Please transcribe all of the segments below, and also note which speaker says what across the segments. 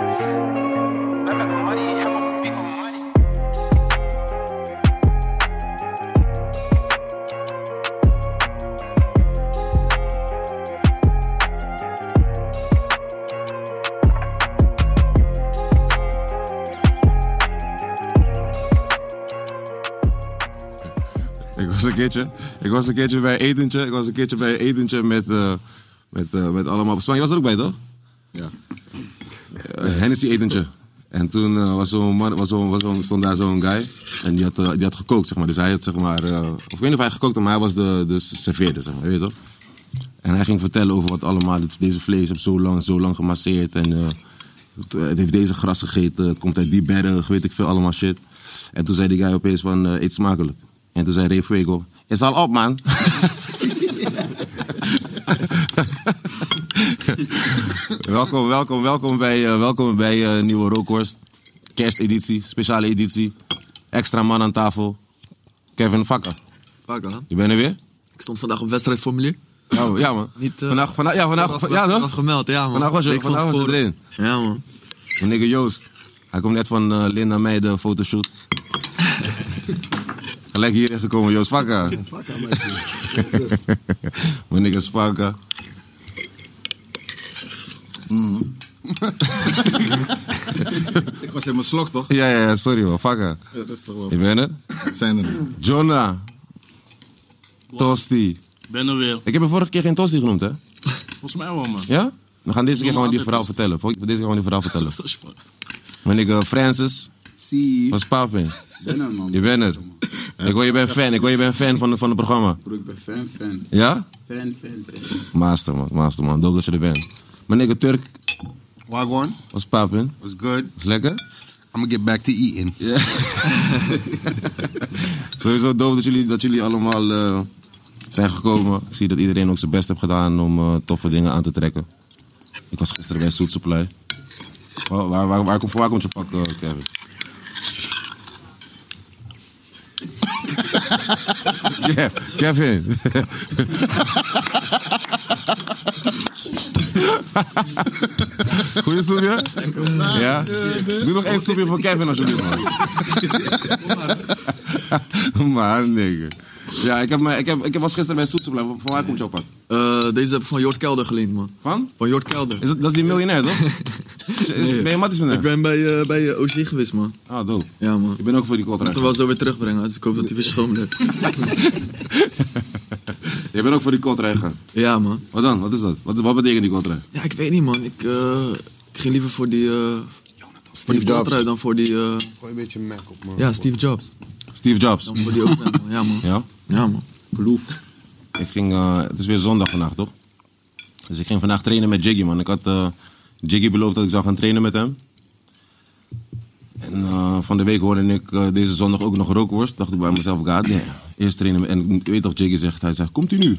Speaker 1: I make my money, have my beef with money.
Speaker 2: Ik was een keertje, ik was een keertje bij etentje. Ik was een keertje bij etentje met, eh, met, eh, met allemaal op Spanje. Je was er ook bij, toch? Ja. Eh, Hennessy etentje. En toen eh, was zo'n man, was zo'n- was zo'n- stond daar zo'n guy. En die had, eh, die had gekookt, zeg maar. Dus hij had, zeg maar... eh, of ik weet niet of hij gekookt had, maar hij was de, de serveerder, zeg maar. Weet je toch? En hij ging vertellen over wat allemaal... dit- Deze vlees heb zo lang, zo lang gemasseerd. En eh, het, eh, het heeft deze gras gegeten. Het komt uit die berg, weet ik veel, allemaal shit. En toen zei die guy opeens van, eh, eet smakelijk. En toen zei Ray Fuego, is al op, man. welkom, welkom, welkom bij, eh, welkom bij eh, Nieuwe Rookhorst. Kersteditie, speciale editie. Extra man aan tafel. Kevin Vakker,
Speaker 3: Vaak aan.
Speaker 2: je bent er weer?
Speaker 3: Ik stond vandaag op wedstrijdformulier.
Speaker 2: Ja, man, ja, man.
Speaker 3: Niet, eh,
Speaker 2: vandaag, vandaag, ja, vandaag,
Speaker 3: Vanaf-
Speaker 2: ja,
Speaker 3: vanaf
Speaker 2: toch?
Speaker 3: gemeld, ja man.
Speaker 2: Vandaag was je-
Speaker 3: Week van
Speaker 2: vandaag was je
Speaker 3: tevoren. Ja man.
Speaker 2: Mijn nigger Joost. Hij komt net van eh Linda Meij, de fotoshoot. Gelijk hierin gekomen, Joost
Speaker 4: Oh,
Speaker 2: Vakker. Mijn nigger Vakker.
Speaker 4: Ik was in mijn slok, toch?
Speaker 2: Ja, ja, ja, sorry man, Vakker.
Speaker 4: Ja, dat is toch
Speaker 2: Je
Speaker 4: wel.
Speaker 2: bent het?
Speaker 4: Zijn er.
Speaker 2: Jonah. Tosti.
Speaker 5: Ben er weer.
Speaker 2: Ik heb je vorige keer geen Tosti genoemd, hè?
Speaker 5: Volgens mij wel, man.
Speaker 2: Ja? We gaan deze keer
Speaker 5: Noem
Speaker 2: gewoon die
Speaker 5: altijd
Speaker 2: verhaal vertellen. Vol- Deze keer gewoon die verhaal vertellen.
Speaker 5: Dat is fuck.
Speaker 2: Mijn nigger Francis
Speaker 4: Zie.
Speaker 2: was Papin.
Speaker 4: Ben er, man.
Speaker 2: Je bent het. Ik hoor je bent fan, ik hoor je bent fan van, de- van het programma.
Speaker 4: Bro, ik ben fan, fan.
Speaker 2: Ja?
Speaker 4: Fan, fan, fan.
Speaker 2: Master man, master man. Doop dat je er bent. Mijn nigger Turk
Speaker 6: Wagwan
Speaker 2: was Papin.
Speaker 6: was good.
Speaker 2: Is lekker?
Speaker 6: I'm gonna get back to eating.
Speaker 2: Ja. Sowieso doof dat jullie, dat jullie allemaal eh, zijn gekomen. Ik zie dat iedereen ook zijn best heeft gedaan om eh, toffe dingen aan te trekken. Ik was gisteren bij Soet Supply. Waar, waar, waar, waar, komt, waar komt je pak, eh, Kevin? Ja, Kevin. Goeie soepje? Ja? Doe nog één soepje voor Kevin alsjeblieft, man. Maar, nigga. Ja, ik, heb, me- ik, heb, ik was gisteren bij Soetse blijven. Van waar komt jouw pak?
Speaker 3: Eh, deze heb ik van Jort Kelder geleend man.
Speaker 2: Van?
Speaker 3: Van Jort Kelder.
Speaker 2: Is dat, dat is die miljonair, toch? Is-
Speaker 3: Nee.
Speaker 2: Ben je matties met
Speaker 3: Ik
Speaker 2: hem?
Speaker 3: ben bij, eh, bij eh, OG geweest man.
Speaker 2: Ah, dope.
Speaker 3: Ja man.
Speaker 2: Ik ben ook voor die
Speaker 3: Ik moet hem
Speaker 2: contract.
Speaker 3: wel zo weer terugbrengen, dus ik hoop dat hij weer schoon blijft.
Speaker 2: Je bent ook voor die contract gegaan.
Speaker 3: ja man.
Speaker 2: Wat dan? Wat is dat? Wat, wat betekent die contract?
Speaker 3: Ja, ik weet niet man. Ik, eh, ik ging liever voor die... eh voor die
Speaker 4: Jobs.
Speaker 3: Coltrane dan voor die... eh,
Speaker 6: Gooi een beetje Mac op man.
Speaker 3: ja, Steve Jobs.
Speaker 2: Steve Jobs.
Speaker 3: Dan voor die ook. man. Ja man.
Speaker 2: Ja?
Speaker 3: Ja man.
Speaker 2: Geloof. Ik ging, eh, het is weer zondag vandaag, toch? Dus ik ging vandaag trainen met Jiggy, man. Ik had eh, Jiggy beloofd dat ik zou gaan trainen met hem. En eh, van de week hoorde ik eh, deze zondag ook nog rookworst. Dacht ik bij mezelf, god damn. Eerst trainen. met- En ik weet toch, Jiggy zegt, hij zegt, komt u nu?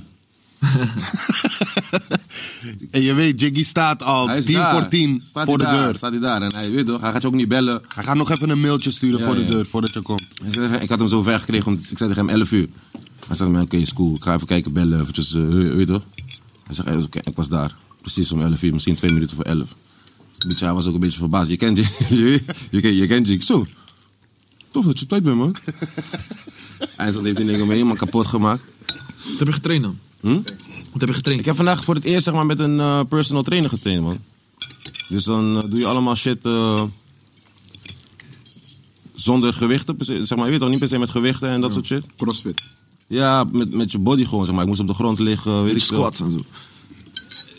Speaker 6: En je weet, Jiggy staat al
Speaker 2: Hij is
Speaker 6: 10
Speaker 2: daar.
Speaker 6: voor 10
Speaker 2: Staat
Speaker 6: voor de
Speaker 2: hij daar,
Speaker 6: deur.
Speaker 2: Staat hij daar. En hij, weet toch, hij gaat je ook niet bellen.
Speaker 6: Hij gaat nog even een mailtje sturen
Speaker 2: Ja,
Speaker 6: voor de
Speaker 2: ja.
Speaker 6: deur, voordat je komt.
Speaker 2: Ik zei tegen- Ik had hem zo ver gekregen, om, ik zei tegen hem 11 uur. Hij zei, oké, is cool. Ik ga even kijken, bellen, eventjes, eh, weet je toch? Hij zegt, eh, oké, ik was daar. Precies om 11 uur, misschien twee minuten voor 11. Dus een beetje, hij was ook een beetje verbaasd. Je kent je, je, je, kent- je kent je. Ik Zo, tof dat je op tijd bent, man. IJsland heeft die dingen me helemaal kapot gemaakt.
Speaker 3: Wat heb je getraind dan?
Speaker 2: Hm?
Speaker 3: Wat heb je getraind?
Speaker 2: Ik heb vandaag voor het eerst zeg maar, met een eh, personal trainer getraind, man. Dus dan eh, doe je allemaal shit eh, zonder gewichten. per se- Zeg maar, je weet toch niet per se met gewichten en dat soort shit.
Speaker 4: Crossfit.
Speaker 2: Ja, met, met je body gewoon, zeg maar. Ik moest op de grond liggen, weet ik
Speaker 3: Beetje
Speaker 2: veel.
Speaker 3: squats en zo.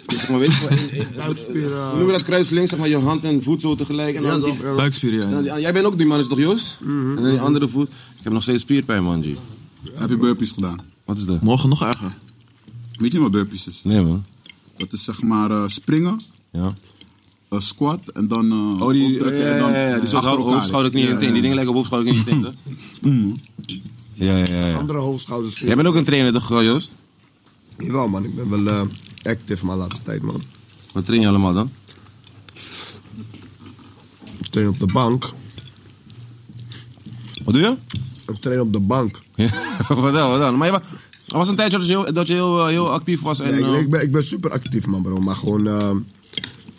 Speaker 2: Dus ik maar weet je wel, in- in- Hoe noem je dat kruisling? Zeg maar je hand en voet zo tegelijk. En dan die-
Speaker 7: Buikspier, ja.
Speaker 2: dan die- jij bent ook die man, is toch Joost? En dan die andere voet. Ik heb nog steeds spierpijn, man, G.
Speaker 8: Heb je burpees gedaan?
Speaker 2: Wat is dat?
Speaker 7: Morgen nog erger.
Speaker 8: Weet je wat burpees is?
Speaker 2: Nee, man.
Speaker 8: Dat is zeg maar eh, springen,
Speaker 2: Ja.
Speaker 8: eh, squat en dan eh
Speaker 2: Oh, die, ja,
Speaker 8: opdrukken en dan
Speaker 2: ja, ja, ja, die soort
Speaker 8: achter elkaar.
Speaker 2: hoofdschouder knieën
Speaker 8: Ja,
Speaker 2: en teen. Die dingen lijken op hoofdschouder knieën en teen, toch? Ja, ja, ja, ja.
Speaker 9: Andere hoofdschouders.
Speaker 2: Jij bent ook een trainer, toch, eh, Joost?
Speaker 9: Jawel, man. Ik ben wel eh, active, maar laatste tijd, man.
Speaker 2: Wat train je allemaal dan?
Speaker 9: Ik train op de bank.
Speaker 2: Wat doe je?
Speaker 9: Ik train op de bank.
Speaker 2: Ja, wat dan, wat dan? Maar je wa- er was een tijdje dat je heel, dat je heel, eh, heel actief was. En,
Speaker 9: Ja, ik,
Speaker 2: eh,
Speaker 9: ik ben, ik ben super actief, man, bro. Maar gewoon eh,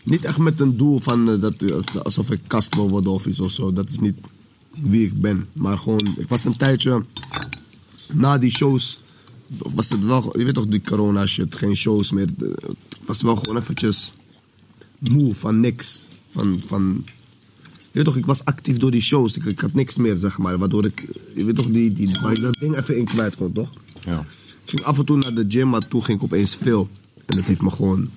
Speaker 9: niet echt met een doel van eh, dat, eh, alsof ik kast wil worden of iets of zo. Dat is niet wie ik ben. Maar gewoon, ik was een tijdje na die shows. Was het wel, je weet toch, die corona shit, geen shows meer. Eh, Ik was wel gewoon eventjes moe van niks. Van, van, je weet toch, ik was actief door die shows. Ik, ik had niks meer, zeg maar. Waardoor ik, je weet toch, die, die, waar ik dat ding even in kwijt kon, toch?
Speaker 2: ja.
Speaker 9: Ik ging af en toe naar de gym, maar toen ging ik opeens veel. En dat heeft me gewoon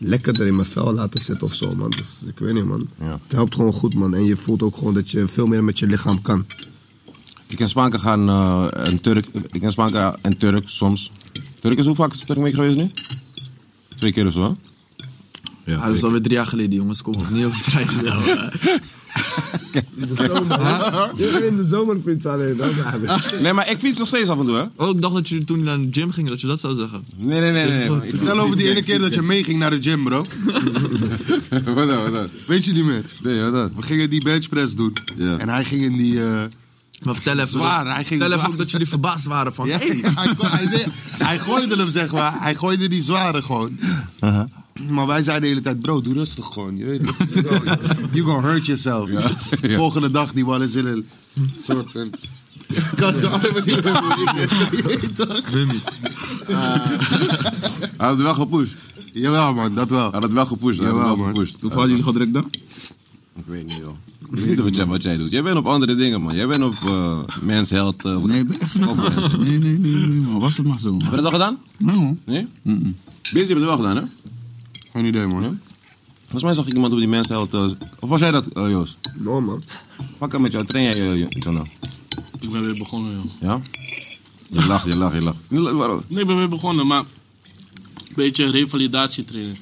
Speaker 9: lekkerder in mijn vel laten zitten of zo, man. Dus ik weet niet, man.
Speaker 2: Ja.
Speaker 9: Het helpt gewoon goed, man. En je voelt ook gewoon dat je veel meer met je lichaam kan.
Speaker 2: Ik ken Spaanken gaan eh, en Turk. Ik ken Spaanken en Turk soms. Turk is hoe vaak is Turk mee geweest nu? Twee keer of zo, hè?
Speaker 7: Ah, dat is alweer drie jaar geleden, jongens. Kom opnieuw op de trein.
Speaker 9: In de zomer, In de zomer vind je alleen.
Speaker 2: Nee, maar ik fiets nog steeds af en toe, hè?
Speaker 7: Oh, ik dacht dat jullie toen jullie naar de gym gingen, dat je dat zou zeggen.
Speaker 2: Nee, nee, nee. nee, nee. Ik-
Speaker 6: Vertel over die ene keer dat je meeging naar de gym, bro.
Speaker 2: wat dan, wat dan?
Speaker 6: Weet je niet meer?
Speaker 2: Nee, wat dan?
Speaker 6: We gingen die benchpress doen.
Speaker 2: Ja.
Speaker 6: En hij ging in die... eh,
Speaker 7: Maar vertel even,
Speaker 6: Zwaar,
Speaker 7: dat,
Speaker 6: hij ging
Speaker 7: vertel even
Speaker 6: zwaar.
Speaker 7: ook dat jullie verbaasd waren van...
Speaker 6: ja,
Speaker 7: hey,
Speaker 6: hij, go- hij deed- hij gooide hem, zeg maar. Hij gooide die zware gewoon. Maar wij zeiden de hele tijd, bro, doe rustig gewoon. Je weet het. You gonna- You gonna hurt yourself.
Speaker 2: Ja.
Speaker 6: Volgende dag, die bal is in een soort van... Ik kan ze allemaal niet meer bewegen. Zo, je weet toch?
Speaker 2: Hij had het wel gepusht. Hij
Speaker 6: Jawel, man, dat wel.
Speaker 2: had het wel gepusht. Hij had het wel
Speaker 6: Jawel, man.
Speaker 2: gepusht.
Speaker 8: Hoe vallen jullie gedrukt dan?
Speaker 2: Ik weet niet, joh. Ik weet niet of het jij- wat jij doet. Jij bent op andere dingen, man. Jij bent op eh Men's Health. eh,
Speaker 8: Nee, ben echt niet. Nee, nee, nee, nee, man. Was het maar zo.
Speaker 2: Heb je dat al gedaan?
Speaker 8: Nee, man.
Speaker 2: Nee? Busy heb je het wel gedaan, hè?
Speaker 6: Geen idee, man.
Speaker 2: Volgens mij zag ik iemand op die Men's Health. eh, of was jij dat, eh, Joost?
Speaker 9: No, man.
Speaker 2: Pak hem met jou. Train jij je, je, je nou?
Speaker 5: Ik ben weer begonnen, joh.
Speaker 2: Ja? Je lacht, je lacht, je lacht. Waarom?
Speaker 5: Nee, ik ben weer begonnen, maar... Een beetje revalidatietraining.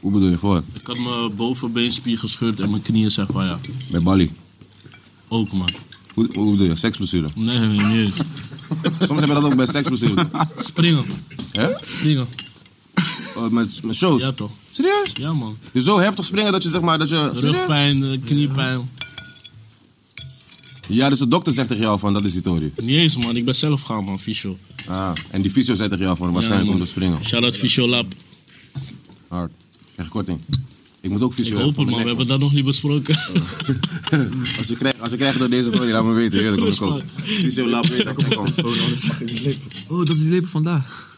Speaker 2: Hoe bedoel je voor?
Speaker 5: Ik had mijn bovenbeenspier gescheurd en mijn knieën, zeg maar, ja.
Speaker 2: Bij Bali.
Speaker 5: Ook, man.
Speaker 2: Hoe, hoe bedoel je? Seksblessure.
Speaker 5: Nee, nee, nee.
Speaker 2: Soms heb je dat ook bij seksblessure.
Speaker 5: Springen.
Speaker 2: Hè?
Speaker 5: Springen.
Speaker 2: Eh, met, met shows.
Speaker 5: Ja, toch.
Speaker 2: Serieus?
Speaker 5: Ja, man.
Speaker 2: Je zo heftig springen dat je zeg maar dat je. Serieus?
Speaker 5: Rugpijn, eh, kniepijn.
Speaker 2: Ja, dus de dokter zegt tegen jou van dat is die Tori.
Speaker 5: Niet eens, man. Ik ben zelf gaan, man. Fysio.
Speaker 2: Ah, en die fysio zei tegen jou van waarschijnlijk
Speaker 5: Ja, man.
Speaker 2: om te springen.
Speaker 5: Shout-out Fysio Lab.
Speaker 2: Hard. Krijg je korting. Ik moet ook
Speaker 5: Ik
Speaker 2: fysio
Speaker 5: hoop
Speaker 2: voor
Speaker 5: het, man.
Speaker 2: mijn
Speaker 5: We
Speaker 2: nek,
Speaker 5: hebben dat nog niet besproken.
Speaker 2: Als je krijgt, als je krijgt door deze Tori, laat me weten. Heerlijk, kom ik
Speaker 5: Rustig,
Speaker 2: ook. Fysio lab, weet je, kom ik ook.
Speaker 7: oh, dat is die lepel vandaag.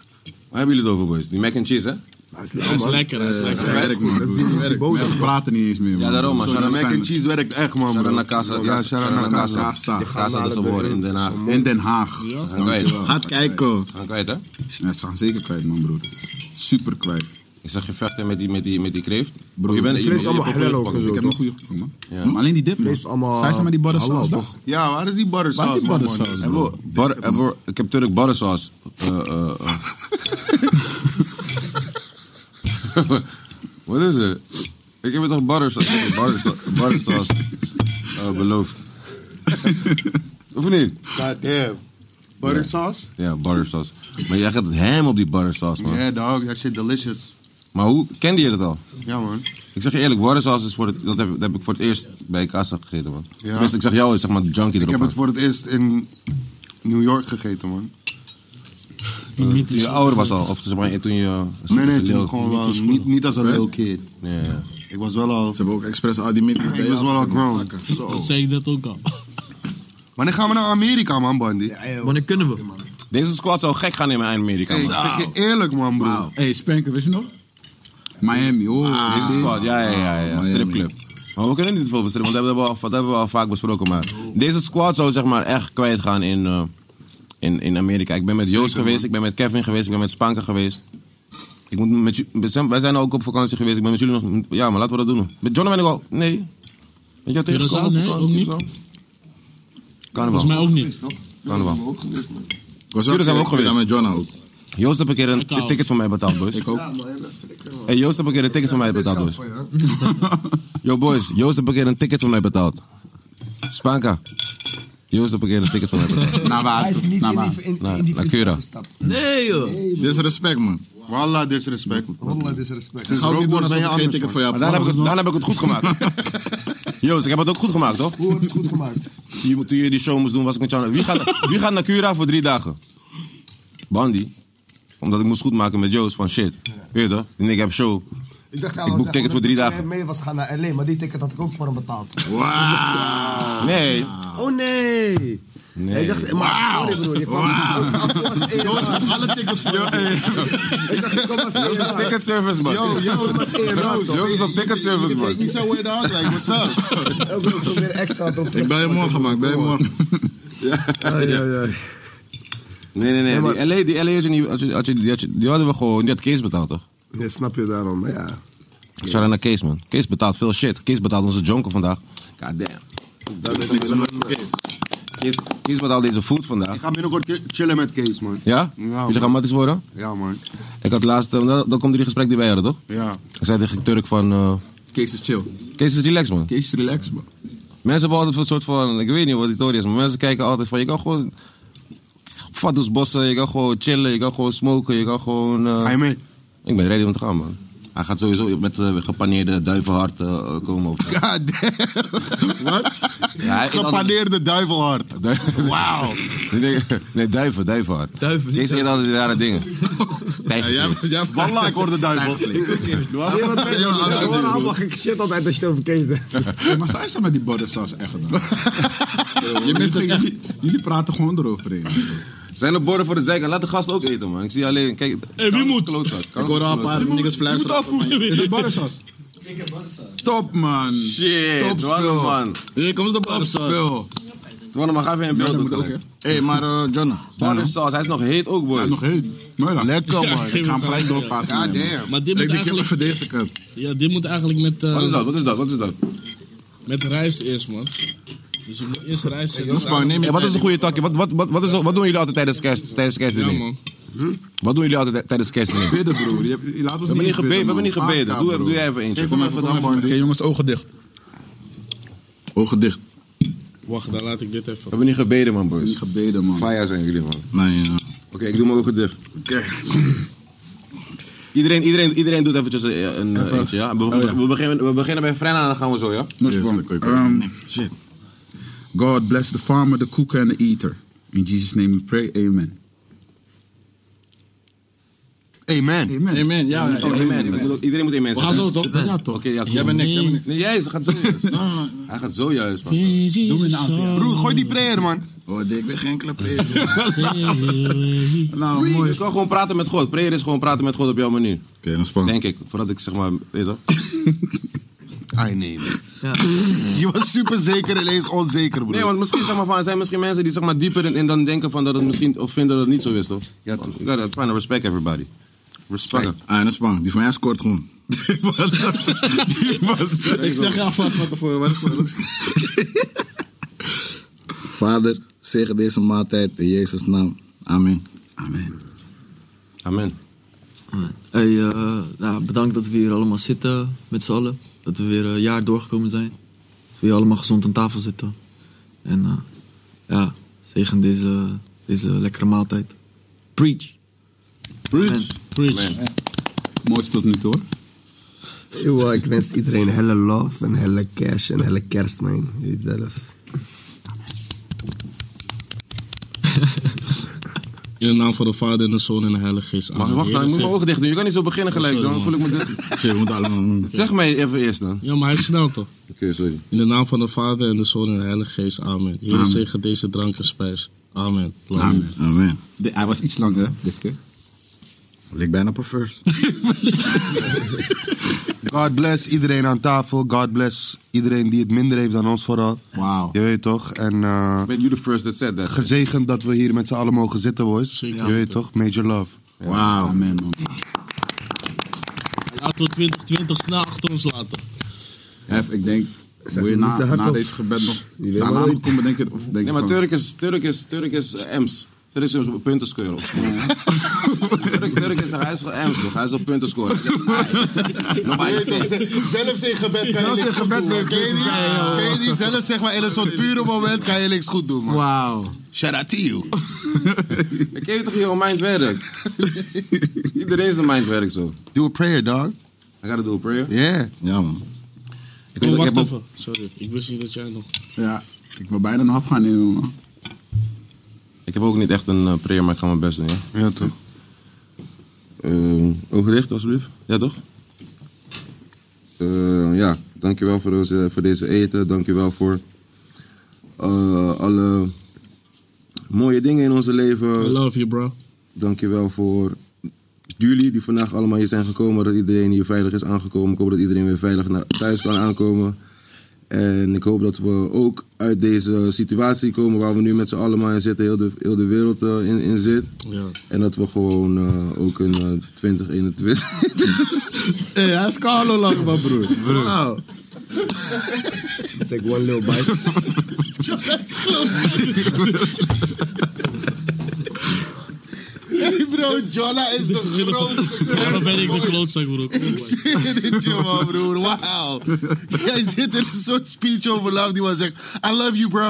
Speaker 2: Waar hebben jullie het over, boys? Die mac and cheese, hè?
Speaker 9: Dat is
Speaker 5: Dat is lekker, dat is
Speaker 2: Eh,
Speaker 5: lekker.
Speaker 8: Werk, man. Dat is die werk. Mensen praten niet eens meer, man.
Speaker 2: Ja, daarom, man.
Speaker 8: Zo,
Speaker 2: Shout-out
Speaker 8: dat
Speaker 6: Mac
Speaker 8: zijn
Speaker 6: and cheese werkt echt, man,
Speaker 2: Shout
Speaker 6: bro.
Speaker 2: out naar Casa.
Speaker 6: Ja,
Speaker 2: shout-out naar Casa. Casa, dat is een woord in Den Haag.
Speaker 8: we. In Den Haag.
Speaker 2: Dankjewel.
Speaker 8: Gaat kijken.
Speaker 2: Gaan kwijt, hè?
Speaker 8: Ja, ze gaan zeker kwijt, man, broer. Super kwijt.
Speaker 2: Ik zag je vechten met die, met die, met die kreeft.
Speaker 8: Bro,
Speaker 2: je bent
Speaker 9: vlees allemaal
Speaker 2: hebt een
Speaker 9: halal
Speaker 2: gepakt.
Speaker 8: Ik
Speaker 9: ook en zo.
Speaker 8: heb nog goede gekomen, man. Maar alleen die dip, man.
Speaker 9: Vlees allemaal-
Speaker 8: Zijn ze maar die butter
Speaker 9: halal,
Speaker 8: sauce,
Speaker 9: toch?
Speaker 8: toch?
Speaker 6: Ja, waar is die butter
Speaker 8: Waar is
Speaker 6: sauce,
Speaker 8: die
Speaker 6: man?
Speaker 8: butter sauce,
Speaker 2: Hey,
Speaker 8: bro?
Speaker 2: bro, butter- eh, bro, ik heb Turk butter sauce. Eh, eh, eh. Wat is het? Ik heb het toch butter sauce, eh, butter sa- butter sauce eh, beloofd. of niet?
Speaker 6: God damn. Butter sauce?
Speaker 2: Ja, butter sauce. Maar jij gaat hem op die butter sauce, man.
Speaker 6: Yeah, dog. That shit delicious.
Speaker 2: Maar hoe kende je dat al?
Speaker 6: Ja, man.
Speaker 2: Ik zeg je eerlijk, butter sauce is voor het, dat, heb, dat heb ik voor het eerst bij Casa gegeten, man.
Speaker 6: Ja.
Speaker 2: Tenminste, ik zag jou zeg maar de junkie
Speaker 6: Ik
Speaker 2: erop.
Speaker 6: heb
Speaker 2: man.
Speaker 6: het voor het eerst in New York gegeten, man.
Speaker 2: Toen je eh, ouder was al, of zeg maar toen je...
Speaker 6: Nee, nee,
Speaker 2: als je
Speaker 6: toen
Speaker 2: leeuw-
Speaker 6: ik gewoon wel. Niet, niet als een little kid.
Speaker 2: Ja, ja.
Speaker 6: Ik was wel al...
Speaker 8: Ze hebben ook expres al die midden.
Speaker 6: Ik was wel al grown.
Speaker 8: Zo.
Speaker 5: Dat zei ik dat ook al.
Speaker 6: Wanneer gaan we naar Amerika, man, Bandy?
Speaker 7: Wanneer kunnen we?
Speaker 2: Deze squad zou gek gaan in mijn Amerika,
Speaker 6: Hey, ik
Speaker 2: man.
Speaker 6: zeg je eerlijk, man, bro.
Speaker 8: Hey, Spanker, wist je nog? Miami, oh.
Speaker 2: Deze squad, ja, ja, ja, ja.
Speaker 8: Miami.
Speaker 2: Stripclub. Maar we kunnen niet veel verstrippen, want dat hebben, we al, dat hebben we al vaak besproken. Maar deze squad zou zeg maar echt kwijt gaan in, eh, in, in Amerika. Ik ben met Joost geweest, ik ben met Kevin geweest, ik ben met Spanker geweest. Ik moet met, ju- met Sam- wij zijn ook op vakantie geweest. Ik ben met jullie nog. Ja, maar laten we dat doen. Met John ben ik al. Nee. Weet je wat tegenkomen?
Speaker 5: Rosaan,
Speaker 2: op
Speaker 5: nee,
Speaker 2: vakantie
Speaker 5: ook
Speaker 2: of
Speaker 5: niet.
Speaker 2: zo?
Speaker 5: Volgens mij
Speaker 2: Carnaval.
Speaker 5: ook niet.
Speaker 2: Carnaval.
Speaker 10: Ook geweest, man.
Speaker 7: Was
Speaker 2: Jullie zijn ook
Speaker 7: keer
Speaker 2: geweest.
Speaker 7: met John ook.
Speaker 2: Joost heb een keer een
Speaker 5: Kakao's.
Speaker 2: ticket voor mij betaald, boys.
Speaker 7: Ik ook.
Speaker 10: Ja, man, even flikker, man.
Speaker 2: Hey, Joost heb een keer een ticket voor mij betaald, boys. Yo boys, Joost heb een keer een ticket voor mij betaald. Spanka. Joost heb een keer een ticket voor mij betaald.
Speaker 7: Naar Nou, waar?
Speaker 11: Hij is niet
Speaker 7: Naar
Speaker 11: in
Speaker 7: waar?
Speaker 11: die, in,
Speaker 2: Nou,
Speaker 11: in die
Speaker 2: naar Cura.
Speaker 11: gestapt.
Speaker 10: Nee, joh.
Speaker 7: Disrespect, man.
Speaker 6: Wallah, disrespect.
Speaker 10: Wallah, disrespect.
Speaker 6: Sinds
Speaker 7: Ga ook niet doen
Speaker 6: Rookboys ben
Speaker 7: alsof
Speaker 6: je
Speaker 7: ik geen ticket
Speaker 6: anders, man.
Speaker 7: voor jou
Speaker 2: Maar
Speaker 7: heb.
Speaker 2: daarna heb, ik het, daarna heb ik het goed gemaakt. Joost, ik heb het ook goed gemaakt, toch?
Speaker 11: Hoe wordt het goed gemaakt?
Speaker 2: Je- Toen je die show moest doen, was ik met jou. Wie gaat, wie gaat naar Cura voor drie dagen? Bandy. Omdat ik moest goedmaken met Joost van shit. Weet je toch? Die nigga heb show.
Speaker 11: Ik dacht, ja,
Speaker 2: Ik boek ticket voor drie dagen. Nou.
Speaker 11: mee was gaan naar L.A., maar die ticket had ik ook voor hem betaald.
Speaker 7: Ah.
Speaker 2: Nee.
Speaker 9: Oh nee.
Speaker 2: Nee.
Speaker 9: Ik dacht, maar sorry broer, je kwam
Speaker 7: Joost, alle tickets voor jou.
Speaker 9: Ik dacht, ik kwam als
Speaker 2: Joost is
Speaker 9: eerder.
Speaker 2: ticket service, man.
Speaker 9: nou,
Speaker 2: Joost, Joost is op ticket service, man.
Speaker 7: Niet zo way down, like, what's up?
Speaker 11: Ook nog probeer extra erop te
Speaker 7: Ik ben je morgen, man. Ik ben je morgen.
Speaker 9: Ah,
Speaker 2: Nee, nee, nee. Die LA, die LA is niet- als je- als je- die had je- die hadden we gewoon, die had Kees betaald, toch?
Speaker 9: Ja, snap je daarom, maar ja.
Speaker 2: Shout out naar Kees, man. Kees betaalt veel shit. Kees betaalt onze jonker vandaag. God damn. Kees, Kees betaalt deze food vandaag.
Speaker 6: Ik ga binnenkort ke- chillen met Kees, man.
Speaker 2: Ja?
Speaker 6: Ja,
Speaker 2: Jullie gaan matties worden?
Speaker 6: Ja, man.
Speaker 2: Ik had laatst, eh, dan, dan komt die gesprek die wij hadden, toch?
Speaker 6: Ja.
Speaker 2: Ik zei tegen Turk van, eh,
Speaker 10: Kees is chill.
Speaker 2: Kees is relaxed, man.
Speaker 10: Kees is relaxed, man.
Speaker 2: Mensen hebben altijd een soort van, ik weet niet wat die theorie is, maar mensen kijken altijd van, je kan gewoon bossen, je kan gewoon chillen, je kan gewoon smoken, je kan gewoon... eh,
Speaker 6: Ga je mee?
Speaker 2: ik ben ready om te gaan, man. Hij gaat sowieso met eh, gepaneerde duivenhart eh, komen. Op.
Speaker 6: God damn. Wat?
Speaker 2: Ja, hij eet
Speaker 6: Gepaneerde duivelhard.
Speaker 2: Duiven.
Speaker 6: Wauw.
Speaker 2: Nee, nee, duiven, duivenhart.
Speaker 10: Duiven, niet
Speaker 2: Deze eet altijd die rare dingen. Tijgervlees.
Speaker 6: Wallah, ik hoor de duivel.
Speaker 9: Dat is gewoon allemaal gekke shit altijd als je het over Kees hebt.
Speaker 7: Maar zij zijn met die bodysaus echt gedaan. Je mist het echt. Jullie praten gewoon eroverheen.
Speaker 2: Zijn er borden voor de zijkant? Laat de gasten ook eten, man. Ik zie alleen, kijk.
Speaker 5: Hey, wie
Speaker 2: kans is
Speaker 5: moet?
Speaker 2: klootzak, kans
Speaker 7: hoor
Speaker 2: is
Speaker 7: al een
Speaker 2: klootzak.
Speaker 7: paar niggas
Speaker 5: Je moet
Speaker 7: fluisteren.
Speaker 5: afvoeren
Speaker 7: Is
Speaker 5: weer.
Speaker 7: het bodysaus? Top, man.
Speaker 2: Shit,
Speaker 7: Top
Speaker 2: Twanne,
Speaker 7: spul.
Speaker 2: man.
Speaker 7: Hier komt de bodysaus.
Speaker 2: Twanne, maar ga even in beeld doen. gelijk.
Speaker 7: Hé, maar eh, John.
Speaker 2: Barnum saus, hij is nog heet ook, boy.
Speaker 7: Ja, nog heet. Mooi dan.
Speaker 5: Ja,
Speaker 7: Lekker,
Speaker 5: man. geef
Speaker 7: Ik ga hem
Speaker 5: het
Speaker 7: gelijk
Speaker 5: aan.
Speaker 7: doorpassen.
Speaker 6: Ja,
Speaker 7: man.
Speaker 6: damn.
Speaker 5: Maar dit moet,
Speaker 7: Ik denk, ik heb
Speaker 5: eigenlijk,
Speaker 7: verdedigd het.
Speaker 5: ja, dit moet eigenlijk met, eh,
Speaker 2: Wat is dat? Wat is dat? Wat is dat?
Speaker 5: met rijst eerst, man. Dus je moet eerst rijst zetten.
Speaker 7: Maar neem
Speaker 2: Hey,
Speaker 7: je
Speaker 2: wat is een
Speaker 7: tijd.
Speaker 2: goede takje? Wat, wat, wat, wat, is, wat doen jullie altijd tijdens kerst? Tijdens kerst
Speaker 5: Ja, man.
Speaker 2: Wat doen jullie altijd tijdens kerst? We
Speaker 7: Bidden, broer. Je, hebt- je laat ons
Speaker 2: hebben niet
Speaker 7: eens
Speaker 2: gebeden. We hebben niet
Speaker 7: man. Ah,
Speaker 2: gebeden. Doe,
Speaker 7: Vaak,
Speaker 2: doe jij
Speaker 7: broer.
Speaker 2: even eentje.
Speaker 6: Geef hem even dan, man.
Speaker 7: Oké, jongens, ogen dicht. Ogen dicht.
Speaker 5: Wacht, dan laat ik dit even.
Speaker 2: We hebben niet gebeden, man,
Speaker 7: Niet
Speaker 2: boys.
Speaker 7: gebeden, man.
Speaker 2: Faya zijn jullie, man.
Speaker 7: Nee, ja.
Speaker 2: Oké, ik doe mijn ogen dicht. Iedereen, iedereen, iedereen doet eventjes een, een eh,
Speaker 7: Even.
Speaker 2: eentje, ja? We,
Speaker 7: Oh, ja.
Speaker 2: we beginnen, we beginnen bij Frenna en dan gaan we zo, ja?
Speaker 7: Yes,
Speaker 10: Yes,
Speaker 7: bro.
Speaker 10: the quick
Speaker 7: Um,
Speaker 10: next. Shit.
Speaker 7: God bless the farmer, the cooker and the eater. In Jesus' name we pray, amen.
Speaker 6: Amen.
Speaker 7: Amen.
Speaker 10: Amen, ja. ja,
Speaker 2: Oh,
Speaker 10: ja.
Speaker 2: amen. Dat moet ook- Iedereen moet amen
Speaker 10: We
Speaker 2: zijn.
Speaker 10: gaan zo, toch?
Speaker 7: Ja, toch.
Speaker 2: Oké, ja, kom.
Speaker 10: Jij bent niks, jij bent niks.
Speaker 2: Nee, jij is- gaat zojuist. Hij gaat zojuist, man.
Speaker 5: Doe me nou.
Speaker 6: Broer, gooi die prayer, man.
Speaker 10: Oh, dik, ik ben geen klapper.
Speaker 7: Nou, mooi.
Speaker 2: Je kan gewoon praten met God. Prayer is gewoon praten met God op jouw manier.
Speaker 10: Oké, dan spannend.
Speaker 2: Denk ik, voordat ik zeg maar, weet je toch?
Speaker 6: I nee. Je was super zeker, ineens onzeker, broer.
Speaker 2: Nee, want misschien zeg maar, van, er zijn misschien mensen die zeg maar, dieper in, in dan denken van dat het misschien, of vinden dat het niet zo is, toch?
Speaker 6: Ja, toch.
Speaker 2: You gotta try to respect everybody. Respect.
Speaker 10: Ah, en dat is spannend. Die van mij scoort gewoon. Ik zeg je alvast van tevoren. Wat is Vader, zeg deze maaltijd in Jezus' naam. Amen.
Speaker 7: Amen.
Speaker 2: Amen.
Speaker 12: Hey, eh, nou, bedankt dat we hier allemaal zitten met z'n allen. Dat we weer een jaar doorgekomen zijn. Dat we hier allemaal gezond aan tafel zitten. En eh, ja, zegen deze, deze lekkere maaltijd. Preach. Amen.
Speaker 5: Preach.
Speaker 7: Mooi tot nu toe, hoor.
Speaker 9: Eeuw, ik wens iedereen helle love en helle cash en helle kerst, man. Je weet zelf.
Speaker 5: In de naam van de Vader en de Zoon en de Heilige Geest.
Speaker 2: Mag
Speaker 5: Amen.
Speaker 2: wacht, nou, ik moet
Speaker 5: Heer,
Speaker 2: mijn ogen dicht doen. Je kan niet zo beginnen gelijk,
Speaker 7: Oh,
Speaker 5: Sorry,
Speaker 2: dan
Speaker 5: man.
Speaker 2: voel ik me... dit-
Speaker 10: Shit, we moeten allemaal...
Speaker 2: Zeg mij even eerst dan.
Speaker 5: Ja, maar hij is snel toch?
Speaker 2: Oké, sorry.
Speaker 5: In de naam van de Vader en de Zoon en de Heilige Geest. Amen. Heer, zegen deze drank en spijs. Amen. Amen.
Speaker 10: Amen.
Speaker 7: De- hij was iets langer, hè, dit keer.
Speaker 10: Lik bijna op een first.
Speaker 6: God bless iedereen aan tafel. God bless iedereen die het minder heeft dan ons vooral.
Speaker 7: Wauw.
Speaker 6: Je weet toch? En eh,
Speaker 2: Ben you the first that said that?
Speaker 6: gezegend dat we hier met z'n allen mogen zitten, boys.
Speaker 5: Zeker.
Speaker 6: Je weet toch? Major love.
Speaker 7: Wauw. Amen, man.
Speaker 5: laten we 2020 snel achter ons laten.
Speaker 4: Hef, ik denk,
Speaker 2: Zeg
Speaker 4: wil je
Speaker 2: niet te
Speaker 4: na,
Speaker 2: hard
Speaker 4: na
Speaker 2: op.
Speaker 4: deze gebed nog
Speaker 2: Je weet
Speaker 4: daarna
Speaker 2: maar
Speaker 4: nog
Speaker 2: niet.
Speaker 4: komen denken? Of denk
Speaker 2: Nee,
Speaker 4: je
Speaker 2: maar
Speaker 4: van-
Speaker 2: Turk is, Turk is, Turk is eh, Ems. Turk is een puntenscorer. Turk, Turk is, hij is Ems toch? Hij is een puntenscorer.
Speaker 6: Nee, zeg, zeg, Zelfs in gebed kan je
Speaker 13: Zelfs
Speaker 6: niks
Speaker 13: in
Speaker 6: goed
Speaker 13: gebed
Speaker 6: doen.
Speaker 13: kan
Speaker 6: Ken
Speaker 13: je
Speaker 6: je
Speaker 13: niks
Speaker 6: die?
Speaker 13: goed doen.
Speaker 6: Ken je die? Zelfs zeg maar in een soort pure moment kan je niks goed doen, man.
Speaker 13: Wauw.
Speaker 6: Shout out to you.
Speaker 2: Ik ken je toch niet om mijn werk? Iedereen is een mindwerk zo.
Speaker 6: Do a prayer, dog.
Speaker 2: I gotta do a prayer.
Speaker 6: Yeah.
Speaker 4: Ja, man.
Speaker 2: Ik, weet- ik heb
Speaker 5: Oh, wacht
Speaker 2: een-
Speaker 5: even. Sorry, ik wist niet dat jij nog...
Speaker 4: Ja, ik wil bijna een hap gaan nemen, man.
Speaker 2: ik heb ook niet echt een eh, prayer, maar ik ga mijn best doen. Ja,
Speaker 6: ja toch?
Speaker 2: ogen dicht, Ehm, alsjeblieft. Ja, toch? Eh, ja, dankjewel voor deze, voor deze eten. Dankjewel voor eh, alle mooie dingen in onze leven.
Speaker 5: I love you, bro.
Speaker 2: Dankjewel voor jullie die vandaag allemaal hier zijn gekomen. Dat iedereen hier veilig is aangekomen. Ik hoop dat iedereen weer veilig naar thuis kan aankomen. En ik hoop dat we ook uit deze situatie komen waar we nu met z'n allemaal in zitten. Heel de, heel de wereld eh, in, in zit.
Speaker 5: Ja.
Speaker 2: En dat we gewoon eh, ook in eh, 2021...
Speaker 13: Hé, hij is Carlo lang, man, broer. Wauw.
Speaker 14: Take one little bite.
Speaker 6: Hey bro, Jonna is de grootste.
Speaker 5: Waarom ben ik de klootzak, bro?
Speaker 6: Ik zweer het je, man, broer. Wauw. Jij zit in een soort speech over love die man zegt... I love you, bro.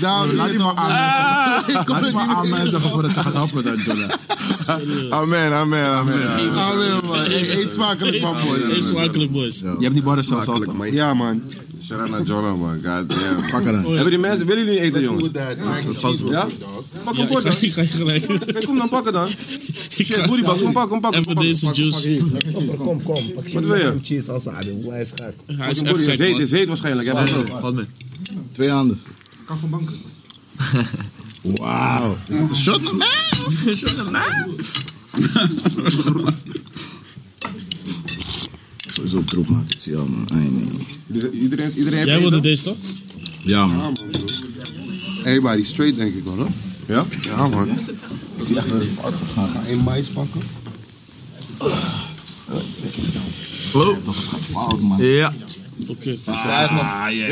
Speaker 6: Daarom
Speaker 4: Laat die maar
Speaker 6: Ah,
Speaker 4: aan. Laat die maar aan mij zeggen voordat je gaat happen dan, Jolla.
Speaker 13: Amen, amen, amen.
Speaker 6: Amen, man. Hey, Eet smakelijk, man, boys.
Speaker 5: Is makkelijk, boys.
Speaker 4: Je hebt die barren zelfs altijd.
Speaker 6: Ja, man.
Speaker 2: Shout out naar Jolo,
Speaker 4: Oh
Speaker 2: man. God damn.
Speaker 13: Pak er aan.
Speaker 2: Hebben die mensen... Willen jullie eten, jongens?
Speaker 6: Goed, Dad. Mac and cheese
Speaker 2: Ja?
Speaker 6: wordt goed, dog.
Speaker 2: Pak
Speaker 5: Ja,
Speaker 2: een
Speaker 5: ik
Speaker 2: bord dan.
Speaker 5: ga, ik ga je gelijk.
Speaker 2: Ja, Kom dan, pakken dan. Shit, booty box. Kom pakken, kom pakken.
Speaker 5: Even
Speaker 2: Kom pakken.
Speaker 5: deze juice.
Speaker 14: Kom, kom. Pak
Speaker 2: Wat wil je?
Speaker 14: Cheese als aarde. Hoe hij is gek.
Speaker 5: Hij
Speaker 2: Pak
Speaker 5: is
Speaker 2: een
Speaker 5: echt
Speaker 2: booty.
Speaker 5: gek,
Speaker 2: Zeet,
Speaker 5: man.
Speaker 2: zeet waarschijnlijk. Ja, maar-
Speaker 15: Valt mee.
Speaker 13: Twee handen.
Speaker 3: Kachelbanken.
Speaker 13: Wauw. Is dat een shot naar mij? Shot naar mij? Sowieso troep, man. Ik zie jou, man. Ai, nee.
Speaker 2: Iedereen, is- iedereen heeft
Speaker 5: Jij
Speaker 2: eten?
Speaker 5: wilde deze, toch?
Speaker 13: Ja, man.
Speaker 6: Everybody straight, denk ik wel, hoor.
Speaker 2: Ja?
Speaker 6: Ja, man.
Speaker 10: Ga één mais pakken.
Speaker 13: Fout, man.
Speaker 15: Ja,
Speaker 5: Oké.
Speaker 2: Ja,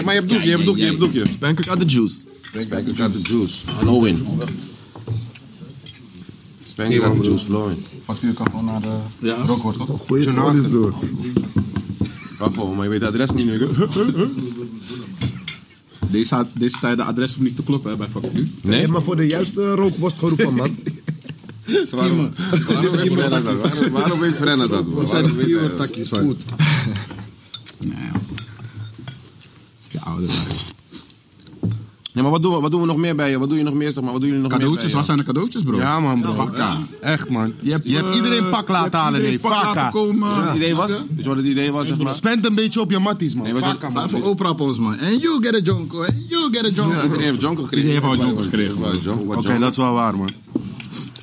Speaker 2: maar je hebt doekje, je hebt doekje, je hebt doekje.
Speaker 15: Bangkok out the juice.
Speaker 2: Spank got the juice flowing. Spank got the juice flowing.
Speaker 4: Factuur kan gewoon naar de
Speaker 15: Ja.
Speaker 4: rookwoord, toch?
Speaker 14: Goeie olie, broer.
Speaker 2: Wacht gewoon, maar je weet het adres niet, nigga.
Speaker 4: Deze, had- deze tijd de adres hoeft niet te kloppen hè, bij factuur.
Speaker 14: Nee, maar voor de juiste rookworst geroepen, man.
Speaker 2: Waarom waarom weet Frenna dat? Waarom- Waarom weet Frenna dat?
Speaker 13: Wat zijn de
Speaker 2: Waarom weet hij dat?
Speaker 13: viewertakjes van? Goed.
Speaker 4: Nee, joh. is de oude tijd.
Speaker 2: Nee, maar wat doen we, wat doen we nog meer bij je? Wat doe je nog meer, zeg maar? Wat doen jullie nog
Speaker 4: Cadeautjes,
Speaker 2: meer
Speaker 4: waar
Speaker 2: bij
Speaker 4: zijn de cadeautjes, bro?
Speaker 6: Ja, man, bro.
Speaker 4: Vakka.
Speaker 6: Echt, man. Je hebt,
Speaker 4: eh,
Speaker 6: iedereen pak
Speaker 4: je hebt
Speaker 6: laten halen, nee.
Speaker 4: iedereen pak laten
Speaker 6: Vakka.
Speaker 4: komen.
Speaker 2: je? Wat het idee was? Weet je wat het idee was, zeg maar?
Speaker 6: Spend een beetje op je matties, man.
Speaker 2: Nee, wat-
Speaker 6: Vakka, man.
Speaker 13: Even oprappen, man. And you get a jonko. And you get a jonko.
Speaker 2: Iedereen heeft jonker gekregen.
Speaker 4: Iedereen heeft wat jonker gekregen.
Speaker 2: Wat jonker, wat
Speaker 6: Oké,
Speaker 2: jonker.
Speaker 6: dat is wel waar, man.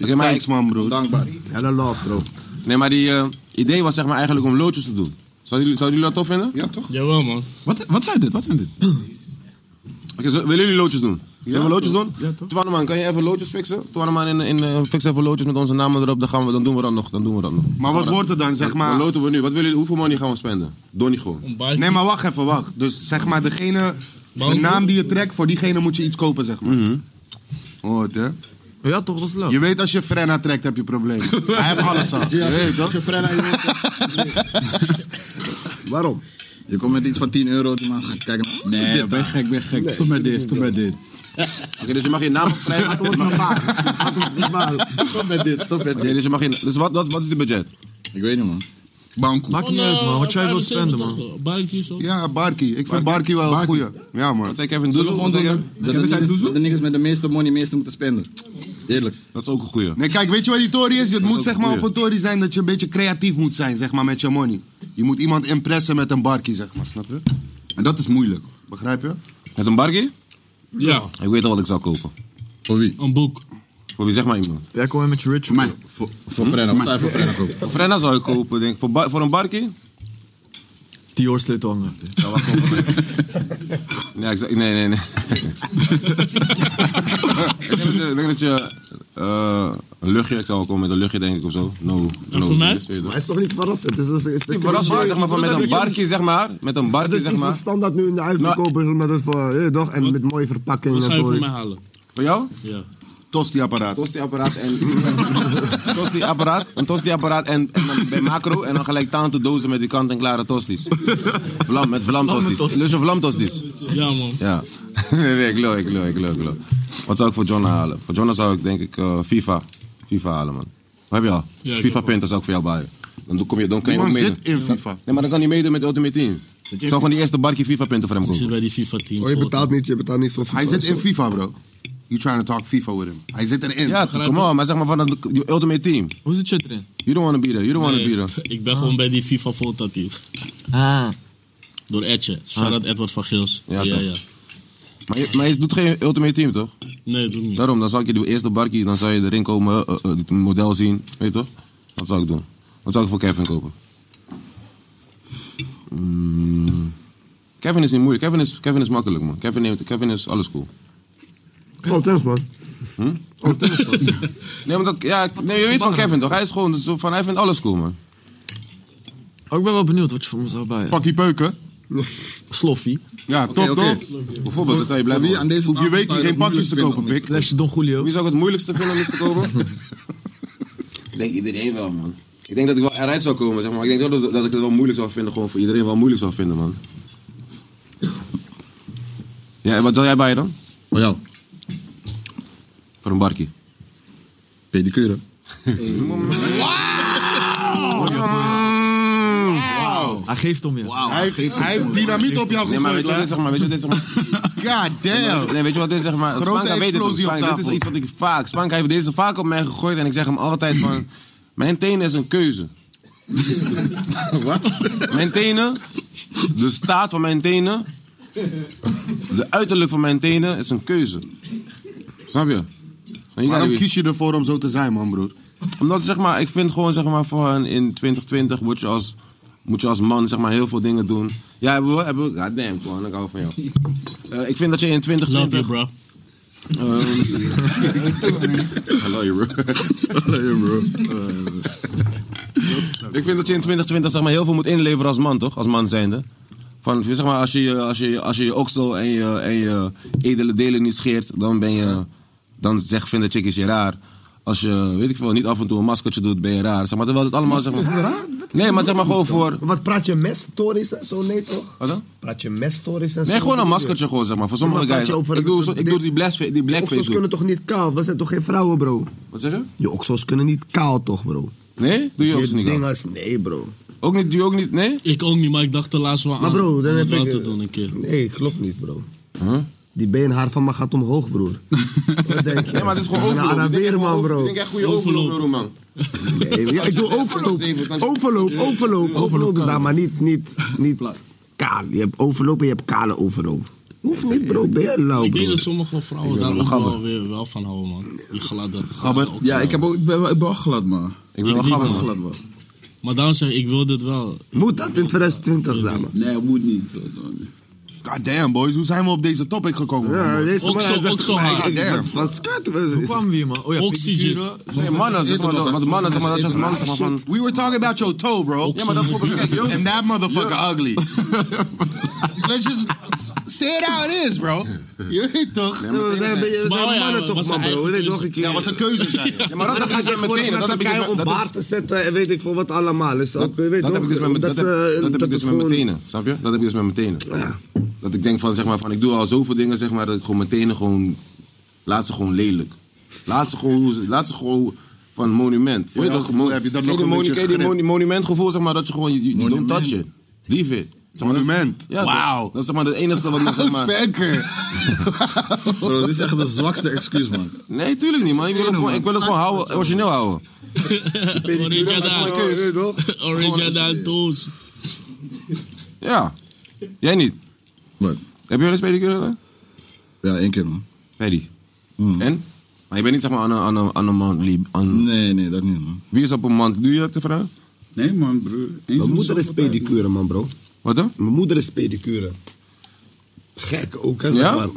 Speaker 2: Oké, maar
Speaker 6: Thanks, man, broer.
Speaker 13: Dankbaar.
Speaker 14: Hella love, bro.
Speaker 2: Nee, maar die eh, idee was zeg maar eigenlijk om loodjes te doen. Zouden jullie, zouden jullie dat tof vinden?
Speaker 6: Ja, toch?
Speaker 5: Jawel, man.
Speaker 4: Wat, wat zijn dit? Wat zijn dit?
Speaker 2: Oké, zo- willen jullie loodjes doen? Zullen we loodjes doen?
Speaker 4: Ja, toch?
Speaker 2: Twaneman, kan je even loodjes fixen? Twaneman, in, in, eh, fix even loodjes met onze namen erop. Dan, gaan we, dan doen we dat nog. Dan doen we dat nog.
Speaker 6: Maar wat
Speaker 2: Dan-
Speaker 6: wordt het dan, zeg maar?
Speaker 2: Dan loten we nu. Wat willen jullie, hoeveel money gaan we spenden? Donnie gewoon.
Speaker 5: Een baantje.
Speaker 6: Nee, maar wacht even, wacht. Dus zeg maar, degene, de naam die je trekt, voor diegene moet je iets kopen, zeg maar. Oh, hè?
Speaker 15: Ja, toch, was leuk.
Speaker 6: Je weet als je Frenna trekt, heb je problemen. Hij heeft alles al. Je weet toch?
Speaker 14: Waarom?
Speaker 13: Je komt met iets van 10 euro, die man gaat kijken. wat is
Speaker 4: Nee,
Speaker 13: dit
Speaker 4: ben
Speaker 13: dan?
Speaker 4: gek, ben gek. Stop met dit, stop met dit.
Speaker 2: Oké, dus je mag je naam vrij.
Speaker 13: Stop met dit, stop met dit.
Speaker 2: Nee, dus je mag je. Dus wat, wat, wat is het budget?
Speaker 13: Ik weet niet, man.
Speaker 4: Bankoe.
Speaker 15: Maakt niet uit,
Speaker 5: eh,
Speaker 15: man. Wat jij wilt spenden, man.
Speaker 5: Baantjes, hoor.
Speaker 6: Ja, Barkie. Ik vind Barkie wel een
Speaker 4: Barkie.
Speaker 6: goeie. Ja, man. Dus
Speaker 2: Wat zei Kevin Doezel? Wat zei Kevin?
Speaker 13: Dat de, niggas, dat de niggas met de meeste money meeste moeten spenden. Eerlijk.
Speaker 2: Dat is ook een goeie.
Speaker 6: Nee, kijk, weet je wat die Tory is? Het
Speaker 2: is
Speaker 6: moet
Speaker 2: ook
Speaker 6: zeg
Speaker 2: een
Speaker 6: maar op
Speaker 2: goeie.
Speaker 6: een Tory zijn dat je een beetje creatief moet zijn, zeg maar, met je money. Je moet iemand impressen met een Barkie, zeg maar, snap je?
Speaker 4: En dat is moeilijk.
Speaker 6: Begrijp je?
Speaker 2: Met een barkie?
Speaker 5: Ja,
Speaker 2: Ik weet al wat ik zou kopen.
Speaker 13: Voor wie?
Speaker 5: een boek.
Speaker 2: Voor wie zeg maar iemand?
Speaker 15: Jij komt weer met je rich.
Speaker 4: Voor mij.
Speaker 13: Voor, voor Frenna. Wat zou je voor Frenna kopen?
Speaker 2: Voor Frenna zou ik kopen, denk ik. Voor, ba- voor een barkie?
Speaker 15: Dior sleutel hangen.
Speaker 2: Ja, wacht even. Nee, ik zou- nee, nee, nee. ik denk dat je- ik denk dat je eh, eh, een luchtje. Ik zou wel komen met een luchtje, denk ik, of zo. No, no,
Speaker 9: voor mij?
Speaker 2: dus, weet je toch.
Speaker 9: Maar het is toch niet verrassend? Het is, het is, het is
Speaker 2: Niet verrassend, maar zeg maar, van met een barkie, zeg maar. Met een barkie,
Speaker 9: Dat is
Speaker 2: zeg
Speaker 9: iets
Speaker 2: maar.
Speaker 9: wat standaard nu in de uitverkoop is, maar dat is voor, eh, toch? En met mooie verpakking.
Speaker 2: Wat
Speaker 9: en
Speaker 2: zou je
Speaker 9: zo.
Speaker 2: voor mij halen? Voor jou?
Speaker 5: Ja.
Speaker 6: Tosti-apparaat.
Speaker 2: Tosti-apparaat en... tosti-apparaat. Een tosti-apparaat en, en dan bij macro. En dan gelijk tante dozen met die kant-en-klare tosties. Vlam, met vlamtosties. Lust je vlamtosties?
Speaker 5: Ja, man.
Speaker 2: Ja. nee, ik loop, ik loop, ik loop, ik loop. Wat zou ik voor John halen? Voor John zou ik denk ik eh, FIFA. FIFA halen, man. Wat heb je al?
Speaker 6: Ja, ik
Speaker 2: FIFA
Speaker 6: heb
Speaker 2: punten zou ik voor jou buien. Dan, doe- kom je, dan kan
Speaker 6: Die
Speaker 2: je ook
Speaker 6: man
Speaker 2: meedoen.
Speaker 6: zit in FIFA.
Speaker 2: Nee, maar dan kan hij meedoen met de Ultimate Team. Ik zou gewoon die eerste barkje FIFA punten voor hem kopen.
Speaker 5: zit bij die FIFA team.
Speaker 9: Oh, je betaalt niet, je betaalt niet voor
Speaker 6: Hij zit in
Speaker 9: sorry.
Speaker 6: FIFA, bro. You trying to talk FIFA with him. Hij zit erin.
Speaker 2: Ja, come on. Maar zeg maar van dat die Ultimate Team.
Speaker 7: Hoe zit je erin?
Speaker 2: You don't want to be there. You don't want to be there.
Speaker 5: Ik ben gewoon bij die FIFA Volta team.
Speaker 7: Ah.
Speaker 5: Door Edje. Shout-out Edward van Geels. Ja,
Speaker 2: Ja,
Speaker 5: ja,
Speaker 2: toch. Maar je, maar je doet geen Ultimate Team, toch?
Speaker 5: Nee, doe ik niet.
Speaker 2: Daarom, dan zou ik je de eerste barkie, dan zou je erin komen, eh, eh, het model zien, weet je toch? Wat zou ik doen? Wat zou ik voor Kevin kopen? Mm, Kevin is niet moeilijk, Kevin is, Kevin is makkelijk man. Kevin, neemt, Kevin is alles cool.
Speaker 9: Oh, thanks, man.
Speaker 2: Hm? nee, maar dat, ja, ik- nee, je weet van Kevin toch? Hij is gewoon zo van, hij vindt alles cool man.
Speaker 7: Oh, ik ben wel benieuwd wat je voor me zou bij.
Speaker 6: Pakkie peuken.
Speaker 7: Sloffie.
Speaker 6: Ja,
Speaker 7: Oké,
Speaker 6: top
Speaker 7: oké.
Speaker 6: toch?
Speaker 2: Bijvoorbeeld, dan zou je blijven.
Speaker 6: Voor wie aan deze Hoef je tafel weet zou je niet geen het pakjes te moeilijkst kopen, vinden om Pik.
Speaker 7: Flesje Don Julio.
Speaker 2: Wie zou ik het moeilijkste vinden om iets te kopen? ik denk iedereen wel, man. Ik denk dat ik wel eruit zou komen, zeg maar. Maar Ik denk dat, dat ik het wel moeilijk zou vinden, gewoon voor iedereen wel moeilijk zou vinden, man. Ja, en wat wil jij bij je dan?
Speaker 16: Voor jou.
Speaker 2: Voor een barkie.
Speaker 16: Pedicure.
Speaker 7: Hij geeft om je.
Speaker 6: Hij, hij heeft dynamiet op jou
Speaker 2: Nee, maar weet
Speaker 6: gegooid.
Speaker 2: je wat dit is, zeg maar? Weet je wat dit is, zeg maar?
Speaker 6: God damn.
Speaker 2: Nee, weet je wat dit is, zeg maar?
Speaker 6: Grote
Speaker 2: Spanka weet het ook.
Speaker 6: explosie op
Speaker 2: Spanka, dit is
Speaker 6: tafel.
Speaker 2: iets wat ik vaak... Spanka heeft deze vaak op mij gegooid en ik zeg hem altijd van... Mijn tenen is een keuze. wat? Mijn tenen, de staat van mijn tenen, de uiterlijk van mijn tenen is een keuze. Snap je? En je
Speaker 6: Waarom
Speaker 2: gaat-
Speaker 6: kies je ervoor om zo te zijn, man, broer?
Speaker 2: Omdat zeg maar, ik vind gewoon zeg maar van in 2020 word je als, moet je als man zeg maar heel veel dingen doen. Ja, hebben we, hebben we, god damn, gewoon, ik hou van jou. Eh, ik vind dat je in 2020...
Speaker 5: Love you, bro.
Speaker 2: Hallo je bro. Hallo je bro. ik vind dat je in 2020 zeg maar, heel veel moet inleveren als man, toch? Als man zijnde. Van, zeg maar, als je je- als je, als je, je oksel en je, en je edele delen niet scheert, dan ben je... Dan zeg, vinden chickies je raar. Als je, weet ik veel, niet af en toe een maskertje doet, ben je raar. Zeg maar, terwijl het allemaal... Zeg maar,
Speaker 9: Is het raar?
Speaker 2: Nee, maar zeg maar gewoon voor...
Speaker 9: Wat praat je mes, Tories en zo? Nee, toch?
Speaker 2: Wat dan?
Speaker 9: Praat je mes, Tories en zo?
Speaker 2: Nee, gewoon een maskertje gewoon, zeg maar. Voor sommige
Speaker 9: Maar praat
Speaker 2: guys.
Speaker 9: je over
Speaker 2: Ik doe,
Speaker 9: het-
Speaker 2: zo- ik doe die, blas- die blackface
Speaker 9: Oksels
Speaker 2: doen.
Speaker 9: kunnen toch niet kaal? We zijn toch geen vrouwen, bro?
Speaker 2: Wat zeg je?
Speaker 9: Je oksels kunnen niet kaal, toch, bro?
Speaker 2: Nee? Doe je ook niet Ah, aan?
Speaker 9: ding als nee, bro.
Speaker 2: Ook niet, doe je ook niet, nee?
Speaker 5: Ik ook niet, maar ik dacht er laatst wel aan.
Speaker 9: Maar bro, dan
Speaker 5: om het
Speaker 9: heb
Speaker 5: wel
Speaker 9: ik- eh,
Speaker 5: te doen een keer.
Speaker 9: Nee, klopt niet, bro.
Speaker 2: Huh?
Speaker 9: Die beenhaar van me gaat omhoog, broer. Wat denk je?
Speaker 2: Nee, maar het is gewoon overloop.
Speaker 9: Een
Speaker 2: Ik denk echt
Speaker 9: Arabeerman,
Speaker 2: gewoon over-
Speaker 9: bro.
Speaker 2: Ik denk echt goede overloop, bro, man.
Speaker 9: Nee, ja, ik doe overloop. Overloop, overloop, overloop. is daar, maar niet, niet, niet kaal. Je hebt overloop en je hebt kale overloop. Hoeft niet, bro. Ben je lauw,
Speaker 5: Ik denk
Speaker 9: bro?
Speaker 5: dat sommige vrouwen
Speaker 9: Ik ben
Speaker 5: daar
Speaker 9: wel
Speaker 5: ook wel,
Speaker 9: gabber.
Speaker 5: weer, wel van houden, man. Die gladde.
Speaker 17: Gabber.
Speaker 5: gladde
Speaker 17: Ja,
Speaker 5: oksel.
Speaker 17: ik, heb ook, ik, ben, wel- ik ben wel glad, man.
Speaker 2: Ik ben wel
Speaker 5: niet,
Speaker 2: gabber,
Speaker 5: man.
Speaker 2: man.
Speaker 17: Glad, man.
Speaker 5: Maar daarom zeg ik, ik wil dit wel.
Speaker 9: Moet dat in 2020 zijn, man?
Speaker 17: Nee, het moet niet. zo, zo.
Speaker 6: God damn, boys. Hoe zijn we op deze topic gekomen?
Speaker 9: Ja,
Speaker 6: man?
Speaker 9: deze
Speaker 5: Ook
Speaker 9: man hij
Speaker 5: zo-
Speaker 9: zegt
Speaker 5: ook zo
Speaker 9: van mij,
Speaker 5: hard.
Speaker 9: ik- Wat wat skat, wat is
Speaker 7: Hoe
Speaker 9: het?
Speaker 7: kwam we hier, man? Oh ja,
Speaker 5: Oxygen.
Speaker 7: pedicure.
Speaker 2: Nee, mannen, zeg maar, wat mannen, zeg maar, dat je als man, zeg maar, van...
Speaker 6: We were talking about your toe, bro.
Speaker 2: Ja, maar dat vond ik, kijk, jongens,
Speaker 6: And that motherfucker ugly. Let's just say it how it is, bro. Je weet toch?
Speaker 9: We zijn een beetje- we
Speaker 5: Maar oh
Speaker 9: zijn
Speaker 5: ja,
Speaker 9: mannen
Speaker 5: was
Speaker 9: toch,
Speaker 5: zijn
Speaker 9: man, bro.
Speaker 5: eigen
Speaker 9: Weet
Speaker 5: keuze.
Speaker 9: je toch, ik-
Speaker 6: Ja, was een keuze zijn.
Speaker 2: Ja, maar dat heb
Speaker 9: Dan
Speaker 2: ik
Speaker 9: ga
Speaker 2: dus
Speaker 9: je
Speaker 2: met
Speaker 9: gewoon
Speaker 2: meteen.
Speaker 9: naar
Speaker 2: Dat heb ik dus
Speaker 9: Turkije
Speaker 2: met-
Speaker 9: om
Speaker 2: dat is-
Speaker 9: baard te zetten en weet ik veel wat allemaal. Dus ook, weet
Speaker 2: dat
Speaker 9: toch,
Speaker 2: heb ik dus met, mijn- dat
Speaker 6: eh,
Speaker 2: heb,
Speaker 9: ze-
Speaker 2: dat heb ik
Speaker 9: dat
Speaker 2: dus
Speaker 9: het
Speaker 2: met mijn
Speaker 9: gewoon-
Speaker 2: tenen, snap je? Dat heb ik dus met mijn tenen. Dat ik denk van, zeg maar, van, ik doe al zoveel dingen, zeg maar, dat ik gewoon mijn tenen gewoon... Laat ze gewoon lelijk. Laat ze gewoon, hoe ze- laat ze gewoon van monument. Voor
Speaker 6: dat gevoel heb je dan nog een beetje
Speaker 2: die
Speaker 6: grip.
Speaker 2: monu- monumentgevoel, zeg maar, dat je gewoon, je- je don't touch it. Leave it. Zeg maar, dat is-
Speaker 6: Monument.
Speaker 2: Ja,
Speaker 6: Wauw.
Speaker 2: Dat, dat is zeg maar het enige wat ik zeg maar...
Speaker 6: Spekker.
Speaker 10: Bro, dit is echt de zwakste excuus, man.
Speaker 2: Nee, tuurlijk niet, man. Ik wil het gewoon, ik wil het gewoon houden, origineel houden.
Speaker 5: Orija daar.
Speaker 2: Dat is mijn keus.
Speaker 5: Orija daar, toes.
Speaker 2: Ja. Jij niet?
Speaker 10: Wat?
Speaker 2: Heb je wel eens pedicure gedaan?
Speaker 10: Ja, één keer, man.
Speaker 2: Paddy.
Speaker 10: Mm.
Speaker 2: En? Maar je bent niet zeg maar aan een, aan een, aan een man lieb. Aan...
Speaker 10: Nee, nee, dat niet, man.
Speaker 2: Wie is op een man? Doe je dat te vragen?
Speaker 17: Nee, man, broer. Eens
Speaker 9: Mijn
Speaker 17: in de
Speaker 9: moeder is
Speaker 17: zoveel tijd.
Speaker 9: pedicure, man, bro.
Speaker 2: Wat dan?
Speaker 9: Mijn moeder is pedicure. Gek ook, hè, zeg
Speaker 2: Ja?
Speaker 9: maar.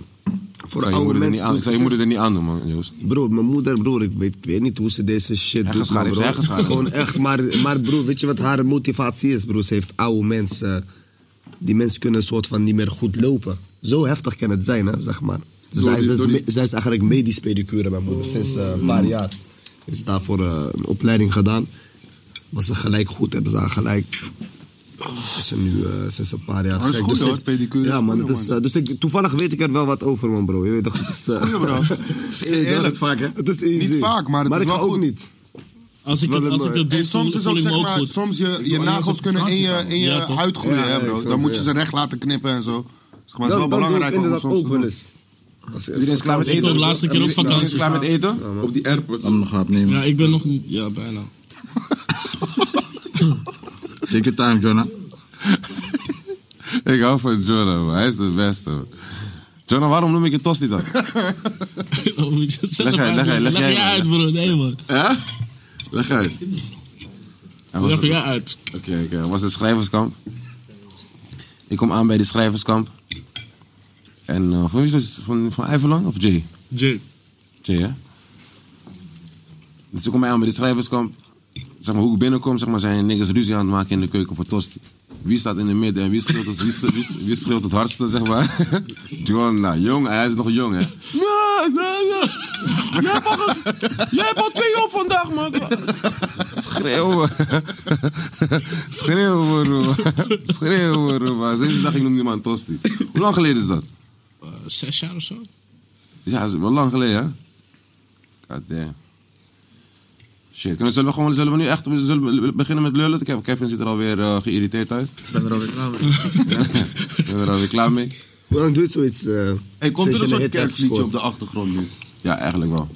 Speaker 9: Voor
Speaker 2: zou je
Speaker 9: oude
Speaker 2: moeder er
Speaker 9: mensen
Speaker 2: niet aan-
Speaker 9: doet
Speaker 2: ik zou je
Speaker 9: het
Speaker 2: moeder er niet aan doen, man, Joost.
Speaker 9: Broer, mijn moeder, broer, ik weet, weet niet hoe ze deze shit doet.
Speaker 2: Heggenschaar
Speaker 9: maar
Speaker 2: heeft ze
Speaker 9: broer.
Speaker 2: heggenschaar.
Speaker 9: Gewoon echt, maar, maar broer, weet je wat haar motivatie is, broer? Ze heeft oude mensen. Die mensen kunnen een soort van niet meer goed lopen. Zo heftig kan het zijn, hè, zeg maar. Dus Door zij, die- zij is, door die- me- zij is eigenlijk medisch pedicure, mijn moeder. Sinds eh, een paar jaar is daarvoor eh, een opleiding gedaan. Was ze gelijk goed, hebben ze haar gelijk... Is ze nu eh, sinds een paar jaar
Speaker 6: Maar dat is
Speaker 9: gek.
Speaker 6: goed,
Speaker 9: Dus
Speaker 6: hoor,
Speaker 9: ik-
Speaker 6: pedicure is
Speaker 9: Ja, man.
Speaker 6: goed,
Speaker 9: het is, eh, dus ik, toevallig weet ik er wel wat over, man, bro. Je weet toch, het is... eh,
Speaker 6: Goeie, bro. Eerlijk.
Speaker 9: vaak, hè? Het is easy.
Speaker 6: Niet vaak, maar het is
Speaker 9: ik
Speaker 6: wel
Speaker 9: ga ook
Speaker 6: goed.
Speaker 9: niet.
Speaker 5: Als ik het, als ik het doe,
Speaker 6: En soms is
Speaker 5: voel
Speaker 6: ook
Speaker 5: ik me
Speaker 6: zeg
Speaker 5: ook
Speaker 6: maar,
Speaker 5: goed.
Speaker 6: soms je,
Speaker 5: Ik
Speaker 6: je
Speaker 5: wil ergens
Speaker 6: nagels
Speaker 5: op
Speaker 6: kunnen in
Speaker 5: vakantie
Speaker 6: je,
Speaker 5: gaan.
Speaker 6: in je
Speaker 5: Ja, toch?
Speaker 6: huid groeien,
Speaker 5: Ja, ja,
Speaker 6: hè,
Speaker 5: ik
Speaker 6: bro.
Speaker 5: snap
Speaker 6: Dan moet
Speaker 5: het,
Speaker 6: je
Speaker 5: ja.
Speaker 6: ze recht laten knippen en zo. Zeg maar, het is
Speaker 9: Dan-
Speaker 6: wel
Speaker 9: dan doe ik
Speaker 6: belangrijk om het
Speaker 9: inderdaad
Speaker 6: soms te
Speaker 9: ook wel
Speaker 6: doen.
Speaker 9: eens. Als-
Speaker 2: Iedereen is klaar met
Speaker 9: als-
Speaker 2: eten?
Speaker 5: ook laatste keer op
Speaker 2: Iedereen- iedereen
Speaker 5: vakantie
Speaker 2: is klaar met eten?
Speaker 10: Op die airport. Laat me nog hap nemen.
Speaker 5: Ja, ik ben nog niet... Ja, bijna.
Speaker 10: Take your time, Jonah.
Speaker 2: Ik hou van Jonah, man. Hij is de beste, man. Jonah, waarom noem ik je Tosti dan?
Speaker 5: Oh, moet je zelf
Speaker 2: Leg uit, leg uit,
Speaker 5: uitleggen.
Speaker 2: leg jij
Speaker 5: je
Speaker 2: maar.
Speaker 5: uit, bro. Nee, man.
Speaker 2: Hè? Leg uit. En was
Speaker 5: Leg
Speaker 2: het-
Speaker 5: jij uit.
Speaker 2: Oké, oké. Het was een schrijverskamp. Ik kom aan bij de schrijverskamp. En eh, van wie was het? Van, van Iverlang of Jay?
Speaker 5: Jay.
Speaker 2: Jay, hè? Dus ik kom aan bij de schrijverskamp. Zeg maar, hoe ik binnenkom, zeg maar, zijn niggas ruzie aan het maken in de keuken voor tosti. Wie staat in de midden en wie schreeuwt het, wie schreeuwt, wie schreeuwt- wie schreeuwt het hardste, zeg maar? Jonah, jong, hij is nog jong, hè? Nee, nee, nee. Jij hebt al, ge- jij hebt al twee op vandaag, man. Schreeuwen. Schreeuwen, bro. Schreeuwen, bro. Maar Sinds die dag, ik noem niemand Tosti. Hoe lang geleden is dat?
Speaker 5: Eh, zes jaar of zo?
Speaker 2: Ja, dat is wel lang geleden, hè? God damn. Shit, kunnen, zullen, we gewoon, zullen we nu echt zullen we beginnen met lullen? Kev- Kevin ziet er alweer eh, geïrriteerd uit. Ik ben er alweer klaar mee. Ik ben er alweer klaar mee.
Speaker 9: Hoe lang duurt zoiets? eh
Speaker 6: Hey, komt
Speaker 9: sinds
Speaker 6: er
Speaker 9: je
Speaker 6: een soort
Speaker 9: hit hebt
Speaker 6: kerstliedje op
Speaker 9: gescoord?
Speaker 6: de achtergrond nu?
Speaker 2: Ja, eigenlijk wel.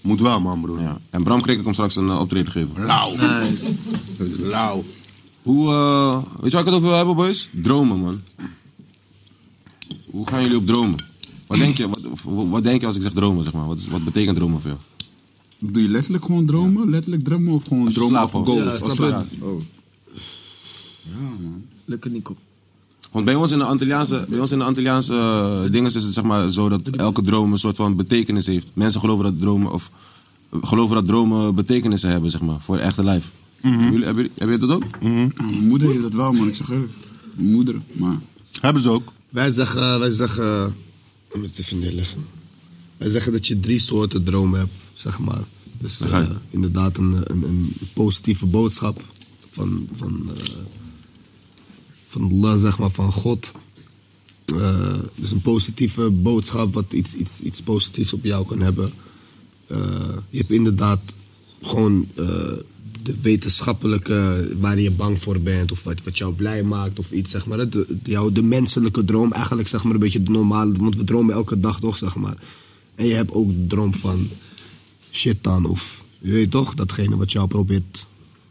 Speaker 6: Moet wel, man, broer.
Speaker 2: Ja. En Bram Krikker komt straks een eh, optreden geven.
Speaker 6: Lauw. Lauw.
Speaker 2: Hoe, eh, weet je waar ik het over wil hebben, boys? Dromen, man. Hoe gaan jullie op dromen? Wat denk je, wat, wat- wat denk je als ik zeg dromen, zeg maar? Wat, is- wat betekent dromen voor jou?
Speaker 4: Doe je letterlijk gewoon dromen? Letterlijk dromen of gewoon
Speaker 2: Als je
Speaker 4: dromen of
Speaker 2: slaap valt.
Speaker 4: goals?
Speaker 2: Ja,
Speaker 4: Als
Speaker 2: snap
Speaker 4: slaap.
Speaker 2: ik.
Speaker 4: Oh.
Speaker 7: Lekker Nico.
Speaker 2: Want bij ons in de Antilliaanse, bij ons in de Antilliaanse eh, dinges is het zeg maar zo dat elke droom een soort van betekenis heeft. Mensen geloven dat dromen, of eh, geloven dat dromen betekenissen hebben, zeg maar, voor het echte lijf.
Speaker 6: Mhm.
Speaker 2: Hebben jullie- Hebben jullie- heb je dat ook?
Speaker 4: Mijn moeder heeft dat wel, man. Ik zeg eerlijk. Mijn moeder, maar...
Speaker 6: Hebben ze ook.
Speaker 9: Wij zeggen, wij zeggen, om het even neer te leggen. Wij zeggen dat je drie soorten dromen hebt, zeg maar. Dus eh, inderdaad een, een, een positieve boodschap van, van, eh, van Allah, zeg maar, van God. Eh, dus een positieve boodschap wat iets, iets, iets positiefs op jou kan hebben. Eh, je hebt inderdaad gewoon eh, de wetenschappelijke waar je bang voor bent of wat, wat jou blij maakt of iets, zeg maar. hè. De, de- jou, de menselijke droom, eigenlijk zeg maar een beetje de normale, want we dromen elke dag toch, zeg maar. En je hebt ook de droom van shit dan of, je weet toch, datgene wat jou probeert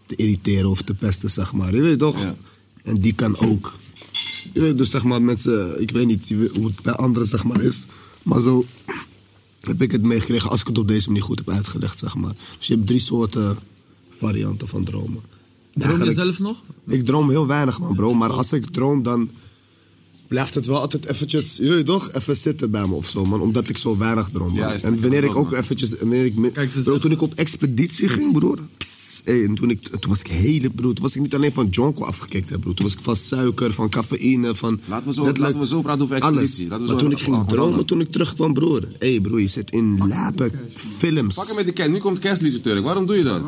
Speaker 9: te irriteren of te pesten, zeg maar. Je weet toch? En die kan ook. Je weet dus zeg maar mensen, ik weet niet je weet hoe het bij anderen zeg maar is, maar zo heb ik het meegekregen als ik het op deze manier goed heb uitgelegd, zeg maar. Dus je hebt drie soorten varianten van dromen.
Speaker 7: Droom je
Speaker 9: Eigenlijk-
Speaker 7: zelf nog?
Speaker 9: Ik droom heel weinig, man, bro. Maar als ik droom, dan blijft het wel altijd eventjes, je weet toch, even zitten bij me of zo, man. Omdat ik zo weinig droom, man.
Speaker 2: Juist,
Speaker 9: en
Speaker 2: ik
Speaker 9: wanneer
Speaker 2: kan
Speaker 9: ik
Speaker 2: dat,
Speaker 9: ook
Speaker 2: man.
Speaker 9: eventjes... Wanneer ik, mi- bro, toen ik op expeditie ging, broer. pss, hey, en toen, ik, toen was ik hele, broer. Toen was ik niet alleen van jonko afgekikt, hè, broer. Toen was ik van suiker, van cafeïne, van...
Speaker 2: Laten we zo-
Speaker 9: letterlijk
Speaker 2: laten we zo praten over expeditie.
Speaker 9: alles.
Speaker 2: Laten we
Speaker 9: maar
Speaker 2: zo-
Speaker 9: toen ik ging
Speaker 2: oh,
Speaker 9: dromen,
Speaker 2: oh.
Speaker 9: toen ik terugkwam, broer. Hé, hey, broer, je zit in lapen films.
Speaker 2: Pak hem met de kerst, nu komt het kerstliedje Turk. Waarom doe je dat?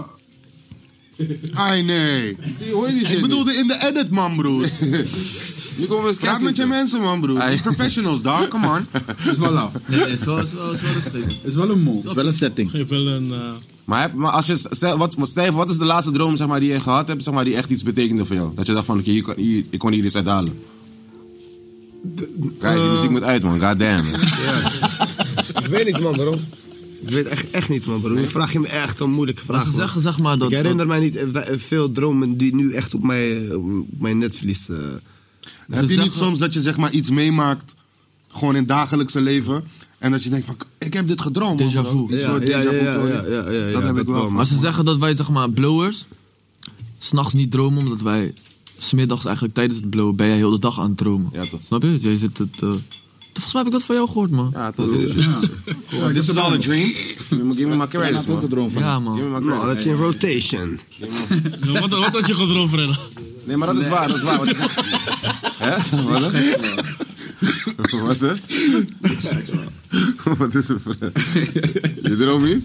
Speaker 6: Ai, nee.
Speaker 2: Zie je, hoor je die shit
Speaker 6: Ik bedoelde in de edit, man, broer.
Speaker 2: niet? Nu komen we eens
Speaker 6: Praat met je
Speaker 2: kerstliedje.
Speaker 6: mensen, man, broer.
Speaker 2: Ai.
Speaker 6: Professionals, dog. Come on.
Speaker 4: Is wel lauw.
Speaker 7: Nee, nee, het is wel, het is wel, het is wel rustig.
Speaker 4: Is wel een mol.
Speaker 18: is wel een setting.
Speaker 5: Geef wel een... eh,
Speaker 2: Maar, heb- maar als je, stel, wat, wat, Stijf, wat is de laatste droom zeg maar, die je gehad hebt, zeg maar, die echt iets betekende voor jou? Dat je dacht van, oké, hier kan- hier- ik kon hier iets uithalen. Kijk,
Speaker 6: eh,
Speaker 2: die muziek moet uit, man. God damn.
Speaker 9: Ik weet niet, man, bro. Ik weet echt, echt niet, man, bro. Nu vraag je me echt een moeilijke vraag.
Speaker 7: Ze
Speaker 9: man.
Speaker 7: zeggen, zeg maar, dat...
Speaker 9: ik herinner mij niet eh, we- eh, veel dromen die nu echt op mijn, eh, op mijn netvlies. eh,
Speaker 7: Ze
Speaker 6: Heb je niet
Speaker 7: zeggen-
Speaker 6: soms dat je zeg maar iets meemaakt, gewoon in het dagelijkse leven, en dat je denkt van, ik heb dit gedroomd.
Speaker 7: Déjà
Speaker 6: man, bro.
Speaker 7: vu.
Speaker 6: Een
Speaker 9: Ja,
Speaker 6: soort
Speaker 9: ja,
Speaker 6: déjà vu.
Speaker 9: ja,
Speaker 6: gewoon.
Speaker 9: ja, ja, ja,
Speaker 6: dat
Speaker 9: ja,
Speaker 6: heb
Speaker 9: dat
Speaker 6: ik wel.
Speaker 9: wel,
Speaker 6: man.
Speaker 7: Maar ze zeggen dat wij, zeg maar, blowers... s'nachts niet dromen, omdat wij... smiddags eigenlijk tijdens het blowen ben jij heel de dag aan het dromen.
Speaker 2: Ja, toch.
Speaker 7: Snap je? Dus jij zit het... eh, Volgens mij heb ik dat van jou gehoord, man.
Speaker 2: Ja, dat is This is all a dream. Give me- Give me my credits, man.
Speaker 7: ook een droom van. Ja, man.
Speaker 2: Give me my
Speaker 7: Nou,
Speaker 2: credits.
Speaker 7: dat is in
Speaker 9: rotation.
Speaker 5: wat, wat had je gedroomd, Fred?
Speaker 2: Nee, maar dat is waar, dat is waar. Wat is Hè? Wat is Wat hè? Wat is er voor? Je droom niet?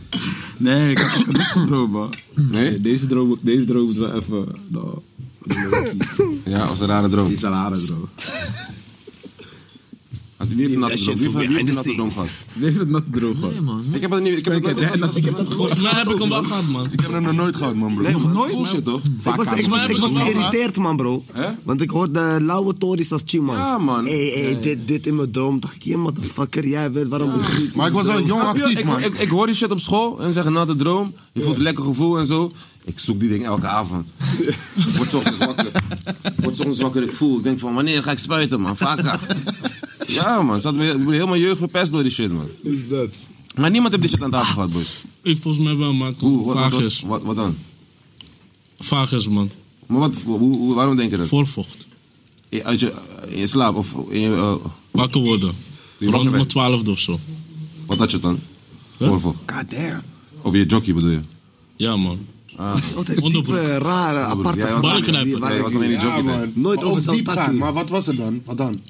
Speaker 19: Nee, ik heb, ik heb niks gedroomd, man.
Speaker 2: Nee?
Speaker 19: Deze droom, deze droom moet wel even... Nou,
Speaker 2: Ja, als een rare droom.
Speaker 19: die is een rare droom.
Speaker 2: Had wie heeft een natte
Speaker 19: That
Speaker 2: droom?
Speaker 19: shit
Speaker 2: Wie
Speaker 19: was
Speaker 2: heeft- wie heeft een
Speaker 19: behind
Speaker 2: natte
Speaker 19: the
Speaker 2: droom gehad?
Speaker 19: Wie heeft het natte droom gehad?
Speaker 7: Nee, man.
Speaker 2: Ik heb het niet. Ik heb het
Speaker 19: Kijk,
Speaker 2: nooit
Speaker 19: jij-
Speaker 2: gehad.
Speaker 5: Volgens mij heb ik hem wel gehad, man.
Speaker 6: Ik heb hem nog nooit gehad, man, bro.
Speaker 9: Nee,
Speaker 2: Nog
Speaker 9: man.
Speaker 2: nooit, Bullshit, toch?
Speaker 9: Ik was, ik was, ik was geïrriteerd, man, bro.
Speaker 2: Hè?
Speaker 9: Want ik hoorde lauwe tories als chill, man.
Speaker 2: Ja, man.
Speaker 9: Hé, hé, dit, dit in mijn droom. Dacht ik, je motherfucker, jij weet waarom ik niet...
Speaker 6: Maar ik was wel jong
Speaker 2: Snap je?
Speaker 6: actief,
Speaker 2: ik,
Speaker 6: man.
Speaker 2: Ik, ik hoor die shit op school en zeg een natte droom. Je voelt een lekker gevoel en zo. Ik zoek die ding elke avond. Ik word 's ochtends wakker. Ik word 's ochtends wakker. Ik voel. Ik denk van wanneer ga ik spuiten, man. Vaker. Ja, man. Zat me, ik ben helemaal jeugd verpest door die shit, man.
Speaker 9: Is dat?
Speaker 2: Maar niemand heeft die shit aan
Speaker 6: Ah,
Speaker 2: tafel gehad, boys.
Speaker 5: Ik volgens mij wel, maar
Speaker 2: Hoe? Wat, wat, wat,
Speaker 5: Vagus.
Speaker 2: wat, wat dan?
Speaker 5: Vagus, man.
Speaker 2: Maar wat, hoe, hoe- waarom denk je dat?
Speaker 5: Voorvocht.
Speaker 2: In- Uit je, in je slaap of in je, eh,
Speaker 5: Wakker worden.
Speaker 2: wakker
Speaker 5: Rond mijn
Speaker 2: werd.
Speaker 5: twaalfde of zo.
Speaker 2: wat had je dan?
Speaker 5: Huh?
Speaker 2: Voorval.
Speaker 6: God damn.
Speaker 2: Of je jockey bedoel je?
Speaker 5: Ja, man.
Speaker 9: Altijd
Speaker 5: Onderbroek.
Speaker 9: diepe, rare, aparte
Speaker 2: Jij was-
Speaker 9: vragen
Speaker 5: Ballenknijper.
Speaker 9: die- waar
Speaker 2: Jij
Speaker 9: ik-
Speaker 2: was nog in die jockey. tijd.
Speaker 9: Nooit
Speaker 6: Maar
Speaker 9: over
Speaker 6: ook
Speaker 9: zo'n
Speaker 6: diep
Speaker 9: takkie.
Speaker 6: gaan. Maar wat was het dan? Wat dan?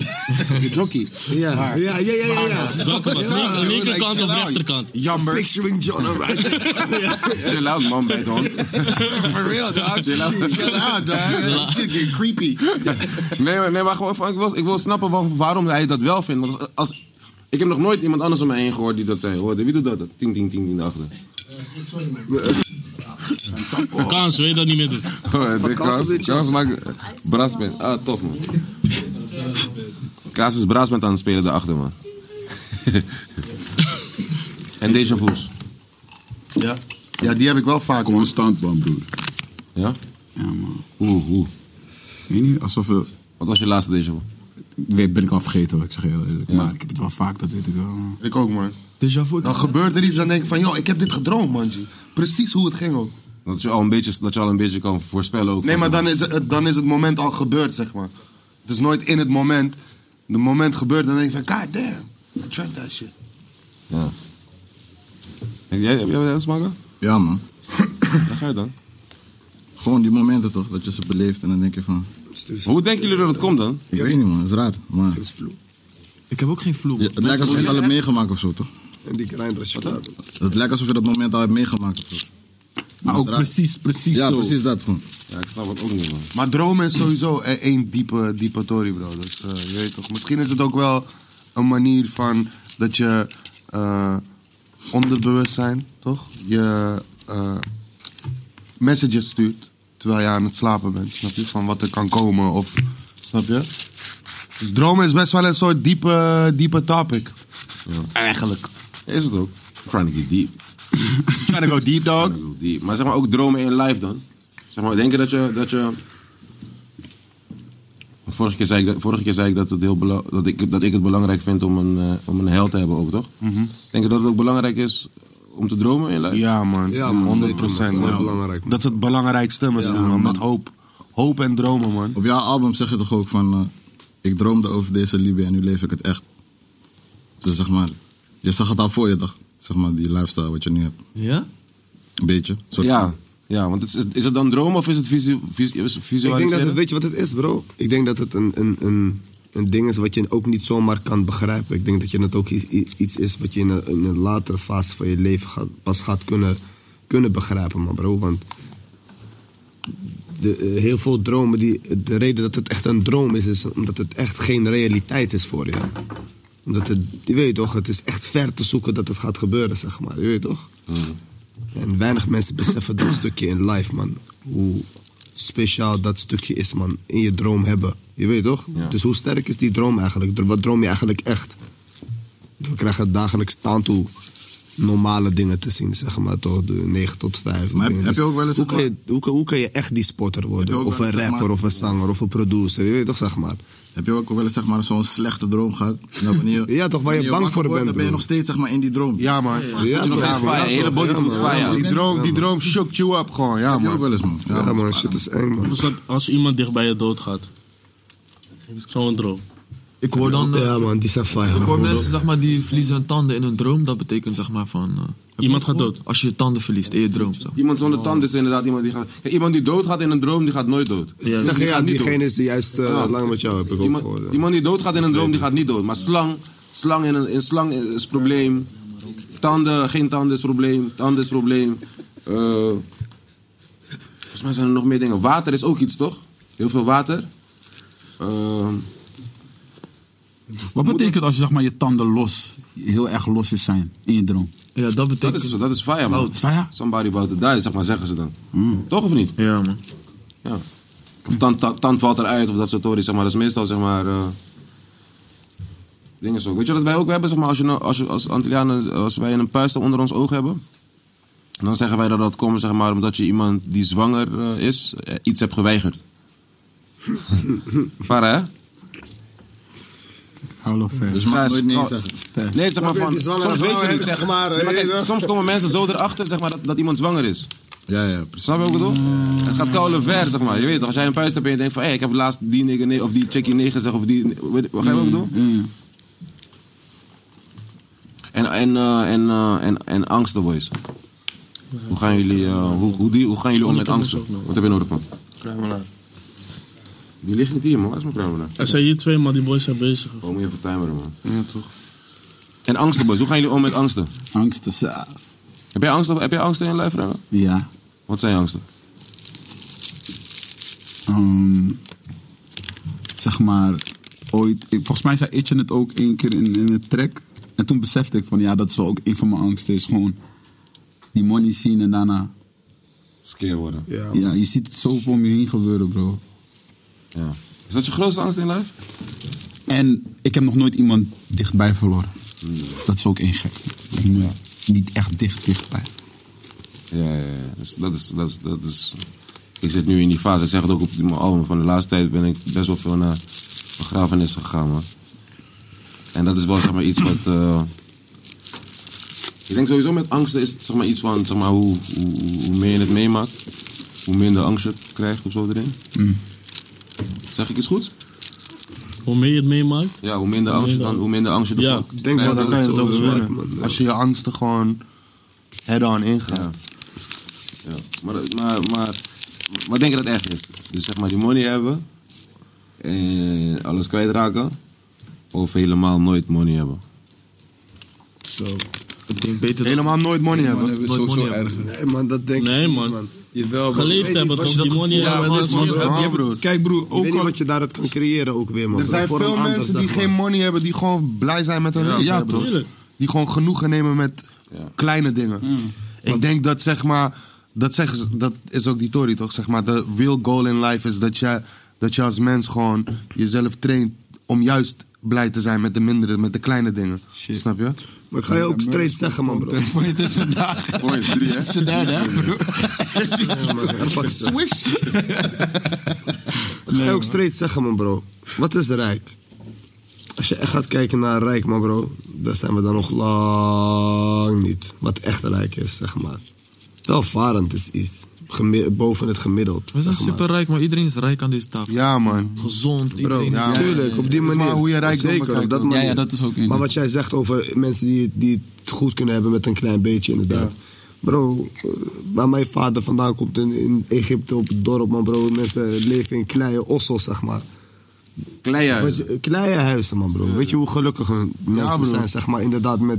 Speaker 6: Je jockey.
Speaker 9: Ja,
Speaker 6: Maar-
Speaker 9: ja, ja, ja, ja, ja.
Speaker 5: Welke was?
Speaker 6: Ja,
Speaker 5: Linker-
Speaker 6: dude,
Speaker 5: Linkerkant
Speaker 6: like,
Speaker 5: of
Speaker 6: chill out.
Speaker 5: rechterkant?
Speaker 6: Jammer.
Speaker 9: Picturing John alright.
Speaker 2: Chill out, man, bij het hond.
Speaker 6: For real, dog. Chill out. Chill out, dog. Shit get creepy.
Speaker 2: Nee, maar- nee, maar gewoon, van- ik, wil, ik wil snappen wa- waarom hij dat wel vindt. Want als, als- ik heb nog nooit iemand anders om me heen gehoord die dat zei. Hoorde. Wie doet dat? Ting, ting, ting, ting, achter.
Speaker 5: Kans, weet je dat niet meer doen.
Speaker 2: De kans,
Speaker 9: Bacassevich.
Speaker 2: kans maakt braasband. Ah, tof man. Kaas is braasband aan het spelen daarachter, man. en deze voels.
Speaker 6: Ja. Ja, die heb ik wel vaak.
Speaker 19: Constant, man, broer.
Speaker 2: Ja?
Speaker 19: Ja, man.
Speaker 2: Oeh, oeh.
Speaker 19: Weet niet, alsof... we-
Speaker 2: Wat was je laatste deze
Speaker 19: Ik weet, ben ik al vergeten, hoor, ik zeg je heel eerlijk. Maar ik heb het wel vaak, dat weet ik wel. man.
Speaker 6: Ik ook, man.
Speaker 7: Déjà vu.
Speaker 6: Dan gebeurt er iets, dan denk ik van, joh, ik heb dit gedroomd, man. G. Precies hoe het ging ook.
Speaker 2: Dat je al een beetje, dat je al een beetje kan voorspellen ook.
Speaker 6: Nee, maar dan is, het, dan is het moment al gebeurd, zeg maar. Het is nooit in het moment. De moment gebeurt, dan denk ik van, god damn. I tried that shit.
Speaker 2: Ja. Heb jij, heb jij dat smaken?
Speaker 10: Ja, man.
Speaker 2: Waar ga je dan?
Speaker 10: Gewoon die momenten toch, dat je ze beleeft en dan denk je van...
Speaker 2: Hoe denken jullie dat het komt dan?
Speaker 10: Ik weet niet, man. Dat is raar. Maar
Speaker 7: Ik heb ook geen vloer.
Speaker 10: Ja, het lijkt alsof je het al hebt meegemaakt of zo, toch?
Speaker 9: En die kleine chocolade.
Speaker 10: Het lijkt alsof je dat moment al hebt meegemaakt of zo.
Speaker 19: Maar ook
Speaker 10: raar.
Speaker 19: precies, precies
Speaker 10: Ja,
Speaker 19: zo.
Speaker 10: precies dat, gewoon.
Speaker 2: Ja, ik snap het ook niet, man.
Speaker 6: Maar dromen is sowieso e- één diepe, diepe tory, bro. Dus eh, je weet toch. Misschien is het ook wel een manier van dat je eh, onderbewustzijn, toch? Je eh, messages stuurt terwijl je aan het slapen bent. Snap je? Van wat er kan komen of. Snap je? Dus dromen is best wel een soort diepe, diepe topic. Eigenlijk.
Speaker 2: Is het ook? Trying to get deep.
Speaker 6: Trying to go deep, dog.
Speaker 2: Trying to go deep. Maar zeg maar ook dromen in life dan. Zeg maar, denk je dat je... Dat je... Vorige keer zei ik, dat, vorige keer zei ik, dat, het heel bela- dat, ik dat ik het belangrijk vind om een, eh, om een held te hebben ook, toch? Denk je dat het ook belangrijk is om te dromen in life?
Speaker 6: Ja, man.
Speaker 9: Ja, man,
Speaker 6: 100
Speaker 9: zeker, man. Dat is
Speaker 6: man.
Speaker 9: belangrijk, man.
Speaker 6: Dat is het belangrijkste misschien, man. Met hoop. Hoop en dromen, man.
Speaker 10: Op jouw album zeg je toch ook van... eh, ik droomde over deze Libië en nu leef ik het echt. Dus zeg maar... Je zag het al voor je dag. Zeg maar, die lifestyle wat je nu hebt.
Speaker 7: Ja?
Speaker 10: Een beetje. soort
Speaker 2: Ja,
Speaker 10: van.
Speaker 2: ja want het is, is het dan dromen of is het visu, vis- is het
Speaker 9: Ik denk dat
Speaker 2: visualiseren?
Speaker 9: het, weet je wat het is, bro? Ik denk dat het een, een, een, een ding is wat je ook niet zomaar kan begrijpen. Ik denk dat je het ook i- i- iets is wat je in een, in een latere fase van je leven gaat, pas gaat kunnen, kunnen begrijpen, man, bro. Want de, eh, heel veel dromen, die, de reden dat het echt een droom is, is omdat het echt geen realiteit is voor je. Omdat het, je weet toch, het is echt ver te zoeken dat het gaat gebeuren, zeg maar. Je weet toch?
Speaker 10: Hmm.
Speaker 9: En weinig mensen beseffen dat stukje in life, man. Hoe speciaal dat stukje is, man. In je droom hebben. Je weet toch?
Speaker 2: Ja.
Speaker 9: Dus hoe sterk is die droom eigenlijk? Dro- Wat droom je eigenlijk echt? Want We krijgen dagelijks staan toe normale dingen te zien, zeg maar. Toch, de 9 tot 5.
Speaker 10: Maar heb-
Speaker 9: dingen.
Speaker 10: heb je ook wel eens,
Speaker 9: Hoe
Speaker 10: zeg
Speaker 9: kan
Speaker 10: maar-
Speaker 9: je, hoe, kan, hoe kan je echt die spotter
Speaker 10: Heb je
Speaker 9: worden?
Speaker 10: ook
Speaker 9: Of
Speaker 10: wel
Speaker 9: een
Speaker 10: eens, zeg
Speaker 9: rapper,
Speaker 10: maar-
Speaker 9: of een zanger, of een producer. Je weet toch, zeg maar.
Speaker 10: Heb je ook wel eens zeg maar, zo'n slechte droom gehad? Nou, wanneer,
Speaker 9: Ja, toch, waar je bang
Speaker 10: wanneer wakker
Speaker 9: voor
Speaker 10: wordt,
Speaker 9: bent,
Speaker 10: Dan ben
Speaker 9: broer.
Speaker 10: je nog steeds zeg maar, in die droom.
Speaker 6: Ja, man.
Speaker 9: Ja,
Speaker 2: nog
Speaker 9: toch?
Speaker 2: steeds fire.
Speaker 9: ja,
Speaker 2: Je hele
Speaker 9: toch?
Speaker 2: body
Speaker 9: Ja,
Speaker 2: voelt
Speaker 9: man.
Speaker 2: fire.
Speaker 6: Die droom, die droom shook you up gewoon, ja,
Speaker 10: heb je
Speaker 6: man.
Speaker 10: ook wel eens, man.
Speaker 9: Ja, man,
Speaker 10: dat is
Speaker 9: shit
Speaker 10: waar,
Speaker 9: is eng, man.
Speaker 5: Als, dat- als iemand dicht bij je dood gaat. Zo'n droom.
Speaker 20: Ik hoor dan... eh,
Speaker 9: Ja, man, die zijn fire.
Speaker 20: Ik hoor mensen zeg maar, die verliezen hun tanden in hun droom. Dat betekent zeg maar van... eh, Iemand gaat dood. Als je je tanden verliest in je droom. Zo.
Speaker 2: Iemand zonder tanden is inderdaad iemand die gaat... Kijk, iemand die doodgaat in een droom, die gaat nooit dood.
Speaker 9: Ja,
Speaker 2: Slang
Speaker 9: die-
Speaker 2: gaat niet
Speaker 9: diegene
Speaker 2: dood.
Speaker 9: is de juiste, eh, lang met jou, heb ik ook
Speaker 2: iemand,
Speaker 9: gehoord, ja.
Speaker 2: Iemand die doodgaat in een droom, die gaat niet dood. Maar slang, slang, in een, in slang is probleem. Tanden, geen tanden is probleem. Tanden is probleem. Eh, volgens mij zijn er nog meer dingen. Water is ook iets, toch? Heel veel water. Ehm,
Speaker 7: Wat betekent als je zeg maar, je tanden los, heel erg losjes zijn in je droom?
Speaker 20: Ja, dat
Speaker 2: betekent... Dat is, dat is fire, man. Somebody about to die, zeg maar, zeggen ze dan. Toch of niet?
Speaker 20: Hmm. Ja, man.
Speaker 2: Ja. Of tand, tand, tand valt eruit, of dat soort tories, zeg maar. Dat is meestal, zeg maar... eh, dingen zo. Weet je wat wij ook hebben, zeg maar, als, je, nou- als, je, als Antillianen, als wij een puist onder ons oog hebben... Dan zeggen wij dat dat komt, zeg maar, omdat je iemand die zwanger eh, is, eh, iets hebt geweigerd. Vara, hè?
Speaker 7: Hallo, ver.
Speaker 2: Dus je mag nooit nee
Speaker 7: zeggen.
Speaker 2: Nee, zeg maar
Speaker 7: Snap je,
Speaker 2: van.
Speaker 7: die zwangere
Speaker 2: Soms weet je
Speaker 7: vrouwen
Speaker 2: niet.
Speaker 7: hebben
Speaker 2: Zeg
Speaker 7: ze maar,
Speaker 2: Nee, maar kijk,
Speaker 7: eh, eh.
Speaker 2: soms komen mensen zo erachter zeg maar, dat, dat iemand zwanger is.
Speaker 10: Ja, ja.
Speaker 2: Snap je wat ik bedoel? Het gaat koude ver, zeg maar. Je weet toch, als jij een puist hebt en je denkt van... hé, ik heb laatst die nigger nee, of die chickie nee gezegd of die... Weet, wat ga je wat ik bedoel? En, en, eh, en, eh, en, en angsten, boys. Hoe gaan jullie, eh, hoe, hoe, die, hoe gaan jullie om met angsten? Wat heb je nodig, man? Die ligt niet hier, man. Waar is mijn pruimelaar?
Speaker 5: Er zijn hier twee, maar die boys zijn bezig.
Speaker 2: Oh, moet je even timeren, man. Ja, toch. En angsten, boys. Hoe gaan jullie om met angsten?
Speaker 7: Angsten, ja.
Speaker 2: Heb jij angsten, heb jij angsten in je lijf, Remo?
Speaker 7: eh, Ja.
Speaker 2: Wat zijn je angsten?
Speaker 7: Ehm, zeg maar, ooit. ik- volgens mij zei Itchen het ook één keer in, in een track. En toen besefte ik van ja, dat is wel ook een van mijn angsten. Is gewoon die money zien en daarna.
Speaker 2: Skeer worden.
Speaker 7: Ja, je ziet het zoveel om je heen gebeuren, bro.
Speaker 2: Ja. Is dat je grootste angst in life?
Speaker 7: En ik heb nog nooit iemand dichtbij verloren. Dat is ook één gek. Ja. Niet echt dicht, dichtbij.
Speaker 2: Ja, ja, ja. Dus dat is, dat is, dat is... Ik zit nu in die fase. Ik zeg het ook op mijn album. Van de laatste tijd ben ik best wel veel naar begrafenissen gegaan, man. En dat is wel, zeg maar, iets wat... eh, Ik denk sowieso met angsten is het, zeg maar, iets van, zeg maar, hoe, hoe, hoe meer je het meemaakt, hoe minder angst je krijgt of zo erin.
Speaker 6: Mm.
Speaker 2: Zeg ik iets goed?
Speaker 5: Hoe meer je het meemaakt,
Speaker 2: Ja, hoe minder angst je dan, hoe minder angst je ervoor
Speaker 5: Ja,
Speaker 2: krijgt.
Speaker 6: Ik denk wel, dan
Speaker 2: dat
Speaker 6: kan je
Speaker 2: het eh,
Speaker 6: het
Speaker 2: zo is.
Speaker 6: overwinnen. Als je je angsten gewoon head-on ingaat.
Speaker 2: Ja, maar, maar, maar, maar denk je dat het echt is? Dus zeg maar die money hebben en alles kwijtraken of helemaal nooit money hebben?
Speaker 20: Zo. Ik denk beter
Speaker 6: Helemaal nooit money hebben.
Speaker 20: Nooit money hebben.
Speaker 9: Nee, man, dat denk ik niet, man.
Speaker 20: Jawel,
Speaker 9: maar-
Speaker 6: Geleefd
Speaker 9: Ik weet
Speaker 6: hebben,
Speaker 9: niet wat
Speaker 6: toch?
Speaker 9: je
Speaker 6: Die
Speaker 9: dat
Speaker 6: money
Speaker 9: gevoel-
Speaker 6: hebben, dat is
Speaker 9: man,
Speaker 6: niet-
Speaker 9: Oh, je hebt-
Speaker 6: Ja,
Speaker 9: je hebt-
Speaker 6: broer.
Speaker 9: Kijk, broer, ook al... wat je daaruit kan creëren ook weer, man.
Speaker 6: Er zijn veel mensen die geen money hebben, die gewoon blij zijn met hun
Speaker 9: Ja,
Speaker 6: leven.
Speaker 9: ja,
Speaker 6: hebben.
Speaker 9: toch? Tuurlijk. Mm.
Speaker 6: Die gewoon genoegen nemen met kleine dingen. Ik denk dat zeg maar, dat, zeggen ze- dat is ook die Tory toch? Zeg maar, de real goal in life is dat je, dat je als mens gewoon jezelf traint om juist blij te zijn met de mindere, met de kleine dingen. Snap je?
Speaker 9: Maar ik ga je ook straight zeggen, man, bro.
Speaker 7: Het is vandaag.
Speaker 2: Point drie, hè? Het
Speaker 7: is vandaag, hè, bro.
Speaker 9: Swish. Ga je ook straight zeggen, man, bro. Wat is rijk? Als je echt gaat kijken naar rijk, man, bro, daar zijn we dan nog lang niet. Wat echt rijk is, zeg maar. Welvarend is iets gemi- boven het gemiddeld.
Speaker 20: We zijn
Speaker 9: zeg maar.
Speaker 20: superrijk, maar iedereen is rijk aan deze tafel.
Speaker 6: Ja, man.
Speaker 20: Gezond,
Speaker 6: Nou,
Speaker 20: iedereen.
Speaker 9: Ja, natuurlijk, op die manier. Zeker, op dat manier. Maar wat jij zegt over mensen die, die het goed kunnen hebben met een klein beetje, inderdaad. Bro, eh, waar mijn vader vandaan komt in, in Egypte, op het dorp, man, bro. Mensen leven in kleine ossels, zeg maar.
Speaker 2: Kleine
Speaker 9: huizen? Kleine huizen, man, bro. Weet je hoe gelukkig hun mensen
Speaker 6: broer.
Speaker 9: zijn, zeg maar, inderdaad, met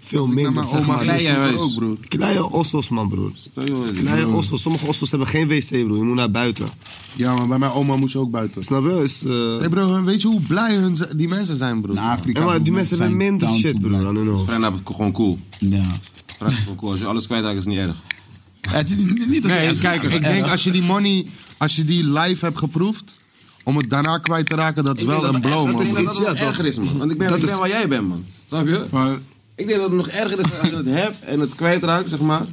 Speaker 9: veel
Speaker 6: ik naar
Speaker 9: minder,
Speaker 6: mijn
Speaker 9: zeg
Speaker 6: oma
Speaker 9: maar.
Speaker 6: kijk,
Speaker 9: Dus-
Speaker 6: jij huis. ook, broer.
Speaker 9: Kleine ossels, man, broer. Kleine
Speaker 6: broer.
Speaker 9: ossels. Sommige ossels hebben geen wc, broer. Je moet naar buiten.
Speaker 6: Ja, maar bij mijn oma moest je ook buiten.
Speaker 9: Snap je? Is, eh,
Speaker 6: Nee bro, weet je hoe blij hun, z- die mensen zijn bro?
Speaker 9: Ja, maar die mensen hebben minder shit, broer, dan hun hoofd.
Speaker 2: Vrijdag is gewoon cool.
Speaker 7: Ja.
Speaker 2: Vrijdag is gewoon cool. Als je alles kwijtraakt is het niet erg.
Speaker 7: Het is niet, niet dat het
Speaker 6: Nee,
Speaker 7: echt
Speaker 6: kijk,
Speaker 7: is,
Speaker 6: ik
Speaker 7: maar-
Speaker 6: denk als je die money, als je die live hebt geproefd, om het daarna kwijt te raken, dat is wel een blow, man.
Speaker 2: Ik denk dat het nog erger is, man. Want ik ben,
Speaker 6: Dat
Speaker 2: ik ben
Speaker 6: is-
Speaker 2: waar jij bent, man. Snap je? Ik denk dat het nog erger is als je het hebt en het kwijtraakt, zeg maar.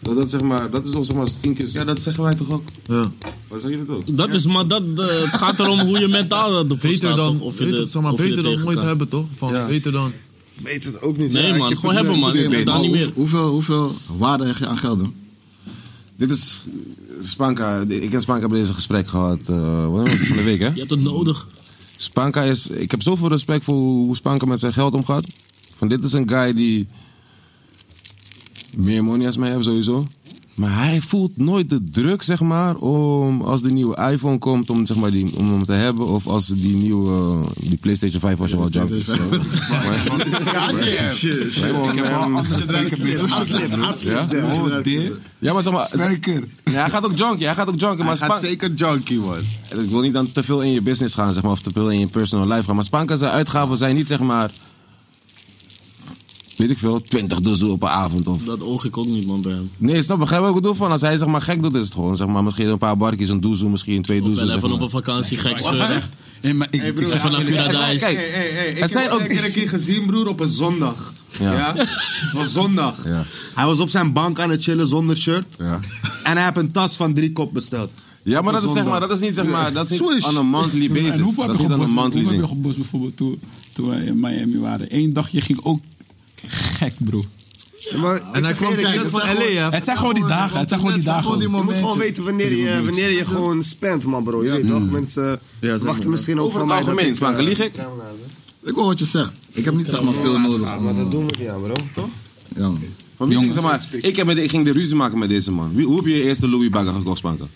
Speaker 2: Dat, dat, zeg maar, dat is al zeg maar tien keer... Ja, dat zeggen wij toch ook?
Speaker 20: Ja.
Speaker 2: Waar zeggen jullie het ook?
Speaker 5: dat is, maar dat, eh, het gaat erom hoe je mentaal ervoor
Speaker 20: Beter
Speaker 5: staat.
Speaker 20: dan,
Speaker 5: toch? of je
Speaker 20: weet
Speaker 5: de-
Speaker 20: het, zeg maar,
Speaker 5: of je
Speaker 20: beter dan
Speaker 5: tegen
Speaker 20: nooit
Speaker 5: kan.
Speaker 20: hebben, toch? Van,
Speaker 5: Ja.
Speaker 20: Beter dan...
Speaker 9: Weet het ook niet.
Speaker 5: Nee, man, gewoon hebben, man. Ik ben daar niet meer.
Speaker 10: Hoeveel, hoeveel waarde heb je aan geld, doen?
Speaker 2: Dit is Spanka. Ik en Spanka hebben deze gesprek gehad. eh, wat was het van de week, hè?
Speaker 5: Je hebt het nodig.
Speaker 2: Spanka is... Ik heb zoveel respect voor hoe Spanka met zijn geld omgaat. Van dit is een guy die... Meer money als mij heeft sowieso. Maar hij voelt nooit de druk, zeg maar, om als de nieuwe iPhone komt, om, zeg maar, die, om hem te hebben. Of als die nieuwe, eh, die PlayStation 5 was je wel jump. is, zo.
Speaker 4: Shit, shit.
Speaker 2: Gewoon,
Speaker 4: Ik heb wel
Speaker 2: ehm,
Speaker 4: andere dranken meer. Aslip, aslip.
Speaker 2: Ja?
Speaker 4: Aslip.
Speaker 2: Oh, dit? Ja, maar zeg maar...
Speaker 4: Spanker.
Speaker 2: Ja, hij gaat ook junkie, hij gaat ook junkie. Maar
Speaker 6: Hij gaat zeker
Speaker 2: junkie worden. Ik wil niet dan te veel in je business gaan, zeg maar, of te veel in je personal life gaan. Maar Spanka zijn uitgaven zijn niet, zeg maar... Weet ik veel, 20 doezoe per avond of
Speaker 5: Dat oog ik ook niet, man, bij hem.
Speaker 2: Nee, snap, begrijp wat ik bedoel van. Als hij zeg maar gek doet, is het gewoon zeg maar misschien een paar barkies, een doezoe, misschien twee
Speaker 5: Of
Speaker 2: doezoe.
Speaker 5: wel
Speaker 2: zeg
Speaker 5: even
Speaker 2: maar.
Speaker 5: op een vakantie gek scheuren.
Speaker 2: Echt?
Speaker 7: Nee, maar ik,
Speaker 6: Hey, broer,
Speaker 5: ik zeg van
Speaker 6: ja,
Speaker 5: Acura
Speaker 6: kijk,
Speaker 5: Dice.
Speaker 6: kijk, hey, hey, hey, Ik
Speaker 5: Er
Speaker 6: heb
Speaker 5: zijn
Speaker 6: hem
Speaker 5: ook...
Speaker 6: een keer een keer gezien, broer, op een zondag.
Speaker 2: Ja.
Speaker 6: Ja. Het was zondag. Hij was op zijn bank aan het chillen zonder shirt. En hij heeft een tas van drie kop besteld.
Speaker 2: Ja, maar
Speaker 6: Op
Speaker 2: dat is, zeg
Speaker 6: zondag.
Speaker 2: maar, dat is niet zeg maar, dat is niet
Speaker 6: Swish.
Speaker 2: on a monthly basis.
Speaker 7: En hoeveel
Speaker 2: dat
Speaker 7: heb
Speaker 2: is
Speaker 7: je
Speaker 2: niet on a
Speaker 7: gebost?
Speaker 2: monthly
Speaker 7: Hoeveel heb je
Speaker 2: ding.
Speaker 7: gebost bijvoorbeeld toen, toen wij in Miami waren? Eén dagje ging ook gek, bro.
Speaker 14: en hij kwam kijken.
Speaker 7: Het zijn gewoon die dagen. Het zijn gewoon die dagen.
Speaker 14: Je moet gewoon weten wanneer je, wanneer je gewoon spent, man, bro. Je weet toch, mensen wachten misschien ook
Speaker 10: Over
Speaker 14: van
Speaker 10: het
Speaker 14: mij. dat
Speaker 10: algemeen,
Speaker 14: ik,
Speaker 10: Spanker,
Speaker 14: eh,
Speaker 10: lieg ik? Ik hoor wat je zegt. Ik heb niet zeg maar veel nodig. eh,
Speaker 14: Maar dat doen we niet aan, bro. Toch?
Speaker 10: Ja, man.
Speaker 2: Van wie ging, zeg maar, ik, heb met, ik ging de ruzie maken met deze man. Wie, hoe heb je je eerste Louis bagger gekocht, Spanker?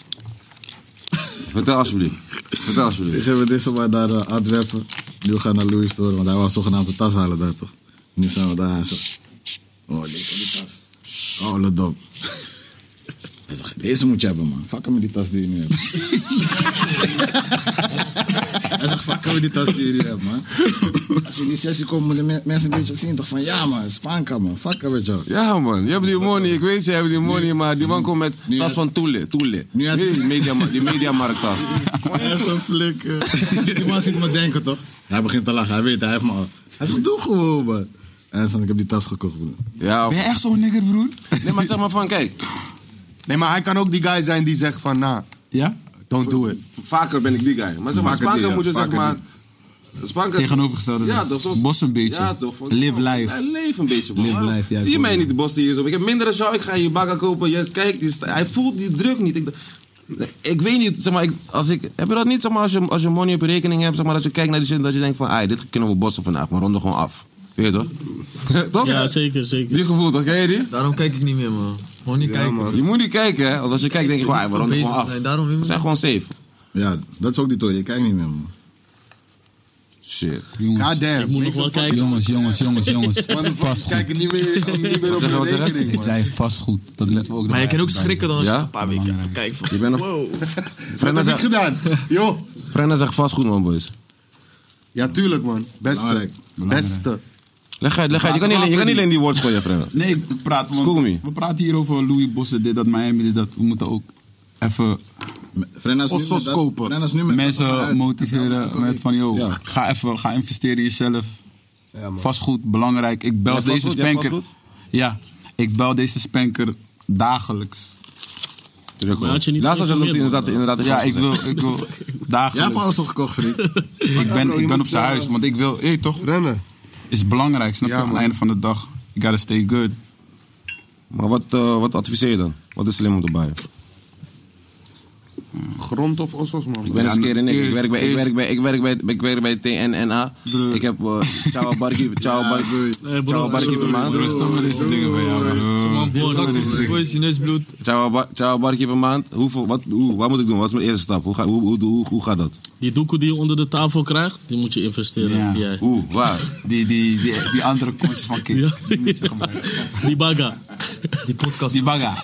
Speaker 2: Vertel alsjeblieft. Vertel alsjeblieft.
Speaker 10: Ik heb dit zomaar daar eh, uitwerpen. Nu gaan we naar Louis Store, want hij was zogenaamd de tas halen daar toch. Nu zijn we daar en zo. Oh, dit is die tas. Oh, let op. Hij zegt, deze moet je hebben, man. Fuck hem met die tas die je nu hebt. Hij zegt, fuck hem met die tas die je nu hebt, man. Als je in die sessie komt, moeten me- mensen een beetje zien toch van, ja man, Spanka man, fuck hem met jou.
Speaker 2: Ja man, je hebt die money, ik weet je hebt die money, maar die man komt met tas van Toele, Toele. Nu is die media, die mediamarkt tas.
Speaker 10: Hij is zo flikker. Die man ziet me denken, toch? Hij begint te lachen. Hij weet, hij heeft me al. Hij zegt, doe gewoon, man. En hij zegt, ik heb die tas gekocht, broer.
Speaker 2: Ja.
Speaker 7: Ben je echt zo'n nigger, broer?
Speaker 2: Nee, maar zeg maar van, kijk.
Speaker 6: Nee, maar hij kan ook die guy zijn die zegt van, nou...
Speaker 7: Ja?
Speaker 6: Don't do it.
Speaker 2: Vaker ben ik die guy. Maar zeg maar,
Speaker 6: Vaker
Speaker 2: Spanker
Speaker 6: die, ja.
Speaker 2: moet je zeg
Speaker 6: Vaker
Speaker 2: maar...
Speaker 6: die.
Speaker 2: Spanker...
Speaker 7: Tegenovergestelde
Speaker 2: Ja,
Speaker 7: zijn.
Speaker 2: toch? Zoals...
Speaker 7: Bos een beetje.
Speaker 2: Ja, toch? Want-
Speaker 7: Live life.
Speaker 2: Ja, leef een beetje, man.
Speaker 7: Live
Speaker 2: Waarom
Speaker 7: life, ja,
Speaker 2: Zie je
Speaker 7: ik
Speaker 2: mij
Speaker 7: hoor
Speaker 2: niet, de bos die hier zo... Ik heb minder dan jou, ik ga je bakken kopen. Je, kijk, die sta- hij voelt die druk niet. Ik, d- ik weet niet, zeg maar, ik, als ik... Heb je dat niet, zeg maar, als je, als je money op je rekening hebt, zeg maar, dat je kijkt naar die shit, dat je denkt van, ah, dit kunnen we bossen vandaag, maar ronden gewoon af. Weet je toch? toch?
Speaker 5: Ja, zeker, zeker.
Speaker 2: Die gevoel, toch? Ken je die?
Speaker 15: Daarom kijk ik niet meer, man. Gewoon niet kijken.
Speaker 2: Je moet niet kijken, hè? Want als je kijkt, denk je gewoon, ah,
Speaker 15: Bezig
Speaker 2: we ronden gewoon af.
Speaker 15: zijn, daarom niet
Speaker 2: We zijn
Speaker 15: meer.
Speaker 2: gewoon safe.
Speaker 10: Ja, dat is ook die toren. Ik kijk niet meer, man.
Speaker 2: Shit.
Speaker 7: Jongens.
Speaker 6: damn.
Speaker 5: Ik moet nog wel kijken.
Speaker 7: Jongens, jongens, jongens, jongens. Vastgoed.
Speaker 6: Kijk niet meer, niet meer op
Speaker 7: Zeg
Speaker 6: je
Speaker 7: maar, zeg maar.
Speaker 6: rekening,
Speaker 7: Ik
Speaker 6: man.
Speaker 7: zei vastgoed. Dat letten we ook
Speaker 15: Maar je kan ook
Speaker 7: bij-
Speaker 15: schrikken dan als je
Speaker 2: Ja?
Speaker 15: een paar weken even kijkt. van,
Speaker 2: Je bent nog-
Speaker 15: Wow.
Speaker 6: Wat
Speaker 2: Frenna
Speaker 6: heb ik
Speaker 2: zegt,
Speaker 6: gedaan? Joh.
Speaker 2: Frenna zegt vastgoed, man, boys.
Speaker 6: Ja, tuurlijk, man. Beste.
Speaker 10: Belangrijk,
Speaker 7: belangrijk.
Speaker 6: Beste.
Speaker 2: Leg uit, leg uit. Je kan niet, alleen- je kan niet alleen die woord gooien, Frenna.
Speaker 7: Nee, ik praat. want
Speaker 2: School me.
Speaker 7: We praten hier over Louis Bossen, dit, dat, Miami, dit, dat. We moeten ook even
Speaker 10: Frenna is nu
Speaker 6: Ossos
Speaker 10: met dat-
Speaker 6: kopen.
Speaker 10: Frenna is nu met dat
Speaker 7: mensen
Speaker 10: vanuit.
Speaker 7: motiveren met van, yo, ga even, ga investeren in jezelf. vastgoed, belangrijk. Ik bel
Speaker 2: Ja,
Speaker 7: Nou, deze
Speaker 2: vastgoed, ja,
Speaker 7: spanker.
Speaker 2: vastgoed.
Speaker 7: ja, ik bel deze spanker dagelijks.
Speaker 2: Druk,
Speaker 5: Maar had je niet
Speaker 2: Laatst Nou, had je dat ook
Speaker 5: geïnformeerd,
Speaker 2: inderdaad, inderdaad
Speaker 7: Ja,
Speaker 2: gezegd.
Speaker 7: ik wil, ik wil
Speaker 10: Jij hebt
Speaker 7: dagelijks.
Speaker 10: alles al gekocht, vriend.
Speaker 7: Ik
Speaker 14: bro,
Speaker 7: ben,
Speaker 14: je
Speaker 7: ik ben
Speaker 14: moet,
Speaker 7: op zijn
Speaker 14: eh,
Speaker 7: huis, want ik wil, hé toch,
Speaker 14: Rennen.
Speaker 7: is belangrijk, snap je?
Speaker 6: Ja,
Speaker 7: Aan het
Speaker 6: man.
Speaker 7: einde van de dag, you gotta stay good.
Speaker 2: Maar wat, eh, wat adviseer je dan? Wat is slim om te buyen?
Speaker 6: Grond of ossos, man.
Speaker 2: Ik ben
Speaker 7: Ja,
Speaker 2: een keer in ik. Ik
Speaker 7: eerst-
Speaker 2: werk bij, ik
Speaker 7: eerst-
Speaker 2: werk bij, ik werk bij, ik werk bij TNNA.
Speaker 7: Broer.
Speaker 2: Ik heb eh, ciao barkie, ciao barkie,
Speaker 5: Nee, bro,
Speaker 2: ciao barkie per
Speaker 5: sorry,
Speaker 2: maand.
Speaker 7: Broer, stop met deze dingen van jou, man.
Speaker 15: Boy,
Speaker 7: Stop met deze dingen.
Speaker 15: boy, is je neus bloed.
Speaker 2: Ciao, ba- ciao barkie per maand. Hoeveel, wat, hoe, wat moet ik doen? Wat is mijn eerste stap? Hoe, ga, hoe, hoe, hoe, hoe gaat dat?
Speaker 5: Die doekoe die je onder de tafel krijgt, die moet je investeren.
Speaker 7: Ja.
Speaker 5: Jij.
Speaker 2: Hoe? Waar?
Speaker 7: Die, die, die, die andere kontje van Kik. Die moet je gebruiken.
Speaker 5: Die bagga.
Speaker 15: Die podcast.
Speaker 7: Die bagga.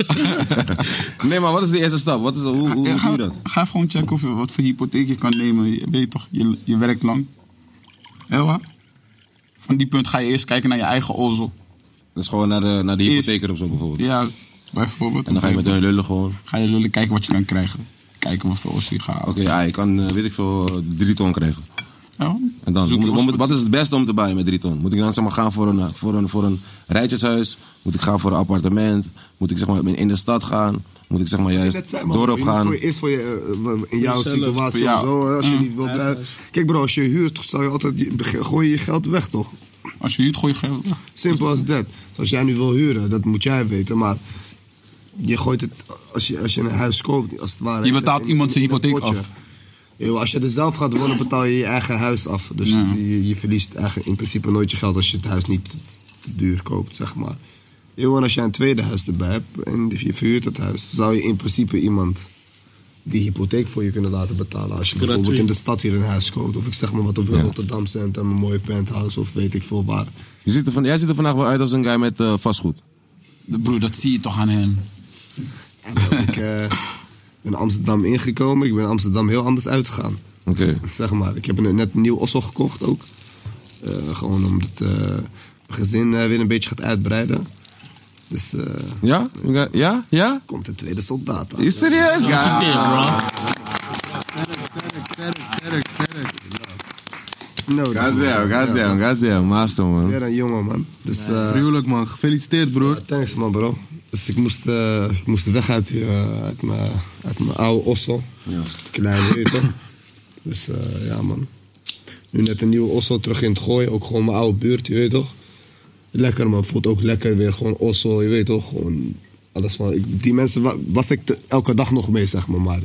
Speaker 2: Nee, maar wat is de eerste stap? Wat is, hoe hoe, hoe doe
Speaker 7: ga,
Speaker 2: je dat?
Speaker 7: ga even gewoon checken of je, wat voor hypotheek je kan nemen. Je weet toch, je, je werkt lang. Heel waar? Van die punt ga je eerst kijken naar je eigen ozel.
Speaker 2: Dat is gewoon naar de, naar de
Speaker 7: Eerst-
Speaker 2: hypotheker of zo bijvoorbeeld.
Speaker 7: Ja, bijvoorbeeld.
Speaker 2: En dan ga je met hun lullen gewoon.
Speaker 7: ga je lullen kijken wat je kan krijgen. Kijken hoeveel ozel je gaat halen.
Speaker 2: Oké, ja, ik kan, eh, weet ik veel, eh, drie ton krijgen.
Speaker 7: Ja, Dus
Speaker 2: En dan,
Speaker 7: zoek
Speaker 2: hoe-
Speaker 7: je
Speaker 2: hoe
Speaker 7: ons-
Speaker 2: moet- wat is het beste om te buyen met drie ton? Moet ik dan zeg maar, gaan voor een, eh, voor, een, voor een rijtjeshuis? Moet ik gaan voor een appartement? Moet ik zeg maar, in de stad gaan? Moet ik zeg maar,
Speaker 14: Ik
Speaker 2: juist
Speaker 14: net zei, man,
Speaker 2: dorp
Speaker 14: je moet
Speaker 2: gaan?
Speaker 14: Voor, eerst voor je, eh, in jouw
Speaker 5: Jezelf.
Speaker 14: situatie
Speaker 7: Voor jou.
Speaker 14: of zo. hè, Als je
Speaker 7: Mm.
Speaker 14: niet wil blijven. Kijk bro, als je huurt, zou je altijd je- gooi je je geld weg toch?
Speaker 7: Als je huurt, gooi je geld. weg.
Speaker 14: Simpel als dat. Dus als jij nu wil huren, dat moet jij weten. Maar je gooit het, als je, als je een huis koopt, als het ware.
Speaker 7: Je betaalt
Speaker 14: in-
Speaker 7: iemand zijn
Speaker 14: in een
Speaker 7: hypotheek
Speaker 14: potje.
Speaker 7: af.
Speaker 9: Yo, als je er zelf gaat wonen, betaal je je eigen huis af. Dus je, je verliest eigenlijk in principe nooit je geld als je het huis niet te duur koopt, zeg maar. Yo, en als je een tweede huis erbij hebt en je verhuurt het huis, zou je in principe iemand die hypotheek voor je kunnen laten betalen. Als je
Speaker 5: Gratuit.
Speaker 9: bijvoorbeeld in de stad hier een huis koopt, of ik zeg maar wat, of in
Speaker 2: Ja.
Speaker 9: Rotterdam Centrum, een mooie penthouse of weet ik veel waar.
Speaker 2: Je ziet er van, jij ziet er vandaag wel uit als een guy met eh, vastgoed.
Speaker 7: Broer, dat zie je toch aan hem.
Speaker 9: ik eh, ben Amsterdam ingekomen. Ik ben Amsterdam heel anders uitgegaan.
Speaker 2: Oké.
Speaker 9: Zeg maar, ik heb een- net een nieuw Ossel gekocht ook. Eh, gewoon omdat eh, mijn gezin eh, weer een beetje gaat uitbreiden. Dus,
Speaker 2: ja? Ja? Ja?
Speaker 9: Komt de tweede soldaat aan.
Speaker 2: Is serieus, guy?
Speaker 9: Sterk, sterk. Nodig,
Speaker 2: Goddamn,
Speaker 9: man.
Speaker 2: goddamn, goddamn. Master, man.
Speaker 9: Weer een jongen, man. Dus,
Speaker 2: Ja,
Speaker 9: gruwelijk, man. Gefeliciteerd, broer. thanks, man, bro. Dus ik moest, eh, ik moest weg uit, die, eh, uit, mijn, uit mijn oude ossel. Ja. Kleine uur, toch? Dus eh, ja, man. Nu net een nieuwe ossel terug in het gooien. Ook gewoon mijn oude buurt, je weet toch? Lekker, man. Voelt ook lekker weer. Gewoon ossel, je weet toch? Gewoon alles van... Ik, die mensen wa- was ik te- elke dag nog mee, zeg maar. maar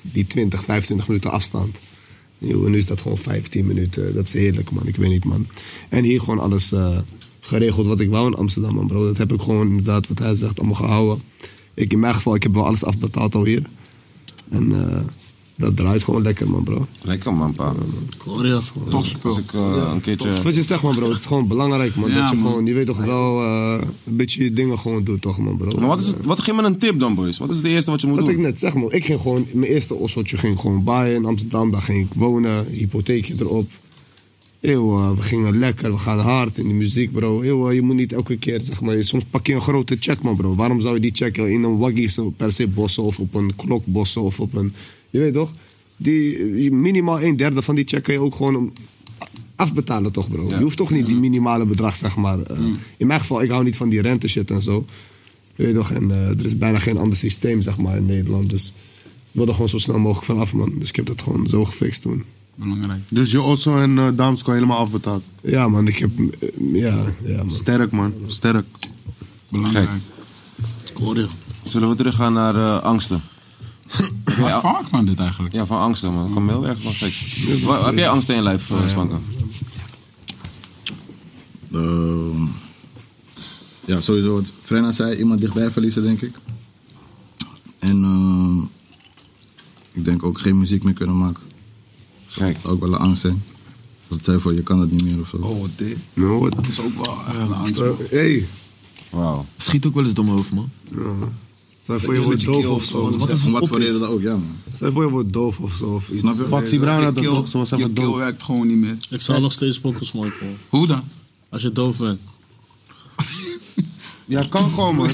Speaker 9: die 20, 25 minuten afstand. Joh, en nu is dat gewoon 15 minuten. Dat is heerlijk, man. Ik weet niet, man. En hier gewoon alles eh, geregeld wat ik wou in Amsterdam, man, bro. Dat heb ik gewoon inderdaad, wat hij zegt, allemaal gehouden. Ik, in mijn geval, ik heb wel alles afbetaald al hier. En eh, dat draait gewoon lekker, man, bro.
Speaker 2: Lekker, man, pa.
Speaker 9: Korea.
Speaker 2: Topspul. Als ik eh, een keertje...
Speaker 9: Wat je zegt, man, bro. Het is gewoon belangrijk, man.
Speaker 2: Ja,
Speaker 9: dat je
Speaker 2: man.
Speaker 9: gewoon, je weet toch wel, eh, een beetje je dingen gewoon doet, toch, man, bro.
Speaker 2: Maar wat, is het, wat geef me een tip dan, boys? Wat is het eerste wat je moet
Speaker 9: Wat
Speaker 2: doen?
Speaker 9: ik net zeg, man. Ik ging gewoon, mijn eerste osseltje ging ik gewoon baaien in Amsterdam. Daar ging ik wonen, hypotheekje erop. Eeuw, eh, we gingen lekker, we gaan hard in de muziek, bro. Eeuw, eh, je moet niet elke keer, zeg maar, soms pak je een grote check, man, bro. Waarom zou je die check in een waggie zo per se bossen of op een klok bossen of op een... Je weet toch? Die, eh, minimaal een derde van die check kan je ook gewoon om- afbetalen, toch, bro? Je hoeft toch niet die minimale bedrag, zeg maar. eh, In mijn geval, ik hou niet van die rente shit en zo. Weet je toch? En eh, er is bijna geen ander systeem, zeg maar, in Nederland. Dus ik wil er gewoon zo snel mogelijk vanaf, man. Dus ik heb dat gewoon zo gefixt toen.
Speaker 7: Belangrijk.
Speaker 6: Dus je Osso en eh Damsko helemaal afbetaald?
Speaker 9: Ja, man. Ik heb... eh, ja, ja, man.
Speaker 6: Sterk, man. Sterk.
Speaker 2: Belangrijk. Zullen we teruggaan naar eh, angsten? Wat vaak van dit eigenlijk? Ja, van angsten, man. Ik kom heel erg van gek. Wa- Heb jij angsten in je lijf, eh, Spanker?
Speaker 10: Ehm, ja, sowieso wat Frenna zei, iemand dichtbij verliezen, denk ik. En ehm, ik denk ook geen muziek meer kunnen maken.
Speaker 2: Gek.
Speaker 10: Zou ook wel een angst zijn. Als het zei voor je kan het niet meer of zo. Oh, dit.
Speaker 9: No,
Speaker 10: dat is ook wel echt een angst.
Speaker 9: Hey.
Speaker 2: Wauw.
Speaker 21: Schiet ook wel eens dom over, man.
Speaker 9: Stel je voor je wordt doof of zo.
Speaker 10: Wat is Om wat voor reden dan ook, ja man.
Speaker 9: Stel je voor je wordt doof of zo. Of iets.
Speaker 10: Snap je? Foxy Brown had dat Je toch, ze was
Speaker 7: Je keel werkt gewoon niet meer.
Speaker 5: Ik zou nog steeds pokkels maken, man.
Speaker 7: Hoe dan?
Speaker 5: Als je doof bent.
Speaker 6: Ja, kan gewoon, man.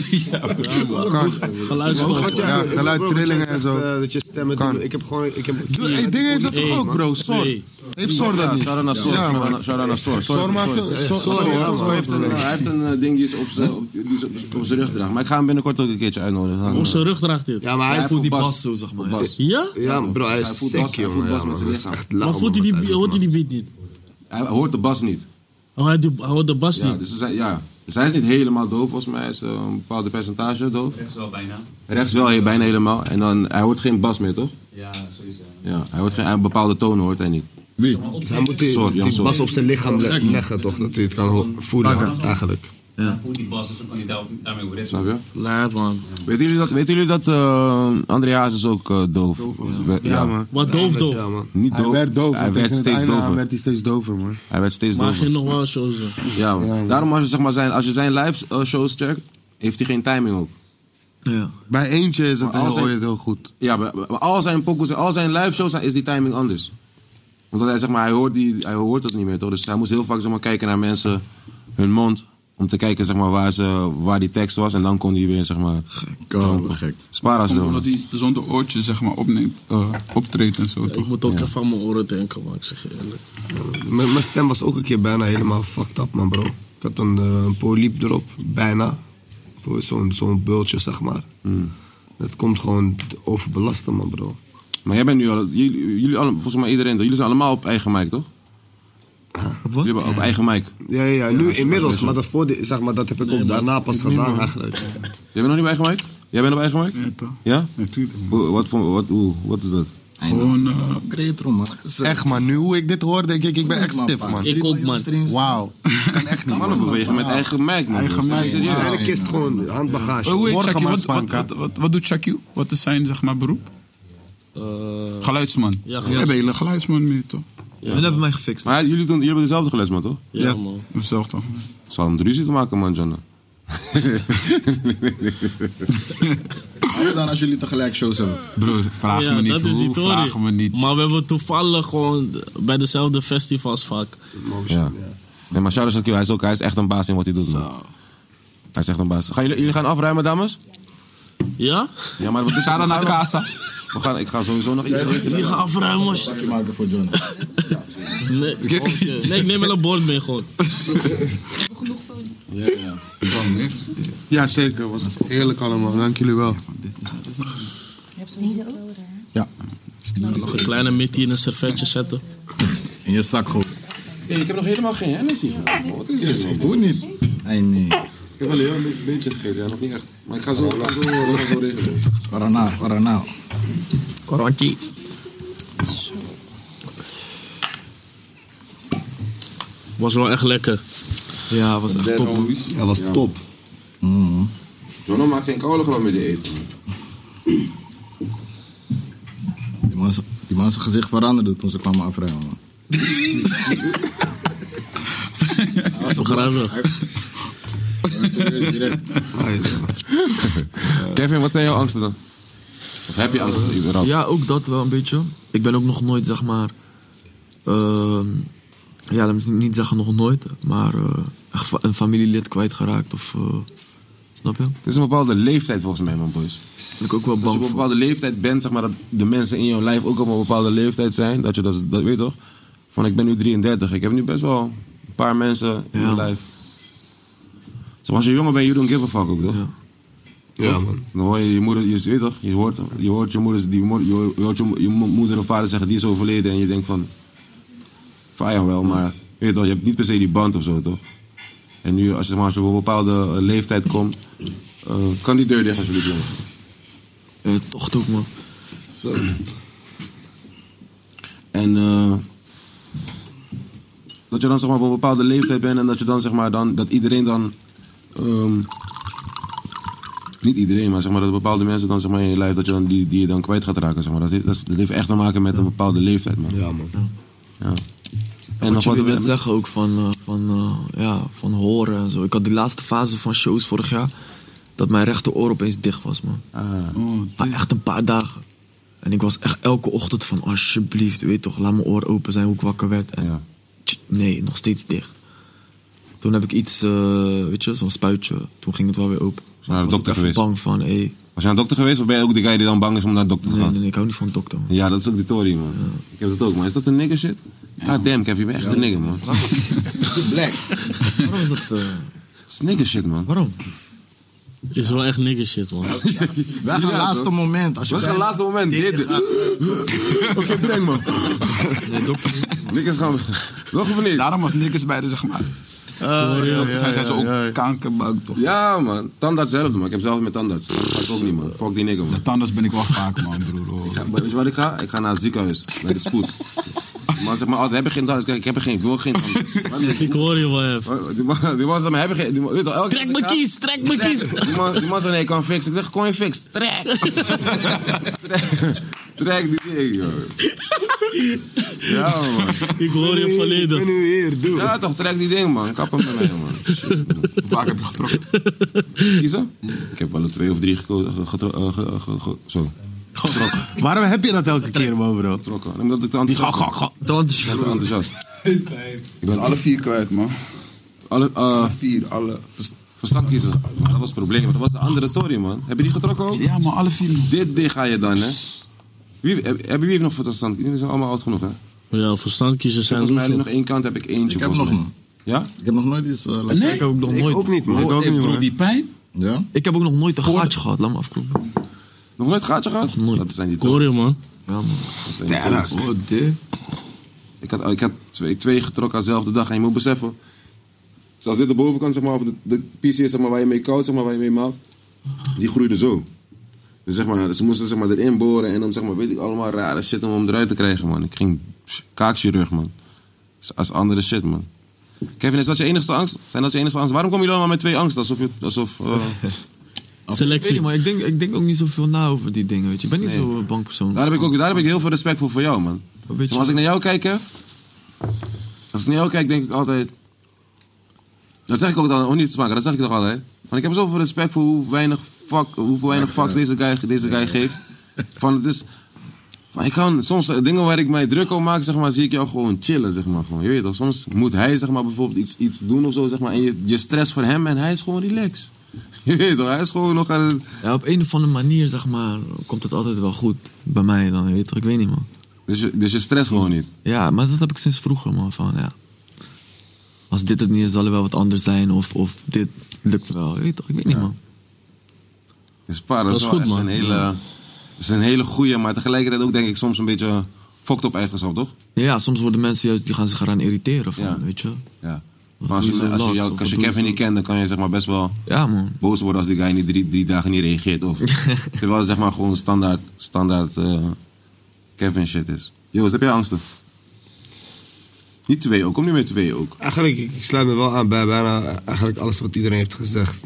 Speaker 6: Kan.
Speaker 5: Geluidsgolf.
Speaker 6: Ja, geluidtrillingen en zo.
Speaker 9: eh, dat je stemmen doen. Ik heb gewoon... Ik heb,
Speaker 6: Hey, Ding heeft dat toch
Speaker 9: Nee,
Speaker 6: ook,
Speaker 9: man.
Speaker 6: bro? Sor.
Speaker 9: Nee.
Speaker 6: Heeft Sor dat niet?
Speaker 2: Shout-out naar Sor.
Speaker 6: Ja, man.
Speaker 2: Shout-out- Shout-out naar Sor.
Speaker 6: Sor maakt... Sor- Sor-
Speaker 2: Sor- Sor
Speaker 6: Sor-
Speaker 2: heeft een- Hij heeft een eh, ding die is op zijn op- die is op- op zijn rug draagt. Maar ik ga hem binnenkort ook een keertje uitnodigen. Dan,
Speaker 5: Op
Speaker 2: eh,
Speaker 5: zijn rug draagt dit.
Speaker 9: Ja, maar hij, voelt die bas.
Speaker 21: zo, zeg maar.
Speaker 2: op bas.
Speaker 5: Ja?
Speaker 9: Ja, bro, hij
Speaker 2: Hij
Speaker 9: is
Speaker 2: voelt bas- hij
Speaker 9: sick,
Speaker 2: voelt
Speaker 9: jongen.
Speaker 2: bas met
Speaker 9: ja, man.
Speaker 2: zijn
Speaker 9: Dat is
Speaker 2: lichaam.
Speaker 9: echt lauw,
Speaker 5: Maar voelt hij
Speaker 9: man.
Speaker 5: die, hoort hij die beat niet?
Speaker 2: Hij hoort de bas niet.
Speaker 5: Oh, hij doet- hij hoort de bas
Speaker 2: Ja,
Speaker 5: niet.
Speaker 2: dus, hij, ja. dus hij is niet helemaal doof, volgens mij. Hij is eh, een bepaalde percentage doof.
Speaker 22: Rechts wel bijna.
Speaker 2: Rechts wel, he- bijna helemaal. En dan, hij hoort geen bas meer, toch?
Speaker 22: Ja, sowieso.
Speaker 2: Ja, hij hoort geen een bepaalde tonen, hoort hij niet.
Speaker 10: Wie?
Speaker 9: Dus hij moet die,
Speaker 2: Sor, Jan
Speaker 9: die
Speaker 2: Sor.
Speaker 9: bas op zijn lichaam le- leggen, toch? Dat hij het kan ho- voelen, eigenlijk.
Speaker 22: Ja. Voelt die bas, dus dan kan hij daar, daarmee hoe
Speaker 2: Snap je?
Speaker 5: Laat, man.
Speaker 2: Weten jullie dat, weten jullie dat eh, Andreas is ook eh, doof? We-
Speaker 6: Ja, man.
Speaker 5: Wat doof, doof.
Speaker 2: Niet doof.
Speaker 6: Hij werd doof.
Speaker 2: Hij werd steeds
Speaker 6: Hij
Speaker 2: dover.
Speaker 6: werd hij steeds dover, man.
Speaker 2: Hij werd steeds
Speaker 5: Maar hij
Speaker 2: dover.
Speaker 5: ging nog wel shows doen.
Speaker 2: Ja, man. Daarom als je, zeg maar, zijn, als je zijn live eh, shows checkt, heeft hij geen timing op.
Speaker 6: Bij eentje is het
Speaker 2: Maar als
Speaker 6: heel,
Speaker 2: hij-
Speaker 6: hoor je het heel goed.
Speaker 2: Ja, maar, maar al zijn pokoes en al zijn live shows is die timing anders. Omdat hij zeg maar, hij hoort, die, hij hoort dat niet meer toch? Dus hij moest heel vaak zeg maar, kijken naar mensen, hun mond. Om te kijken zeg maar, waar, ze, waar die tekst was. En dan kon hij weer zeg maar.
Speaker 10: Gek. gek.
Speaker 2: Spara's
Speaker 7: Komt
Speaker 2: doen.
Speaker 7: omdat hij zonder oortjes zeg maar opneemt, eh, optreedt en zo
Speaker 5: Ik
Speaker 7: toch?
Speaker 5: moet ook even aan mijn oren denken, man. Ik zeg je eerlijk.
Speaker 9: Mijn mijn stem was ook een keer bijna helemaal fucked up, man, bro. Ik had een, eh, een polyp erop, bijna. Voor Zo'n zo'n bultje, zeg maar. Dat komt gewoon overbelasten, man, bro.
Speaker 2: Maar jij bent nu al. Jullie, jullie alle- volgens mij iedereen. Jullie zijn allemaal op eigen mic toch? Jullie hebben op eigen mic.
Speaker 9: Ja, ja,
Speaker 2: als
Speaker 9: ja. nu
Speaker 2: je- als
Speaker 9: inmiddels,
Speaker 2: je-
Speaker 9: maar dat, voor die- zeg maar, dat heb ik ook daarna pas gedaan, eigenlijk.
Speaker 2: Jij bent nog niet op eigen mic? Jij bent op eigen mic?
Speaker 7: Ja, toch?
Speaker 2: Ja?
Speaker 7: Natuurlijk. eh,
Speaker 2: Hoe- Wat, voor- wat, hoe- wat is dat?
Speaker 10: Gewoon uh, Kretron, man.
Speaker 6: Echt, man. Nu hoe ik dit hoor, denk ik, ik ben echt stif, man.
Speaker 10: Ik ook, man.
Speaker 6: Wauw. Kan echt niet,
Speaker 2: Mannen bewegen met eigen mic, man.
Speaker 6: Eigen
Speaker 2: Dus,
Speaker 6: mic,
Speaker 2: serieus.
Speaker 6: man.
Speaker 14: Hele kist gewoon, handbagage.
Speaker 7: Oh, hoe heet
Speaker 14: Morgen
Speaker 7: Shakyu?
Speaker 14: maar
Speaker 7: Wat, wat,
Speaker 14: spanka.
Speaker 7: wat, wat, wat doet Shakyu? Wat is zijn zeg maar, beroep?
Speaker 5: Eh,
Speaker 7: geluidsman.
Speaker 5: ja,
Speaker 7: We hebben hele geluidsman meer, toch?
Speaker 2: Jullie
Speaker 7: hebben mij gefixt.
Speaker 2: Maar jullie, doen, jullie hebben dezelfde geluidsman, toch?
Speaker 5: Ja, man.
Speaker 7: Dezelfde.
Speaker 2: Zal hem ruzie te maken, man, John. Oh,
Speaker 13: Hoe dan als jullie tegelijk shows hebben?
Speaker 7: Broer, vraag
Speaker 5: Ja,
Speaker 7: me niet
Speaker 5: dat is
Speaker 7: hoe,
Speaker 5: die theorie.
Speaker 7: vraag me niet.
Speaker 5: Maar we hebben toevallig gewoon bij dezelfde festivals vaak.
Speaker 2: Ja. Nee, maar shout-out to hij is ook, hij is echt een baas in wat hij doet, man. Hij is echt een baas. Gaan jullie, jullie gaan afruimen, dames?
Speaker 5: Ja?
Speaker 2: Ja, maar... Ga dan naar Casa. We gaan, ik ga sowieso nog iets eten.
Speaker 5: Jullie gaan afruimen. als-
Speaker 13: Pakje maken voor John.
Speaker 5: Nee, oké. nee, ik neem wel een bord mee gewoon.
Speaker 10: Ja, ja. Van Miff.
Speaker 6: Ja, zeker. Was heerlijk allemaal. Dank jullie wel.
Speaker 5: Nog een kleine mittie in een servetje zetten.
Speaker 10: In je zak goed.
Speaker 2: ik heb nog helemaal geen Hennessy. Wat is dit? Ik
Speaker 10: Hoe niet? Hey, nee.
Speaker 2: heb wel een beetje- beetje gegeten, ja, nog niet echt. Maar ik ga zo, ik ga zo, ik ga zo regelen.
Speaker 10: Corona, corona.
Speaker 5: Korantje. Was wel echt lekker.
Speaker 15: Ja, was echt top.
Speaker 2: Ja, was top. Mhm. John, maak geen koude gewoon meer die eten.
Speaker 10: Die man, z- die man zijn gezicht veranderde toen ze kwamen afruimen, man.
Speaker 5: Begrijpelijk.
Speaker 2: Kevin, wat zijn jouw angsten dan? Of heb je angsten überhaupt?
Speaker 15: Ja, ook dat wel een beetje. Ik ben ook nog nooit, zeg maar. ehm, ja, dat moet ik niet zeggen nog nooit, maar eh, echt fa- een familielid kwijtgeraakt of. eh, snap je?
Speaker 2: Het is een bepaalde leeftijd volgens mij, man, boys.
Speaker 15: Ben ik ook wel
Speaker 2: Als je
Speaker 15: bang
Speaker 2: op een
Speaker 15: voor.
Speaker 2: bepaalde leeftijd bent, zeg maar, dat de mensen in jouw lijf ook op een bepaalde leeftijd zijn. Dat je dat, dat weet toch? Van ik ben nu 33, ik heb nu best wel een paar mensen in mijn lijf. Zeg maar, als je jonger bent, you don't give a fuck ook, toch? Ja, man. Dan hoor je je moeder, je weet toch? Je hoort, je hoort je moeder, die, mo- je hoort- je, hoort je, mo- je mo- moeder of vader zeggen, die is overleden. En je denkt van, fijn wel, maar weet je toch, je hebt niet per se die band of zo, toch? En nu, als je, zeg maar, als je op een bepaalde eh, leeftijd komt, eh, kan die deur dicht alsjeblieft, jongen.
Speaker 15: Eh, toch ook, man.
Speaker 2: Zo. En eh, dat je dan zeg maar op een bepaalde leeftijd bent en dat je dan zeg maar dan, dat iedereen dan. ehm, niet iedereen, maar zeg maar dat bepaalde mensen dan zeg maar in je lijf dat je dan die, die je dan kwijt gaat raken. Zeg maar. dat, heeft, dat heeft echt te maken met een bepaalde leeftijd, man. Ja, man. Ja.
Speaker 15: En wat
Speaker 2: nog
Speaker 15: je
Speaker 2: wat-
Speaker 15: wilde net zeggen ook van, eh, van, eh, ja, van horen en zo. Ik had die laatste fase van shows vorig jaar. Dat mijn rechteroor opeens dicht was, man.
Speaker 5: Ah. Oh,
Speaker 15: Maar echt een paar dagen. En ik was echt elke ochtend van, alsjeblieft, weet toch, laat mijn oor open zijn hoe ik wakker werd. En tj, nee, nog steeds dicht. Toen heb ik iets, eh, weet je, zo'n spuitje. Toen ging het wel weer open.
Speaker 2: je naar de
Speaker 15: Ik was
Speaker 2: dokter
Speaker 15: ook echt
Speaker 2: geweest?
Speaker 15: bang van, hé.
Speaker 2: Was je aan de dokter geweest of ben je ook de guy die dan bang is om naar de dokter te
Speaker 15: Nee,
Speaker 2: gaan?
Speaker 15: nee, nee, ik hou niet van dokter, man.
Speaker 2: Ja, dat is ook de Tory, man. Ik heb dat ook, man. Is dat een nigger shit? Ah, damn, Kev, je bent echt een nigger, man.
Speaker 13: Black.
Speaker 15: Waarom is dat... eh,
Speaker 2: Dat is nigger shit, man.
Speaker 15: Waarom?
Speaker 5: Is wel echt nigger shit, man.
Speaker 10: Wij gaan
Speaker 2: Ja,
Speaker 10: laatste
Speaker 2: toch?
Speaker 10: moment. Als je
Speaker 2: We gaan
Speaker 10: bij-
Speaker 2: laatste moment. Dit. Oké, breng me.
Speaker 15: Nee, dokter niet.
Speaker 2: Nikkers gaan. Nog of niet?
Speaker 7: Daarom was niks bij de, zeg maar. dokters zijn, zijn ze ook kankerbuik, toch?
Speaker 2: Ja, man. Tandarts zelf, man. Ik heb zelf met tandarts. Dat ga ik ook niet, man. Fuck die nigger, man.
Speaker 7: Tandarts ben ik wel vaak, man, broer. hoor.
Speaker 2: Ja, maar weet je waar ik ga? Ik ga naar het ziekenhuis. Naar de spoed. Maar zeg maar, oh, heb ik geen tandarts? Kijk, ik heb er geen. Ik wil geen tandarts.
Speaker 5: Ik hoor je wel even.
Speaker 2: Die man, die man zei, maar heb je geen... Die man, weet je, toch, elke
Speaker 5: Trek
Speaker 2: keer als
Speaker 5: mijn
Speaker 2: ik ga-
Speaker 5: kies, trek mijn kies.
Speaker 2: Die man, die man zei, nee, ik kan fixen. Ik zeg, kon je fix? Trek. Trek. Trek die ding, joh. Ja, man.
Speaker 5: Ik hoor je volledig.
Speaker 14: nu hier, doe.
Speaker 2: Ja, toch, trek die ding, man. Kap hem met mij, man.
Speaker 7: Hoe vaak heb je getrokken?
Speaker 2: Kiezen? Ik heb wel een twee of drie gekozen. Ge, getro- eh, ge- ge- ge- zo. Getrokken.
Speaker 6: Waarom heb je dat elke keer, man, bro?
Speaker 2: Getrokken. Omdat ik te enthousiast ben.
Speaker 15: Want-
Speaker 2: Ik ben te enthousiast. Ik
Speaker 4: Dus
Speaker 2: ben
Speaker 4: alle vier kwijt, man.
Speaker 2: alle, eh,
Speaker 4: Alle vier, alle... vers-
Speaker 2: verstand kiezen. Maar dat was het probleem. want Dat was de andere tory, man. Heb je die getrokken ook?
Speaker 7: Ja, maar alle vier.
Speaker 2: Dit ding ga je dan, hè? Wie, heb, hebben jullie nog voor verstand? Jullie zijn allemaal oud genoeg, hè?
Speaker 5: Ja, verstand kiezen zijn
Speaker 2: Volgens mij alleen nog
Speaker 5: hoeveel?
Speaker 2: één kant heb ik eentje.
Speaker 10: Ik heb nog
Speaker 2: volgens mij.
Speaker 10: een.
Speaker 2: Ja?
Speaker 10: Ik heb nog nooit iets eh, laten-
Speaker 7: Nee,
Speaker 15: Ik heb ook nog nooit...
Speaker 14: ook niet, man.
Speaker 7: ik
Speaker 6: niet,
Speaker 7: broer,
Speaker 6: man.
Speaker 7: die pijn.
Speaker 10: Ja?
Speaker 15: Ik heb ook nog nooit een gaatje gehad, laat me afkloppen.
Speaker 2: Nog nooit gaatje gehad?
Speaker 15: Nog nooit.
Speaker 2: Dat zijn die
Speaker 5: Ik hoor je, man.
Speaker 15: Ja, man.
Speaker 2: dat zijn die
Speaker 7: Sterk.
Speaker 2: tories.
Speaker 7: Oh, dit.
Speaker 2: Ik had, ik had twee, twee getrokken aan dezelfde dag. En je moet beseffen, zoals dit de bovenkant, zeg maar, of de, de PCS zeg maar, waar je mee koudt, zeg maar, waar je mee maakt, die groeide zo. Dus Dus zeg maar, ze moesten zeg maar, erin boren en dan zeg maar, weet ik allemaal rare shit om hem eruit te krijgen, man. Ik ging pff, kaakchirurg, man. Als- Als andere shit, man. Kevin, is dat je enigste angst? Zijn dat je enigste angst? Waarom komen jullie allemaal met twee angsten? Alsof... Je, alsof eh,
Speaker 7: Ik weet niet, maar ik denk, ik denk ook niet zoveel na over die dingen, weet je. Ik ben niet
Speaker 2: Nee.
Speaker 7: zo'n bang persoon.
Speaker 2: Daar heb ik ook daar heb ik heel veel respect voor voor jou, man.
Speaker 7: je-
Speaker 2: Zeg maar, Dus als ik naar jou kijk, hè, als ik naar jou kijk, denk ik altijd. Dat zeg ik ook dan, om niet te smaken, dat zeg ik toch altijd. Van ik heb zoveel respect voor hoe weinig, fuck, hoeveel weinig fucks deze guy, deze guy geeft. Van het is. Van, ik kan soms eh, dingen waar ik mij druk om maak, zeg maar, zie ik jou gewoon chillen, zeg maar. Gewoon, je weet toch, soms moet hij zeg maar, bijvoorbeeld iets, iets doen of zo, zeg maar. En je, je stress voor hem en hij is gewoon relaxed. Je weet toch, hij is gewoon nog aan het...
Speaker 7: Ja, op een of andere manier, zeg maar, komt het altijd wel goed. Bij mij dan, weet je. Ik weet niet, man.
Speaker 2: Dus je, dus je stress gewoon niet?
Speaker 7: Ja, maar dat heb ik sinds vroeger, man. Van, ja. Als dit het niet is, zal er wel wat anders zijn. Of, of dit lukt wel, weet je toch. Ik weet niet, man.
Speaker 2: Dus paar, dat,
Speaker 7: Dat
Speaker 2: is
Speaker 7: is
Speaker 2: wel echt
Speaker 7: goed, man.
Speaker 2: Een hele,
Speaker 7: Ja.
Speaker 2: is een hele goeie, maar tegelijkertijd ook denk ik soms een beetje fokt op eigenschap, toch?
Speaker 7: Ja, soms worden mensen juist, die gaan zich eraan irriteren, van,
Speaker 2: Ja.
Speaker 7: weet je.
Speaker 2: Ja.
Speaker 7: Of
Speaker 2: als je,
Speaker 7: doe zo
Speaker 2: als je,
Speaker 7: lax,
Speaker 2: jou-
Speaker 7: of
Speaker 2: als je
Speaker 7: doe
Speaker 2: Kevin
Speaker 7: zo-
Speaker 2: niet kent, dan kan je zeg maar best wel
Speaker 7: Ja, man.
Speaker 2: boos worden als die guy niet drie, drie dagen niet reageert. Of, terwijl het zeg maar gewoon standaard, standaard eh, Kevin shit is. Joost, heb jij angsten? Niet twee ook, kom niet met twee ook.
Speaker 9: Eigenlijk, ik ik sluit me wel aan bij bijna eigenlijk alles wat iedereen heeft gezegd.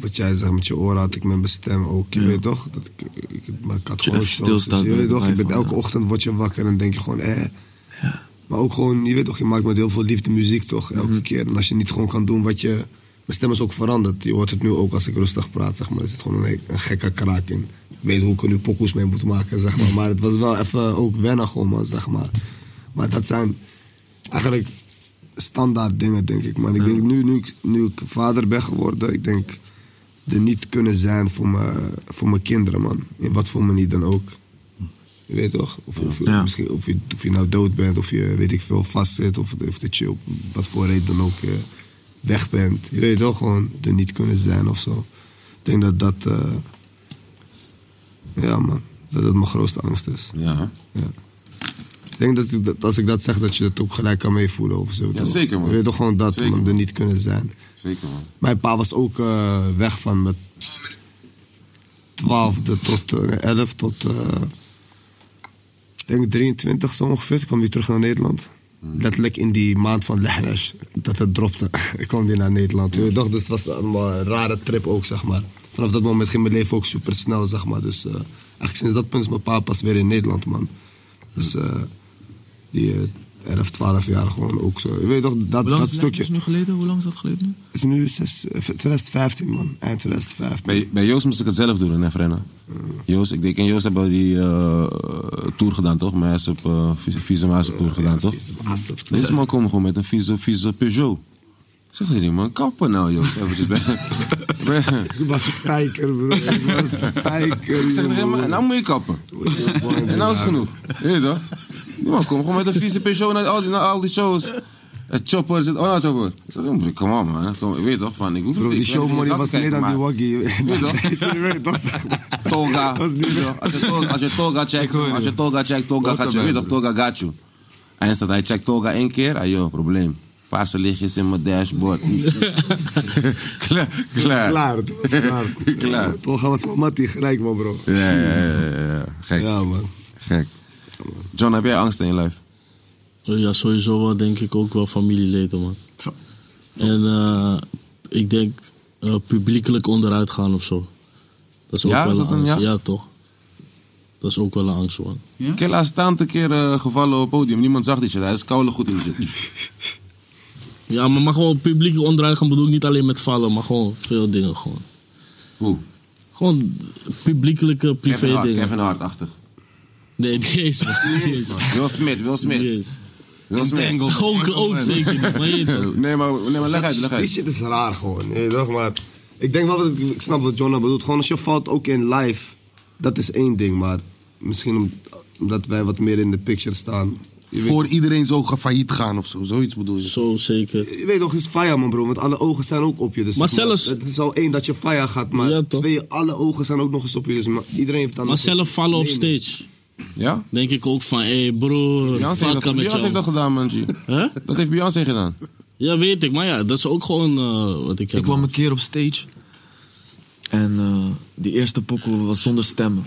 Speaker 9: Wat jij zegt met je oren had ik met mijn stem ook, je weet toch? Dat ik, ik, maar ik had
Speaker 7: je
Speaker 9: gewoon
Speaker 7: even
Speaker 9: shows, dus
Speaker 7: stilstaat
Speaker 9: je
Speaker 7: bij
Speaker 9: weet
Speaker 7: de
Speaker 9: toch? Je
Speaker 7: vijf,
Speaker 9: bent elke
Speaker 7: ja.
Speaker 9: ochtend word je wakker en denk je gewoon, eh. Maar ook gewoon, je weet toch, je maakt met heel veel liefde muziek toch? Elke
Speaker 7: Mhm.
Speaker 9: keer. En als je niet gewoon kan doen wat je... Mijn stem is ook veranderd. Je hoort het nu ook als ik rustig praat, zeg maar. Er zit gewoon een, he- een gekke kraak in. Ik weet hoe ik er nu pokoes mee moet maken, zeg
Speaker 7: Mhm.
Speaker 9: maar. Maar het was wel even ook wennen gewoon, man, zeg maar. Maar dat zijn eigenlijk standaard dingen, denk ik. Maar ik denk nu, nu, ik, nu ik vader ben geworden, ik denk er niet kunnen zijn voor, me, voor mijn kinderen, man. In wat voor manier dan ook. Je weet toch? Of, of,
Speaker 7: Ja.
Speaker 9: Misschien, of, je, of je nou dood bent, of je weet ik veel vastzit, of, of dat je op wat voor reden dan ook eh, weg bent. Je weet toch gewoon er niet kunnen zijn of zo. Ik denk dat dat. eh, ja, man. Dat dat mijn grootste angst is.
Speaker 2: Ja.
Speaker 9: Ik denk dat, ik dat als ik dat zeg, dat je dat ook gelijk kan meevoelen of zo.
Speaker 2: Ja,
Speaker 9: toch?
Speaker 2: zeker, man.
Speaker 9: Je weet toch gewoon dat,
Speaker 2: Zeker,
Speaker 9: man,
Speaker 2: man.
Speaker 9: er niet kunnen zijn.
Speaker 2: Zeker man.
Speaker 9: Mijn pa was ook eh, weg van mijn 12e tot eh, 11 tot. eh, ik denk 23 zo ongeveer. Toen kwam hij terug naar Nederland.
Speaker 7: Hmm.
Speaker 9: Letterlijk in die maand van Lehnash, dat het dropte. ik kwam weer naar Nederland. Ik dacht, dus het was allemaal een rare trip ook, zeg maar. Vanaf dat moment ging mijn leven ook super snel, zeg maar. Dus eh, eigenlijk sinds dat punt is mijn pa pas weer in Nederland, man. Dus eh, die eh, 11, 12 jaar gewoon ook zo. Je weet toch, dat,
Speaker 7: Hoe lang
Speaker 9: dat
Speaker 7: is het
Speaker 9: stukje.
Speaker 7: is nu geleden? Hoe lang is dat geleden nu?
Speaker 9: Het is nu zes- eh, 2015, man. Eind 2015.
Speaker 2: Bij, bij Joost moest ik het zelf doen en even rennen. Joost, ik, denk en Joost hebben die eh, tour gedaan, toch? Mijn ASAP, eh, vieze- vieze ASAP tour gedaan, toch? Deze man komt gewoon met een vieze, vieze Peugeot. Zeg je die man, kappen nou, Joost. Eventjes bij- bij-
Speaker 9: Ik was een spijker, bro. Ik was een spijker.
Speaker 2: Ik zeg tegen hem, nou moet je kappen. En nou is het genoeg. Je Weet je toch? Die man komt gewoon met een vieze Peugeot naar al die, naar al die shows. Het chopper zit, oh nou chopper. Ik zeg, "Broer, kom op man. Kom, ik weet toch, van, ik hoef
Speaker 9: Bro,
Speaker 2: niet.
Speaker 9: die
Speaker 2: ik wil niet in
Speaker 9: showmoney
Speaker 2: je
Speaker 9: was
Speaker 2: zak
Speaker 9: meer
Speaker 2: kijken,
Speaker 9: dan die
Speaker 2: maar-
Speaker 9: waggie.
Speaker 2: Weet je toch?
Speaker 9: Je weet toch, zeg maar.
Speaker 2: Toga.
Speaker 9: Dat is niet
Speaker 2: Als je Toga- Als je Toga checkt, als je Toga checkt, Toga gaat je weer of Toga gaat je. En staat hij checkt Toga één keer, ah joh, probleem. Paarse lichtjes in mijn dashboard. klaar, klaar.
Speaker 9: Klaar, het was klaar.
Speaker 2: Klaar.
Speaker 9: Toch was mijn mattie gelijk, man, bro.
Speaker 2: Ja, ja, ja, ja, ja. Gek.
Speaker 9: Ja, man.
Speaker 2: Gek. John, heb jij angst in je lijf?
Speaker 5: Oh Ja, sowieso wel denk ik ook wel familieleden, man. En eh, ik denk eh, publiekelijk onderuit gaan of zo. Dat is ook
Speaker 2: Ja,
Speaker 5: wel
Speaker 2: is
Speaker 5: een
Speaker 2: dat een
Speaker 5: angst.
Speaker 2: ja?
Speaker 5: ja? toch? Dat is ook wel een angst, man.
Speaker 2: Ik heb laatst een aantal keer eh, gevallen op het podium. Niemand zag dit shit. Hij is koude goed in die shit.
Speaker 5: Ja, maar, maar gewoon publiek onderuit gaan bedoel ik niet alleen met vallen, maar gewoon veel dingen gewoon.
Speaker 2: Hoe?
Speaker 5: Gewoon publiekelijke, privé
Speaker 2: Kevin Hart,
Speaker 5: dingen.
Speaker 2: Kevin Hart-achtig.
Speaker 5: Nee, niet eens, man. Niet eens.
Speaker 2: Will Smith, Will Smith. Will Smith.
Speaker 5: Entangled. Ook- ook zeker niet, maar je weet toch.
Speaker 2: Nee, maar, nee, maar leg
Speaker 9: Dat
Speaker 2: uit,
Speaker 9: is-
Speaker 2: leg
Speaker 9: Die
Speaker 2: uit.
Speaker 9: shit is raar gewoon, je weet toch? Maar ik denk wel, dat ik, ik snap wat Jonna bedoelt. Gewoon als je valt ook in live, dat is één ding. Maar misschien om- omdat wij wat meer in de picture staan. Je weet-
Speaker 23: Voor iedereen zo ga failliet gaan of zo. Zoiets bedoel je.
Speaker 5: Zo zeker.
Speaker 9: Je weet toch, het is fire man bro, want alle ogen zijn ook op je. Dus
Speaker 5: Maar
Speaker 9: zeg
Speaker 5: zelfs-
Speaker 9: Het is al één dat je fire gaat, maar twee, alle ogen zijn ook nog eens op je. Dus maar iedereen heeft dan
Speaker 5: Maar
Speaker 9: nog eens-
Speaker 5: zelf vallen op
Speaker 9: Nee,
Speaker 5: stage.
Speaker 2: Ja?
Speaker 5: Denk ik ook van, hé hey bro,
Speaker 2: Beyoncé heeft dat-
Speaker 5: met
Speaker 2: Beyoncé
Speaker 5: jou.
Speaker 2: heeft dat gedaan, man. G.
Speaker 5: Huh?
Speaker 2: Dat heeft Beyoncé gedaan.
Speaker 5: Ja, weet ik. Maar ja, dat is ook gewoon eh, wat ik heb.
Speaker 7: Ik kwam een keer op stage. En eh, die eerste pokoe was zonder stemmen.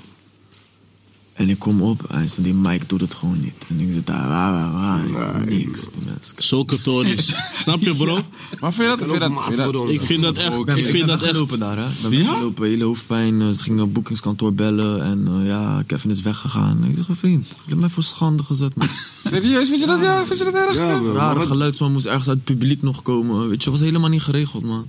Speaker 7: En ik kom op en ze- die mic doet het gewoon niet. En ik zit daar, wa, wa, wa, en niks. Die mensen.
Speaker 5: Zulke tories. Snap je, bro?
Speaker 2: Maar vind je dat? Vind je dat?
Speaker 5: Ik vind dat echt. Ik vind dat echt.
Speaker 7: Lopen daar, hè? Ik Ben weggelopen, hele hoofdpijn. eh, Ze gingen naar boekingskantoor bellen en eh, ja, Kevin is weggegaan. Ik zeg, vriend, je hebt mij voor schande gezet, man.
Speaker 2: Serieus, vind je dat, ja, vind je dat erg?
Speaker 7: Ja,
Speaker 2: bro.
Speaker 7: Rare geluidsman moest ergens uit het publiek nog komen. Weet je, was helemaal niet geregeld, man.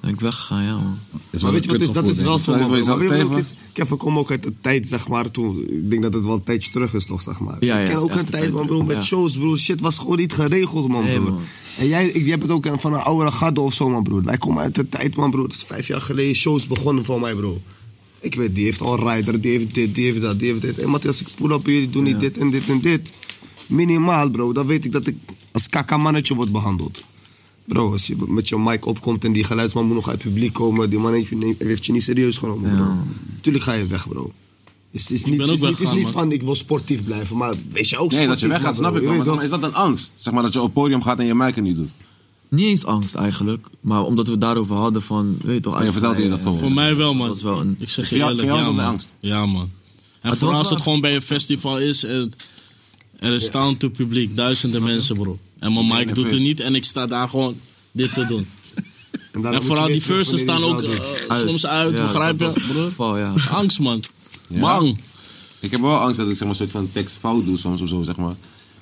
Speaker 7: Dan ik weggegaan, ja, man.
Speaker 9: Maar weet je wat is? Dat is wel zo. man. Maar weet je wat het
Speaker 7: Ja,
Speaker 9: is? Kevin kwam ook uit de tijd, zeg maar, toen. Ik denk dat het wel een tijdje terug is, toch, zeg maar.
Speaker 7: Ja, ja,
Speaker 9: ik
Speaker 7: het
Speaker 9: ken
Speaker 7: is
Speaker 9: ook
Speaker 7: echt
Speaker 9: een
Speaker 7: een
Speaker 9: tijd,
Speaker 7: tijd
Speaker 9: man,
Speaker 7: terug,
Speaker 9: bro, met
Speaker 7: ja.
Speaker 9: shows, bro. Shit was gewoon niet geregeld, man, bro. En jij, ik- je hebt het ook aan- van een oudere gade of zo, man, bro. Wij komen uit de tijd, man, bro. Het is vijf jaar geleden shows begonnen voor mij, bro. Ik weet, die heeft al rider, die heeft dit, die heeft dat, die heeft dit. En Matthias, ik pull op jullie, doen niet dit en dit en dit. Minimaal, bro. Dan weet ik dat ik als kakamannetje word behandeld. Bro, als je met je mic opkomt en die geluidsman moet nog uit het publiek komen, die man heeft je, neemt- heeft je niet serieus genomen. Bro. Tuurlijk ga je weg, bro. Het is niet,
Speaker 2: ben ook
Speaker 9: is niet, is
Speaker 2: weggegaan,
Speaker 9: niet
Speaker 2: man.
Speaker 9: van ik wil sportief blijven, maar wees je ook sportief.
Speaker 2: Nee, dat je
Speaker 9: man,
Speaker 2: weggaat, snap
Speaker 9: bro.
Speaker 2: ik
Speaker 9: Je
Speaker 2: wel. Maar
Speaker 9: weet
Speaker 2: zeg maar, is dat een angst? Zeg maar dat je op het podium gaat en je mic er niet doet.
Speaker 7: Niet eens angst eigenlijk, maar omdat we het daarover hadden van, weet je toch...
Speaker 2: Nee, vertelde Oh, je dat
Speaker 7: eh,
Speaker 2: gewoon?
Speaker 5: Voor mij wel, man.
Speaker 7: Dat was wel een...
Speaker 5: Ik zeg je eerlijk, ja, man. Ja, man. En
Speaker 7: Het was
Speaker 5: vooral als
Speaker 7: wel-
Speaker 5: het gewoon bij een festival is en er is staand toe publiek, duizenden mensen, bro. En mijn mic doet het niet en ik sta daar gewoon dit te doen.
Speaker 9: En,
Speaker 7: moet
Speaker 5: vooral
Speaker 7: je
Speaker 5: die
Speaker 7: weten wanneer
Speaker 5: verses staan
Speaker 7: je
Speaker 5: ook
Speaker 7: het wel
Speaker 5: eh,
Speaker 7: doet. Uit.
Speaker 5: soms uit,
Speaker 7: Ja,
Speaker 5: begrijp
Speaker 7: dat
Speaker 5: je,
Speaker 7: was
Speaker 5: bro?
Speaker 7: geval, ja.
Speaker 5: Angst, man.
Speaker 2: Ja.
Speaker 5: Bang.
Speaker 2: Ik heb wel angst dat ik zeg maar, een soort van tekst fout doe soms of zo, zeg maar.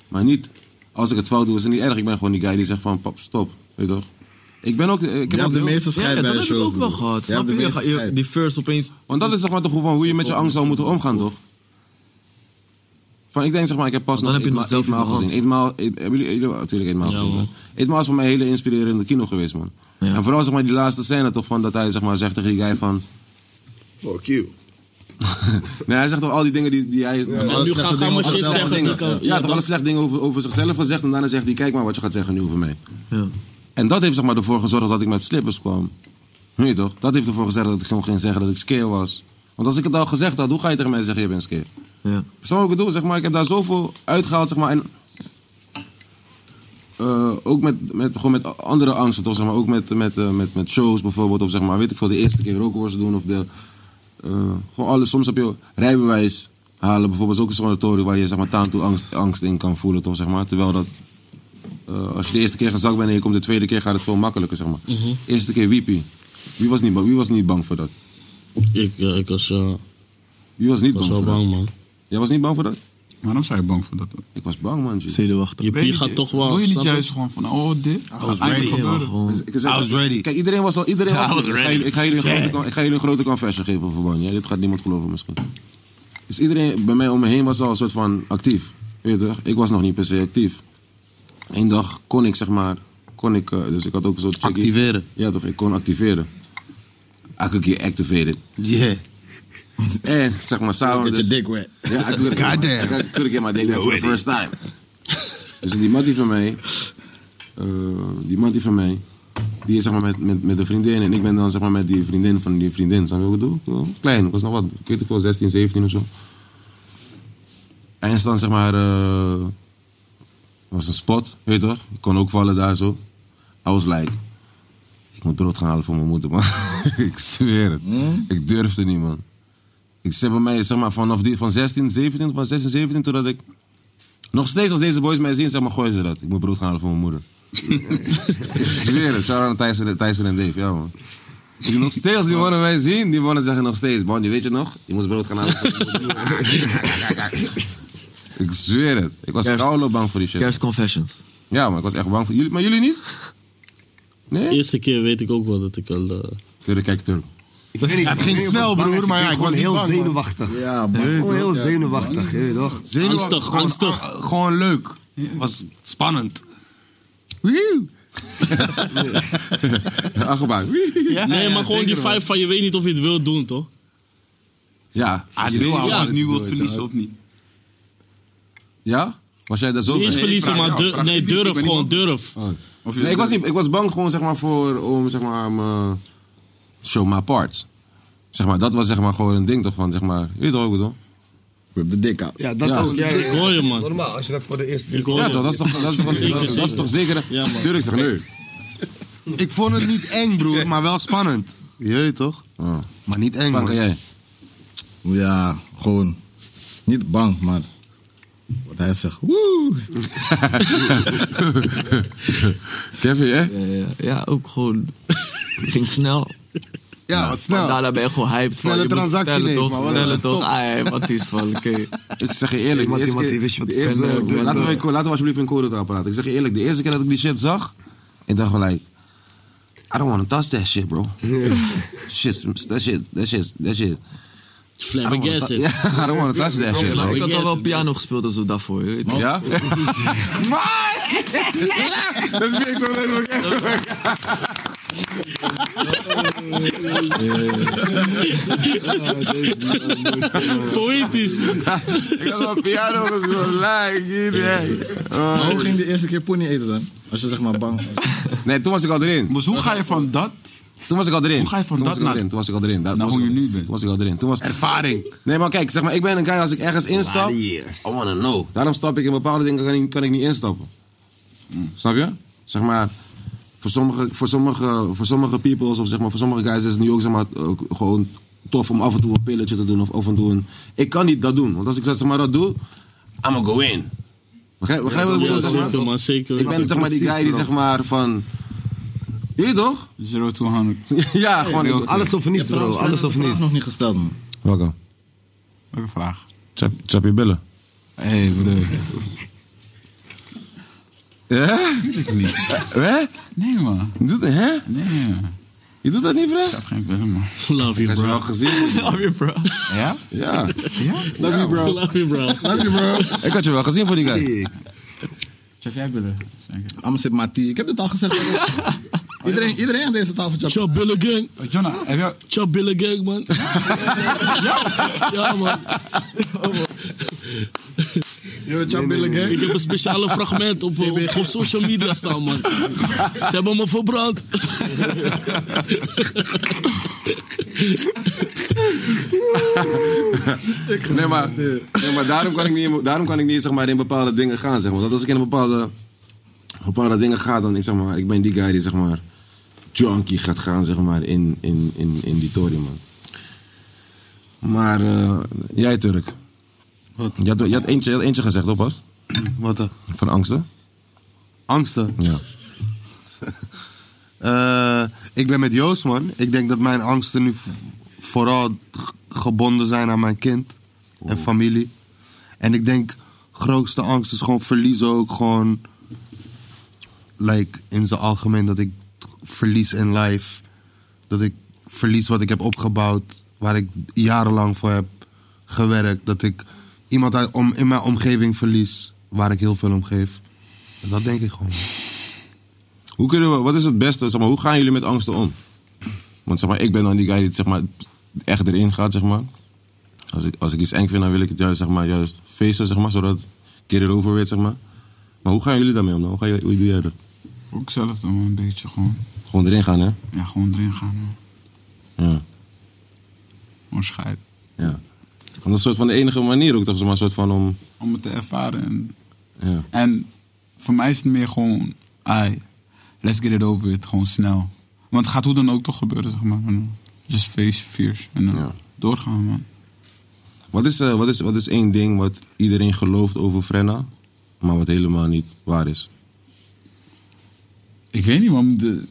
Speaker 2: Maar niet, als ik het fout doe, is het niet erg. Ik ben gewoon die guy die zegt van, pap, stop. Weet je toch? Ik ben ook... Ik heb
Speaker 24: Je
Speaker 2: ook
Speaker 24: hebt de
Speaker 2: heel-
Speaker 24: meeste
Speaker 7: Ja,
Speaker 24: scheid
Speaker 7: dat
Speaker 24: bij
Speaker 7: heb
Speaker 24: je
Speaker 7: ik
Speaker 24: shows,
Speaker 7: ook wel
Speaker 24: bro.
Speaker 7: gehad,
Speaker 24: Je hebt
Speaker 7: snap
Speaker 24: de
Speaker 7: je?
Speaker 24: meeste
Speaker 7: Ga je-
Speaker 24: scheid.
Speaker 7: Die first opeens...
Speaker 2: Want dat is zeg maar toch gewoon hoe je met je angst zou moeten omgaan, toch? Van, ik denk zeg maar, ik heb pas
Speaker 7: Want dan
Speaker 2: nog
Speaker 7: heb je het
Speaker 2: Eetmaal-
Speaker 7: nog zelf in de
Speaker 2: Eetmaal gezien.
Speaker 7: hand.
Speaker 2: Eetmaal, Eet- hebben jullie Eetmaal? Natuurlijk Eetmaal
Speaker 7: Ja,
Speaker 2: gezien.
Speaker 7: man.
Speaker 2: hè? Eetmaal is voor mij een hele inspirerende kino geweest, man. En vooral zeg maar die laatste scène toch van dat hij zeg maar zegt tegen die guy van...
Speaker 9: Fuck you.
Speaker 2: nee, hij zegt toch al die dingen die, die hij...
Speaker 5: maar nu alle slechte gaan- gaan dingen we over shit zichzelf zeggen
Speaker 2: Dingen.
Speaker 5: die kan- ja,
Speaker 2: Ja, toch
Speaker 5: dan-
Speaker 2: alle slechte dingen over, over zichzelf gezegd. En daarna zegt hij, kijk maar wat je gaat zeggen nu over mij.
Speaker 7: Ja.
Speaker 2: En dat heeft zeg maar, ervoor gezorgd dat ik met slippers kwam. Weet je toch? Dat heeft ervoor gezorgd dat ik gewoon ging zeggen dat ik skeer was. Want als ik het al gezegd had, hoe ga je tegen mij zeggen je bent skeer?
Speaker 7: Ja.
Speaker 2: Snap je wat ik bedoel? Zeg maar, ik heb daar zoveel uitgehaald. Zeg maar, en, eh, ook met, met, gewoon met andere angsten toch? Zeg maar, ook met, met, eh, met, met shows bijvoorbeeld. Of zeg maar, weet ik veel, de eerste keer rookworst doen. Of de, eh, gewoon alles. Soms heb je rijbewijs halen. Bijvoorbeeld is ook zo'n toren waar je zeg maar, taan toe angst, angst in kan voelen toch? Zeg maar. Terwijl dat... eh, als je de eerste keer gezakt bent en je komt de tweede keer, gaat het veel makkelijker, zeg maar.
Speaker 5: Mhm.
Speaker 2: Eerste keer wiepie. Wie was niet bang, wie was niet bang voor dat?
Speaker 5: Ik, ja, ik was, ja,
Speaker 2: Wie was niet
Speaker 5: was
Speaker 2: bang
Speaker 5: wel
Speaker 2: voor dat?
Speaker 5: bang, man.
Speaker 2: Jij was niet bang voor dat?
Speaker 25: Waarom zou je bang voor dat?
Speaker 2: Ik was bang, man.
Speaker 7: Zenuwachtig.
Speaker 5: Je
Speaker 25: Ben
Speaker 5: pie
Speaker 25: niet-
Speaker 5: gaat toch wel.
Speaker 25: Wil je niet
Speaker 5: snap je?
Speaker 25: juist gewoon van, oh, dit gaat eigenlijk gebeuren?
Speaker 2: Dus Ik zeg- eh, Kijk, iedereen was al. Iedereen was
Speaker 25: I was
Speaker 2: ik, ga
Speaker 25: ready.
Speaker 2: jullie, ik, ga jullie een grote,
Speaker 25: Yeah.
Speaker 2: con- ik ga jullie een grote confession geven over Bonnie. Ja, dit gaat niemand geloven misschien. Dus iedereen bij mij om me heen was al een soort van actief. Weet je toch? Ik was nog niet per se actief. Eén dag kon ik zeg maar. Kon ik, eh, dus ik had ook een soort. chickie-
Speaker 10: Activeren.
Speaker 2: Ja toch, ik kon activeren. I could get activated.
Speaker 10: Yeah.
Speaker 2: En zeg maar samen.
Speaker 10: Get your
Speaker 2: dus-
Speaker 10: dick wet.
Speaker 2: Ja, I could,
Speaker 10: Goddamn.
Speaker 2: I could, get my dick wet for the first time. Dus die mattie van mij, eh, die mattie van mij, die is zeg maar met, met, met een vriendin en ik ben dan zeg maar met die vriendin van die vriendin. Snap je wat ik bedoel? Klein, ik was nog wat, ik weet niet veel, 16, 17 of zo. En is dan zeg maar, eh, was een spot, weet je toch? Ik kon ook vallen daar zo. I was like, ik moet brood gaan halen voor mijn moeder, man. ik zweer het. Ik durfde niet, man. Ik zeg bij mij, zeg maar, vanaf die, van 16, 17, van 16, 17, totdat ik... Nog steeds als deze boys mij zien, zeg maar, gooien ze dat. Ik moet brood gaan halen voor mijn moeder. ik zweer het. Shout-out aan Thijssen en- Thijssen en Dave, ja, man. Ik nog steeds als die mannen mij zien, die mannen zeggen nog steeds... Bandy, weet je nog? Je moest brood gaan halen voor je moeder. ik zweer het. Ik was
Speaker 7: Kerst-
Speaker 2: koude bang voor die shit.
Speaker 7: Kerst Confessions.
Speaker 2: Ja, maar ik was echt bang voor jullie. Maar jullie niet? Nee?
Speaker 5: De eerste keer weet ik ook wel dat ik al. eh,
Speaker 2: Turk, kijk, Turk.
Speaker 9: Ik weet niet,
Speaker 10: Het
Speaker 9: ik
Speaker 10: ging
Speaker 9: weet niet
Speaker 10: snel,
Speaker 9: of het bang
Speaker 10: broer,
Speaker 9: is,
Speaker 10: maar ja,
Speaker 9: ben
Speaker 10: ik was
Speaker 9: gewoon heel
Speaker 10: niet bang, man.
Speaker 9: zenuwachtig.
Speaker 10: Ja,
Speaker 9: Ik ben
Speaker 10: broer,
Speaker 9: Gewoon heel
Speaker 10: ja.
Speaker 9: zenuwachtig, je weet toch?
Speaker 10: Zenuwachtig.
Speaker 5: Angstig,
Speaker 10: Gewoon,
Speaker 5: angstig.
Speaker 25: eh,
Speaker 10: ah, gewoon leuk. Was spannend.
Speaker 2: Achterbaan.
Speaker 5: nee, maar gewoon die vijf van je weet niet of je het wilt doen, toch?
Speaker 2: Ja.
Speaker 25: Ah, je weet niet of je
Speaker 5: Ja.
Speaker 25: het nu wilt verliezen of niet.
Speaker 2: Ja? Was jij daar zo
Speaker 5: Niet eens
Speaker 2: bij?
Speaker 5: verliezen, maar
Speaker 25: jou,
Speaker 5: dur-
Speaker 25: vraag
Speaker 5: nee,
Speaker 25: ik niet, ik
Speaker 5: durf,
Speaker 25: ben
Speaker 5: gewoon
Speaker 25: iemand-
Speaker 5: durf.
Speaker 25: Of je-
Speaker 2: Nee, ik was, niet, ik was bang gewoon zeg maar voor om zeg maar me- show my parts. Zeg maar, dat was zeg maar gewoon een ding toch van zeg maar, je weet toch wat ik bedoel?
Speaker 24: Rip de dik aan.
Speaker 9: Ja, dat
Speaker 2: Ja.
Speaker 9: ook. Ja, ja, ja.
Speaker 5: Hoor je, man.
Speaker 9: Normaal, als je dat voor de eerste
Speaker 5: Ik
Speaker 9: keer
Speaker 5: hoor
Speaker 2: Ja,
Speaker 5: je.
Speaker 2: toch, dat is toch, dat is toch, dat is
Speaker 5: Zeker,
Speaker 2: toch- dat is toch zeker.
Speaker 5: Ja, man.
Speaker 2: Tuurlijk zeg nee.
Speaker 10: Ik vond het niet eng, broer, maar wel spannend.
Speaker 6: Jeet toch?
Speaker 2: Ah.
Speaker 6: Maar niet eng,
Speaker 10: Bang
Speaker 6: man.
Speaker 10: jij? Ja, gewoon. Niet bang, maar. Wat hij zegt. Woe!
Speaker 2: Kevin, hè?
Speaker 15: Ja, ja, ja, ook gewoon. Het ging snel.
Speaker 13: Ja,
Speaker 15: maar
Speaker 13: wat snel.
Speaker 15: Maar daarna ben je gewoon hyped. van,
Speaker 13: Snelle
Speaker 15: je moet
Speaker 13: transactie
Speaker 15: vertellen
Speaker 13: nemen,
Speaker 15: toch,
Speaker 13: man. Wat
Speaker 15: vertellen
Speaker 13: een
Speaker 15: toch.
Speaker 13: top.
Speaker 15: Ah, ja, wat is van, oké.
Speaker 2: Ik zeg je eerlijk,
Speaker 15: Iemand-
Speaker 2: de eerste
Speaker 15: iemand
Speaker 2: keer-
Speaker 15: die wist wat
Speaker 2: de
Speaker 15: te
Speaker 2: eerste-
Speaker 15: spelen,
Speaker 2: Laten we-
Speaker 15: broer.
Speaker 2: Laten we alsjeblieft in code praten. Ik zeg je eerlijk, de eerste keer dat ik die shit zag, ik dacht gelijk, I don't want to touch that shit, bro. shit, that shit, that shit, that shit.
Speaker 15: Flabbergasted.
Speaker 2: Ja, I don't want to touch that shit. bro.
Speaker 15: Ik had al wel piano gespeeld en zo daarvoor. Je weet toch?
Speaker 2: Ja?
Speaker 1: Dat is niks zo leuk.
Speaker 5: Poëtisch.
Speaker 2: Ik had wel piano gespeeld. Like,
Speaker 10: Maar hoe ging de eerste keer pony eten dan? Als je zeg maar bang was.
Speaker 2: Nee, toen was ik al erin. Dus hoe ga je van dat... Toen was ik al erin. Hoe ga je van
Speaker 10: dat naar-
Speaker 2: Toen was ik al erin. Naar hoe je nu bent. Toen was ik al erin. Toen was... Ervaring. Nee, maar kijk, zeg maar, ik ben een guy als ik ergens instap... I wanna know. Daarom stap ik in bepaalde dingen, kan ik, kan ik niet instappen. Snap je? Zeg maar, voor sommige, voor sommige, voor sommige peoples of zeg maar, voor sommige guys is het nu ook zeg maar, eh, gewoon tof om af en toe een pilletje te doen of af en toe een... Ik kan niet dat doen, want als ik zeg maar dat doe, I'ma go in. Begrijp begrijp je wat ik
Speaker 5: Ja,
Speaker 2: bedoel? zeg maar?
Speaker 5: zeker, man, zeker.
Speaker 2: Ik ben zeg maar die guy die zeg maar van... Je weet toch?
Speaker 7: 0 to 100.
Speaker 2: Ja, gewoon...
Speaker 7: Nee, alles of niets,
Speaker 2: Ja,
Speaker 7: bro,
Speaker 2: trouwens,
Speaker 7: alles of
Speaker 2: vraag
Speaker 7: niets.
Speaker 10: Nog niet gesteld, man.
Speaker 2: Welke?
Speaker 7: Welke vraag?
Speaker 2: Chap, chap je billen.
Speaker 7: Hé, hey, broer.
Speaker 2: Hè?
Speaker 7: Tuurlijk niet.
Speaker 2: Hè?
Speaker 7: Nee, man.
Speaker 2: Doet, hè?
Speaker 7: Nee, man.
Speaker 2: Je doet dat niet, bro? Ik
Speaker 7: heb geen billen, man.
Speaker 5: Love you, bro.
Speaker 2: wel gezien.
Speaker 15: Love you, bro.
Speaker 7: Ja?
Speaker 2: Ja.
Speaker 5: Love you, bro. Love you, bro.
Speaker 10: Love you, bro.
Speaker 2: Ik had je wel gezien voor die guy.
Speaker 7: Chef, jij billen?
Speaker 10: Anders zit Mati. Ik heb het al gezegd. iedereen, iedereen aan deze tafel.
Speaker 5: Chop Billigan.
Speaker 7: Jonna, Oh, heb jij...
Speaker 5: Chop Billigan, man. ja, man.
Speaker 10: Je bent Chop Billigan?
Speaker 5: Ik heb een speciale fragment op, op, op social media staan, man. Ze hebben me verbrand.
Speaker 2: nee, maar, nee, maar daarom kan ik niet, in- daarom kan ik niet zeg maar, in bepaalde dingen gaan. Zeg maar. Want als ik in bepaalde, bepaalde dingen ga, dan ik, zeg maar, ik ben die guy die zeg maar, junkie gaat gaan zeg maar, in, in, in, in die tory, man. Maar eh, jij, Turk. Je had, je, had eentje, je had eentje gezegd, hoor, Bas.
Speaker 6: Wat dan?
Speaker 2: Van angsten.
Speaker 6: Angsten?
Speaker 2: Ja.
Speaker 6: Eh, ik ben met Joost, man. Ik denk dat mijn angsten nu v- vooral g- gebonden zijn aan mijn kind en familie. En ik denk, grootste angst is gewoon verliezen ook gewoon... Like, in zijn algemeen dat ik verlies in life. Dat ik verlies wat ik heb opgebouwd, waar ik jarenlang voor heb gewerkt. Dat ik iemand uit, om, in mijn omgeving verlies, waar ik heel veel om geef. En dat denk ik gewoon.
Speaker 2: Hoe kunnen we, wat is het beste, zeg maar, hoe gaan jullie met angsten om? Want zeg maar, ik ben dan die guy die zeg maar, echt erin gaat, zeg maar. Als ik, als ik iets eng vind, dan wil ik het juist, zeg maar, juist feesten, zeg maar, zodat ik het over weet, zeg maar. Maar hoe gaan jullie daarmee om dan? Hoe, ga je, hoe doe jij dat?
Speaker 7: Ook zelf dan wel een beetje gewoon.
Speaker 2: Gewoon erin gaan, hè?
Speaker 7: Ja, gewoon erin gaan, man.
Speaker 2: Ja.
Speaker 7: Gewoon schijt.
Speaker 2: ja. Want dat is een soort van de enige manier ook, toch? Zeg maar, een soort van om...
Speaker 7: Om het te ervaren. En,
Speaker 2: Ja.
Speaker 7: en voor mij is het meer gewoon... Ai, let's get it over it. Gewoon snel. Want het gaat hoe dan ook toch gebeuren, zeg maar. En Just face your fears. En dan doorgaan, man.
Speaker 2: Wat is, eh, wat, is, wat is één ding wat iedereen gelooft over Frenna, maar wat helemaal niet waar is?
Speaker 7: Ik weet niet, man. De,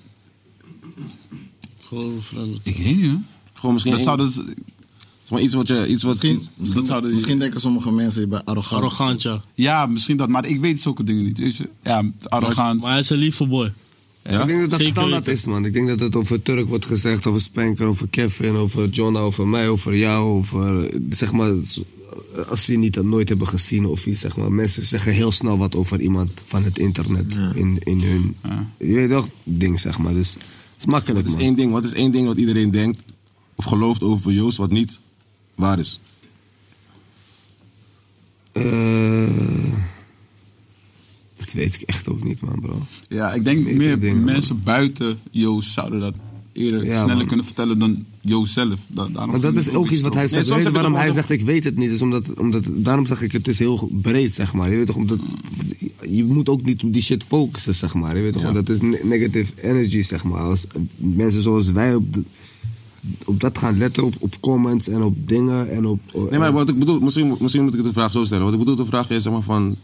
Speaker 5: Gewoon veranderd.
Speaker 7: ik weet niet, hè.
Speaker 2: Gewoon misschien...
Speaker 7: Dat
Speaker 2: één-
Speaker 7: zou dus...
Speaker 2: Zeg maar, iets wat je... Iets wat,
Speaker 10: Misschien, misschien,
Speaker 7: zouden-
Speaker 10: misschien denken sommige mensen, je bent arrogant.
Speaker 5: Arrogant, ja.
Speaker 7: Ja, misschien dat. Maar ik weet zulke dingen niet. weet je. Ja, arrogant.
Speaker 5: Maar hij is een lieve boy.
Speaker 7: Ja?
Speaker 9: Ik denk dat dat
Speaker 5: Zeker
Speaker 9: standaard
Speaker 5: weten.
Speaker 9: is, man. Ik denk dat het over Turk wordt gezegd, over Spanker, over Kevin, over John, over mij, over jou, over... eh, Zeg maar, z- als ze je niet nooit hebben gezien of iets, zeg maar. Mensen zeggen heel snel wat over iemand van het internet in, in hun... Je weet toch, ding, zeg maar. Dus het is makkelijk,
Speaker 2: Wat is,
Speaker 9: man.
Speaker 2: één ding, wat is één ding wat iedereen denkt of gelooft over Joost wat niet waar is?
Speaker 9: Eh, dat weet ik echt ook niet, man, bro.
Speaker 7: Ja, ik denk meer mensen buiten Joost zouden dat eerder
Speaker 9: Ja,
Speaker 7: sneller
Speaker 9: man.
Speaker 7: kunnen vertellen dan Joost zelf. Da- daarom
Speaker 9: Maar
Speaker 7: vind ik
Speaker 9: dat is
Speaker 7: het
Speaker 9: ook iets wat hij
Speaker 7: stroef.
Speaker 9: zegt. Weet je waarom hij zegt, ik weet het niet? Is omdat, omdat, daarom zeg ik, het is heel breed, zeg maar. Je, weet toch, omdat, je moet ook niet op die shit focussen, zeg maar. Je weet toch, want dat is ne- negative energy, zeg maar. Als mensen zoals wij op de- op dat gaan letten, op, op comments en op dingen en op...
Speaker 2: Nee, maar wat ik bedoel, misschien, misschien moet ik de vraag zo stellen. Wat ik bedoel, de vraag is zeg maar van.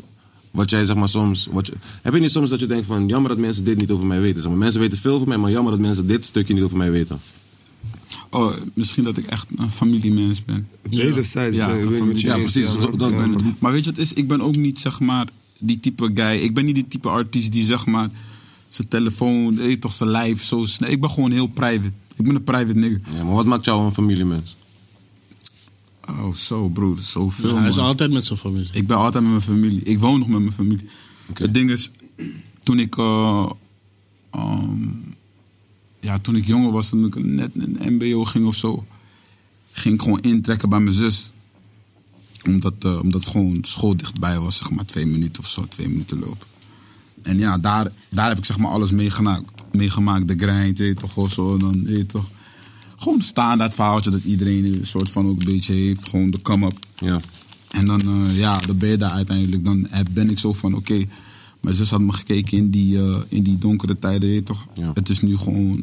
Speaker 2: Wat jij zeg maar soms. Wat je, heb je niet soms dat je denkt van. Jammer dat mensen dit niet over mij weten? Zeg maar, mensen weten veel over mij, maar jammer dat mensen dit stukje niet over mij weten.
Speaker 7: Oh, misschien dat ik echt een familiemens ben.
Speaker 9: Wederzijds,
Speaker 7: Ja,
Speaker 9: ben je-
Speaker 7: een
Speaker 9: ben je
Speaker 7: familie-
Speaker 9: met je
Speaker 7: ja,
Speaker 9: eens,
Speaker 7: precies.
Speaker 9: ja,
Speaker 7: dat- dat
Speaker 9: ja,
Speaker 7: ben ik.
Speaker 9: man.
Speaker 7: Maar weet je wat is? Ik ben ook niet, zeg maar, die type guy. Ik ben niet die type artiest die, zeg maar, zijn telefoon, weet je toch zijn lijf zo snel. Ik ben gewoon heel private. Ik ben een private nigger.
Speaker 2: Ja, maar wat maakt jou een familiemens?
Speaker 7: Oh, zo broer, zoveel.
Speaker 5: Ja, hij is
Speaker 7: man.
Speaker 5: altijd met zijn familie.
Speaker 7: Ik ben altijd met mijn familie. Ik woon nog met mijn familie. Het ding is, toen ik, eh, ehm, ja, toen ik jonger was, toen ik net in de MBO ging of zo, ging ik gewoon intrekken bij mijn zus. Omdat, eh, omdat gewoon school dichtbij was, zeg maar twee minuten of zo, twee minuten lopen. En ja, daar, daar heb ik zeg maar alles meegemaakt. meegemaakt de grind, weet je toch, of zo. Dan, weet je toch. Gewoon standaard verhaaltje dat iedereen een soort van ook een beetje heeft. Gewoon de come-up.
Speaker 2: Ja.
Speaker 7: En dan, eh, ja, dan ben je daar uiteindelijk. Dan heb- ben ik zo van, oké. mijn zus had me gekeken in die, eh, in die donkere tijden, weet je toch. Het is nu gewoon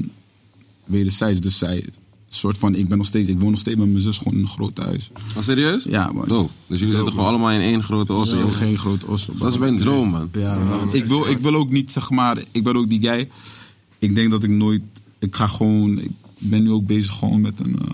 Speaker 7: wederzijds. Dus zij, soort van, ik ben nog steeds, ik woon nog steeds met mijn zus gewoon in een groot huis.
Speaker 2: Ah, serieus?
Speaker 7: Ja, man.
Speaker 2: Dope. Dus jullie zitten gewoon allemaal in één grote osso.
Speaker 7: Ja,
Speaker 2: joh.
Speaker 7: geen grote osso.
Speaker 2: Dat is mijn droom, man.
Speaker 7: Ja, want ik, wil, ik wil ook niet, zeg maar, ik ben ook die guy. Ik denk dat ik nooit, ik ga gewoon, ik ben nu ook bezig gewoon met een, eh,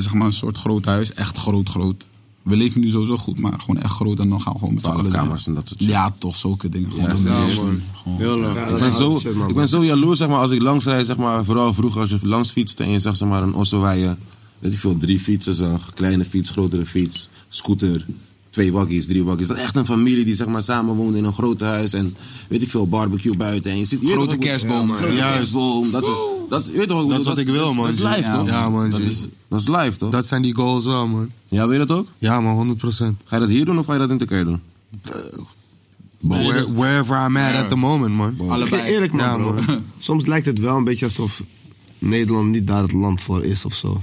Speaker 7: zeg maar, een soort groot huis. Echt groot, groot. We leven nu sowieso goed, maar gewoon echt groot. En dan gaan we gewoon met z'n
Speaker 2: Twaalf
Speaker 7: allen.
Speaker 2: kamers en dat soort shit.
Speaker 7: Ja, toch, zulke dingen. Gewoon dat is- gewoon-
Speaker 2: ik, ben zo, ik ben zo jaloers zeg maar, als ik langs rijd, zeg maar, vooral vroeger als je langs fietste en je zag zeg maar, een osso waar je weet ik veel, drie fietsen zag. Kleine fiets, grotere fiets, scooter, twee waggies, drie waggies. Dat is echt een familie die zeg maar, samen woonde in een groot huis en weet ik veel, barbecue buiten. En je ziet, je weet
Speaker 7: Grote
Speaker 2: toch ook-
Speaker 7: kerstboom.
Speaker 2: Ja, Grote
Speaker 7: Juist.
Speaker 2: kerstboom. Dat, soort- dat, is- je weet toch ook-
Speaker 6: Dat is wat ik wil,
Speaker 2: dat is-
Speaker 6: man.
Speaker 2: Dat is live,
Speaker 6: Ja,
Speaker 2: toch?
Speaker 6: Ja, man.
Speaker 2: Dat
Speaker 6: G.
Speaker 2: is, dat is live, toch?
Speaker 6: Dat zijn die goals wel, man.
Speaker 2: Ja, wil je dat ook?
Speaker 6: Ja, man, 100%.
Speaker 2: Ga je dat hier doen of ga je dat in Turkije doen?
Speaker 6: Where- wherever I'm at at the moment, man.
Speaker 9: Allebei. Eerlijk, man,
Speaker 6: Ja,
Speaker 9: bro. Soms lijkt het wel een beetje alsof Nederland niet daar het land voor is of zo.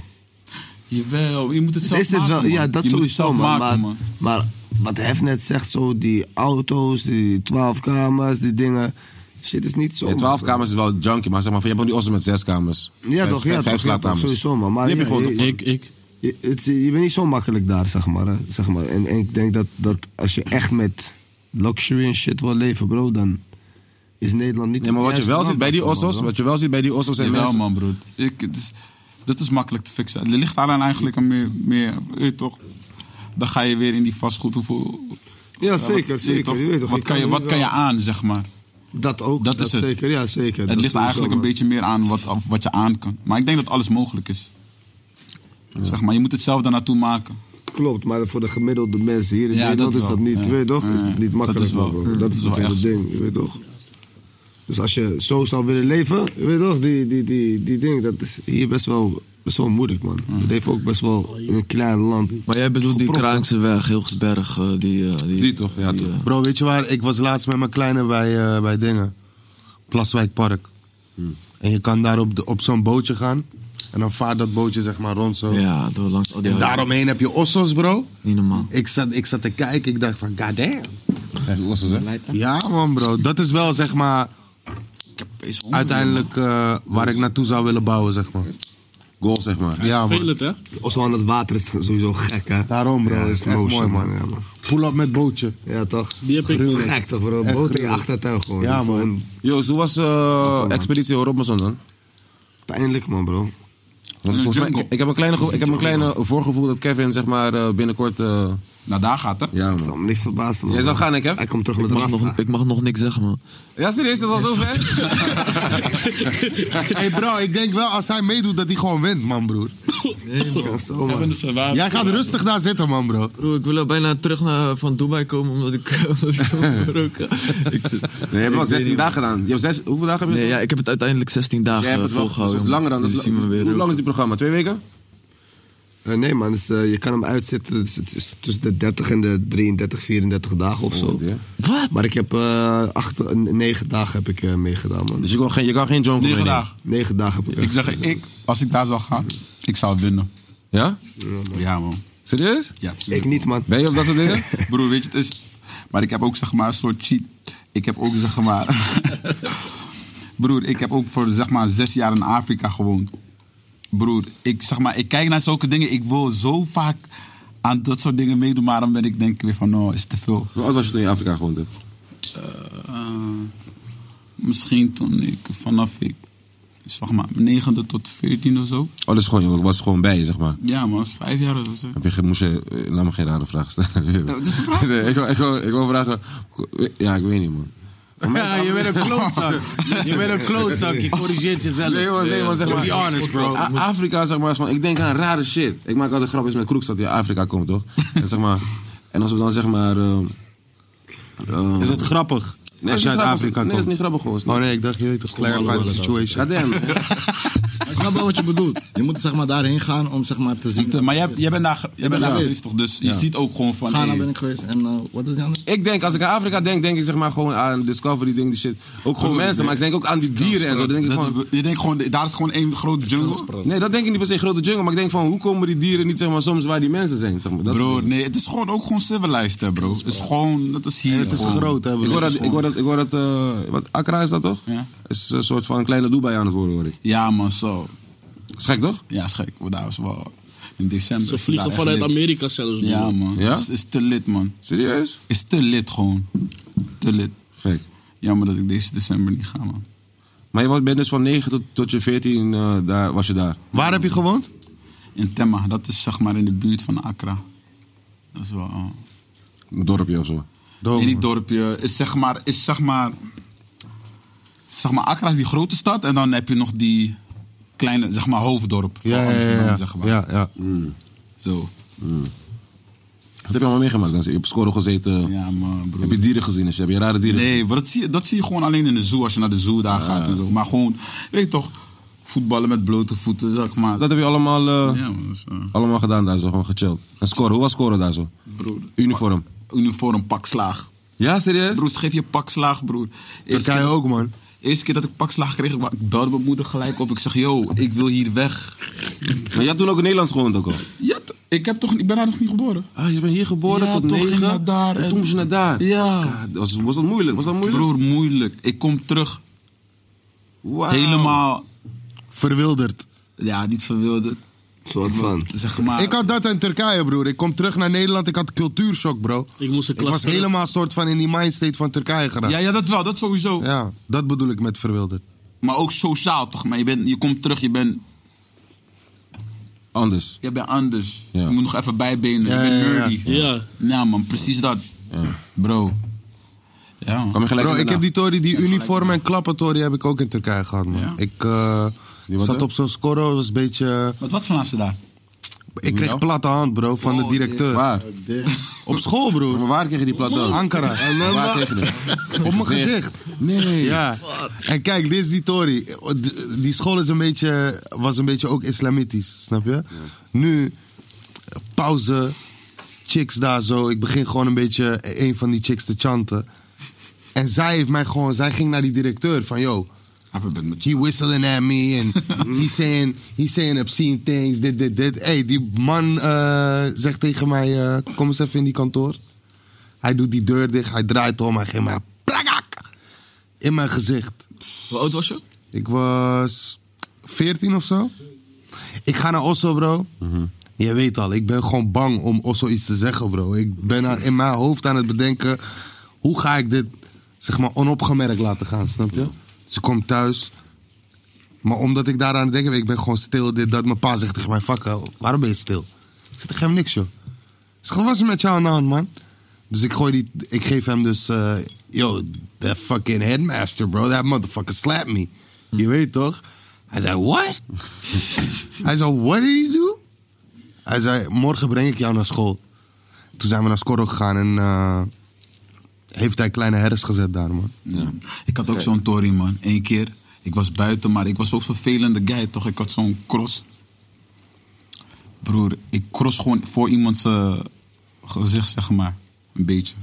Speaker 7: Jawel, je moet het zelf
Speaker 9: Is het
Speaker 7: maken,
Speaker 9: wel,
Speaker 7: man.
Speaker 9: ja, dat
Speaker 7: je moet het
Speaker 9: sowieso,
Speaker 7: zelf
Speaker 9: man.
Speaker 7: maken,
Speaker 9: maar, maar wat Hef net zegt, zo die auto's, die 12 kamers, die dingen. Shit is niet zo.
Speaker 2: Nee, 12 kamers is wel junkie, maar zeg maar, van, je hebt ook die ossen met 6 kamers.
Speaker 9: Ja,
Speaker 2: Vijf-
Speaker 9: toch, ja,
Speaker 2: vijf
Speaker 9: toch, ja, toch,
Speaker 2: slaapkamers.
Speaker 9: sowieso, man. Maar
Speaker 2: Die
Speaker 9: ja,
Speaker 2: heb je gewoon nog.
Speaker 9: je, Je, het- je bent niet zo makkelijk daar, zeg maar. Hè, zeg maar. En, en ik denk dat, dat als je echt met luxury en shit wil leven, bro, dan is Nederland niet...
Speaker 2: Nee, maar wat je wel ziet bij die ossos,
Speaker 9: ossels
Speaker 2: wat je wel ziet bij die ossos zijn
Speaker 7: Jawel,
Speaker 2: mensen...
Speaker 7: man, broer. Ik, het is, dat is makkelijk te fixen. Het ligt daaraan eigenlijk aan meer, meer weet je toch? Dan ga je weer in die vastgoed. Hoeveel,
Speaker 9: Ja, zeker,
Speaker 7: weet je
Speaker 9: zeker.
Speaker 7: toch?
Speaker 9: Je weet toch,
Speaker 7: wat
Speaker 9: je
Speaker 7: kan,
Speaker 9: kan
Speaker 7: je,
Speaker 9: nu
Speaker 7: wat kan
Speaker 9: wel-
Speaker 7: je aan, zeg maar?
Speaker 9: Dat ook,
Speaker 7: Dat,
Speaker 9: dat
Speaker 7: is het.
Speaker 9: zeker, ja, zeker.
Speaker 7: Het ligt
Speaker 9: Dat sowieso,
Speaker 7: eigenlijk een
Speaker 9: man.
Speaker 7: beetje meer aan wat, af- wat je aan kan. Maar ik denk dat alles mogelijk is. Zeg maar, je moet het zelf daar naartoe maken.
Speaker 9: Klopt, maar voor de gemiddelde mensen hier in
Speaker 7: Ja,
Speaker 9: Nederland
Speaker 7: dat
Speaker 9: is dat
Speaker 7: wel.
Speaker 9: niet,
Speaker 7: Ja.
Speaker 9: weet je toch? Is
Speaker 7: Ja,
Speaker 9: het niet
Speaker 7: dat
Speaker 9: makkelijk,
Speaker 7: is wel-
Speaker 9: bro.
Speaker 7: dat
Speaker 9: Dat
Speaker 7: is
Speaker 9: is
Speaker 7: wel
Speaker 9: het hele
Speaker 7: echt.
Speaker 9: ding, je weet toch? Dus als je zo zou willen leven, je weet toch, die, die, die, die ding, dat is hier best wel, best wel moeilijk, man. Het heeft ook best wel in een klein land.
Speaker 15: Maar jij bedoelt die
Speaker 9: Gepropt,
Speaker 15: Kraakse weg, Hilgersberg, eh, die, eh, die...
Speaker 2: Die toch, ja
Speaker 15: toch.
Speaker 6: Bro, weet je waar? Ik was laatst met mijn kleine bij, eh, bij dingen. Plaswijkpark. En je kan daar op, de- op zo'n bootje gaan. En dan vaart dat bootje zeg maar rond zo.
Speaker 15: Ja, door langs al die
Speaker 6: en
Speaker 15: huizen.
Speaker 6: daaromheen heb je ossos, bro.
Speaker 15: Niet normaal.
Speaker 6: Ik zat, ik zat te kijken, ik dacht van goddamn. Ja man bro, dat is wel zeg maar uiteindelijk eh, waar ik naartoe zou willen bouwen zeg maar.
Speaker 2: Goal zeg maar.
Speaker 6: Ja man.
Speaker 5: hè?
Speaker 9: Oslo aan het water is sowieso gek, hè?
Speaker 6: Daarom bro,
Speaker 9: Ja,
Speaker 6: dat is echt mooi man.
Speaker 9: Ja, man.
Speaker 6: Pull-up met bootje.
Speaker 9: ja toch?
Speaker 5: Die heb ik-
Speaker 9: Gruwelijk. Gek toch, bro?
Speaker 6: Echt
Speaker 9: Boot in je
Speaker 6: gruwelijk.
Speaker 9: achtertuin gewoon.
Speaker 6: Ja,
Speaker 9: Dat is
Speaker 6: man.
Speaker 9: gewoon
Speaker 2: Joost, hoe was eh Expeditie Robinson dan?
Speaker 9: Pijnlijk, man, bro.
Speaker 2: Want
Speaker 7: In de
Speaker 2: volgens mij-
Speaker 7: jungle.
Speaker 2: ik, ik heb een kleine, gevo- ik heb een kleine voorgevoel dat Kevin zeg maar, eh, binnenkort... eh,
Speaker 7: Nou, daar gaat het.
Speaker 2: ja,
Speaker 9: Dat zal
Speaker 2: man.
Speaker 9: me niks verbazen, man.
Speaker 2: Jij zou gaan, ik heb.
Speaker 9: Hij komt terug met
Speaker 15: Ik mag,
Speaker 9: Rasta.
Speaker 15: nog, ik mag nog niks zeggen, man.
Speaker 2: Ja, serieus, is dat al zover?
Speaker 6: Hey bro, ik denk wel als hij meedoet dat hij gewoon wint man broer.
Speaker 9: Ja, zo, man.
Speaker 6: Jij gaat rustig daar zitten man bro.
Speaker 15: Bro, ik wil bijna terug naar, van Dubai komen omdat ik... omdat ik wil roken. Ik zit-
Speaker 2: Nee, je hebt
Speaker 15: Ik
Speaker 2: wel
Speaker 15: weet
Speaker 2: 16
Speaker 15: niet,
Speaker 2: dagen gedaan. Je hebt zes, hoeveel dagen heb je
Speaker 15: Nee,
Speaker 2: zo?
Speaker 15: ja, ik heb het uiteindelijk 16 dagen
Speaker 2: Jij hebt het wel dat
Speaker 15: volgehouden.
Speaker 2: is langer dan...
Speaker 15: man.
Speaker 2: Dat is
Speaker 15: Jullie zien
Speaker 2: la-
Speaker 15: me weer
Speaker 2: hoe lang
Speaker 15: roken.
Speaker 2: is die programma? Twee weken?
Speaker 9: Eh, nee, man, dus, eh, je kan hem uitzitten dus het is tussen de 30 en de 33, 34 dagen of
Speaker 6: Oh,
Speaker 9: zo.
Speaker 15: Wat?
Speaker 9: Maar ik heb eh acht, negen dagen heb ik eh, meegedaan, man.
Speaker 2: Dus je kan geen, je kan geen jungle
Speaker 7: Negen
Speaker 2: meenemen?
Speaker 7: dagen.
Speaker 9: Negen dagen heb ik eh,
Speaker 7: Ik zeg,
Speaker 9: uitgezeten.
Speaker 7: ik, als ik daar zou gaan, ik zou winnen.
Speaker 2: Ja?
Speaker 7: Ja, man.
Speaker 2: Serieus?
Speaker 7: Ja, tuurlijk.
Speaker 9: Ik niet, man.
Speaker 2: Ben je op dat soort dingen?
Speaker 7: Broer, weet je, het is... Maar ik heb ook, zeg maar, een soort cheat. Ik heb ook, zeg maar... Broer, ik heb ook voor, zeg maar, zes jaar in Afrika gewoond. broer, ik, zeg maar, ik kijk naar zulke dingen. Ik wil zo vaak aan dat soort dingen meedoen. Maar dan ben ik denk ik weer van, oh, is te veel.
Speaker 2: Hoe oud was je toen je in Afrika gewoond hebt?
Speaker 7: Eh, misschien toen ik vanaf ik, zeg maar, 9e tot 14 of zo.
Speaker 2: Oh, dus gewoon, je was gewoon bij, zeg maar.
Speaker 7: Ja, man, was vijf jaar of zo.
Speaker 2: Heb je, ge- moest je, eh, laat me geen rare vraag stellen. Nee, ik, wil- ik, wil- ik wil vragen. Ja, ik weet niet, man.
Speaker 26: Ja, je bent een klootzak. Je bent een klootzak. Je corrigeert jezelf.
Speaker 2: Nee, man, nee, man, zeg
Speaker 26: To
Speaker 2: maar.
Speaker 26: Be honest, bro.
Speaker 2: A- Afrika, zeg maar, is van, ik denk aan rare shit. Ik maak altijd grapjes met Kroeks dat hij uit Afrika komt, toch? en, zeg maar, en als we dan zeg maar. is
Speaker 26: dat grappig?
Speaker 2: Nee,
Speaker 26: Als
Speaker 2: het
Speaker 26: je
Speaker 2: is
Speaker 26: uit
Speaker 2: niet grappig.
Speaker 26: Afrika
Speaker 2: Nee, dat is
Speaker 26: komt?
Speaker 2: niet grappig gewoon.
Speaker 26: Oh, nee, ik dacht, je weet toch, clarify the situation.
Speaker 2: Goddamn.
Speaker 10: Ik snap wel wat je bedoelt. Je moet zeg maar daarheen gaan om zeg maar te zien.
Speaker 7: Dus Maar jij, jij bent daar, ge- jij
Speaker 10: Ik ben
Speaker 7: bent daar
Speaker 10: geweest.
Speaker 7: geweest, toch? Dus je
Speaker 10: Ja.
Speaker 7: ziet ook gewoon van...
Speaker 10: Ghana
Speaker 7: hey,
Speaker 10: ben ik geweest en eh, wat is die andere?
Speaker 2: Ik denk, als ik aan Afrika denk, denk ik zeg maar gewoon aan Discovery, ding, die shit. Ook gewoon
Speaker 7: Broer,
Speaker 2: mensen,
Speaker 7: nee.
Speaker 2: maar ik denk ook aan die dieren en zo. Dan denk ik
Speaker 7: Dat-
Speaker 2: gewoon,
Speaker 7: je denkt gewoon, daar is gewoon één grote jungle.
Speaker 2: Nee, dat denk ik niet per se grote jungle, maar ik denk van hoe komen die dieren niet zeg maar, soms waar die mensen zijn? Zeg maar. dat
Speaker 7: Bro,
Speaker 2: soort dingen.
Speaker 7: nee, het is gewoon ook gewoon civilized, hè, bro. Het is gewoon, dat is hier. gewoon.
Speaker 2: Ik hoor
Speaker 7: Het is
Speaker 2: dat, ik
Speaker 7: gewoon-
Speaker 2: hoor dat, ik hoor dat eh, wat, Accra is dat toch?
Speaker 7: Ja.
Speaker 2: Is een soort van kleine Dubai aan het worden, hoor ik.
Speaker 7: Ja, man, zo.
Speaker 2: Is gek, toch?
Speaker 7: Ja, is gek. Want daar was wel in december.
Speaker 5: Ze
Speaker 7: is het
Speaker 5: vliegen
Speaker 7: daar echt
Speaker 5: vanuit
Speaker 7: lit.
Speaker 5: Amerika dus zelfs nu,
Speaker 7: Ja,
Speaker 5: man.
Speaker 7: man.
Speaker 5: Ja?
Speaker 7: Ja? Is, is te lit, man.
Speaker 2: Serieus?
Speaker 7: Is te lit gewoon. Te lit.
Speaker 2: Gek.
Speaker 7: Jammer dat ik deze december niet ga, man.
Speaker 2: Maar je was- bent dus van 9 tot, tot je 14 eh, daar, was je daar.
Speaker 7: Waar heb je gewoond? In Temma. Dat is zeg maar in de buurt van Accra. Dat is wel... eh,
Speaker 2: Een dorpje of zo.
Speaker 7: In die dorpje is zeg maar, is zeg maar, zeg maar, Accra is die grote stad en dan heb je nog die kleine, zeg maar, hoofddorp van
Speaker 6: Ja, ja, ja,
Speaker 7: Amsterdam,
Speaker 6: ja.
Speaker 7: zeg maar.
Speaker 6: Ja, ja.
Speaker 2: Hmm.
Speaker 7: Zo.
Speaker 2: Wat heb je allemaal meegemaakt? Dan heb je op score gezeten.
Speaker 7: Ja, man, broer.
Speaker 2: Heb je dieren gezien Ah, en shit? Heb je rare dieren
Speaker 7: Nee, maar dat zie, je, dat zie je gewoon alleen in de zoo als je naar de zoo daar gaat en zo. Maar gewoon, weet je toch, voetballen met blote voeten, zeg maar.
Speaker 2: Dat heb je allemaal, eh,
Speaker 7: Ja, man, dat is, eh,
Speaker 2: allemaal gedaan daar zo, gewoon gechilled. En scoren, hoe was scoren daar zo?
Speaker 7: broer.
Speaker 2: Uniform.
Speaker 7: Uniform, pak slaag.
Speaker 2: Ja, serieus?
Speaker 7: Broer, ze geven je pak slaag, broer.
Speaker 2: Turkije
Speaker 7: keer-
Speaker 2: ook, man.
Speaker 7: Eerste keer dat ik pak slaag kreeg, ik belde mijn moeder gelijk op. Ik zeg, yo, ik wil hier weg.
Speaker 2: Maar je had toen ook in Nederland gewoond ook al?
Speaker 7: Ja, t- ik, heb toch, ik ben daar nog niet geboren.
Speaker 2: Ah, je bent hier geboren
Speaker 7: Ja,
Speaker 2: tot
Speaker 7: toch, ging
Speaker 2: 9?
Speaker 7: naar daar
Speaker 2: en
Speaker 7: en-
Speaker 2: toen moest je naar daar.
Speaker 7: Ja.
Speaker 2: God, was, was dat moeilijk? Was dat moeilijk?
Speaker 7: Broer, moeilijk. Ik kom terug.
Speaker 2: Wauw.
Speaker 7: Helemaal.
Speaker 6: Verwilderd.
Speaker 7: Ja, niet verwilderd.
Speaker 9: Soort van.
Speaker 7: Zeg
Speaker 2: Ah.
Speaker 7: maar.
Speaker 6: Ik had dat in Turkije, broer. Ik kom terug naar Nederland. Ik had cultuurshock, bro.
Speaker 5: Ik moest een
Speaker 6: Ik was
Speaker 5: klasse-
Speaker 6: helemaal soort van in die mindstate van Turkije geraakt.
Speaker 7: Ja, ja, dat wel, dat sowieso.
Speaker 6: Ja, dat bedoel ik met verwilderd.
Speaker 7: Maar ook sociaal toch? Maar je, bent, je komt terug, je bent,
Speaker 2: Anders.
Speaker 7: je bent anders.
Speaker 2: Ja.
Speaker 7: Je moet nog even bijbenen.
Speaker 2: Ja,
Speaker 7: je bent
Speaker 2: ja, ja.
Speaker 7: nerdy.
Speaker 2: Ja.
Speaker 7: Ja, man, precies dat. Bro. Ja, man.
Speaker 6: Bro, ik
Speaker 2: nou.
Speaker 6: heb die Tory, die uniform en klappen Tory heb ik ook in Turkije gehad, man. Ik eh,
Speaker 7: wat
Speaker 6: zat
Speaker 7: dan?
Speaker 6: op zo'n scorro, was een beetje...
Speaker 7: Wat was vanaf ze daar?
Speaker 6: Ik kreeg platte hand, bro, van de directeur.
Speaker 2: Oh, Waar?
Speaker 6: Op school, bro.
Speaker 2: Maar waar kreeg je die platte hand?
Speaker 6: Ankara.
Speaker 2: Maar waar kreeg je die?
Speaker 6: Op mijn
Speaker 2: Gezicht.
Speaker 6: gezicht. Nee. Ja. En kijk, dit is die Tory. D- Die school is een beetje, was een beetje ook islamitisch, snap je? Nu, pauze, chicks daar zo. Ik begin gewoon een beetje een van die chicks te chanten. En zij heeft mij gewoon, zij ging naar die directeur van, yo. He whistling at me and he saying, he saying obscene things, dit, dit, dit. hey, die man eh, zegt tegen mij, eh, kom eens even in die kantoor. Hij doet die deur dicht, hij draait om, hij geeft mij in mijn gezicht.
Speaker 15: Hoe oud was je?
Speaker 6: Ik was 14 of zo. Ik ga naar Osso, bro. Je weet al, ik ben gewoon bang om Osso iets te zeggen, bro. Ik ben aan- in mijn hoofd aan het bedenken... hoe ga ik dit, zeg maar, onopgemerkt laten gaan, snap je? Dus ik kom thuis. Maar omdat ik daaraan denk, ik ben gewoon stil. Dit, dat mijn pa zegt tegen mij, fuck, hou, waarom ben je stil? Ik zeg, ik geef hem niks, joh. Ik zeg, wat was er met jou aan de hand, man? Dus ik gooi die, ik geef hem dus, eh, yo, that fucking headmaster, bro. That motherfucker slapped me. Je weet toch? Hij zei, what? Hij zei, what did you do? Hij zei, morgen breng ik jou naar school. Toen zijn we naar Scorro gegaan en eh, heeft hij kleine herders gezet daar, man.
Speaker 7: Ik had ook zo'n tory, man. Eén keer. Ik was buiten, maar ik was zo'n vervelende guy, toch? Ik had zo'n cross. Broer, ik cross gewoon voor iemands eh, gezicht, zeg maar. Een beetje.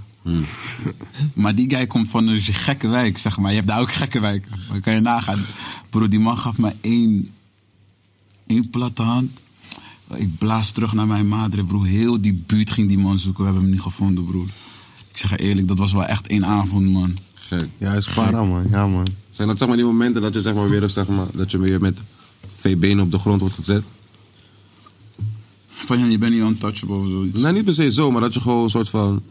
Speaker 7: maar die guy komt van een gekke wijk, zeg maar. Je hebt daar ook gekke wijken. Maar kan je nagaan. Broer, die man gaf me één, één platte hand. Ik blaas terug naar mijn madre, broer. Heel die buurt ging die man zoeken. We hebben hem niet gevonden, broer. Ik zeg je eerlijk, dat was wel echt één avond, man.
Speaker 2: Gek.
Speaker 6: Ja, is para, man. Ja, man.
Speaker 2: Zijn dat zeg maar die momenten dat je zeg maar weer, zeg maar, dat je weer met twee benen op de grond wordt gezet.
Speaker 7: Van ja, je bent niet untouchable of zoiets.
Speaker 2: Nou, niet per se zo, maar dat je gewoon een soort van.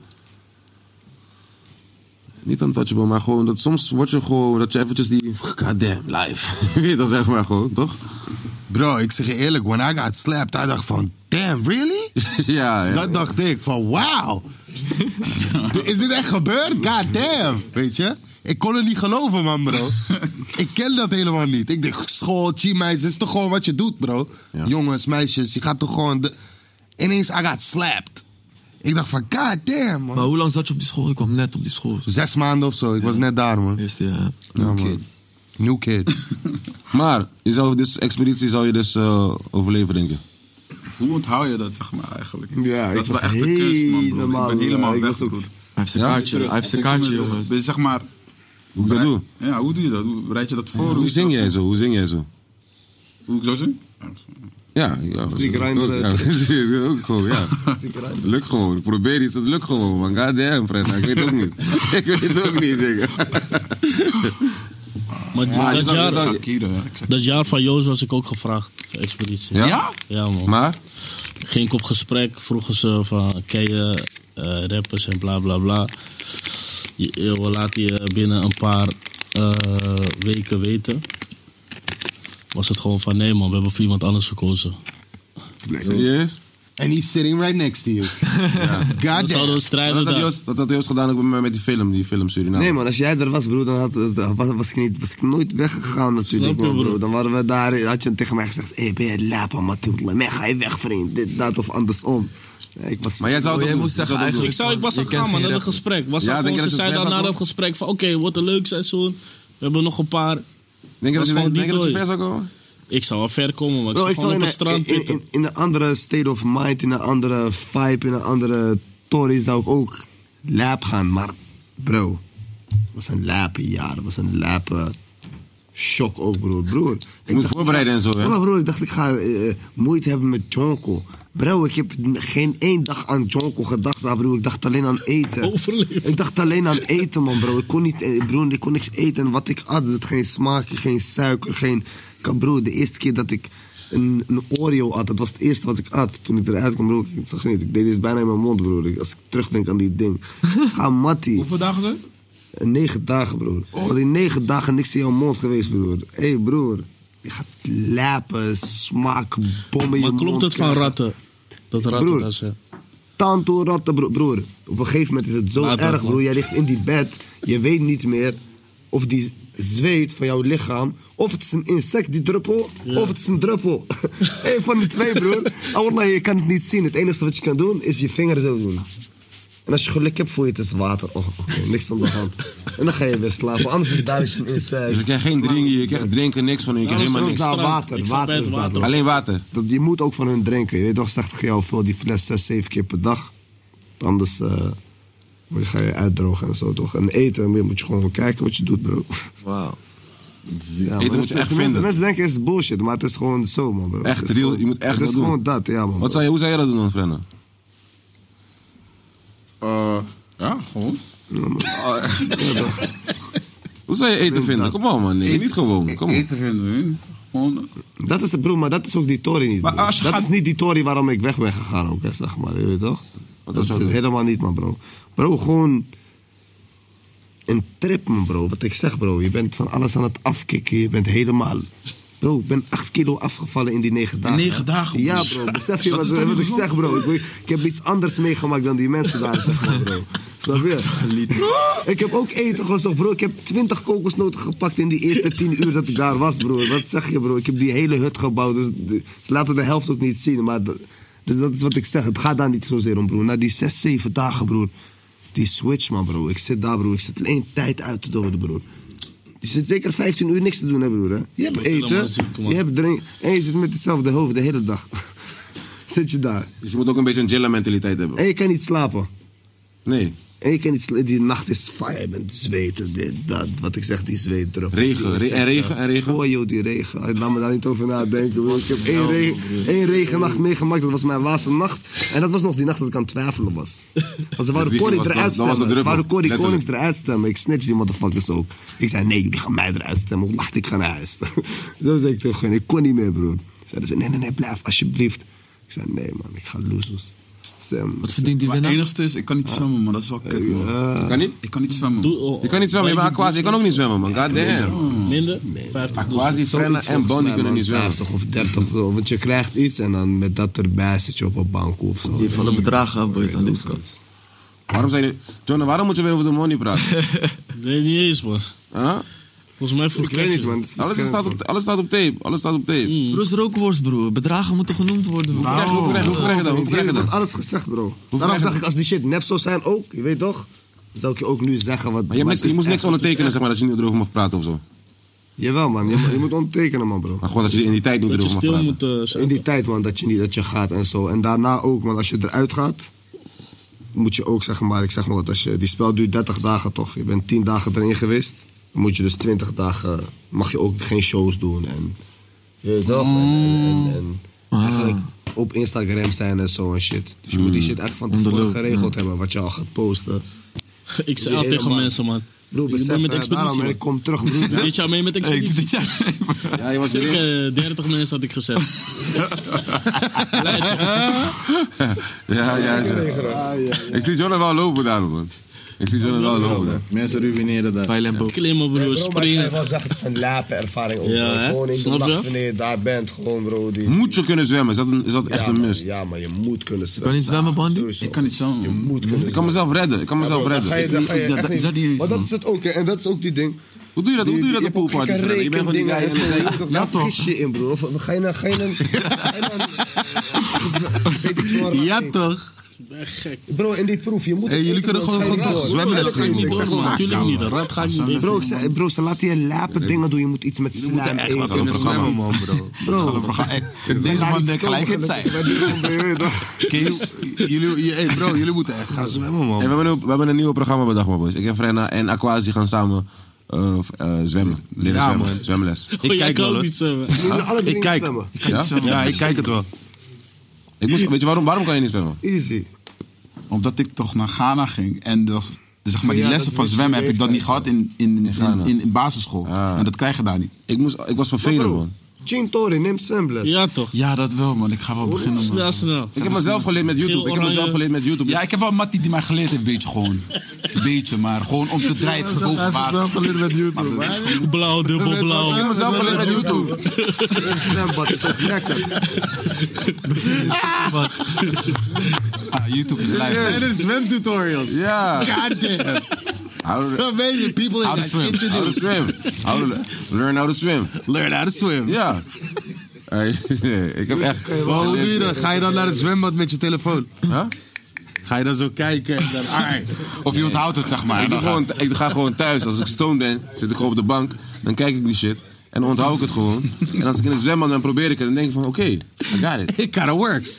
Speaker 2: Niet untouchable, maar gewoon dat soms word je gewoon. Dat je eventjes die. Goddamn, live. Weet je, dat zeg maar gewoon, toch?
Speaker 6: Bro, ik zeg je eerlijk, when I got slapped, I dacht van, damn, really?
Speaker 2: ja, ja.
Speaker 6: dat dacht ik, van wauw. Is dit echt gebeurd? God damn, weet je? Ik kon het niet geloven, man, bro. ik ken dat helemaal niet. Ik dacht, school, meisjes, is toch gewoon wat je doet, bro? Jongens, meisjes, je gaat toch gewoon... De... Ineens, I got slapped. Ik dacht van, god damn, man.
Speaker 15: Maar hoe lang zat je op die school? Ik kwam net op die school.
Speaker 6: Zes maanden of zo, ik was net daar, man.
Speaker 15: Eerste eh, jaar.
Speaker 6: Ja,
Speaker 2: Nou,
Speaker 6: man. New kid.
Speaker 2: maar, je zou, dus expeditie zou je dus eh, overleven, denk je?
Speaker 7: Hoe onthoud je dat, zeg maar, eigenlijk?
Speaker 2: Ja,
Speaker 7: dat
Speaker 2: ik
Speaker 7: is
Speaker 2: was
Speaker 7: wel echt de kunst, man, bro. Ik ben
Speaker 2: helemaal,
Speaker 7: helemaal
Speaker 2: eh, ik
Speaker 7: weg,
Speaker 2: was ook-
Speaker 7: broer. Hij
Speaker 15: heeft een kaartje, hij heeft een kaartje, jongens.
Speaker 7: Dus zeg maar...
Speaker 2: Hoe ik dat doe?
Speaker 7: Ja, hoe doe je dat? Hoe rijd je dat voor?
Speaker 2: Hoe zing jij zo? Hoe zing jij zo?
Speaker 7: Hoe ik zo zing?
Speaker 2: Ja, ja.
Speaker 7: Stick
Speaker 2: zo-
Speaker 7: rhymes,
Speaker 2: ook,
Speaker 7: eh,
Speaker 2: ja, precies, ook gewoon, ja. Lukt gewoon. Ik Probeer iets, het lukt gewoon, man. God damn, Fred. Ik weet het ook niet. ik weet het ook niet, denk ik.
Speaker 5: Maar
Speaker 2: Ja, je
Speaker 5: dat,
Speaker 2: zou- je
Speaker 5: jaar,
Speaker 2: zou-
Speaker 5: dat jaar van Joost was ik ook gevraagd voor expeditie.
Speaker 2: Ja? Ja?
Speaker 5: Ja, man.
Speaker 2: Maar?
Speaker 5: Ging ik op gesprek, vroegen ze van, ken je eh, rappers en bla bla bla. Je, je wil- laat je binnen een paar eh, weken weten. Was het gewoon van, nee man, we hebben voor iemand anders gekozen.
Speaker 2: Serieus?
Speaker 6: And he's sitting right next to you. God damn.
Speaker 5: strijden
Speaker 2: dat, had
Speaker 6: dan.
Speaker 2: Joost, dat had Joost gedaan ook met mij met die film, die film Nou, Suriname.
Speaker 9: Nee man, als jij er was broer, dan had, het- was, was ik niet, was ik nooit weggegaan natuurlijk
Speaker 5: Snap je,
Speaker 9: man, broer.
Speaker 5: broer?
Speaker 9: Dan waren we daar, had je tegen mij gezegd, hey, ben je lapa matutla, mij ga je weg vriend, dit, dat of andersom. Ja, ik was,
Speaker 2: Maar jij zou het
Speaker 9: Oh,
Speaker 2: ook doen.
Speaker 9: moest
Speaker 2: Jij zou het
Speaker 9: zeggen
Speaker 2: ook
Speaker 5: Ik,
Speaker 9: eigenlijk
Speaker 5: zou, ik was
Speaker 9: van,
Speaker 5: al
Speaker 9: je kent
Speaker 5: gaan, man,
Speaker 9: geen
Speaker 5: naar dat
Speaker 9: rappers.
Speaker 5: gesprek. Was
Speaker 9: Ja,
Speaker 5: al
Speaker 9: denk
Speaker 5: gewoon, ze
Speaker 9: je dat je
Speaker 5: zei
Speaker 9: vers
Speaker 5: dan
Speaker 9: had
Speaker 5: na dat
Speaker 9: nog?
Speaker 5: gesprek van, oké, wat een leuk seizoen. We hebben nog een paar.
Speaker 2: Denk
Speaker 9: dat je-
Speaker 5: gewoon
Speaker 9: denk je
Speaker 5: die
Speaker 9: dat je
Speaker 5: tooi.
Speaker 9: ver zou
Speaker 5: Ik zou wel ver komen, maar ik
Speaker 9: Bro,
Speaker 5: zou
Speaker 9: ik zal
Speaker 5: gewoon op
Speaker 9: in,
Speaker 5: het
Speaker 9: een-
Speaker 5: strand
Speaker 9: in,
Speaker 5: zitten.
Speaker 9: in, in een andere state of mind, in een andere vibe, in een andere tory zou ik ook lap gaan. Maar bro, het was een lape jaar, het was een lape shock ook broer. broer ik
Speaker 2: moet
Speaker 9: dacht-
Speaker 2: voorbereiden en zo, hè?
Speaker 9: Ja, maar Oh, broer, ik dacht ik ga eh, eh, moeite hebben met Jonko. Bro, ik heb geen één dag aan Jonko gedacht, maar broer. Ik dacht alleen aan eten. Ik dacht alleen aan eten, man, bro. Ik kon, niet, eh, broer, ik kon niks eten. En wat ik at, zat geen smaakje, geen suiker, geen... Ik- Broer, de eerste keer dat ik een, een Oreo at, dat was het eerste wat ik at. Toen ik eruit kwam, broer, ik zag niet. Ik deed dit bijna in mijn mond, broer. Ik- Als ik terugdenk aan die ding. Ga mattie. Hoeveel dagen zijn Negen dagen, broer.
Speaker 5: Oh.
Speaker 9: Was in negen dagen niks in jouw mond geweest, broer. Hé, hey, broer. Je gaat lappen, smaak, bommen in je
Speaker 5: Maar
Speaker 9: mond
Speaker 5: klopt het van
Speaker 9: krijgen.
Speaker 5: ratten? Dat ratten
Speaker 9: Broer.
Speaker 5: dat ze...
Speaker 9: Tanto ratten, bro- broer. Op een gegeven moment is het zo
Speaker 5: Laat dat,
Speaker 9: erg,
Speaker 5: man.
Speaker 9: broer. Jij ligt in die bed. Je weet niet meer of die zweet van jouw lichaam... of het is een insect, die druppel,
Speaker 5: Ja.
Speaker 9: of het is een druppel. Eén van de twee, broer. Allah, je kan het niet zien. Het enige wat je kan doen, is je vinger zo doen. En als je geluk hebt, voel je het is water. Oh, oké, niks aan de hand. En dan ga je weer slapen. Anders is daar eens een insect.
Speaker 2: Dus je krijgt geen drinken, je krijgt drinken niks van, je krijgt helemaal
Speaker 9: Dat is
Speaker 2: niks.
Speaker 9: daar water. Water is daar.
Speaker 2: Alleen water.
Speaker 9: Dat, je moet ook van hun drinken. Je weet toch, zegt jou veel die fles 6, 7 keer per dag. Anders eh, word je- ga je uitdrogen en zo toch. En eten maar je moet je gewoon kijken wat je doet, bro.
Speaker 15: Wauw.
Speaker 9: Ja,
Speaker 2: Eten
Speaker 9: maar
Speaker 2: moet
Speaker 9: dat
Speaker 2: je
Speaker 9: is-
Speaker 2: echt
Speaker 9: mensen,
Speaker 2: vinden.
Speaker 9: mensen denken het is bullshit, maar het is gewoon zo, man, bro.
Speaker 2: Echt
Speaker 9: Het is
Speaker 2: real,
Speaker 9: gewoon-
Speaker 2: je moet echt
Speaker 9: Het
Speaker 2: dat
Speaker 9: is
Speaker 2: doen.
Speaker 9: gewoon dat, ja, man.
Speaker 2: Wat zou je, hoe zou jij dat doen, Frenna?
Speaker 7: Eh, ja, gewoon.
Speaker 2: Hoe zou je eten vinden? Kom op, man. Nee, niet gewoon. Kom op.
Speaker 7: Eten vinden, hè? Gewoon...
Speaker 9: Dat is de broer, maar dat is ook die Tory niet. broer.
Speaker 7: als je
Speaker 9: dat
Speaker 7: gaat-
Speaker 9: is niet die Tory waarom ik weg ben gegaan ook, hè, zeg maar. Je weet toch?
Speaker 2: Wat zou
Speaker 9: dat is
Speaker 2: je
Speaker 9: het
Speaker 2: doen?
Speaker 9: helemaal niet, man, bro. Bro, gewoon een trip, man, bro. Wat ik zeg, bro. Je bent van alles aan het afkicken. Je bent helemaal... Bro, ik ben 8 kilo afgevallen in die negen dagen.
Speaker 7: negen dagen,
Speaker 9: Ja,
Speaker 7: broer.
Speaker 9: bro. Besef je
Speaker 7: Dat
Speaker 9: wat,
Speaker 7: is toch
Speaker 9: wat
Speaker 7: niet
Speaker 9: ik
Speaker 7: gezond,
Speaker 9: zeg, bro? Ik, weet- ik heb iets anders meegemaakt dan die mensen daar, zeg maar, bro. Snap je? Ik heb ook eten gezocht, bro. Ik heb 20 kokosnoten gepakt in die eerste 10 uur dat ik daar was, bro. Wat zeg je, bro? Ik heb die hele hut gebouwd. Dus de- ze laten de helft ook niet zien. Maar de- dus dat is wat ik zeg. Het gaat daar niet zozeer om, broer. Na die 6, 7 dagen, broer. Die switch, man, bro. Ik zit daar, broer. Ik zit alleen tijd uit te doden, broer. Je zit zeker 15 uur niks te doen, hè, broer. Hè? Je hebt
Speaker 5: word helemaal
Speaker 9: eten,
Speaker 5: ziek, man.
Speaker 9: je hebt drinken. En je zit met hetzelfde hoofd de hele dag. zit je daar.
Speaker 2: Dus je moet ook een beetje een jilla mentaliteit hebben.
Speaker 9: En je kan niet slapen.
Speaker 2: Nee.
Speaker 9: En je kan niet sla- die nacht is fire, je bent zweten, dit, dat. Wat ik zeg, die zweetdruppels.
Speaker 2: Regen,
Speaker 9: die
Speaker 2: re- en
Speaker 9: insecten.
Speaker 2: regen, en regen? Nou,
Speaker 9: Oh joh, die regen. Laat me daar niet over nadenken. broer. Ik heb één, regen,
Speaker 2: eh,
Speaker 9: één regennacht meegemaakt, dat was mijn waanse nacht. En dat was nog die nacht dat ik aan het twijfelen was. Want ze
Speaker 2: Dus
Speaker 9: wouden
Speaker 2: die
Speaker 9: Corrie
Speaker 2: was- dat-
Speaker 9: eruit
Speaker 2: dat was de
Speaker 9: stemmen. Ze
Speaker 2: druppel,
Speaker 9: wouden Corrie
Speaker 2: letterlijk.
Speaker 9: Konings eruit stemmen. Ik snitch die motherfuckers ook. Ik zei, nee, jullie gaan mij eruit stemmen. Hoe laat ik ga naar huis. Zo zei ik tegen hen. Ik kon niet meer, broer. Zeiden ze, nee, nee, nee, blijf alsjeblieft. Ik zei, nee man, ik ga losers stemmen. Wat verdient
Speaker 7: Maar eh, het enigste is, ik kan niet zwemmen, man. Dat is wel kut, man.
Speaker 2: Kan niet?
Speaker 7: Ik kan niet zwemmen.
Speaker 2: Je kan niet zwemmen, je bent aquasi. Ik kan ook niet zwemmen, man. God damn.
Speaker 5: Minder?
Speaker 2: Aquasi, Frenna en Bonnie kunnen niet zwemmen.
Speaker 9: 50 of 30 of zo, want je krijgt iets en dan met dat erbij zit je op een bank of zo.
Speaker 2: Die vallen bedragen
Speaker 9: aan, boys, aan
Speaker 2: deze kant. Waarom zijn jullie... John, waarom moet je weer over de money praten?
Speaker 5: Nee, niet eens, man.
Speaker 2: Huh?
Speaker 5: Volgens mij vroeg
Speaker 2: weet niet,
Speaker 5: man.
Speaker 2: Alles staat, op, alles staat op tape. Alles staat op tape.
Speaker 15: Bro, is rookworst, bro. Bedragen moeten genoemd worden.
Speaker 2: Hoeveel krijg je-
Speaker 7: Nou,
Speaker 2: hoeveel krijg je- hoeveel krijg je dan? Hoeveel krijg je
Speaker 9: Ik
Speaker 2: dan?
Speaker 9: heb alles gezegd, bro. Daarom zeg ik, als die shit nep zou zijn ook, je weet toch? Dan zou ik je ook nu zeggen wat...
Speaker 2: Maar je, hebt niks,
Speaker 9: wat
Speaker 2: je
Speaker 9: is
Speaker 2: moest
Speaker 9: echt,
Speaker 2: niks
Speaker 9: wat is
Speaker 2: ondertekenen,
Speaker 9: echt.
Speaker 2: zeg maar, dat je niet erover mag praten of zo.
Speaker 9: Jawel, man. Je, je moet ondertekenen, man, bro.
Speaker 2: Maar gewoon dat je in die tijd niet Dat je erover mag stil
Speaker 9: in die tijd, man, dat je niet dat je gaat en zo. En daarna ook, man, als je eruit gaat, moet je ook, zeg maar, ik zeg maar wat, als je, die spel duurt 30 dagen toch? Je bent 10 dagen erin geweest. Dan moet je dus 20 dagen, mag je ook geen shows doen en... Je weet toch? En, en, en, en
Speaker 5: Mm.
Speaker 9: eigenlijk op Instagram zijn en zo en shit. Dus je moet die shit echt van tevoren
Speaker 5: Mm. Onderloop,
Speaker 9: geregeld hebben, wat je al gaat posten.
Speaker 5: Ik zei
Speaker 9: Die
Speaker 5: altijd tegen
Speaker 9: helemaal-
Speaker 5: mensen, man.
Speaker 9: Broer,
Speaker 5: Ik
Speaker 9: besef,
Speaker 5: ben met
Speaker 9: eh,
Speaker 5: expeditie,
Speaker 9: daarom,
Speaker 5: man.
Speaker 9: ik kom terug, broer.
Speaker 5: Ja? Dit jaar mee met expeditie.
Speaker 2: ja, je was
Speaker 5: Zeker eh, 30 mensen had ik gezegd.
Speaker 2: Ja, ja, ja. Ik zie John wel lopen daar, man. Ik zie John wel lopen daar.
Speaker 10: Mensen ruïneren dat.
Speaker 5: Klimmen, broer,
Speaker 9: Bro, maar ik ga je wel zeggen, het is een lijpe ervaring ook.
Speaker 2: Ja,
Speaker 9: bro.
Speaker 2: hè?
Speaker 9: gewoon in de
Speaker 2: Snap je?
Speaker 9: nacht wanneer je daar bent, gewoon bro. Die...
Speaker 2: Moet je kunnen zwemmen? Is dat, een, is dat echt
Speaker 9: Ja,
Speaker 2: een
Speaker 9: man,
Speaker 2: must?
Speaker 9: Ja, maar je moet kunnen zwemmen.
Speaker 2: kan niet zwemmen,
Speaker 9: Bandy? Ik
Speaker 7: kan niet zwemmen. Je
Speaker 9: moet kunnen
Speaker 2: Ik kan mezelf redden. Ik kan mezelf
Speaker 9: Ja, bro, dan
Speaker 2: redden.
Speaker 9: ga je- dan ga je
Speaker 2: Ik- ik-
Speaker 9: echt
Speaker 2: dat-
Speaker 9: niet-
Speaker 2: dat niet eens,
Speaker 9: Maar dat
Speaker 2: man.
Speaker 9: is het ook, hè, en dat is ook die ding.
Speaker 2: Hoe doe je dat? Hoe doe je dat
Speaker 9: die-
Speaker 2: op
Speaker 9: die- je
Speaker 2: poolparties,
Speaker 9: hebt ook
Speaker 2: vrienden? Je bent gewoon die
Speaker 9: rekendingen
Speaker 2: guy
Speaker 9: en
Speaker 2: en dan zeg
Speaker 9: zo,
Speaker 2: je-
Speaker 9: je weet toch, Daar vergis je in, bro. Of Ga je naar... Ga je naar ja, toch? Bro, in die proef, je moet...
Speaker 10: Hey,
Speaker 9: het
Speaker 10: jullie
Speaker 9: eten,
Speaker 10: kunnen
Speaker 9: bro,
Speaker 10: gewoon
Speaker 9: ga je
Speaker 10: gewoon
Speaker 9: door.
Speaker 10: zwemmen
Speaker 9: Dat
Speaker 10: les
Speaker 9: ga je
Speaker 10: nemen,
Speaker 9: niet
Speaker 10: ik zeg
Speaker 9: doen.
Speaker 10: maar. Tuurlijk niet, dat
Speaker 5: rat ga ik
Speaker 10: niet doen.
Speaker 9: Bro, ik zei- bro, ze laten je lape dingen doen. Je moet iets met
Speaker 10: moeten
Speaker 9: slijm
Speaker 10: echt
Speaker 9: eten.
Speaker 10: wat aan het
Speaker 9: en
Speaker 10: programma.
Speaker 9: zwemmen, man, bro.
Speaker 10: Zal een programma- Hey,
Speaker 7: Nou,
Speaker 10: Deze man denkt gelijk het zijn. Kees, jullie, hey bro, jullie moeten echt gaan zwemmen,
Speaker 2: Hey,
Speaker 10: man.
Speaker 2: we, hebben een, we hebben een nieuw programma bedacht, man, boys. Ik en Frenna en Aquasi gaan samen eh, f- eh, zwemmen. Leren
Speaker 10: Ja,
Speaker 2: zwemmen.
Speaker 10: man.
Speaker 2: Zwemles.
Speaker 10: Ik Oh, jij kijk kan wel, ook hoor. niet zwemmen. Jullie willen alle drie
Speaker 2: Ik kijk.
Speaker 10: zwemmen. Ik kan
Speaker 2: Ja?
Speaker 10: niet zwemmen.
Speaker 2: ja, ik kijk het wel. Ik moest, weet je waarom, waarom kan je niet zwemmen?
Speaker 9: Easy.
Speaker 7: Omdat ik toch naar Ghana ging en dus, zeg maar,
Speaker 2: Ja,
Speaker 7: die
Speaker 2: dat
Speaker 7: lessen van
Speaker 2: moet je
Speaker 7: zwemmen heb ik dat niet gehad in, in, in,
Speaker 2: Ghana.
Speaker 7: in, in basisschool. En dat krijg je daar niet.
Speaker 2: Ik, moest, ik was vervelend, man.
Speaker 9: Chintori, neem zwemles.
Speaker 7: Ja, toch? Ja, dat wel, man. Ik ga wel beginnen, man.
Speaker 5: Snel, snel.
Speaker 2: Ik heb mezelf geleerd met YouTube. Ik heb mezelf geleerd met YouTube.
Speaker 7: Ja, ik heb wel een mattie die mij geleerd heeft, beetje gewoon. Beetje, maar gewoon om te drijven boven water.
Speaker 10: geleerd met YouTube,
Speaker 5: Blauw, dubbel blauw.
Speaker 10: Ik heb mezelf geleerd met
Speaker 2: YouTube.
Speaker 9: Zwembad is ook lekker.
Speaker 7: Ah, YouTube is
Speaker 10: En
Speaker 7: live.
Speaker 10: er zwemtutorials.
Speaker 2: Ja.
Speaker 10: Goddamn. So amazing. People
Speaker 2: How
Speaker 10: have
Speaker 2: to
Speaker 10: that
Speaker 2: swim.
Speaker 10: shit to
Speaker 2: How to
Speaker 10: do.
Speaker 2: swim. How to learn how to swim.
Speaker 10: Learn how to swim.
Speaker 2: Ja. Hey, ik heb echt...
Speaker 10: Maar hoe doe je dat? Ga je dan naar het zwembad met je telefoon?
Speaker 2: Huh?
Speaker 10: Ga je dan zo kijken en dan... Alright.
Speaker 7: Of je onthoudt het, zeg maar.
Speaker 2: Ik,
Speaker 7: en
Speaker 2: doe
Speaker 7: dan ga-
Speaker 2: gewoon, ik ga gewoon thuis. Als ik stoned ben, zit ik gewoon op de bank. Dan kijk ik die shit. En dan onthoud ik het gewoon. En als ik in het zwembad ben, probeer ik het. Dan denk ik van, oké, I got it.
Speaker 10: It kinda works.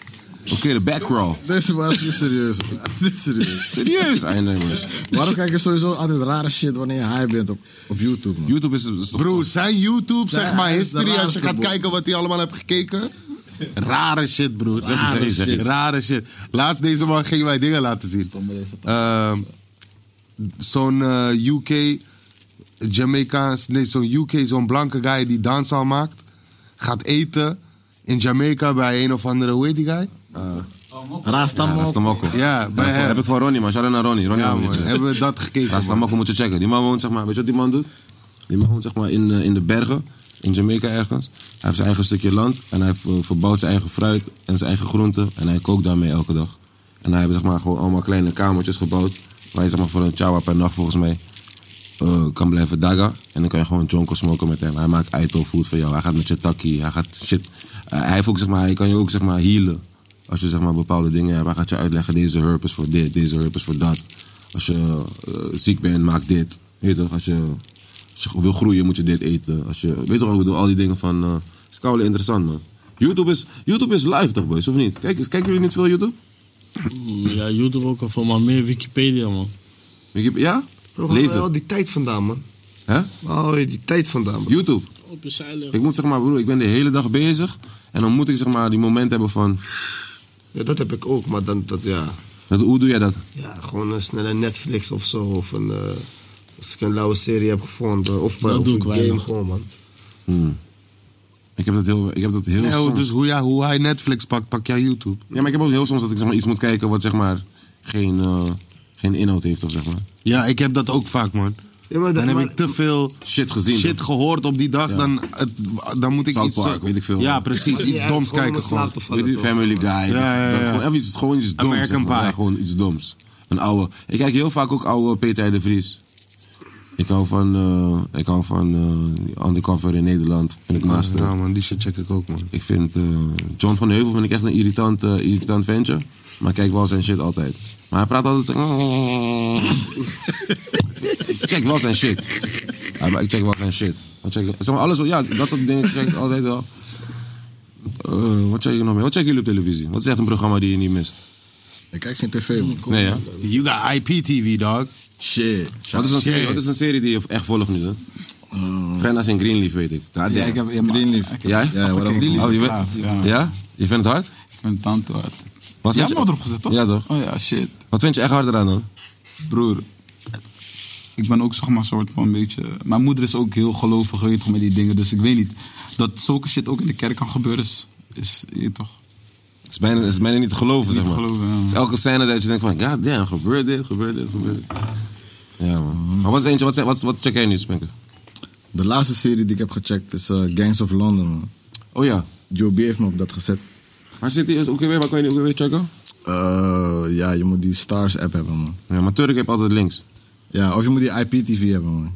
Speaker 2: Oké, de back crawl.
Speaker 10: Deze man is niet serieus. man. Hij Is dit serieus?
Speaker 2: Serieus, eindelijk.
Speaker 10: Waarom kijk je sowieso altijd rare shit wanneer je high bent op, op YouTube, man?
Speaker 2: YouTube is, is toch...
Speaker 10: Bro, zijn YouTube,
Speaker 2: Zijn-
Speaker 10: zeg maar,
Speaker 2: hij is de
Speaker 10: history, als
Speaker 2: raarste,
Speaker 10: je gaat
Speaker 2: broer.
Speaker 10: kijken wat hij allemaal hebt gekeken. Rare shit, broer.
Speaker 2: Zeg het, zeg
Speaker 10: Rare
Speaker 2: het, zeg
Speaker 10: shit.
Speaker 2: het.
Speaker 10: Rare shit. Laatst deze man gingen wij dingen laten zien. Ehm, zo'n eh, UK, Jamaicaans, nee, zo'n UK, zo'n blanke guy die dancehall maakt. Gaat eten in Jamaica bij een of andere, hoe heet die guy?
Speaker 2: Rastamokko. Rastamokko.
Speaker 10: Eh, Ja, bij
Speaker 2: Rasta-
Speaker 10: hem.
Speaker 2: Heb ik van Ronnie, man. Shout out naar Ronnie. Ronnie
Speaker 10: Ja,
Speaker 2: had me
Speaker 10: man.
Speaker 2: gecheckt.
Speaker 10: Hebben we dat gekeken,
Speaker 2: Rastamokko moet je checken. Die man woont, zeg maar... Weet je wat die man doet? Die man woont, zeg maar, in, eh, in de bergen. In Jamaica ergens. Hij heeft zijn eigen stukje land. En hij eh, verbouwt zijn eigen fruit en zijn eigen groenten. En hij kookt daarmee elke dag. En hij heeft, zeg maar, gewoon allemaal kleine kamertjes gebouwd. Waar je, zeg maar, voor een chawa per nacht, volgens mij... eh, kan blijven daga. En dan kan je gewoon jonko smoken met hem. Hij maakt aito food voor jou. Hij gaat met je takkie. Hij gaat shit. Eh, hij, heeft ook, zeg maar, hij kan je ook zeg maar healen. Als je zeg maar, bepaalde dingen hebt. Hij gaat je uitleggen. Deze herb is voor dit. Deze herb is voor dat. Als je eh, ziek bent, maak dit. Weet je toch? Als je, als je wil groeien, moet je dit eten. Als je, weet je toch? Ik bedoel, al die dingen van... eh is koude interessant, man. YouTube is, YouTube is live toch, boys? Of niet? Kijk, eens, kijken jullie niet veel YouTube?
Speaker 5: Ja, YouTube ook al voor, maar meer Wikipedia, man.
Speaker 2: Ik heb- Ja?
Speaker 9: Bro, waar haal je
Speaker 2: Lezen.
Speaker 9: al die tijd vandaan, man?
Speaker 2: Hè?
Speaker 9: Waar haal je die tijd vandaan, bro?
Speaker 2: YouTube.
Speaker 5: Op je zij
Speaker 2: Ik moet zeg maar, broer, ik ben de hele dag bezig. En dan moet ik zeg maar die moment hebben van...
Speaker 9: Ja, dat heb ik ook, maar dan, dat, ja.
Speaker 2: Dat, hoe doe jij dat?
Speaker 9: Ja, gewoon een snelle Netflix of zo. Of een, eh, als ik een lauwe serie heb gevonden. Of, eh,
Speaker 2: Dat
Speaker 9: of
Speaker 2: doe
Speaker 9: een
Speaker 2: ik
Speaker 9: game
Speaker 2: weinig.
Speaker 9: gewoon, man.
Speaker 2: Hmm. Ik heb dat heel, ik heb dat heel
Speaker 6: Nee, hoe-
Speaker 2: soms.
Speaker 6: dus hoe, ja, hoe hij Netflix pakt, pak jij YouTube.
Speaker 2: Ja, maar ik heb ook heel soms dat ik zeg maar, iets moet kijken wat zeg maar geen, eh, geen inhoud heeft of zeg maar.
Speaker 6: Ja, ik heb dat ook vaak, man. dan heb ik te veel
Speaker 2: shit gezien.
Speaker 6: Shit gehoord op die dag,
Speaker 2: Ja.
Speaker 6: dan, het, dan moet ik
Speaker 2: South
Speaker 6: iets...
Speaker 2: Park, weet ik veel.
Speaker 6: Ja, precies.
Speaker 2: Ja,
Speaker 6: Iets
Speaker 2: ja,
Speaker 6: doms
Speaker 2: gewoon om in
Speaker 6: kijken gewoon.
Speaker 2: slaap te vallen, Weet je, toch? Family Guy,
Speaker 6: Ja,
Speaker 2: dat-
Speaker 6: ja,
Speaker 2: dat-
Speaker 6: ja.
Speaker 2: gewoon even iets- gewoon iets doms.
Speaker 6: American
Speaker 2: zeg maar.
Speaker 6: Pie.
Speaker 2: Ja, gewoon iets doms. Een oude. Ik kijk heel vaak ook oude Peter R. de Vries. Ik hou van, eh, ik hou van eh, Undercover in Nederland. Vind ik master.
Speaker 6: Ja, man, die shit check ik ook, man.
Speaker 2: Ik vind eh, John van Heuvel vind ik echt een irritant, eh, irritant ventje. Maar ik kijk wel zijn shit altijd. Maar hij praat altijd zo. ik check wel zijn shit. Ja, maar ik check wel zijn shit. Wat check, ik- zeg maar alles, wel- ja, dat soort dingen check ik altijd wel. Eh, wat check ik nog meer? Wat checken jullie op televisie? Wat is echt een programma die je niet mist?
Speaker 6: Ik kijk geen tv, man.
Speaker 2: Nee, ja.
Speaker 6: You got IPTV, dog. Shit.
Speaker 2: Wat is, een serie, wat is een serie die je echt volgt nu? Hè? Frenna's in Greenleaf, weet ik. God damn.
Speaker 7: Ja, ik heb ja, maar- ik heb-
Speaker 2: Jij?
Speaker 7: Ja, waarom?
Speaker 2: Oh, je bent-
Speaker 7: ja.
Speaker 2: ja? Je vindt het hard? Ik
Speaker 7: vind het hard. hard.
Speaker 2: Wat
Speaker 7: Jij
Speaker 2: vind
Speaker 7: hebt
Speaker 2: je-
Speaker 7: me erop gezet, toch?
Speaker 2: Ja, toch?
Speaker 7: Oh ja, shit.
Speaker 2: Wat vind je echt hard eraan dan?
Speaker 7: Broer, ik ben ook zeg maar soort van een beetje... Mijn moeder is ook heel gelovig, weet je toch, met die dingen. Dus ik weet niet, dat zulke shit ook in de kerk kan gebeuren is, is je weet toch...
Speaker 2: Het is bijna, het is bijna niet te geloven,
Speaker 7: Niet
Speaker 2: zeg maar.
Speaker 7: te geloven, ja.
Speaker 2: Het is elke scène dat je denkt van, god damn, gebeurt dit, gebeurt dit, gebeurt dit. Ja, man. Maar wat is eentje, wat, is- wat, is- wat check jij nu, Spenker?
Speaker 10: De laatste serie die ik heb gecheckt is eh, Gangs of London, man.
Speaker 2: Oh ja.
Speaker 10: Joe B heeft me op dat gezet.
Speaker 2: Waar zit die? Ook weer, waar kan je die ook weer checken?
Speaker 10: Eh, ja, je moet die Stars app hebben, man.
Speaker 2: Ja, maar Turk heeft altijd links.
Speaker 10: Ja, of je moet die IPTV hebben, man.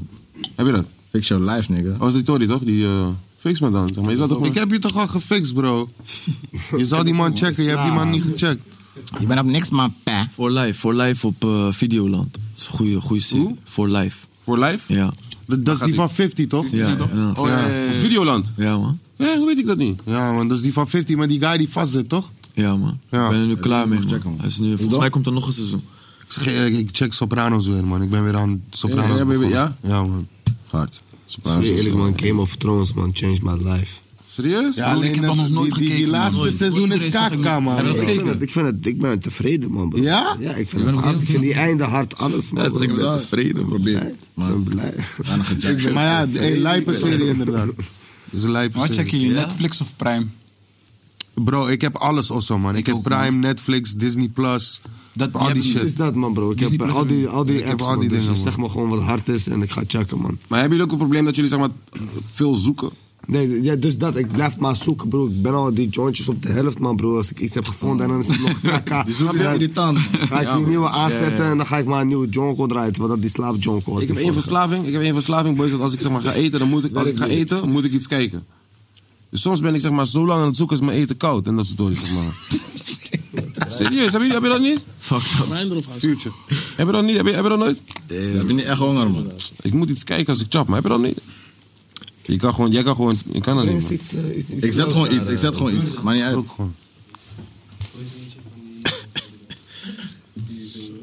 Speaker 2: Heb je dat?
Speaker 10: Fix your life, nigga.
Speaker 2: Oh, is die Tory toch? Die, eh, fix me dan, zeg maar. Je zou toch
Speaker 6: Ik heb je toch al gefixt, bro? Je zou die man checken, je hebt die man niet gecheckt.
Speaker 15: Je bent op niks, maar pa. For Life, For Life op eh, Videoland. Dat is een goede, goede serie. For Life.
Speaker 2: For Life?
Speaker 15: Ja.
Speaker 6: Dat, is die van 50, toch?
Speaker 15: Ja, ja.
Speaker 6: Oh, ja, ja, ja. Op
Speaker 2: Videoland?
Speaker 15: Ja, man.
Speaker 2: Ja, hoe weet ik dat niet?
Speaker 6: Ja, man, dat is die van 50, maar die guy die vast zit, toch?
Speaker 15: Ja, man. Ik ben er nu klaar mee, man. Hij is nu, volgens mij komt er nog een seizoen.
Speaker 6: Ik zeg je eerlijk, ik check Sopranos weer, man. Ik ben weer aan
Speaker 2: Ja,
Speaker 6: Sopranos.
Speaker 2: ja,
Speaker 6: begonnen.
Speaker 2: ja?
Speaker 6: Ja, man.
Speaker 2: Hard.
Speaker 9: Zeg je Eerlijk, man. Game of Thrones, man. Changed my life.
Speaker 2: Serieus?
Speaker 9: Ja, alleen dat- die- die- die laatste seizoen is kaka, man. Ik vind het- ik vind het, ik ben tevreden, man. Bro. Ja? Ja, ik vind, het hard, ik vind die einde hard, alles, man. bro. Ja,
Speaker 10: tevreden, probeer.
Speaker 9: Ik ben blij.
Speaker 6: Ik ben- maar ja, een lijpe serie inderdaad. Dat is een lijpe
Speaker 7: Wat
Speaker 6: serie.
Speaker 7: checken jullie, Netflix of Prime?
Speaker 6: Bro, ik heb alles also, man. Ik, heb Prime, Netflix, Disney+. Plus, al die shit.
Speaker 9: Is dat, man, bro? Ik
Speaker 6: Disney
Speaker 9: heb eh,
Speaker 6: Plus
Speaker 9: al
Speaker 6: heb
Speaker 9: die,
Speaker 6: ik.
Speaker 9: al die
Speaker 6: Ik heb
Speaker 9: apps,
Speaker 6: al die
Speaker 9: man. Dus
Speaker 6: dingen,
Speaker 9: zeg maar gewoon wat hard is en ik ga checken, man.
Speaker 2: Maar hebben jullie ook een probleem dat jullie, zeg maar, veel zoeken?
Speaker 9: Nee, ja, dus dat. Ik blijf maar zoeken, bro. Ik ben al die jointjes op de helft, man, bro. Als ik iets heb gevonden en dan is het nog kaka.
Speaker 10: Die zoek je
Speaker 9: Dan
Speaker 10: irritant.
Speaker 9: Ga ik
Speaker 10: Ja,
Speaker 9: die
Speaker 10: man.
Speaker 9: nieuwe
Speaker 10: Ja,
Speaker 9: aanzetten
Speaker 10: ja.
Speaker 9: en dan ga ik maar een nieuwe jonko eruit. Want dat die slaap jonko was.
Speaker 2: Ik heb
Speaker 9: die
Speaker 2: één
Speaker 9: vorige.
Speaker 2: verslaving. Ik heb één verslaving, boys. Dat als ik zeg maar ga eten, dan moet ik, als ik ga eten, moet ik iets kijken. Dus soms ben ik zeg maar zo lang aan het zoeken is mijn eten koud en dat soort dingen zeg maar. Serieus, heb je, heb je dat niet?
Speaker 15: Fuck
Speaker 5: Mijn erop
Speaker 2: Future. Heb je dat niet? Heb je, heb je dat nooit?
Speaker 10: Heb je niet echt honger, man?
Speaker 2: Ik moet iets kijken als ik chap, maar heb je dat niet? Je kan gewoon, jij kan gewoon, je kan dat niet. man.
Speaker 10: Ik zet gewoon iets, ik zet gewoon iets. Maar niet uit.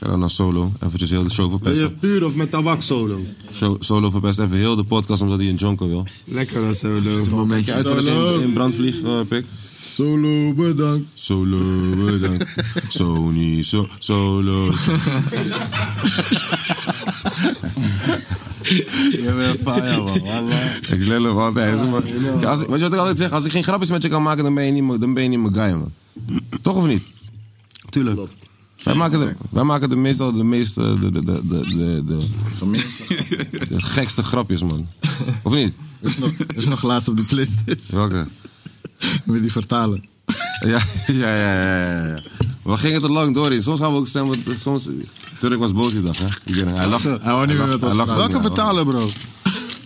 Speaker 2: Shout-out naar Solo. Eventjes heel de show
Speaker 6: Ben je
Speaker 2: verpesten.
Speaker 6: puur of met tabak solo?
Speaker 2: Show- Solo verpest even heel de podcast omdat hij een jonko wil.
Speaker 9: Lekker dat zo, leuk.
Speaker 2: Kijk je uit voor dat je in, in brand vliegt, eh, pik.
Speaker 10: Solo, bedankt.
Speaker 2: Solo, bedankt. Sony, so, solo.
Speaker 6: Je bent fire, man. Wallah.
Speaker 2: Ik lel hem altijd. zeg maar. Ja, als ik- weet je wat ik altijd zeg? Als ik geen grapjes met je kan maken, dan ben je niet, mijn- dan ben je niet mijn guy, man. Toch of niet?
Speaker 6: Tuurlijk.
Speaker 2: Wij maken, de, wij maken de meestal de meeste, de, de, de, de, de, de, de gekste grapjes, man. Of niet?
Speaker 10: Er is nog, er is nog laatst op de playlist.
Speaker 2: Welke?
Speaker 10: Met die vertalen.
Speaker 2: Ja, ja, ja, ja, ja, ja. We gingen er lang door in. Soms gaan we ook stemmen, want soms... Turk was boos die dag, hè? Ik weet het, Hij lachte.
Speaker 10: Hij wou niet meer met ons praten.
Speaker 2: ook
Speaker 6: Welke
Speaker 2: niet, hij lachte.
Speaker 6: vertalen, bro?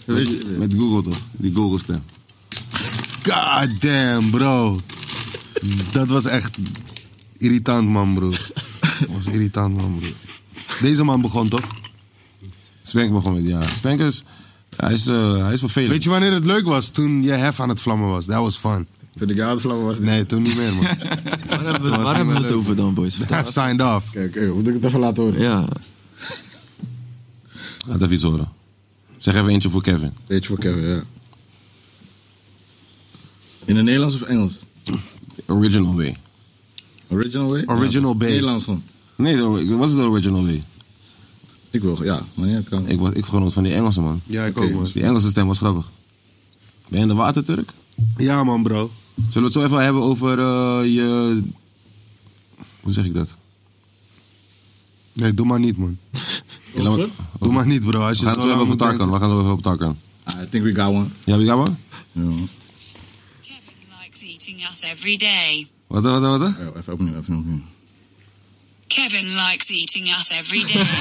Speaker 2: Met, met Google, toch? Die Google-stem.
Speaker 6: God damn, bro. Dat was echt irritant, man, bro. Dat was irritant, man, bro. Deze man begon toch?
Speaker 2: Spank begon met, ja. Spank is... Hij is, eh, hij is vervelend.
Speaker 6: Weet je wanneer het leuk was? Toen je hef aan het vlammen was. Dat was fun.
Speaker 10: Toen ik oude vlammen was. Nee, toen niet meer, man.
Speaker 15: Waar hebben we, waar hebben we het over dan, boys? Vertel.
Speaker 6: Signed off.
Speaker 10: Kijk, eh, moet ik het even laten horen?
Speaker 15: Ja.
Speaker 2: Laat even iets horen. Zeg even eentje voor Kevin.
Speaker 10: Eentje voor Kevin, ja.
Speaker 13: In het Nederlands of Engels?
Speaker 2: Original way.
Speaker 13: Original way?
Speaker 2: Original
Speaker 13: B.
Speaker 2: way.
Speaker 13: Nederlands gewoon.
Speaker 2: Nee, de- wat is de original way?
Speaker 13: Ik wil, ja. Maar ja, kan.
Speaker 2: Ik, was- ik genoot van die Engelse, man.
Speaker 6: Ja, ik
Speaker 2: Oké, dus
Speaker 6: ook, man.
Speaker 2: Die Engelse stem was grappig. Ben je in de water, Turk?
Speaker 6: Ja, man, bro.
Speaker 2: Zullen we het zo even hebben over eh, je... Hoe zeg ik dat?
Speaker 6: Nee, doe maar niet, man. Doe maar niet, bro. Als
Speaker 2: We
Speaker 6: je
Speaker 2: gaan het zo even
Speaker 6: zo lang
Speaker 2: over
Speaker 6: moet
Speaker 2: Tarkan.
Speaker 6: denken.
Speaker 2: We gaan het even over Tarkan.
Speaker 13: I think we got one.
Speaker 2: Ja, wie gaan we?
Speaker 27: likes eating us every day.
Speaker 2: Wat, wat, wat? wat?
Speaker 13: Even opnieuw, even opnieuw.
Speaker 27: Kevin likes eating us every day.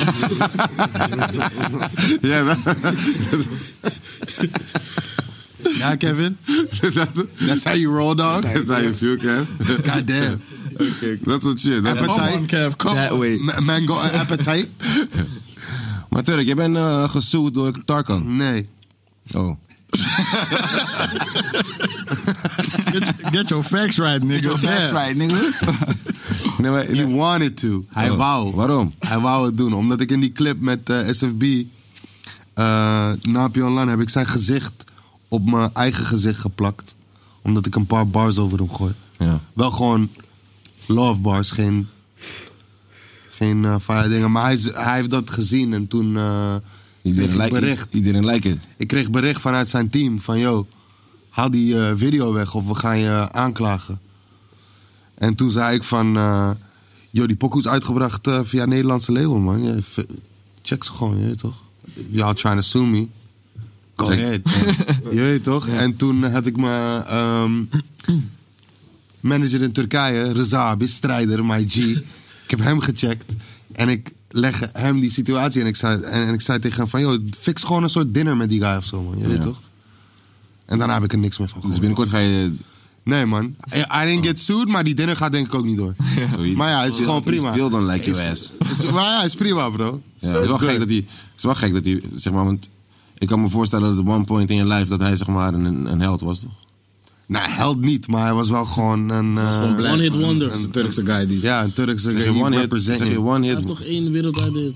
Speaker 2: Ja, dat-
Speaker 6: Ja, Kevin? That's how you roll, dog?
Speaker 2: That's how you feel, Kev.
Speaker 6: God damn.
Speaker 2: Dat soort shit. dat soort shit.
Speaker 6: Appetite. That way. Mango appetite.
Speaker 2: Maar Turk, jij bent eh gesuwd door Tarkan.
Speaker 6: Nee.
Speaker 2: Oh.
Speaker 13: get, get your facts right, nigga. Get your
Speaker 6: facts
Speaker 13: right,
Speaker 7: nigga.
Speaker 6: Nee, maar, He wanted to. Hij
Speaker 2: Oh,
Speaker 6: wou.
Speaker 2: Waarom?
Speaker 6: Hij wou het doen. Omdat ik in die clip met eh, SFB, eh Napi Online, heb ik zijn gezicht op mijn eigen gezicht geplakt. Omdat ik een paar bars over hem gooi.
Speaker 2: Ja.
Speaker 6: Wel gewoon love bars, geen, geen eh fire dingen. Maar hij, is- hij heeft dat gezien en toen eh kreeg ik
Speaker 2: like it.
Speaker 6: bericht.
Speaker 2: Iedereen like it.
Speaker 6: Ik kreeg bericht vanuit zijn team van... Yo, haal die eh, video weg of we gaan je aanklagen. En toen zei ik van... eh Yo, die pokoe is uitgebracht eh, via Nederlandse label, man. Ja, v- check ze gewoon, je weet toch? Y'all trying to sue me. Go
Speaker 2: Check.
Speaker 6: ahead. je weet toch? En toen had ik mijn ehm, manager in Turkije, Rezabi, strijder, my G. Ik heb hem gecheckt. En ik leg hem die situatie. En ik zei, en, en ik zei tegen hem van... Yo, fix gewoon een soort dinner met die guy of zo, man. Je weet
Speaker 2: Ja.
Speaker 6: toch? En daarna heb ik er niks meer van
Speaker 2: Dus
Speaker 6: gehoord.
Speaker 2: binnenkort ga je...
Speaker 6: Nee, man. I, I didn't get sued, maar die dinner gaat denk ik ook niet door.
Speaker 2: Zoiets.
Speaker 6: Maar ja, het is
Speaker 2: Still-
Speaker 6: gewoon prima.
Speaker 2: Still don't like your ass.
Speaker 6: Is- Maar ja, is prima, bro.
Speaker 2: Ja, het is wel
Speaker 6: Is
Speaker 2: gek
Speaker 6: good.
Speaker 2: dat hij... Het is wel gek dat hij... Zeg maar, want... Ik kan me voorstellen dat op one point in je life... dat hij zeg maar een, een held was, toch?
Speaker 6: Nou, held niet, maar hij was wel gewoon een... eh,
Speaker 5: gewoon black, One hit man. wonder.
Speaker 6: Een
Speaker 13: Turkse guy die...
Speaker 6: Ja, een Turkse
Speaker 2: Zeg je
Speaker 6: guy. die
Speaker 2: one hit-
Speaker 6: represent
Speaker 2: zeg je
Speaker 6: you.
Speaker 2: one
Speaker 5: Hij heeft toch één wereldwijd dit.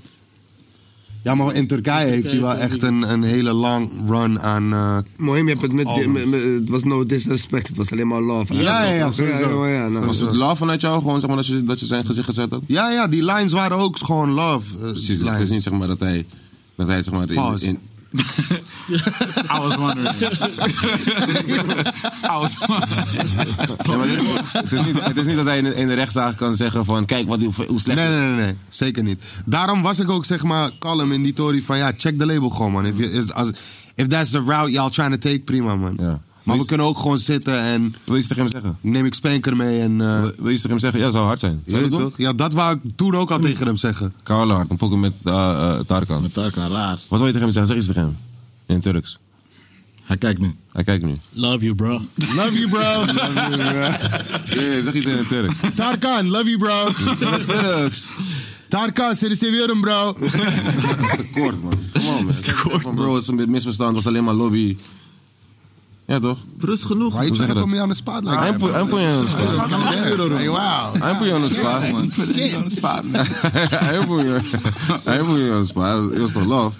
Speaker 6: Ja, maar in Turkije heeft hij wel echt een, een hele lang run aan... eh,
Speaker 9: Mooi, je hebt het met,
Speaker 6: Albums.
Speaker 9: met- met- Het was no disrespect, het was alleen maar love.
Speaker 6: Ja, ja, ja, sowieso.
Speaker 9: ja, ja, nou,
Speaker 2: was het love vanuit jou? Gewoon zeg maar dat je, dat je zijn gezicht gezet ook?
Speaker 6: ja, ja, die lines waren ook gewoon love. eh,
Speaker 2: Precies, dus het is
Speaker 6: lines.
Speaker 2: niet zeg maar dat hij... Dat hij zeg maar... In,
Speaker 6: Pause.
Speaker 2: in,
Speaker 7: I was wondering. I was
Speaker 2: Ja, maar dit- het, is niet, het is niet dat hij in de, in de rechtszaak kan zeggen van... Kijk, wat, hoe, hoe slecht...
Speaker 6: Nee, nee, nee, nee, zeker niet. Daarom was ik ook zeg maar kalm in die tory van ja, check de label gewoon man. If, you- is- als, if that's the route y'all trying to take, prima man. Maar we kunnen ook gewoon zitten en.
Speaker 2: Wil je iets tegen hem zeggen?
Speaker 6: Neem ik spanker mee en. eh,
Speaker 2: Wil wil je iets tegen hem zeggen? Ja, zou hard zijn.
Speaker 6: je weet toch? Ja, dat wou ik toen ook al tegen hem zeggen.
Speaker 2: Koude hard, een pokken met eh eh, Tarkan. Met Tarkan, raar. Wat wil je tegen hem zeggen? Zeg iets tegen hem. In het Turks.
Speaker 13: Hij kijkt nu.
Speaker 2: Hij kijkt nu.
Speaker 5: Love you, bro.
Speaker 13: Love you, bro.
Speaker 2: zeg iets in het Turks.
Speaker 13: Tarkan, love you, bro.
Speaker 2: Turks.
Speaker 6: Tarkan, seni seviyorum, bro.
Speaker 2: Dat is te kort, man. Kom on, man. Dat is te kort, man. Bro, het is een misverstand. Het was alleen maar lobby. Ja, toch?
Speaker 15: Rust genoeg.
Speaker 6: Why you
Speaker 2: Hoe zeg je dat? Ah,
Speaker 6: trying to put me on the spot
Speaker 9: Ah,
Speaker 6: like
Speaker 2: I'm
Speaker 6: that?
Speaker 2: put- I'm putting you on the spot.
Speaker 6: Hey, wow.
Speaker 2: I'm putting you on the spot.
Speaker 6: man.
Speaker 2: Hij voel je. Hij voel je on the spot. It was toch love?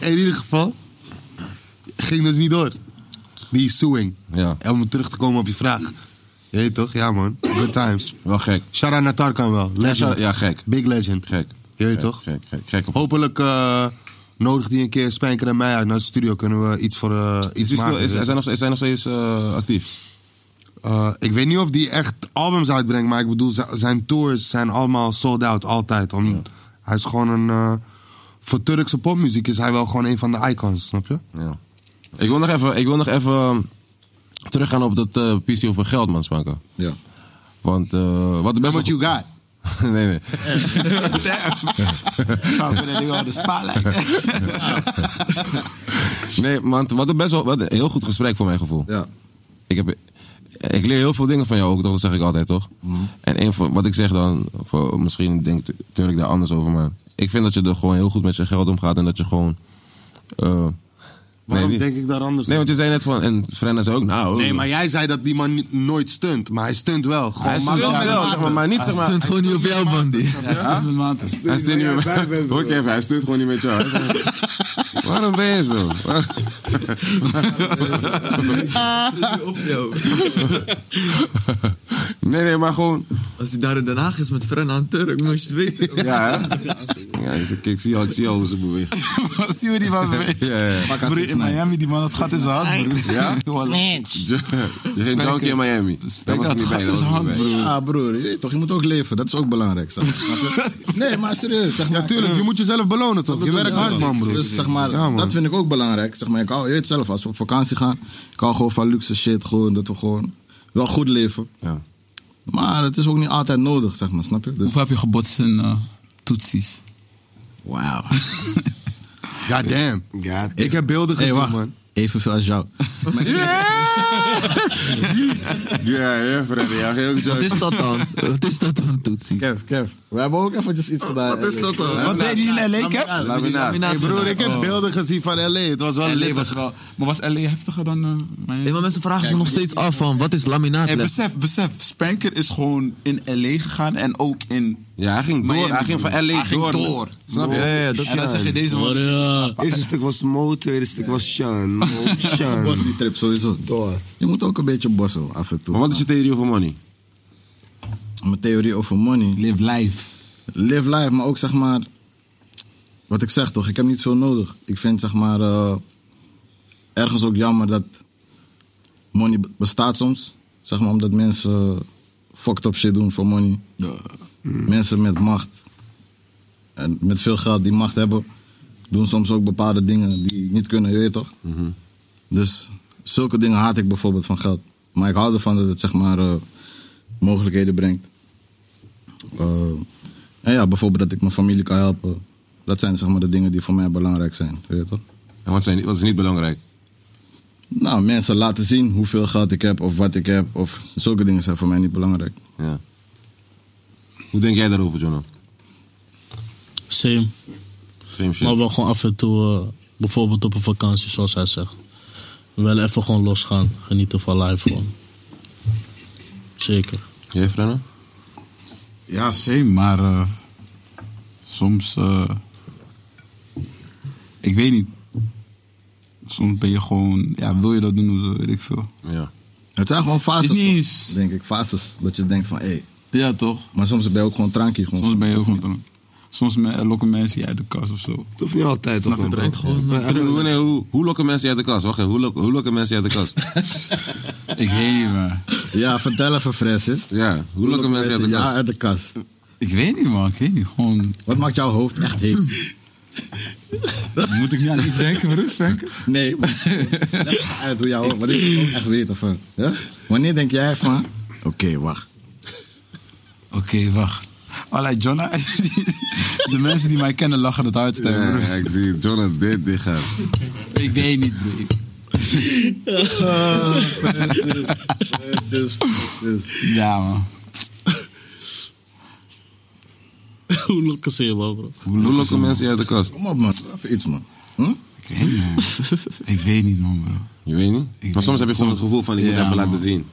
Speaker 6: In ieder geval, ging dus niet door. Die suing.
Speaker 2: Ja.
Speaker 6: En om terug te komen op je vraag. Je weet toch? Ja, man. Good times.
Speaker 2: Wel gek.
Speaker 6: Shara naar Tarkan wel. Legend.
Speaker 2: Ja, gek.
Speaker 6: Big legend.
Speaker 2: Gek.
Speaker 6: Je weet
Speaker 2: Gek,
Speaker 6: toch?
Speaker 2: Gek, gek, gek.
Speaker 6: Hopelijk eh nodig die een keer Spijker en mij uit naar de studio. Kunnen we iets voor eh,
Speaker 2: Is,
Speaker 6: iets
Speaker 2: hij
Speaker 6: maken.
Speaker 2: stil- is,
Speaker 6: weet
Speaker 2: is, hij
Speaker 6: je.
Speaker 2: nog, is hij nog steeds eh, actief?
Speaker 6: Eh, ik weet niet of die echt albums uitbrengt. Maar ik bedoel, z- zijn tours zijn allemaal sold out. Altijd. Om, Hij is gewoon een... eh, voor Turkse popmuziek is hij wel gewoon een van de icons. Snap
Speaker 15: Ah,
Speaker 6: je?
Speaker 2: Ja. Ik wil nog even, ik wil nog even ehm, teruggaan op dat eh PC over geld, man, Spanker.
Speaker 13: Ja.
Speaker 2: Want eh wat de best
Speaker 6: what you got?
Speaker 2: nee, nee.
Speaker 7: Zou kunnen die wel de spa
Speaker 2: Nee, want wat een best wel wat een heel goed gesprek voor mijn gevoel.
Speaker 13: Ja.
Speaker 2: Ik, heb, ik leer heel veel dingen van jou ook, toch? dat zeg ik altijd, toch?
Speaker 6: Mhm.
Speaker 2: En een van, wat ik zeg dan, voor, misschien denkt Turk daar anders over, maar ik vind dat je er gewoon heel goed met je geld omgaat en dat je gewoon. eh,
Speaker 6: Waarom
Speaker 2: niet.
Speaker 6: denk ik daar anders
Speaker 2: Nee,
Speaker 6: aan?
Speaker 2: want je zei net van, en Frenna zei ook, nou...
Speaker 6: Nee, maar jij zei dat die man niet- nooit stunt, maar hij stunt wel. Gewoon
Speaker 2: Hij
Speaker 6: maar
Speaker 2: stunt
Speaker 6: wel met
Speaker 2: wel,
Speaker 6: mate.
Speaker 2: zeg maar, maar niet, Hij zeg maar- stunt gewoon
Speaker 6: niet op jou, Bandy.
Speaker 2: Hij stuurt niet met mij. Hoor ik even, hij stuurt gewoon niet met jou. Hij zegt, Waarom ben je zo? nee, nee, maar gewoon...
Speaker 15: Als hij daar in Den Haag is met Frenna en Turk, moest je het weten.
Speaker 2: Ja, hè? Ja, kijk, ik zie al, ik zie al hoe ze bewegen.
Speaker 7: Zie je die man beweegt?
Speaker 2: Ja, ja.
Speaker 7: Broer, in Miami, die man, het gaat in zijn hand, broer.
Speaker 2: Ja?
Speaker 7: Snitch.
Speaker 2: Je je ging drank in Miami. Daar was ik niet bij, dat was ik niet bij.
Speaker 10: Ja, Ah, broer, je, weet toch, je moet ook leven. Dat is ook belangrijk. Zeg maar. Snap je? nee, maar serieus. Zeg maar,
Speaker 6: tuurlijk, je moet jezelf belonen, toch? Je werkt hard, man, broer.
Speaker 10: Dus, zeg maar,
Speaker 6: Ja, man.
Speaker 10: Dat vind ik ook belangrijk. Zeg maar, ik hou, je weet zelf, als we op vakantie gaan, ik hou gewoon van luxe shit. Gewoon, dat we gewoon wel goed leven. Maar het is ook niet altijd nodig, zeg maar, snap je? Dus,
Speaker 7: Hoeveel heb je gebotst in eh, toetsies?
Speaker 10: Wauw. God damn.
Speaker 6: Ik heb beelden
Speaker 10: Hey,
Speaker 6: gezien,
Speaker 10: wacht.
Speaker 6: man.
Speaker 10: Evenveel als jou.
Speaker 2: Ja, ja, Freddy, ja, heel goed.
Speaker 10: Wat is dat dan? Wat is dat dan, Toetsie? Kev, Kev, we hebben ook eventjes iets gedaan.
Speaker 6: Wat is dat dan?
Speaker 10: Eh,
Speaker 6: Wat
Speaker 10: laminaat.
Speaker 6: deed hij in LA, Kev?
Speaker 10: Laminaat.
Speaker 6: Laminaat.
Speaker 10: Hey, broer, ik heb
Speaker 7: Oh.
Speaker 10: beelden gezien van LA. Het was wel
Speaker 7: LA
Speaker 10: lit.
Speaker 7: was wel... Maar was LA heftiger dan eh Miami?
Speaker 15: Nee, maar mensen vragen zich nog steeds af van, wat is laminaat?
Speaker 7: Hey, besef, besef. Spanker is gewoon in L.A. gegaan en ook in...
Speaker 2: Ja, hij ging door. Hij ging van L.A.
Speaker 7: Hij ging
Speaker 2: door.
Speaker 7: door.
Speaker 2: Snap je? Ja, ja, dat
Speaker 7: en dan
Speaker 2: ja.
Speaker 7: zeg je deze man...
Speaker 9: Eerste stuk was Mo, tweede stuk was Sean. Mo, Sean.
Speaker 10: Bos die trip sowieso.
Speaker 9: Door.
Speaker 10: Je moet ook een beetje bossen af en toe.
Speaker 2: Maar wat is je theorie over money?
Speaker 10: Mijn theorie over money.
Speaker 7: Live life.
Speaker 10: Live life, maar ook zeg maar... Wat ik zeg toch, ik heb niet veel nodig. Ik vind zeg maar... eh, ergens ook jammer dat money b- bestaat soms. Zeg maar omdat mensen fucked up shit doen voor money. Mm. Mensen met macht. En met veel geld die macht hebben. Doen soms ook bepaalde dingen die niet kunnen, je weet toch? Dus zulke dingen haat ik bijvoorbeeld van geld. Maar ik hou ervan dat het zeg maar eh, mogelijkheden brengt. Eh, en ja, bijvoorbeeld dat ik mijn familie kan helpen. Dat zijn zeg maar de dingen die voor mij belangrijk zijn, je weet toch?
Speaker 2: En wat, zijn, wat is niet belangrijk?
Speaker 10: Nou, mensen laten zien hoeveel geld ik heb of wat ik heb. Of zulke dingen zijn voor mij niet belangrijk.
Speaker 2: Ja. Hoe denk jij daarover, Jono?
Speaker 5: Same.
Speaker 2: Same shit.
Speaker 5: Maar wel gewoon af en toe, eh, bijvoorbeeld op een vakantie, zoals hij zegt. Wel even gewoon losgaan, genieten van life gewoon. Zeker.
Speaker 2: Jij, Frenna?
Speaker 7: Ja, same, maar eh, soms. eh, ik weet niet. Soms ben je gewoon. Ja, wil je dat doen of zo, weet ik veel.
Speaker 2: Ja.
Speaker 10: Het zijn gewoon fases. Niet Denk ik, fases. Dat je denkt van, hé.
Speaker 7: Ja, toch?
Speaker 10: Maar soms ben je ook gewoon trankie. Gewoon.
Speaker 7: Soms ben je ook gewoon dronken. Soms me- lokken mensen je uit de kast of zo. Dat
Speaker 9: hoeft niet altijd,
Speaker 7: toch?
Speaker 2: Terug-
Speaker 7: eh,
Speaker 2: terug- hoe- nee, hoe, hoe lokken mensen je uit de kast? Wacht even, hoe, lokken- hoe lokken mensen je uit de kast?
Speaker 7: ik weet niet, man.
Speaker 10: Ja, vertel even, Francis.
Speaker 2: Ja, hoe lokken mensen je uit de
Speaker 10: Ja,
Speaker 2: kast?
Speaker 10: uit de kast.
Speaker 7: Ik weet niet, man. Ik weet niet. Gewoon.
Speaker 10: Wat maakt jouw hoofd echt heet?
Speaker 7: Moet ik niet aan iets denken, rust denken?
Speaker 10: Nee, maar leg uit hoe jouw hoofd. Wat ik wil ook echt weten van. Ja? Wanneer denk jij van, oké, wacht.
Speaker 7: Oké, wacht. Allee, Jonna. de mensen die mij kennen lachen het uit.
Speaker 2: Ja,
Speaker 7: broer.
Speaker 2: ik zie Jonathan dit dicht gaat.
Speaker 7: Ik weet niet, broer. Ik-
Speaker 10: Francis, Francis, Francis.
Speaker 7: Ja, man.
Speaker 5: Hoe lokken ze je, man, bro?
Speaker 2: Hoe lokken mensen je uit de kast?
Speaker 10: Kom op, man. Even iets, man. Hm?
Speaker 7: Ik weet niet, man. ik weet niet, man, bro.
Speaker 2: Je weet niet? maar soms heb je gewoon het gevoel van, ik moet
Speaker 7: Ja,
Speaker 2: even
Speaker 7: man.
Speaker 2: laten zien.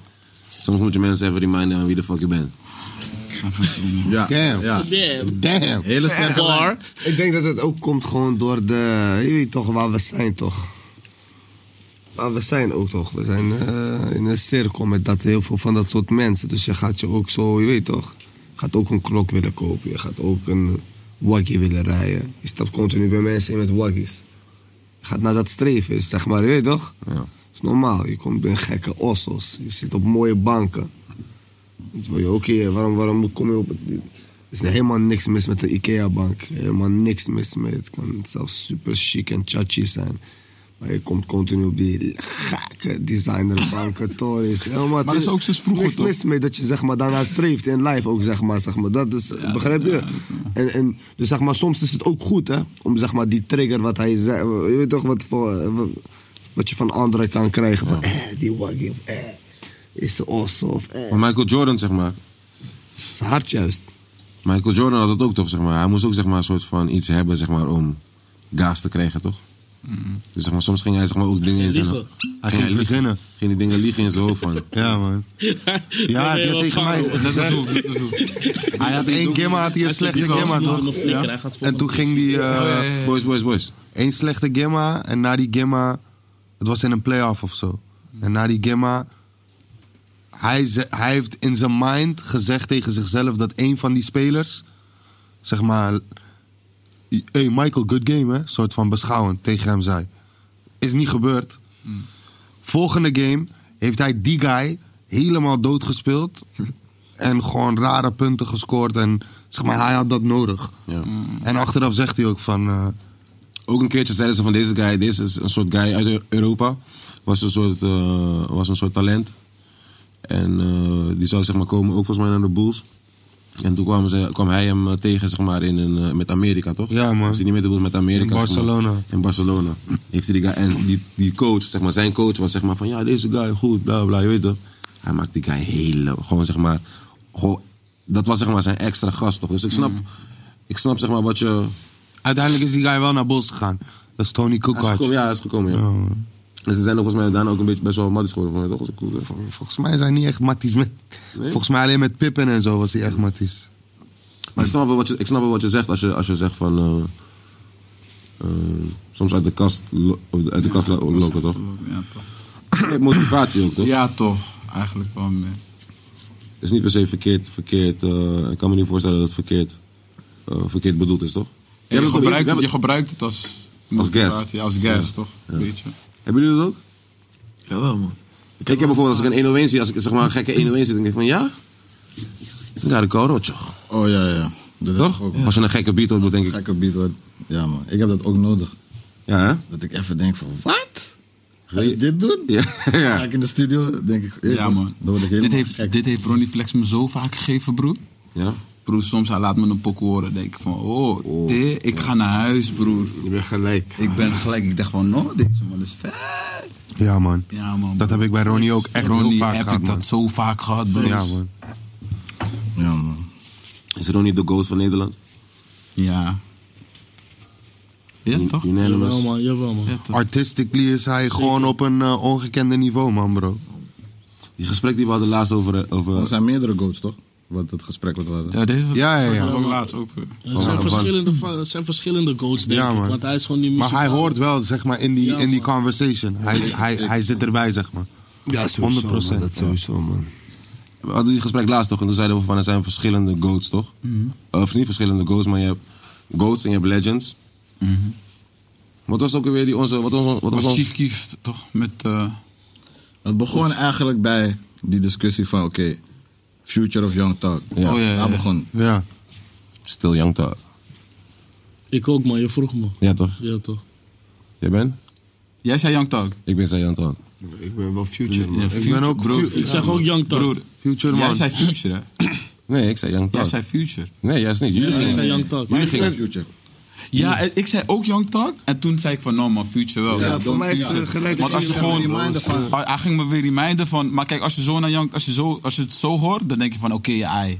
Speaker 2: Soms moet je mensen even reminden aan wie de fuck je bent.
Speaker 10: Ja.
Speaker 9: Damn.
Speaker 10: Ja.
Speaker 9: Damn.
Speaker 10: Damn. Hele sterke lijn.
Speaker 9: Ik denk dat het ook komt gewoon door de... Je weet toch waar we zijn, toch? Maar we zijn ook toch, we zijn eh, in een cirkel met dat, heel veel van dat soort mensen. Dus je gaat je ook zo, je weet toch, je gaat ook een klok willen kopen. Je gaat ook een waggie willen rijden. Je stapt continu bij mensen in met waggies. Je gaat naar dat streven, is, zeg maar, je weet toch?
Speaker 2: Ja.
Speaker 9: is normaal, je komt bij gekke ossels. Je zit op mooie banken. Dat wil je ook hier, waarom, waarom kom je op... het- Er is helemaal niks mis met de IKEA-bank. Helemaal niks mis mee. Het kan zelfs super chic en tchatchy zijn. Maar je komt continu op die gekke designerbanken, tories. Ja,
Speaker 7: Maar dat is ook sinds vroeger,
Speaker 9: niks
Speaker 7: toch?
Speaker 9: mis mee dat je zeg maar, daarna streeft in live ook, zeg maar. Zeg maar. Dat is, begrijp je? En, en, dus zeg maar, soms is het ook goed, hè? Om zeg maar, die trigger wat hij zei... Je weet toch wat, voor, wat, wat je van anderen kan krijgen. Van, eh, die waggie of eh, is awesome of eh.
Speaker 2: Maar Michael Jordan, zeg maar.
Speaker 9: is hard juist.
Speaker 2: Michael Jordan had dat ook toch, zeg maar. Hij moest ook, zeg maar, een soort van iets hebben, zeg maar, om gas te krijgen, toch? Dus zeg maar, soms ging hij zeg maar, ook dingen in zijn
Speaker 6: liegen. Hij ging
Speaker 2: liegen.
Speaker 6: verzinnen.
Speaker 2: Ging die dingen liegen in zijn hoofd, man.
Speaker 6: Ja, man. Ja, hij had tegen mij gezegd. Hij had één gimma, had hij een slechte gimma, toch? Ja. En toen ging die... eh,
Speaker 2: Boys, boys, boys.
Speaker 6: Eén slechte gimma en na die gimma... Het was in een playoff of zo. En na die gimma... Hij, ze- hij heeft in zijn mind gezegd tegen zichzelf dat één van die spelers... Zeg maar... Hey Michael, good game hè. Soort van beschouwend tegen hem zei. Is niet gebeurd. Volgende game heeft hij die guy helemaal doodgespeeld. En gewoon rare punten gescoord. En zeg maar, hij had dat nodig.
Speaker 2: Ja.
Speaker 6: En achteraf zegt hij ook van... eh,
Speaker 2: Ook een keertje zeiden ze van deze guy, deze is een soort guy uit Eu- Europa. Was een soort, eh, was een soort talent. En eh, die zou zeg maar komen ook volgens mij naar de Bulls. En toen kwam, ze, kwam hij hem eh, tegen zeg maar in een, eh, met Amerika toch? Ja man. Was hij niet met de Bulls, met Amerika.
Speaker 6: In
Speaker 2: zeg maar.
Speaker 6: Barcelona.
Speaker 2: in Barcelona. Heeft hij die guy, en die, die coach, zeg maar zijn coach was zeg maar van ja deze guy goed, bla bla, je weet toch. Hij maakt die guy hele, gewoon zeg maar, gewoon, dat was zeg maar zijn extra gast toch. Dus ik snap, ik snap zeg maar wat je...
Speaker 6: Uiteindelijk is die guy wel naar Bulls gegaan. Dat is Tony Kukoc.
Speaker 2: Hij is gekomen, ja, hij is gekomen, ja. En ze zijn ook volgens mij daarna ook een beetje best wel matties geworden. Van, toch? Als ik goed, eh,
Speaker 6: Vol- volgens mij zijn niet echt matties met... Volgens mij alleen met Pippen en zo was hij echt matties.
Speaker 2: Maar ik snap, wel wat je, ik snap wel wat je zegt als je, als je zegt van... eh, eh, soms uit de kast, lo- uit de kast lo- lopen, toch?
Speaker 7: Ja, toch.
Speaker 2: Nee, Motivatie ook, toch?
Speaker 7: Ja, toch. Eigenlijk wel, man.
Speaker 2: Het is niet per se verkeerd. verkeerd eh, ik kan me niet voorstellen dat het verkeerd, eh, verkeerd bedoeld is, toch?
Speaker 7: Je,
Speaker 2: Jij bent-
Speaker 7: gebruikt
Speaker 2: jij
Speaker 7: het,
Speaker 2: bent-
Speaker 7: je gebruikt het als
Speaker 2: Als gas.
Speaker 7: motivatie, Als gas,
Speaker 2: Ja.
Speaker 7: toch?
Speaker 2: Ja.
Speaker 7: Beetje.
Speaker 2: Hebben jullie dat ook?
Speaker 15: Jawel, man.
Speaker 2: Ik heb bijvoorbeeld als ik een 101 zie, als ik zeg maar een gekke 101 zie, dan denk ik van ja. Ja, de karotje.
Speaker 10: Oh ja, ja. Dat heb ik
Speaker 2: Toch?
Speaker 10: ook.
Speaker 2: Als je een gekke beat hoort, moet denk ik.
Speaker 10: Gekke beat hoor. Ja man, ik heb dat ook nodig.
Speaker 2: Ja hè?
Speaker 10: Dat ik even denk van, wat? Ga je dit doen? Ja, Ga ik in de studio, denk ik. eh,
Speaker 7: Ja, man.
Speaker 10: Dan word ik
Speaker 7: Dit
Speaker 10: helemaal...
Speaker 7: heeft, dit heeft Ronnie Flex me zo vaak gegeven, broer.
Speaker 2: Ja.
Speaker 7: Broer, soms hij laat me een pok horen. denk ik van, oh, dit- ik ga naar huis, broer. Je bent gelijk. Ik ben gelijk. Ik dacht van, no, deze man is vet.
Speaker 6: Ja man.
Speaker 7: Ja, man.
Speaker 6: Dat heb ik bij Ronnie ook echt
Speaker 7: Ronnie,
Speaker 6: heel vaak
Speaker 7: heb
Speaker 6: gehad,
Speaker 7: ik dat
Speaker 6: man.
Speaker 7: zo vaak gehad, broer.
Speaker 6: Ja, man.
Speaker 10: Ja man.
Speaker 2: Is er ook niet de goat van Nederland?
Speaker 7: Ja.
Speaker 2: Ja, toch? Unanimous.
Speaker 5: Jawel, man. Jawel, man.
Speaker 6: Artistically is hij gewoon op een eh, ongekende niveau, man, bro.
Speaker 2: Die gesprek die we hadden laatst over... over...
Speaker 10: Er zijn meerdere goats toch? Wat het gesprek wat we hadden.
Speaker 7: Ja, eh, deze
Speaker 6: Ja, ja, ja.
Speaker 7: ook laatst ook.
Speaker 5: Het zijn, verschillende, va- het zijn verschillende goals, denk
Speaker 6: Oh, Ja,
Speaker 5: ik.
Speaker 6: man.
Speaker 5: Want hij is gewoon niet
Speaker 6: Maar
Speaker 5: muzikaal.
Speaker 6: hij hoort wel, zeg maar, in die,
Speaker 5: Ja,
Speaker 6: in die conversation. Hij, hij, hij zit erbij, zeg maar.
Speaker 9: Ja, sowieso, man, dat sowieso, man.
Speaker 2: We hadden die gesprek laatst toch? En toen zeiden we van er zijn verschillende goats, toch? Of niet verschillende goats, maar je hebt goats en je hebt legends. Wat was ook weer die onze... Wat, onze, wat
Speaker 7: was
Speaker 2: ons-
Speaker 7: Chief Keef, toch? Met... eh,
Speaker 10: Het begon eigenlijk bij die discussie van, oké, Future of Young Talk.
Speaker 2: Ja.
Speaker 7: Oh, ja, ja,
Speaker 10: Daar
Speaker 7: ja.
Speaker 10: begon.
Speaker 6: Ja.
Speaker 2: Still Young Thug.
Speaker 5: Ik ook, man. Je vroeg me.
Speaker 2: Ja, toch?
Speaker 5: Ja, toch.
Speaker 2: Jij bent?
Speaker 7: Jij zei Young Talk.
Speaker 2: Ik ben zei Young Thug.
Speaker 9: Ik ben wel future, man.
Speaker 7: Ja,
Speaker 9: Ik
Speaker 7: Future,
Speaker 9: ben ook
Speaker 7: broer.
Speaker 9: Ik zeg ook
Speaker 5: Young
Speaker 7: Broer,
Speaker 6: Future
Speaker 7: jij
Speaker 6: man.
Speaker 7: zei Future, hè?
Speaker 2: Nee, ik zei Young Thug.
Speaker 7: Jij zei Future.
Speaker 2: Nee, juist niet. Jullie
Speaker 7: Ja, ik
Speaker 2: gingen...
Speaker 7: zei Young Thug.
Speaker 2: Jullie
Speaker 7: Maar ik
Speaker 2: gingen...
Speaker 7: zei Ja, en ik zei ook Young Talk. En toen zei ik van, no man, Future wel.
Speaker 10: Ja, Ja, voor don't mij is het future. gelijk.
Speaker 7: Want als je
Speaker 10: Ik ging me
Speaker 7: gewoon... Ah,
Speaker 10: reminden van-
Speaker 7: Hij- Hij ging me weer reminden van... Maar kijk, als je, zo naar young, als je, zo, als je het zo hoort, dan denk je van, oké, ja, ai.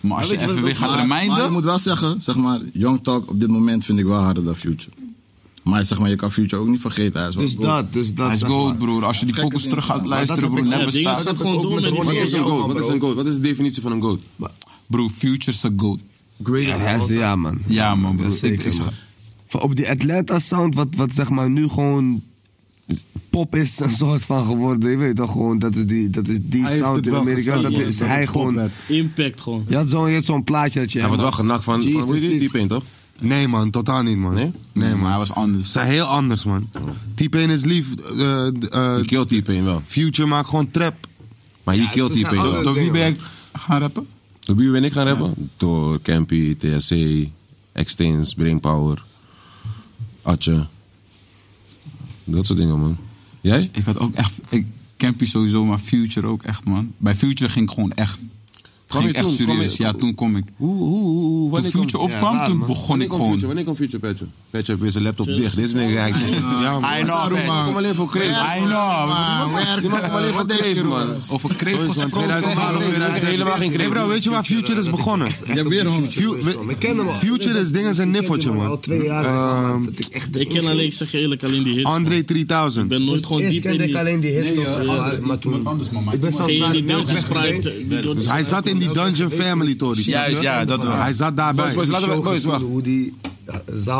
Speaker 7: Maar als je even weer gaat
Speaker 10: Maar- Maar ik
Speaker 7: reminden...
Speaker 10: moet wel zeggen, zeg maar, Young Talk op dit moment vind ik wel harder dan Future. Maar zeg maar, je kan Future ook niet vergeten. Hij is wel
Speaker 9: Dus
Speaker 10: goed.
Speaker 9: dat, dus dat.
Speaker 7: Hij is
Speaker 9: zeg
Speaker 7: goat,
Speaker 9: maar.
Speaker 7: broer. Als je die
Speaker 10: Gekke
Speaker 7: pokus
Speaker 10: dingen,
Speaker 7: terug gaat
Speaker 10: man.
Speaker 7: luisteren, broer, never
Speaker 5: dingen
Speaker 7: stop.
Speaker 5: gaan gewoon door met
Speaker 2: Wat is een
Speaker 5: Ronnie.
Speaker 2: goat? Wat is een goat? Wat is de definitie van een goat?
Speaker 7: Broer, Future's a goat.
Speaker 9: Ja, hij is- ja, man.
Speaker 7: Ja, man, broer. Ik-
Speaker 9: Zeker,
Speaker 7: ik zeg-
Speaker 9: man. Van Op die Atlanta sound, wat, wat zeg maar nu gewoon pop is, een soort van geworden. Je weet toch gewoon, dat is die, dat is die
Speaker 6: Hij heeft
Speaker 9: sound
Speaker 6: het
Speaker 9: in
Speaker 6: wel
Speaker 9: Amerika.
Speaker 6: gestaan,
Speaker 9: Dat
Speaker 6: man,
Speaker 9: is
Speaker 6: dat
Speaker 9: hij
Speaker 6: het pop
Speaker 9: gewoon.
Speaker 6: werd.
Speaker 5: Impact gewoon.
Speaker 9: Je had zo'n je had zo'n plaatje dat je.
Speaker 2: Hij wordt wel
Speaker 9: was-
Speaker 2: genakt van... van
Speaker 9: Jesus
Speaker 2: hoe je
Speaker 9: is-
Speaker 2: die type in, toch?
Speaker 6: Nee, man, totaal niet, man.
Speaker 2: Nee?
Speaker 6: Nee, man.
Speaker 7: Hij was anders.
Speaker 6: Ze zijn heel anders, man. Type 1 is lief. eh, eh,
Speaker 2: Je killt type in wel.
Speaker 6: future maakt gewoon trap.
Speaker 2: Maar je
Speaker 9: Ja,
Speaker 2: killt
Speaker 9: ze zijn
Speaker 2: type in
Speaker 9: andere
Speaker 2: wel.
Speaker 7: Door, door wie ben jij gaan rappen?
Speaker 2: Door wie ben ik gaan rappen? Door Campy, THC, Extens, Brainpower, Atje. Dat soort dingen, man. Jij?
Speaker 7: Ik had ook echt... Ik, Campy sowieso, maar Future ook echt, man. Bij Future ging ik gewoon echt... ging ik echt
Speaker 2: toen? Kwam
Speaker 7: serieus.
Speaker 2: je-
Speaker 7: Ja, toen kom ik.
Speaker 2: Hoe, hoe, hoe,
Speaker 7: Toen
Speaker 2: wanneer kwam-
Speaker 7: Future opkwam, toen
Speaker 2: man.
Speaker 7: begon
Speaker 2: Wanneer
Speaker 7: ik
Speaker 2: kwam
Speaker 7: gewoon.
Speaker 2: Future? Wanneer kwam Future, Petje? Petje heeft weer zijn laptop dicht. Deze nigga, hij zit...
Speaker 7: Ja, man. I know,
Speaker 2: Daarom,
Speaker 7: Petje.
Speaker 2: man. Kom alleen voor kreeg.
Speaker 7: I know.
Speaker 2: Die man komt alleen voor kreeg, man.
Speaker 7: Over kreeg
Speaker 2: Sowieso,
Speaker 7: gesproken.
Speaker 2: 2012,
Speaker 7: Ik heb
Speaker 2: 2013.
Speaker 7: helemaal geen
Speaker 6: Hey
Speaker 7: kreeg.
Speaker 6: bro, weet je waar Future is begonnen?
Speaker 13: Ja, weer honger.
Speaker 5: Ik ken hem al.
Speaker 6: Future is dingen zijn niffeltje, man.
Speaker 5: al twee jaar,
Speaker 6: Ehm,
Speaker 5: Ik ken alleen, ik zeg je eerlijk, alleen die hits.
Speaker 6: André 3000.
Speaker 5: Ik ben nooit gewoon diep in die...
Speaker 7: Nee, eh, André, iemand anders, man. Maar iemand-
Speaker 5: Geen die
Speaker 7: Melk
Speaker 5: melk gespraakt.
Speaker 6: Dus hij zat in die Dungeon Family Tory. snap
Speaker 7: Juist,
Speaker 6: je?
Speaker 7: ja, dat wel.
Speaker 6: Hij zat daarbij.
Speaker 2: Boys, boys, laten we- boys, wacht.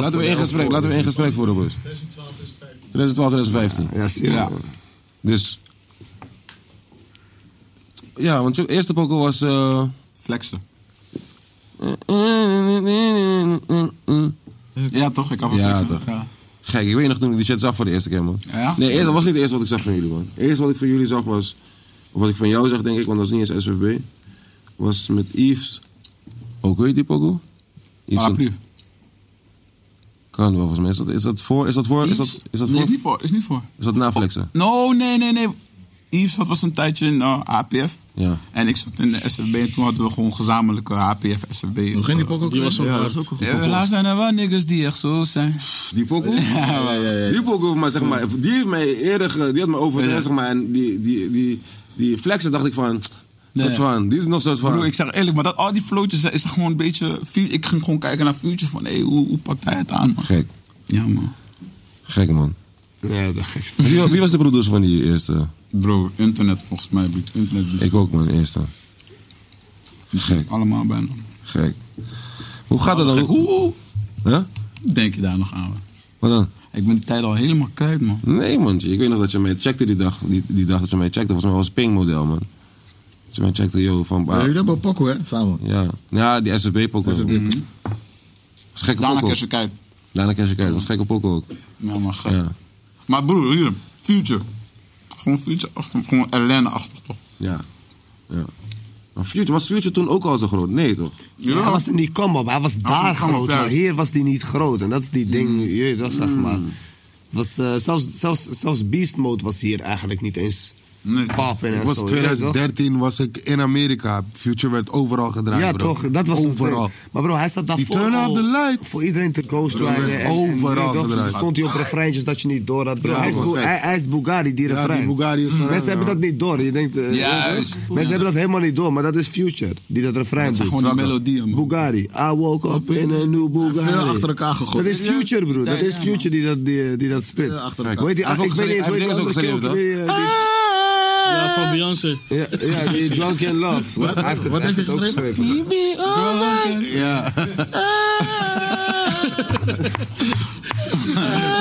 Speaker 2: Laten we in gesprek, laten we in gesprek voeren, boys. 2012, 2015.
Speaker 9: Ja, zie je.
Speaker 2: Dus... Ja, want je eerste poker was... eh
Speaker 7: Flexen. Ja, toch? Ik kan wel
Speaker 2: Ja,
Speaker 7: flexen.
Speaker 2: toch.
Speaker 7: Ja.
Speaker 2: Gek, ik weet nog toen ik die shit zag voor de eerste keer, man.
Speaker 7: Ja?
Speaker 2: Nee, eerst, dat was niet het eerste wat ik zag van jullie, man. Het eerste wat ik van jullie zag was... Of wat ik van jou zag, denk ik, want dat was niet eens SFB. Was met Yves... Ook weet je die pokoe? Yves-
Speaker 7: Paraplu.
Speaker 2: Kan wel, volgens mij. Is dat, is dat voor? Is dat voor? Is dat, is dat
Speaker 7: Nee,
Speaker 2: voor?
Speaker 7: is niet voor. Is niet voor.
Speaker 2: Is dat na flexen?
Speaker 7: No, nee, nee, nee. Yves dat was een tijdje in eh, APF.
Speaker 2: Ja.
Speaker 7: En ik zat in de SFB en toen hadden we gewoon gezamenlijke APF, SFB. Hoe
Speaker 10: ging die pok ook Die weer? was ook
Speaker 7: ja,
Speaker 10: hard.
Speaker 7: dat is ook een
Speaker 10: Ja,
Speaker 7: goede
Speaker 10: helaas
Speaker 7: zijn er wel niggas die echt zo zijn.
Speaker 2: Die pokoe? Die pokoe, maar zeg maar, die heeft mij eerder, ge- die had me over zeg maar, en die, die, die, die flexen dacht ik van, soort van, die is nog soort van.
Speaker 7: Broer, ik zeg eerlijk, maar dat, al die floatjes eh, is gewoon een beetje... vu- Ik ging gewoon kijken naar vuurtjes van, hé, hoe, hoe pakt hij het aan, man?
Speaker 2: Gek.
Speaker 7: Ja, man.
Speaker 2: Gek man.
Speaker 7: Ja, de gekste.
Speaker 2: Wie, wa- wie was de producer van die eerste?
Speaker 7: Bro, internet volgens mij. bro. Internet dus bro.
Speaker 2: Ik ook man, eerste. Gek,
Speaker 7: Allemaal bijna.
Speaker 2: gek. Hoe gaat dat dan?
Speaker 7: Gek, hoe- hoe
Speaker 2: Huh?
Speaker 7: denk je daar nog aan? man?
Speaker 2: Wat dan?
Speaker 7: Ik ben die tijd al helemaal kwijt, man.
Speaker 2: Nee man, ik weet nog dat je mij checkte die dag, die, die dag dat je mij checkte. Volgens mij was het Ping model man. Dat je mij checkte, yo, van...
Speaker 10: Ja, jullie hebben een pokoe, hè? Samen.
Speaker 2: Ja, ja die SFB pokoe.
Speaker 10: SFB
Speaker 2: Mhm. Dat is een gekke
Speaker 7: Daarna
Speaker 2: pokoe.
Speaker 7: Kerst Kijp.
Speaker 2: Daarna Kerst Kijp, dat is een gekke pokoe ook.
Speaker 7: Ja, maar
Speaker 6: Oh.
Speaker 7: gek.
Speaker 2: Ja.
Speaker 7: Maar broer, hier, Future. Gewoon Future, achter, gewoon Elena achter, toch?
Speaker 2: Ja. ja. Maar Future, was Future toen ook al zo groot? Nee, toch?
Speaker 9: Ja, hij was in die come-up. Hij was
Speaker 7: was
Speaker 9: daar
Speaker 7: een come-up,
Speaker 9: groot,
Speaker 7: ja.
Speaker 9: maar hier was die niet groot. En dat is die ding, je weet dat zeg maar. Was, eh, zelfs, zelfs, zelfs Beast Mode was hier eigenlijk niet eens nee. papen en
Speaker 6: Ik was
Speaker 9: zo. je weet toch?
Speaker 6: 2013 was ik in Amerika. Future werd overal gedraaid.
Speaker 9: Ja,
Speaker 6: bro.
Speaker 9: toch? Dat was het
Speaker 6: overal.
Speaker 9: ding. Maar bro, hij zat
Speaker 6: Die
Speaker 9: daarvoor
Speaker 6: turn off
Speaker 9: al
Speaker 6: the light.
Speaker 9: voor iedereen te
Speaker 6: Bro,
Speaker 9: ghostwriten.
Speaker 6: werd
Speaker 9: en- en-
Speaker 6: overal
Speaker 9: en- en-
Speaker 6: gedraaid.
Speaker 9: stond hij op refreintjes dat je niet door had. Bro.
Speaker 6: Ja,
Speaker 9: hij, is,
Speaker 6: was
Speaker 9: Bugatti,
Speaker 6: gek.
Speaker 9: hij, hij is Bugatti, die
Speaker 6: Ja, die
Speaker 9: refrein.
Speaker 6: Bugatti is
Speaker 9: Mm.
Speaker 6: van
Speaker 9: Mensen
Speaker 6: hem,
Speaker 9: hebben
Speaker 6: ja.
Speaker 9: dat niet door. Je denkt, eh,
Speaker 7: Juist.
Speaker 9: eh, Mensen hebben dat helemaal niet door, maar dat is Future. Die dat refrein
Speaker 7: Dat
Speaker 9: doet.
Speaker 7: zijn gewoon die melodieën, man.
Speaker 9: Bugatti. I woke up in a new Bugatti.
Speaker 10: Veel achter elkaar gegooid.
Speaker 9: Dat is Future, bro. Dat
Speaker 10: Ja,
Speaker 9: is
Speaker 10: ja,
Speaker 9: Future die dat, die, die dat spit.
Speaker 10: achter
Speaker 9: Hoe
Speaker 10: elkaar.
Speaker 9: heet die- ah,
Speaker 10: Hij heeft
Speaker 9: Ik
Speaker 10: ook
Speaker 9: weet niet eens hoe
Speaker 10: gezongen,
Speaker 9: die
Speaker 10: hij heeft
Speaker 9: andere
Speaker 10: ook
Speaker 9: kerel
Speaker 10: gezongen,
Speaker 9: die, eh, die-
Speaker 5: Ja, van Beyoncé.
Speaker 9: ja, ja, die Drunk in Love.
Speaker 10: Wat-
Speaker 9: Hij heeft het-
Speaker 10: wat
Speaker 9: hij heeft
Speaker 10: heeft hij
Speaker 9: het ook
Speaker 10: geschreven?
Speaker 9: geschreven.
Speaker 10: Ja.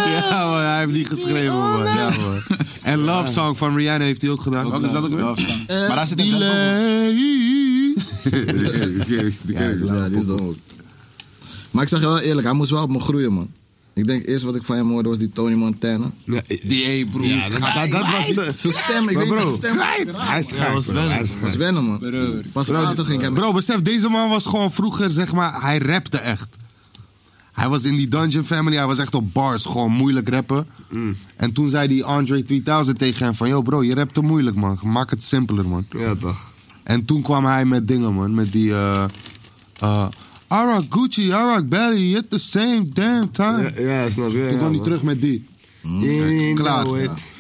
Speaker 6: Ja, man, hij heeft die geschreven, man. Ja, man. En Love Song van Rihanna heeft hij ook Eh, gedaan.
Speaker 7: Wat is dat ook weer? Love Song. Maar daar zit een
Speaker 6: Die
Speaker 7: zelf ook
Speaker 6: lady.
Speaker 10: Ja, ja,
Speaker 6: dus
Speaker 10: die is dom ook. Maar ik zeg je wel eerlijk, hij moest wel op me groeien, man. Ik denk eerst wat ik van hem hoorde was die Tony Montana.
Speaker 7: Die, hey, broer.
Speaker 10: Ja, dat- dat- dat was de- Zijn stem, ik Maar weet niet bro, zijn stem.
Speaker 9: Hij is
Speaker 10: Ja,
Speaker 9: gek,
Speaker 10: was
Speaker 9: bro. Hij is
Speaker 10: wennen.
Speaker 9: gek.
Speaker 10: was wennen, man. Pas later ging ik hem...
Speaker 6: Bro, besef, deze man was gewoon vroeger, zeg maar, hij rapte echt. Hij was in die Dungeon Family, hij was echt op bars, gewoon moeilijk rappen.
Speaker 9: Mm.
Speaker 6: En toen zei die Andre 3000 tegen hem van, yo bro, je rapt te moeilijk man, maak het simpeler man.
Speaker 9: Ja, toch.
Speaker 6: En toen kwam hij met dingen man, met die... eh eh I rock Gucci, I rock Belly, at the same damn time.
Speaker 9: Ja, ja, snap je.
Speaker 6: Toen kwam hij terug met die.
Speaker 9: In
Speaker 6: Klaar.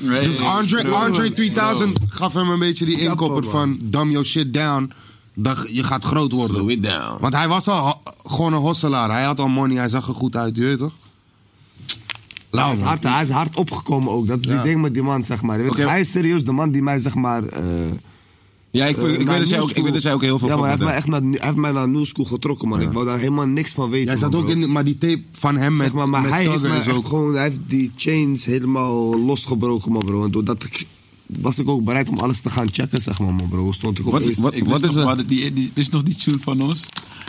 Speaker 6: Dus Andre, Andre 3000 gaf hem een beetje die inkopper van dumb your shit down. Dat je gaat groot worden.
Speaker 2: Slow it down.
Speaker 6: Want hij was al ho- gewoon een hosselaar. Hij had al money, hij zag er goed uit, je weet toch? Lauw,
Speaker 9: Hij is,
Speaker 6: man.
Speaker 9: hard, hij is hard opgekomen ook. Dat is
Speaker 6: Ja.
Speaker 9: die ding met die man, zeg maar. Je weet,
Speaker 2: Oké.
Speaker 9: Hij is serieus de man die mij, zeg maar... eh,
Speaker 2: Ja, ik,
Speaker 9: eh,
Speaker 2: ik,
Speaker 9: naar
Speaker 2: weet dat jij
Speaker 9: New
Speaker 2: ook, ik
Speaker 9: School-
Speaker 2: weet dat jij ook heel veel
Speaker 9: Ja,
Speaker 2: van
Speaker 9: maar hij heeft, mij
Speaker 2: hebt.
Speaker 9: echt naar, hij heeft mij naar New School getrokken, man. Ik wou daar helemaal niks van weten,
Speaker 6: Jij zat
Speaker 9: man,
Speaker 6: ook
Speaker 9: bro.
Speaker 6: in, de- maar die tape van hem met,
Speaker 9: zeg maar, maar
Speaker 6: met
Speaker 9: hij heeft
Speaker 6: Tugger
Speaker 9: mij
Speaker 6: is
Speaker 9: echt
Speaker 6: ook.
Speaker 9: gewoon, hij heeft die chains helemaal losgebroken, man, bro. En doordat ik, was ik ook bereid om alles te gaan checken, zeg maar, man, bro. Stond ik op
Speaker 7: Wat, wat, ik wist, nog, we hadden die, die, wist nog die tune van ons?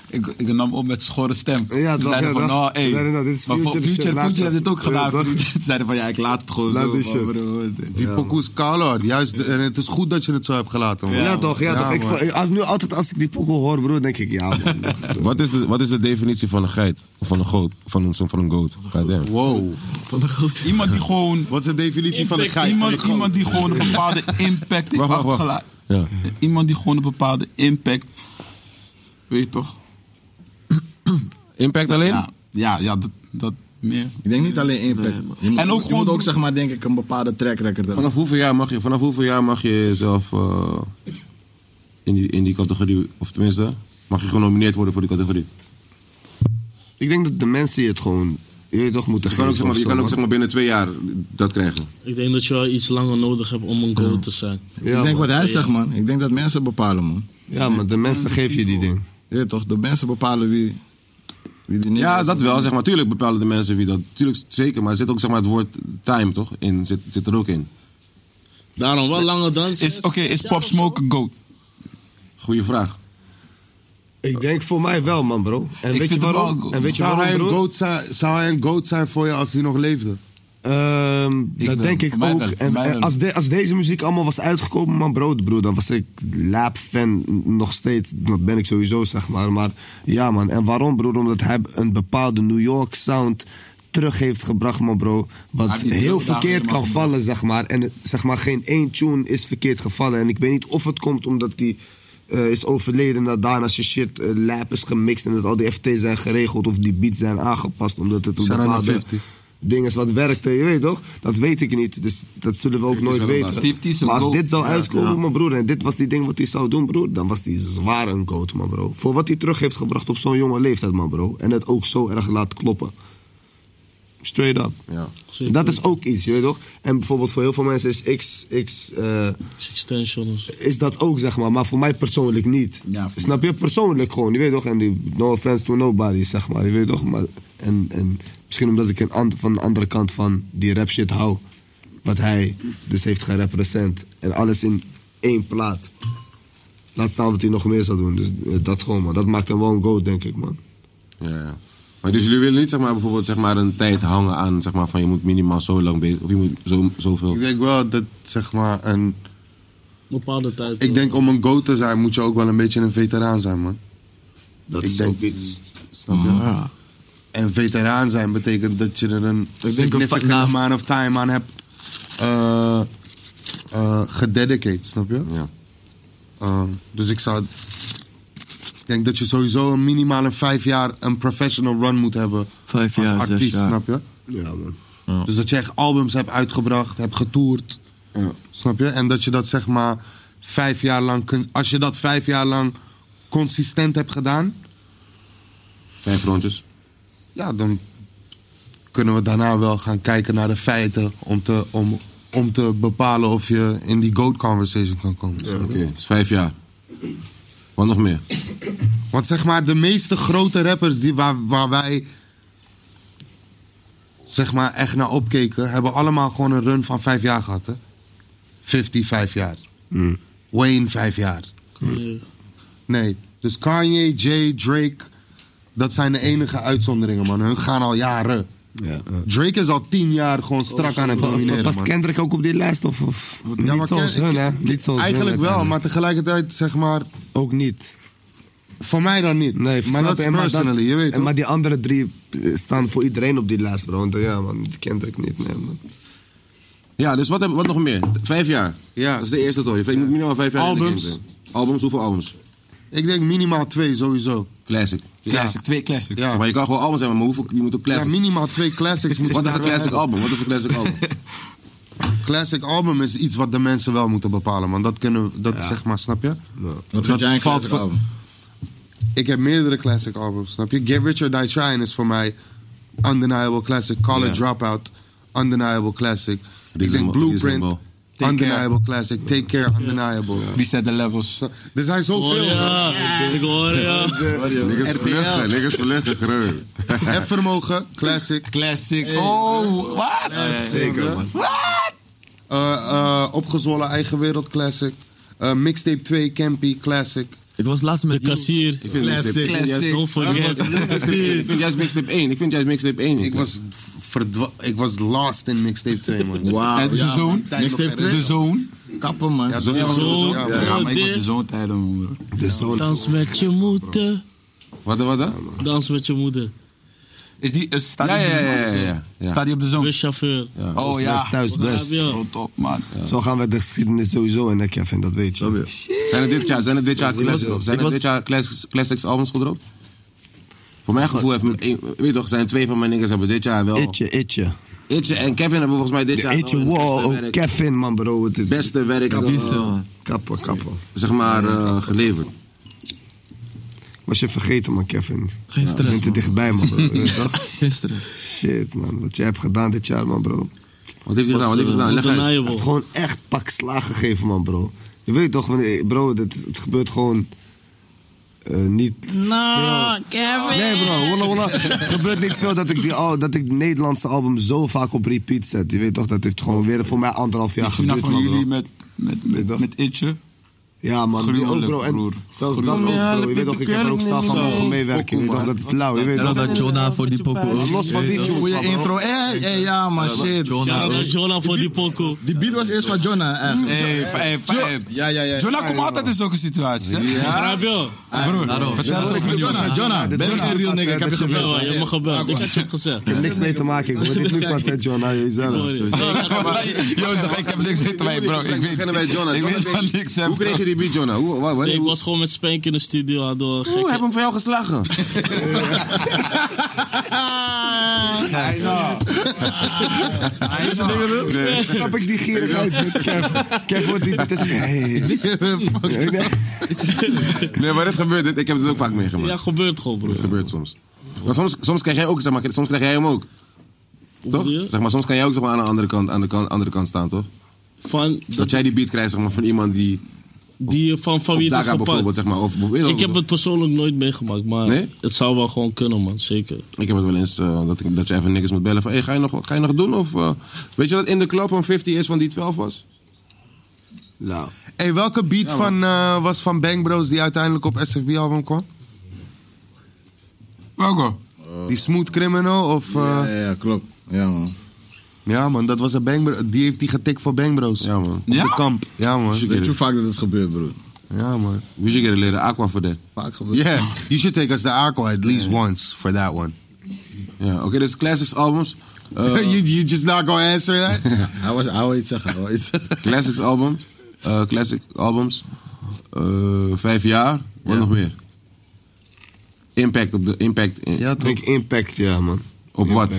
Speaker 7: Ik, ik nam op met schorre stem.
Speaker 9: Ja,
Speaker 7: Ze
Speaker 9: toch,
Speaker 7: zeiden
Speaker 9: ja,
Speaker 7: van,
Speaker 9: toch.
Speaker 7: nou,
Speaker 9: Ze
Speaker 7: hey.
Speaker 9: zeiden, nou, dit is
Speaker 7: maar voor
Speaker 9: future shit,
Speaker 7: Future,
Speaker 9: laat
Speaker 7: Future
Speaker 9: dat.
Speaker 7: heeft het ook
Speaker 9: Ja,
Speaker 7: gedaan.
Speaker 9: toch.
Speaker 7: Ze zeiden van, ja, ik laat het gewoon
Speaker 9: Laat
Speaker 7: zo.
Speaker 9: die
Speaker 7: man,
Speaker 9: shit.
Speaker 7: broer.
Speaker 6: Die
Speaker 7: Ja.
Speaker 6: pokoe is kaalhard, juist. En het is goed dat je het zo hebt gelaten, man.
Speaker 9: Ja, toch, ja, toch. Ik,
Speaker 6: man.
Speaker 9: vo- als, nu altijd als ik die pokoe hoor, bro, denk ik, ja, man. dat is, eh,
Speaker 2: Wat is, de, wat is de definitie van een geit? Of van een goat? Van een, van een goat? Goddamn.
Speaker 6: Wow.
Speaker 7: Iemand die gewoon...
Speaker 6: Wat is de definitie van een geit?
Speaker 7: Iemand,
Speaker 6: Van een
Speaker 7: iemand die gewoon een bepaalde impact heeft
Speaker 2: Wacht, wacht, wacht.
Speaker 7: achtergelaten.
Speaker 2: Ja.
Speaker 7: Iemand die gewoon een bepaalde impact Weet je toch?
Speaker 2: Impact alleen?
Speaker 7: Ja, ja, ja, dat, dat meer.
Speaker 2: Ik denk niet alleen impact.
Speaker 7: Je moet- En ook je gewoon- moet ook,
Speaker 2: zeg maar, denk ik, een bepaalde track record Vanaf hoeveel jaar mag je, vanaf hoeveel jaar mag je jezelf eh, in, die, in die categorie, of tenminste, mag je genomineerd worden voor die categorie?
Speaker 9: Ik denk dat de mensen je het gewoon, je weet toch, moeten
Speaker 2: Je kan ook, zeg
Speaker 9: geven
Speaker 2: maar,
Speaker 9: of
Speaker 2: je
Speaker 9: zo,
Speaker 2: kan ook
Speaker 9: man.
Speaker 2: zeg maar, binnen twee jaar dat krijgen.
Speaker 5: Ik denk dat je wel iets langer nodig hebt om een goal te zijn.
Speaker 13: ik denk wat hij
Speaker 5: Ja.
Speaker 13: zegt, man. Ik denk dat mensen bepalen, man.
Speaker 9: Ja, maar de mensen geven je die ding.
Speaker 13: Ja, toch? De mensen bepalen wie, wie die niet
Speaker 2: Ja,
Speaker 13: is.
Speaker 2: dat wel, zeg maar. Tuurlijk bepalen de mensen wie dat. Tuurlijk, zeker, maar er zit ook zeg maar, het woord time, toch? In, zit, zit er ook in.
Speaker 5: Daarom wel langer dan.
Speaker 7: Is- Oké, is Pop Smoke een goat?
Speaker 2: Goeie vraag.
Speaker 9: Ik denk voor mij wel, man, bro. En weet je waarom? En weet je
Speaker 6: zou,
Speaker 9: waarom,
Speaker 6: hij een
Speaker 9: bro?
Speaker 6: goat zijn, zou hij een goat zijn voor je als hij nog leefde?
Speaker 9: Ehm, dat denk ik ook. En, en als, de- als deze muziek allemaal was uitgekomen, man, bro, broer, dan was ik Laap-fan nog steeds. Dat ben ik sowieso, zeg maar. Maar ja, man. En waarom, broer? Omdat hij een bepaalde New York sound terug heeft gebracht, man, bro.
Speaker 7: Hij
Speaker 9: Wat
Speaker 7: heeft die
Speaker 9: heel
Speaker 7: beelden
Speaker 9: verkeerd
Speaker 7: helemaal
Speaker 9: kan vallen, zeg maar. En eh, zeg maar, geen één tune is verkeerd gevallen. En ik weet niet of het komt omdat die... eh, is overleden na daarna zijn shit eh, lap is gemixt en dat al die FT's zijn geregeld of die beats zijn aangepast omdat het een
Speaker 6: Shout out naar
Speaker 9: bepaalde
Speaker 6: 50.
Speaker 9: ding is wat werkte, je weet toch? Dat weet ik niet, dus dat zullen we ook
Speaker 6: is
Speaker 9: nooit
Speaker 6: wel een baas. 50 is een
Speaker 9: weten. Maar als
Speaker 6: goat.
Speaker 9: dit zou
Speaker 6: Ja,
Speaker 9: uitkomen,
Speaker 6: ja.
Speaker 9: mijn broer, en dit was die ding wat hij zou doen, broer, dan was hij zwaar een goat, man, bro. Voor wat hij terug heeft gebracht op zo'n jonge leeftijd, man, bro. En het ook zo erg laat kloppen. Straight up.
Speaker 2: Ja.
Speaker 9: Dat is ook iets, je weet toch? En bijvoorbeeld voor heel veel mensen is X... X eh, Is dat ook, zeg maar. Maar voor mij persoonlijk niet. Snap je? Persoonlijk gewoon, je weet toch? En die no offense to nobody, zeg maar. Je weet toch? Maar, en, en misschien omdat ik een and- van de andere kant van die rap shit hou. Wat hij dus heeft gerepresent. En alles in één plaat. Laat staan wat hij nog meer zou doen. Dus eh, dat gewoon, man. Dat maakt hem wel een goat, denk ik, man.
Speaker 2: Ja, ja. Maar dus jullie willen niet zeg maar, bijvoorbeeld zeg maar, een tijd hangen aan zeg maar, van je moet minimaal zo lang bezig of je moet zo, zoveel.
Speaker 6: Ik denk wel dat, zeg maar, een...
Speaker 5: Bepaalde tijd.
Speaker 6: Ik denk om een goat te zijn moet je ook wel een beetje een veteraan zijn, man. Dat ik
Speaker 9: is
Speaker 6: denk,
Speaker 9: ook iets.
Speaker 6: Snap je? En veteraan zijn betekent dat je er een
Speaker 13: denk
Speaker 6: significant
Speaker 13: een fa- na-
Speaker 6: amount of time aan hebt eh eh, gededicate, snap je?
Speaker 2: Ja.
Speaker 6: Eh, dus ik zou... Ik denk dat je sowieso een minimaal een vijf jaar een professional run moet hebben.
Speaker 15: Vijf jaar,
Speaker 6: Als
Speaker 15: zes
Speaker 6: artiest,
Speaker 15: jaar.
Speaker 6: snap je?
Speaker 9: Ja, man.
Speaker 6: Dus dat je echt albums hebt uitgebracht, hebt getoerd. Snap je? En dat je dat zeg maar vijf jaar lang kunt. Als je dat vijf jaar lang consistent hebt gedaan,
Speaker 2: Vijf rondjes.
Speaker 6: ja, dan kunnen we daarna wel gaan kijken naar de feiten. Om te, om, om te bepalen of je in die GOAT conversation kan komen.
Speaker 2: Oké, dus vijf jaar. Wat nog meer?
Speaker 6: Want zeg maar, de meeste grote rappers die, waar, waar wij zeg maar, echt naar opkeken, hebben allemaal gewoon een run van vijf jaar gehad. Hè? 50, vijf jaar.
Speaker 9: Hmm.
Speaker 6: Wayne, vijf jaar. Nee, dus Kanye, Jay, Drake, dat zijn de enige uitzonderingen, man. Hun gaan al jaren. Drake is al tien jaar gewoon strak aan
Speaker 9: Oh,
Speaker 6: het domineren,
Speaker 9: Past
Speaker 6: man.
Speaker 9: Kendrick ook op die lijst? Of, of niet,
Speaker 6: maar
Speaker 9: zoals
Speaker 6: Ken-
Speaker 9: hun, hè?
Speaker 6: Ken-
Speaker 9: niet zoals hun,
Speaker 6: Eigenlijk wel,
Speaker 9: uiteindelijk.
Speaker 6: maar tegelijkertijd zeg maar...
Speaker 9: Ook niet.
Speaker 6: Voor mij dan niet.
Speaker 9: Nee,
Speaker 6: maar
Speaker 9: snap
Speaker 6: dat
Speaker 9: je?
Speaker 6: is
Speaker 9: En maar
Speaker 6: personally, je weet
Speaker 9: en
Speaker 6: toch?
Speaker 9: Maar die andere drie eh, staan voor iedereen op die lijst, bro. Want eh, ja, man, die kent ik niet. Nee, man.
Speaker 2: Ja, dus wat, heb- wat nog meer? Vijf jaar. Ja.
Speaker 9: Dus
Speaker 2: Dat is de eerste toch? Je moet minimaal vijf jaar in de
Speaker 6: Albums.
Speaker 2: game zijn. Albums, hoeveel albums?
Speaker 6: Ik denk minimaal twee sowieso.
Speaker 2: Classic.
Speaker 6: Classic,
Speaker 2: twee classics. Ja. Maar je kan gewoon albums hebben, maar hoeveel, je moet ook classic.
Speaker 6: Ja, minimaal twee classics moeten
Speaker 2: Wat is een
Speaker 6: daar wel
Speaker 2: classic
Speaker 6: hebben.
Speaker 2: album? Wat is een classic album?
Speaker 6: Classic album is iets wat de mensen wel moeten bepalen, man. Dat kunnen we, dat zeg maar, snap je?
Speaker 13: vind jij een
Speaker 6: valt
Speaker 13: classic
Speaker 6: voor-
Speaker 13: album?
Speaker 6: Ik heb meerdere classic albums, snap je? Get Rich or Die Trying is voor mij undeniable classic. College Dropout, undeniable classic. Ik denk
Speaker 7: Reasonable-
Speaker 6: Blueprint,
Speaker 7: reasonable. Take
Speaker 6: undeniable classic. Take Care, undeniable.
Speaker 7: Reset the levels.
Speaker 6: Er zijn zoveel.
Speaker 5: Ik hoor
Speaker 2: Niggas verleggen, niggas verleggen, gereur.
Speaker 6: En vermogen, classic.
Speaker 7: Classic. Oh, wat?
Speaker 6: Zeker, man. eh, opgezwollen eigen wereld, classic. Eh, mixtape 2, Campy, classic.
Speaker 15: Ik was laatst met...
Speaker 5: De kassier.
Speaker 2: Ik vind
Speaker 6: Classic.
Speaker 2: mixtape-
Speaker 6: Classic.
Speaker 2: juist-
Speaker 6: Don't forget.
Speaker 2: Ik vind juist mixtape 1. Ik vind juist mixtape 1.
Speaker 6: Ik was, verdwa- ik was lost in mixtape 2, man.
Speaker 7: Eh,
Speaker 13: Wauw, En de ja, Zone?
Speaker 6: Tijd nog
Speaker 13: Mixtape 2?
Speaker 6: gereden.
Speaker 13: De
Speaker 7: Zone?
Speaker 13: Kappen, man.
Speaker 6: Ja, Zone. Zone.
Speaker 7: Ja,
Speaker 6: Ja,
Speaker 7: maar ik
Speaker 6: dit-
Speaker 7: was de zoon tijden, man. bro.
Speaker 5: Dans met je moeder.
Speaker 2: Wat, wat, wat?
Speaker 5: Dans met je moeder.
Speaker 28: Is die, eh, staat die
Speaker 2: Ja,
Speaker 28: op
Speaker 2: ja,
Speaker 28: de
Speaker 2: ja,
Speaker 28: zone?
Speaker 2: ja, ja, ja.
Speaker 28: Staat die op de zone?
Speaker 5: Buschauffeur.
Speaker 28: Oh ja.
Speaker 9: Thuis best.
Speaker 28: Oh, top, man.
Speaker 9: Zo gaan we de geschiedenis sowieso in de Kevin, dat weet je.
Speaker 2: Zijn er dit jaar, zijn er dit jaar,
Speaker 9: Ja, ik was-
Speaker 2: classic- zijn
Speaker 9: ik
Speaker 2: er
Speaker 9: was-
Speaker 2: dit jaar classics, classics albums gedropt? Voor mijn gevoel heeft met één, weet je toch, zijn twee van mijn niggas hebben dit jaar wel.
Speaker 9: Itje, itje.
Speaker 2: Itje en Kevin hebben volgens mij dit jaar.
Speaker 9: Itje,
Speaker 2: wel hun beste
Speaker 9: wow, oh,
Speaker 2: werk-
Speaker 9: Kevin, man, bro. Het
Speaker 2: Beste werk. eh,
Speaker 9: Kappa, kappa.
Speaker 2: Zeg maar eh, geleverd.
Speaker 9: Was je vergeten, man, Kevin?
Speaker 15: Geen stress,
Speaker 9: Je bent
Speaker 15: man.
Speaker 9: er dichtbij, man, bro.
Speaker 15: Gisteren.
Speaker 9: Shit, man, wat jij hebt gedaan dit jaar, man, bro.
Speaker 2: Wat heeft hij gedaan? Wat
Speaker 5: eh,
Speaker 2: heeft hij gedaan? Leg uit.
Speaker 9: Hij heeft gewoon echt pak slaag gegeven, man, bro. Je weet toch, wanneer, bro, dit, het gebeurt gewoon eh, niet
Speaker 26: No, Kevin.
Speaker 9: Nee bro, wallah, wallah. Het gebeurt niks veel dat ik, die, al- dat ik Nederlandse album zo vaak op repeat zet. Je weet toch, dat heeft gewoon weer voor mij anderhalf jaar
Speaker 28: Ik zie nou
Speaker 9: geduurd.
Speaker 28: van
Speaker 9: man, bro.
Speaker 28: jullie met, met, met, met Itje.
Speaker 9: Ja man, die ook
Speaker 28: Gruwelijk,
Speaker 9: bro. En
Speaker 28: broer.
Speaker 9: zelfs dat ook
Speaker 28: Gruwelijk.
Speaker 9: bro. Je weet toch, ik heb er ook zelf aan mogen meewerken. Je weet toch, dat is lauw. Je weet toch.
Speaker 29: dat Jona voor die pokoe.
Speaker 9: Maar los van die tunes,
Speaker 29: Goeie
Speaker 9: man, bro.
Speaker 29: intro. Eh, eh, ja, man, shit.
Speaker 5: Shout-out Jonah voor die pokoe.
Speaker 29: Die beat was eerst van Jonna, eigenlijk.
Speaker 28: Hey, hey, hey.
Speaker 29: Ja, ja, ja.
Speaker 28: Jonah komt altijd in zulke situaties. hè?
Speaker 29: Ja.
Speaker 5: Begrijp je?
Speaker 28: Ah, Broer,
Speaker 29: daarom.
Speaker 28: vertel eens over
Speaker 29: Jonah,
Speaker 28: Jonah.
Speaker 29: Jonah, ben ik een real nigga? Ik heb je gebeld.
Speaker 5: Je hebt me gebeld. Ik had je gezegd.
Speaker 9: Ik heb niks mee te maken. Ik hoor dit nu pas, hè, John. Hij is
Speaker 28: Jozef, ik heb niks weten bij bro. Ik weet,
Speaker 2: Beginnen bij Jonah.
Speaker 28: ik
Speaker 2: Jonah,
Speaker 28: weet
Speaker 2: weet-
Speaker 28: van niks. hè,
Speaker 2: Hoe
Speaker 28: bro.
Speaker 2: kreeg je die beat, Jonah? Hoe, waar, waar,
Speaker 5: Nee, ik
Speaker 2: hoe,
Speaker 5: was gewoon met Spank in de studio. Hadden we
Speaker 2: Oeh,
Speaker 5: gekke
Speaker 2: heb hem voor jou geslagen.
Speaker 28: I know. I know.
Speaker 9: Dan Snap ik die gierigheid met Kev. Kev wordt die... Het is... Hey.
Speaker 2: Nee, maar dit gebeurt. Dit, ik heb het ook vaak meegemaakt.
Speaker 5: Ja, gebeurt gewoon, bro.
Speaker 2: Het gebeurt soms. Maar soms, soms krijg jij ook, zeg maar, soms krijg jij hem ook. Toch? Zeg maar, soms kan jij ook zeg maar, aan de andere kant, aan de kant, andere kant staan, toch?
Speaker 5: Van,
Speaker 2: dat, jij die beat krijgt zeg maar, van iemand die.
Speaker 5: Die van, van wie het is gepakt.
Speaker 2: bijvoorbeeld, zeg maar. Of, of-
Speaker 5: Ik heb het persoonlijk nooit meegemaakt, maar
Speaker 2: Nee?
Speaker 5: het zou wel gewoon kunnen, man. Zeker.
Speaker 2: Ik heb het wel eens eh, dat, ik, dat je even niks moet bellen van hey, ga, je nog, wat ga je nog doen? Of, eh, weet je dat in de club van 50 is van die 12 was?
Speaker 9: Nou.
Speaker 6: Hey, welke beat van, eh, was van Bang Bros die uiteindelijk op SFB-album kwam?
Speaker 28: Welke?
Speaker 9: Oh.
Speaker 6: Die Smooth Criminal of...
Speaker 29: eh,
Speaker 6: Ja,
Speaker 10: klopt. Ja, man.
Speaker 6: Ja, man, dat was een Bang Bro- Die heeft die getikt voor Bang Bros. Ja,
Speaker 2: man.
Speaker 6: Op de kamp. Ja, man.
Speaker 10: Weet je hoe vaak dat is gebeurd, broer?
Speaker 6: Ja, man.
Speaker 2: We should get a little aqua for that.
Speaker 10: Vaak gebeurd.
Speaker 6: Yeah, you should take us to Aqua at least once for that one.
Speaker 2: Ja, oké, dus classics albums.
Speaker 9: Uh,
Speaker 2: Eh,
Speaker 6: you, you just not gonna answer that?
Speaker 10: Hij was oud, zeggen. hij wou iets zeggen.
Speaker 2: classics album. eh, classic albums. Eh, vijf jaar. Wat nog meer? Impact op de impact. In,
Speaker 9: Ja, toch? Impact, ja, man.
Speaker 2: Op wat?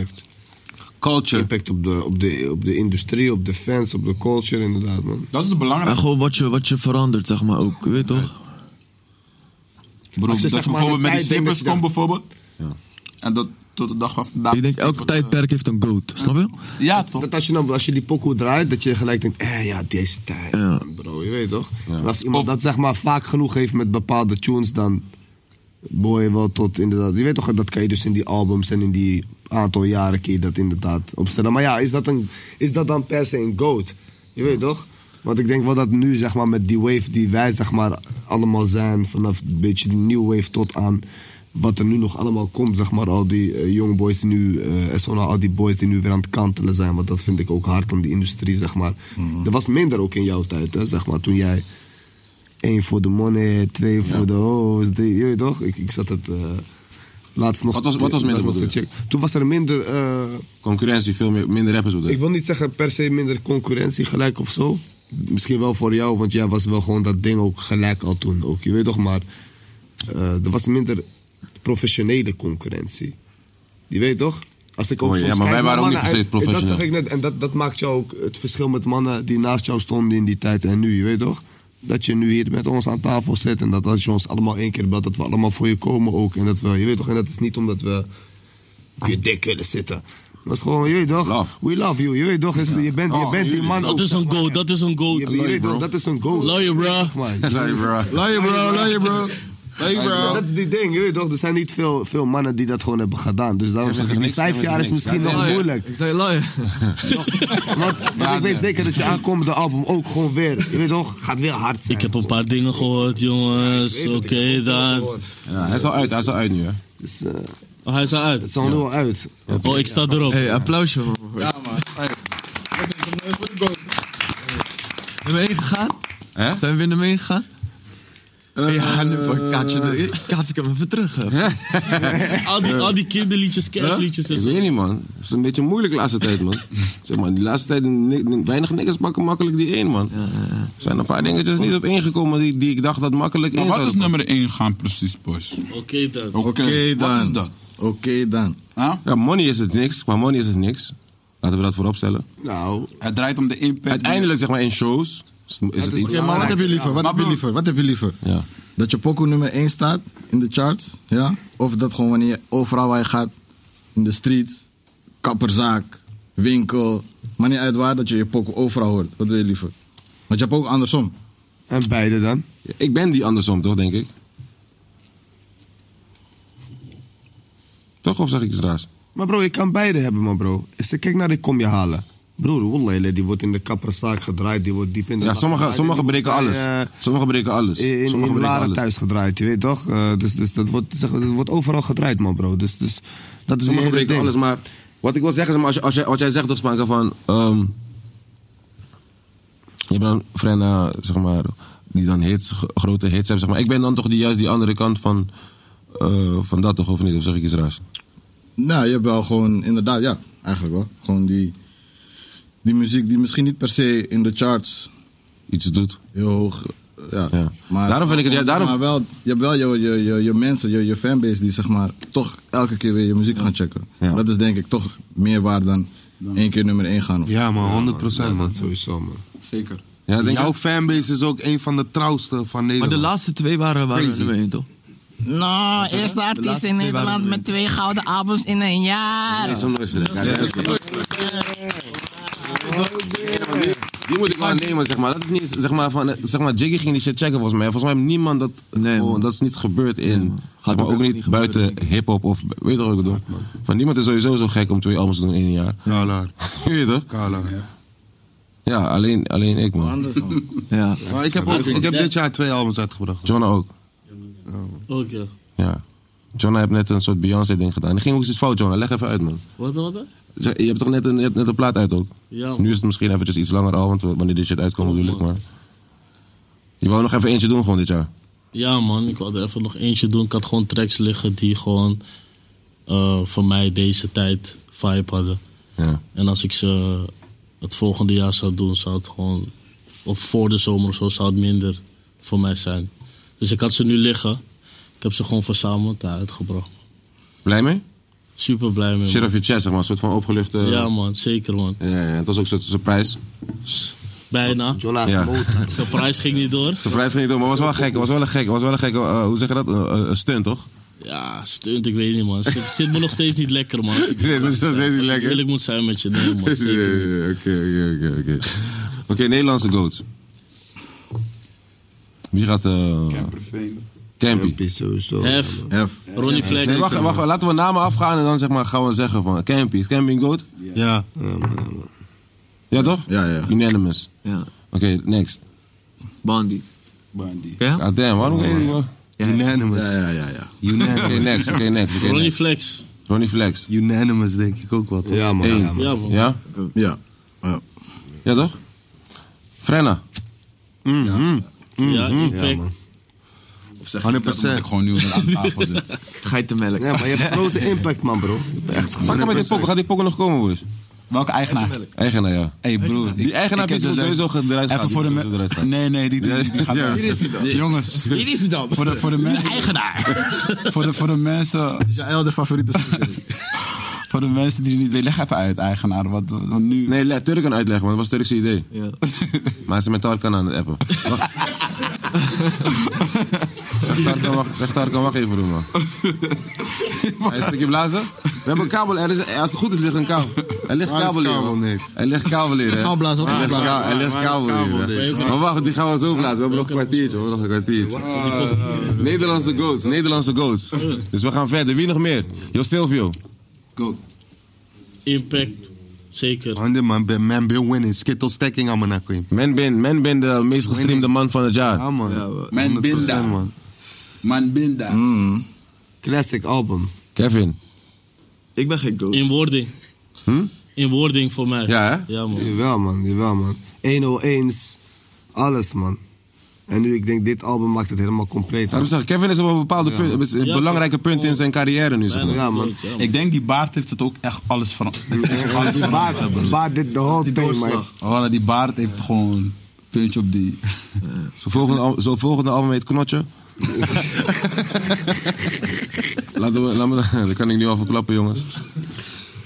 Speaker 9: Culture. Impact op de, op, de, op de industrie, op de fans, op de culture, inderdaad, man.
Speaker 28: Dat is het
Speaker 15: En
Speaker 28: belangrijkste.
Speaker 15: gewoon wat je, wat je verandert, zeg maar ook. Je weet toch?
Speaker 28: Bro,
Speaker 15: Als je
Speaker 28: dat je
Speaker 15: zeg maar
Speaker 28: bijvoorbeeld met
Speaker 15: aan de
Speaker 28: die
Speaker 15: tijd denkt
Speaker 28: slippers
Speaker 15: dat je
Speaker 28: komt,
Speaker 15: dacht-
Speaker 28: bijvoorbeeld. En dat tot de dag van vandaag.
Speaker 15: Ik denk, elk tijdperk heeft een goat. Snap je?
Speaker 28: eh, Ja, toch?
Speaker 9: Dat als je, dan, als je die pokoe draait, dat je gelijk denkt, eh ja, deze tijd, man, bro, je weet toch? En als iemand dat zeg maar vaak genoeg heeft met bepaalde tunes, dan boy je wel tot inderdaad. Je weet toch, dat kan je dus in die albums en in die aantal jaren kun je dat inderdaad opstellen. Maar ja, is dat, een, is dat dan per se een goat? Je weet toch? Want ik denk wel dat nu, zeg maar, met die wave die wij, zeg maar, allemaal zijn, vanaf een beetje de new wave tot aan wat er nu nog allemaal komt, zeg maar, al die eh, young boys die nu, eh en zo, al die boys die nu weer aan het kantelen zijn, want dat vind ik ook hard aan die industrie, zeg maar. Er was minder ook in jouw tijd, hè, zeg maar, toen jij één voor de money, twee voor de hoes, drie, je weet toch? Ik, ik zat het eh, laatst nog...
Speaker 2: Wat was- wat was minder,
Speaker 9: laatst nog
Speaker 2: bedoel
Speaker 9: te
Speaker 2: je?
Speaker 9: checken. Toen was er minder... eh,
Speaker 2: Concurrentie, veel meer, minder rappers op de.
Speaker 9: ik wil niet zeggen per se minder concurrentie gelijk of zo. Misschien wel voor jou, want jij was wel gewoon dat ding ook gelijk al toen. Ook, je weet toch maar, eh, er was minder professionele concurrentie. Je weet toch? Als ik ook
Speaker 2: Oh ja,
Speaker 9: soms
Speaker 2: maar wij
Speaker 9: kijk naar
Speaker 2: waren ook niet per se
Speaker 9: mannen uit-
Speaker 2: professioneel.
Speaker 9: Dat zeg ik net, en dat, dat maakt jou ook het verschil met mannen die naast jou stonden in die tijd en nu, je weet toch? Dat je nu hier met ons aan tafel zit en dat als je ons allemaal één keer belt, dat we allemaal voor je komen ook. En dat we, je weet toch, en dat is niet omdat we op je dik willen zitten. Dat is gewoon, je weet toch? We love you, je weet toch? is- Je bent, je bent die man
Speaker 5: Dat
Speaker 9: ook,
Speaker 5: is
Speaker 9: zeg
Speaker 5: een
Speaker 9: maar.
Speaker 5: goat, dat is een goat.
Speaker 9: Je, je weet toch, dat is een goal.
Speaker 5: Lawyer, bro.
Speaker 2: Lawyer, bro.
Speaker 9: Lawyer, bro, lawyer,
Speaker 6: bro.
Speaker 9: Dat is die ding, je weet toch? Er zijn niet veel, veel mannen die dat gewoon hebben gedaan. Dus daarom
Speaker 2: Ja,
Speaker 9: zeg ik, die
Speaker 2: niks,
Speaker 9: vijf
Speaker 2: ja,
Speaker 9: jaar is
Speaker 2: niks.
Speaker 9: misschien
Speaker 2: Ja,
Speaker 9: nog
Speaker 2: ja.
Speaker 9: moeilijk.
Speaker 15: Ik zei lui.
Speaker 9: Want ik weet zeker dat je aankomende album ook gewoon weer, je weet toch, gaat weer hard zijn.
Speaker 5: Ik heb een paar dingen gehoord, jongens. Oké, dan.
Speaker 2: Ja, hij is al uit, hij is al uit nu, hè?
Speaker 9: Dus, eh,
Speaker 5: Oh, hij is al uit. Het
Speaker 9: is al nu al uit.
Speaker 5: Oh, ik sta erop.
Speaker 15: Hey, applausje. man. Zijn we meegegaan?
Speaker 2: Hè?
Speaker 15: Zijn we weer naar meegegaan? ja, nu pak katje. Katje, ik hem even terug.
Speaker 5: al, die, al die kinderliedjes, kerstliedjes en
Speaker 2: Ik
Speaker 5: zo.
Speaker 2: weet niet, man. Het is een beetje moeilijk de laatste tijd, man. Zeg maar, die laatste tijd, ni- ni- weinig niggas pakken makkelijk die één, man. Er zijn een paar dingetjes niet op ingekomen die, die ik dacht dat makkelijk
Speaker 28: Maar
Speaker 2: één
Speaker 28: wat is
Speaker 2: zouden
Speaker 28: nummer 1 gaan precies, boys?
Speaker 5: Oké dan.
Speaker 28: Oké, wat is dat?
Speaker 2: Oké dan. Ja, money is het niks. Qua money is het niks. Laten we dat voorop stellen.
Speaker 28: Nou. Het draait om de impact.
Speaker 2: Uiteindelijk zeg maar in shows is, is het iets.
Speaker 29: Oké, maar wat heb je liever? Wat heb je liever? Wat heb je liever?
Speaker 2: Ja.
Speaker 29: Dat je pokoe nummer 1 staat in de charts, ja? Of dat gewoon wanneer je overal waar je gaat, in de street, kapperzaak, winkel, maar niet uit waar, dat je je pokoe overal hoort. Wat wil je liever? Want je hebt ook andersom.
Speaker 9: En beide dan?
Speaker 2: Ik ben die andersom, toch, denk ik? Toch, of zeg ik iets raars?
Speaker 9: Maar bro, je kan beide hebben, man bro. Is er- Kijk naar die kom je halen. Broer, wallah, die wordt in de kapperzaak gedraaid, die wordt diep in de
Speaker 2: Ja,
Speaker 9: nacht
Speaker 2: sommigen
Speaker 9: gedraaid,
Speaker 2: sommige
Speaker 9: die
Speaker 2: breken
Speaker 9: wordt
Speaker 2: alles.
Speaker 9: bij, eh,
Speaker 2: Sommigen breken alles.
Speaker 9: in, in,
Speaker 2: Sommigen breken
Speaker 9: Laren
Speaker 2: alles.
Speaker 9: thuis gedraaid, je weet toch? Eh, dus dus dat, wordt, zeg, dat wordt overal gedraaid, man, bro. Dus, dus dat is die
Speaker 2: Sommigen
Speaker 9: hele
Speaker 2: breken
Speaker 9: ding.
Speaker 2: alles, maar wat ik wil zeggen is, maar als, je- als, jij- wat jij zegt, toch, Spanka, van. ehm, je bent een friend, eh, zeg maar, die dan hits, g- grote hits hebben, zeg maar. Ik ben dan toch die, juist die andere kant van, eh, van dat, toch, of niet? Of zeg ik iets raars?
Speaker 29: Nou, je hebt wel gewoon, inderdaad, ja, eigenlijk wel. Gewoon die, die muziek die misschien niet per se in de charts
Speaker 2: iets doet.
Speaker 29: Heel hoog, eh, ja. Maar,
Speaker 2: Daarom vind ik het- ja,
Speaker 29: maar
Speaker 2: daarom-
Speaker 29: Maar wel, je hebt wel je, je, je, je mensen, je, je fanbase die zeg maar toch elke keer weer je muziek gaan checken.
Speaker 2: Ja.
Speaker 29: Dat is denk ik toch meer waard dan één keer nummer één gaan. Of,
Speaker 6: Ja, man, 100% man.
Speaker 9: Sowieso, man.
Speaker 6: Zeker.
Speaker 2: Ja, denk
Speaker 6: Jouw
Speaker 29: ik-
Speaker 6: fanbase is ook een van de trouwste van Nederland.
Speaker 15: de laatste twee waren- waren
Speaker 6: Oh. Crazy.
Speaker 15: nummer één, toch?
Speaker 30: Nou,
Speaker 15: hè?
Speaker 30: eerste
Speaker 15: De
Speaker 30: artiest
Speaker 15: laatste
Speaker 30: in
Speaker 15: twee waren
Speaker 30: Nederland
Speaker 15: er
Speaker 30: met twee gouden albums in een jaar.
Speaker 2: Ik zal hem nooit vergeten. Ja, dat is oké. Die moet ik wel nemen, zeg maar. Dat is niet, zeg maar, van, eh, zeg maar Jiggy ging die shit checken, volgens mij. Volgens mij heeft niemand dat... gewoon- dat is niet gebeurd in... zeg maar, ook niet buiten hip-hop of... Weet je toch wat ik bedoel? Van niemand is sowieso zo gek om twee albums te doen in een jaar.
Speaker 6: Kalaar.
Speaker 2: Weet je toch? Ja, alleen, alleen ik, man.
Speaker 29: Anders man.
Speaker 2: Ja.
Speaker 6: Maar ik heb, ook, ik heb dit jaar twee albums uitgebracht.
Speaker 2: John ook. Oh.
Speaker 5: Oké.
Speaker 2: Ja. John heeft net een soort Beyoncé-ding gedaan. Die ging ook iets fout, John. Leg even uit, man.
Speaker 5: Wat dan? wat dan?
Speaker 2: Je hebt toch net een, je hebt net een plaat uit ook?
Speaker 5: Ja, man.
Speaker 2: Nu is het misschien eventjes iets langer al, want wanneer dit shit uitkomt natuurlijk, maar... Je wou nog even eentje doen gewoon dit jaar.
Speaker 5: Ja, man, ik wilde er even nog eentje doen. Ik had gewoon tracks liggen die gewoon eh, voor mij deze tijd vibe hadden.
Speaker 2: Ja.
Speaker 5: En als ik ze het volgende jaar zou doen, zou het gewoon, of voor de zomer of zo, zou het minder voor mij zijn. Dus ik had ze nu liggen. Ik heb ze gewoon verzameld en uitgebracht.
Speaker 2: Blij mee?
Speaker 5: Super blij mee.
Speaker 2: Shit
Speaker 5: man.
Speaker 2: off your chest, zeg maar. Een soort van opgeluchte...
Speaker 5: Ja, man, zeker, man.
Speaker 2: Ja, ja, het was ook een soort surprise.
Speaker 5: Bijna.
Speaker 2: Jonas Oh, Ja. Motor.
Speaker 5: Surprise ging niet door.
Speaker 2: Surprise ging niet door, maar was wel gek. Was wel een gek. Was wel een gek. eh, hoe zeg je dat? Eh, eh, Een stunt, toch?
Speaker 5: Ja, stunt, ik weet niet, man. Zit, zit me nog steeds niet lekker, man.
Speaker 2: Nee, het is nog steeds niet
Speaker 5: Als ik
Speaker 2: lekker.
Speaker 5: eerlijk moet zijn met je, nee,
Speaker 2: Ja,
Speaker 5: man.
Speaker 2: ja,
Speaker 5: Zeker.
Speaker 2: ja, Oké, oké, oké, oké. Oké, Nederlandse goats. Wie gaat... eh Campy. Campy
Speaker 9: sowieso.
Speaker 5: Hef. Ronnie Flex.
Speaker 2: Nee, wacht, wacht, laten we namen afgaan en dan zeg maar, gaan we zeggen van... Campy, is Campy een goat?
Speaker 29: Ja.
Speaker 2: Ja, toch?
Speaker 29: Ja, ja.
Speaker 2: Unanimous.
Speaker 15: Ja.
Speaker 2: Oké, next.
Speaker 15: Bandy.
Speaker 2: Bandy. Ja? Ah, damn, waarom weet je dat?
Speaker 6: Unanimous.
Speaker 29: Ja, ja, ja. ja.
Speaker 6: Unanimous.
Speaker 2: Oké, next, oké, next. oké, next.
Speaker 5: Flex.
Speaker 2: Ronnie Flex.
Speaker 6: Unanimous denk ik ook wel. toch?
Speaker 9: Ja, man.
Speaker 2: Eén.
Speaker 9: Ja, man.
Speaker 5: Ja,
Speaker 2: Ja?
Speaker 29: Ja.
Speaker 2: Ja, toch? Frenna. mm,
Speaker 5: Ja, impact.
Speaker 7: Of zeg je dat omdat ik gewoon nu aan tafel zit?
Speaker 15: Geitenmelk.
Speaker 9: Ja, maar je hebt grote impact, man, bro. Je hebt echt
Speaker 2: Pak hem met die pokken. Gaat die pokken nog komen, boys?
Speaker 7: Welke eigenaar?
Speaker 2: Eigenaar, ja.
Speaker 7: hey, broer.
Speaker 2: Die eigenaar
Speaker 7: heb
Speaker 2: moet
Speaker 7: dus
Speaker 2: sowieso
Speaker 7: luister-
Speaker 2: eruit gaan,
Speaker 7: Even voor de
Speaker 2: die moet sowieso eruit
Speaker 7: mensen.
Speaker 2: gaan.
Speaker 7: Nee, nee, die, die, die gaat
Speaker 2: Ja.
Speaker 7: eruit.
Speaker 2: Hier is hij dan.
Speaker 7: Jongens.
Speaker 30: Hier is hij dan.
Speaker 7: Voor de, voor de mensen.
Speaker 30: eigenaar.
Speaker 7: Voor de, voor de mensen.
Speaker 29: Jaël de favoriete
Speaker 7: Voor de mensen die het niet weten. Leg even uit, eigenaar. Wat, wat nu?
Speaker 2: Nee, laat Turk een uitleg, man. Dat was Turkse idee.
Speaker 15: Ja.
Speaker 2: Maar ze met Tarkan aan het appen. Wacht. zeg, Tarkan, wacht, zeg Tarkan, wacht even, doen, man. Hij is een stukje blazen. We hebben een kabel. Er is, als het goed is, ligt een kabel. Er ligt
Speaker 6: Waar is
Speaker 2: kabel hier.
Speaker 6: kabel,
Speaker 2: man.
Speaker 6: neef?
Speaker 2: Er ligt kabel hier. hè.
Speaker 6: Gaan we blazen, wat
Speaker 2: Er
Speaker 6: gaan we
Speaker 2: ligt
Speaker 6: blazen?
Speaker 2: kabel- Er ligt
Speaker 6: Waar is
Speaker 2: kabel
Speaker 6: kabel,
Speaker 2: hier.
Speaker 6: neef?
Speaker 2: hè. Maar wacht, die gaan we zo blazen. We hebben nog een kwartiertje. We hebben nog een kwartiertje. Nederlandse goats, Nederlandse goats. Dus we gaan verder. Wie nog meer? Jo Silvio.
Speaker 5: Impact. Zeker.
Speaker 6: Man, dit man, ben- man, ben winning. Skittle stacking aan mijn nek.
Speaker 2: Man ben, man ben de meest gestreamde man van het jaar.
Speaker 6: Ja, man.
Speaker 7: Man
Speaker 6: 100%
Speaker 7: Binda.
Speaker 6: man.
Speaker 7: Man Binda.
Speaker 9: Classic album.
Speaker 2: Kevin.
Speaker 15: Ik ben geen goat.
Speaker 5: In wording. In wording voor mij.
Speaker 2: Hm? Ja, hè?
Speaker 5: Ja, man.
Speaker 9: Jawel, man. Jawel, man. 101's. Alles, man. En nu, ik denk, dit album maakt het helemaal compleet.
Speaker 2: Daarom zeg Nou, ik, Kevin is op een bepaalde
Speaker 9: Ja.
Speaker 2: punt, is een
Speaker 9: Ja,
Speaker 2: belangrijke punt in zijn carrière nu. Zeg maar.
Speaker 9: Ja, man.
Speaker 7: Ik denk die baard heeft het ook echt alles veranderd. Het heeft
Speaker 9: Die
Speaker 7: alles
Speaker 9: baard-
Speaker 7: veranderd, bro.
Speaker 9: die baard did the whole
Speaker 7: Die
Speaker 9: thing,
Speaker 7: doorslag. Oh, die baard heeft gewoon puntje op die.
Speaker 2: Zijn volgende, al- zijn volgende album heet Knotje. Laten we, laat me, dat kan ik nu al verklappen, jongens.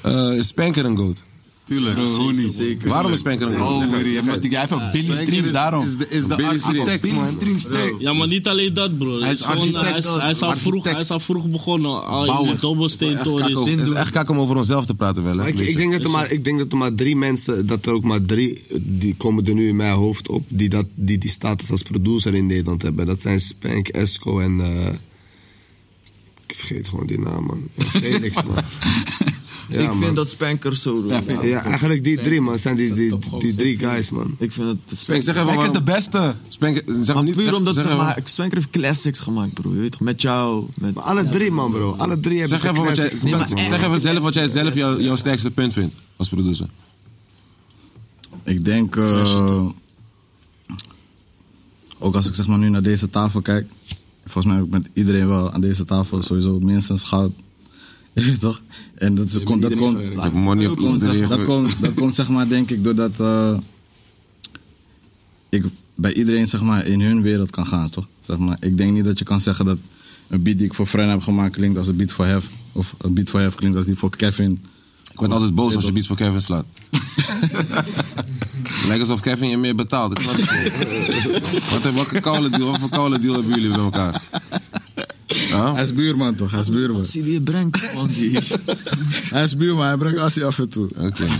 Speaker 2: Eh, is Spanker een goat?
Speaker 7: Tuurlijk. Zo, hoe niet? Zeker.
Speaker 2: Waarom is Spanker een goat?
Speaker 7: Oh, Willy, hij was die- hij heeft ook Billy Spanker Streams is- daarom. is de- is de
Speaker 2: Billy
Speaker 7: architect,
Speaker 2: Streams.
Speaker 7: man. Billy Streams,
Speaker 2: Ja.
Speaker 5: Ja, maar niet alleen dat, bro.
Speaker 2: Hij is
Speaker 5: gewoon,
Speaker 2: architect,
Speaker 5: hij is, hij is al
Speaker 2: architect.
Speaker 5: vroeg, hij is al vroeg begonnen. Al in de
Speaker 2: Bouwer.
Speaker 5: dobbelsteen
Speaker 2: Echt kak om- Het is echt kak om over onszelf te praten, wel. hè?
Speaker 9: Maar ik,
Speaker 2: Beetje.
Speaker 9: ik, denk dat er maar, ik denk dat er maar drie mensen, dat er ook maar drie, die komen er nu in mijn hoofd op, die dat, die, die status als producer in Nederland hebben. Dat zijn Spank, Esco en. eh, ik vergeet gewoon die naam, man. Felix, man. Ja,
Speaker 31: ik
Speaker 9: man.
Speaker 31: vind dat Spanker zo doet.
Speaker 9: Ja, ja, eigenlijk die drie, man. Zijn die, die, die drie guys, man.
Speaker 31: Ik vind dat...
Speaker 2: Spank, zeg even waarom-
Speaker 31: beste.
Speaker 2: Spank, zeg maar niet...
Speaker 31: Puur
Speaker 2: zeg-
Speaker 31: omdat
Speaker 2: zeg
Speaker 31: ze
Speaker 2: even-
Speaker 31: maar, Spanker heeft classics gemaakt, bro. Je weet toch, met jou. Met,
Speaker 9: alle drie, man, bro. Alle drie
Speaker 2: Zeg even, wat jij,
Speaker 31: Nee, maar
Speaker 2: zeg
Speaker 31: echt.
Speaker 2: even zelf wat jij zelf jou- jouw sterkste punt vindt als producer.
Speaker 10: Ik denk, eh, ook als ik zeg maar nu naar deze tafel kijk, volgens mij heb ik met iedereen wel aan deze tafel sowieso minstens goud. Je weet toch? En dat, is, komt, dat, komt,
Speaker 2: heb money op
Speaker 10: dat, komt,
Speaker 2: iedereen
Speaker 10: dat,
Speaker 2: gewerkt.
Speaker 10: komt, dat komt zeg maar denk ik doordat eh, ik bij iedereen zeg maar in hun wereld kan gaan, toch? Zeg maar, ik denk niet dat je kan zeggen dat een beat die ik voor Fren heb gemaakt klinkt als een beat voor Hef. Of een beat voor Hef klinkt als die voor Kevin.
Speaker 2: Ik word altijd boos als je beats voor Kevin slaat. Lijkt alsof Kevin je meer betaalt. Ik snap het niet. wat, welke koude deal, wat voor koude deal hebben jullie met elkaar? Oh.
Speaker 10: Hij is buurman toch? Hij is buurman. Als hij die brengt, man. hij is buurman, hij brengt Assie af en toe. Oké.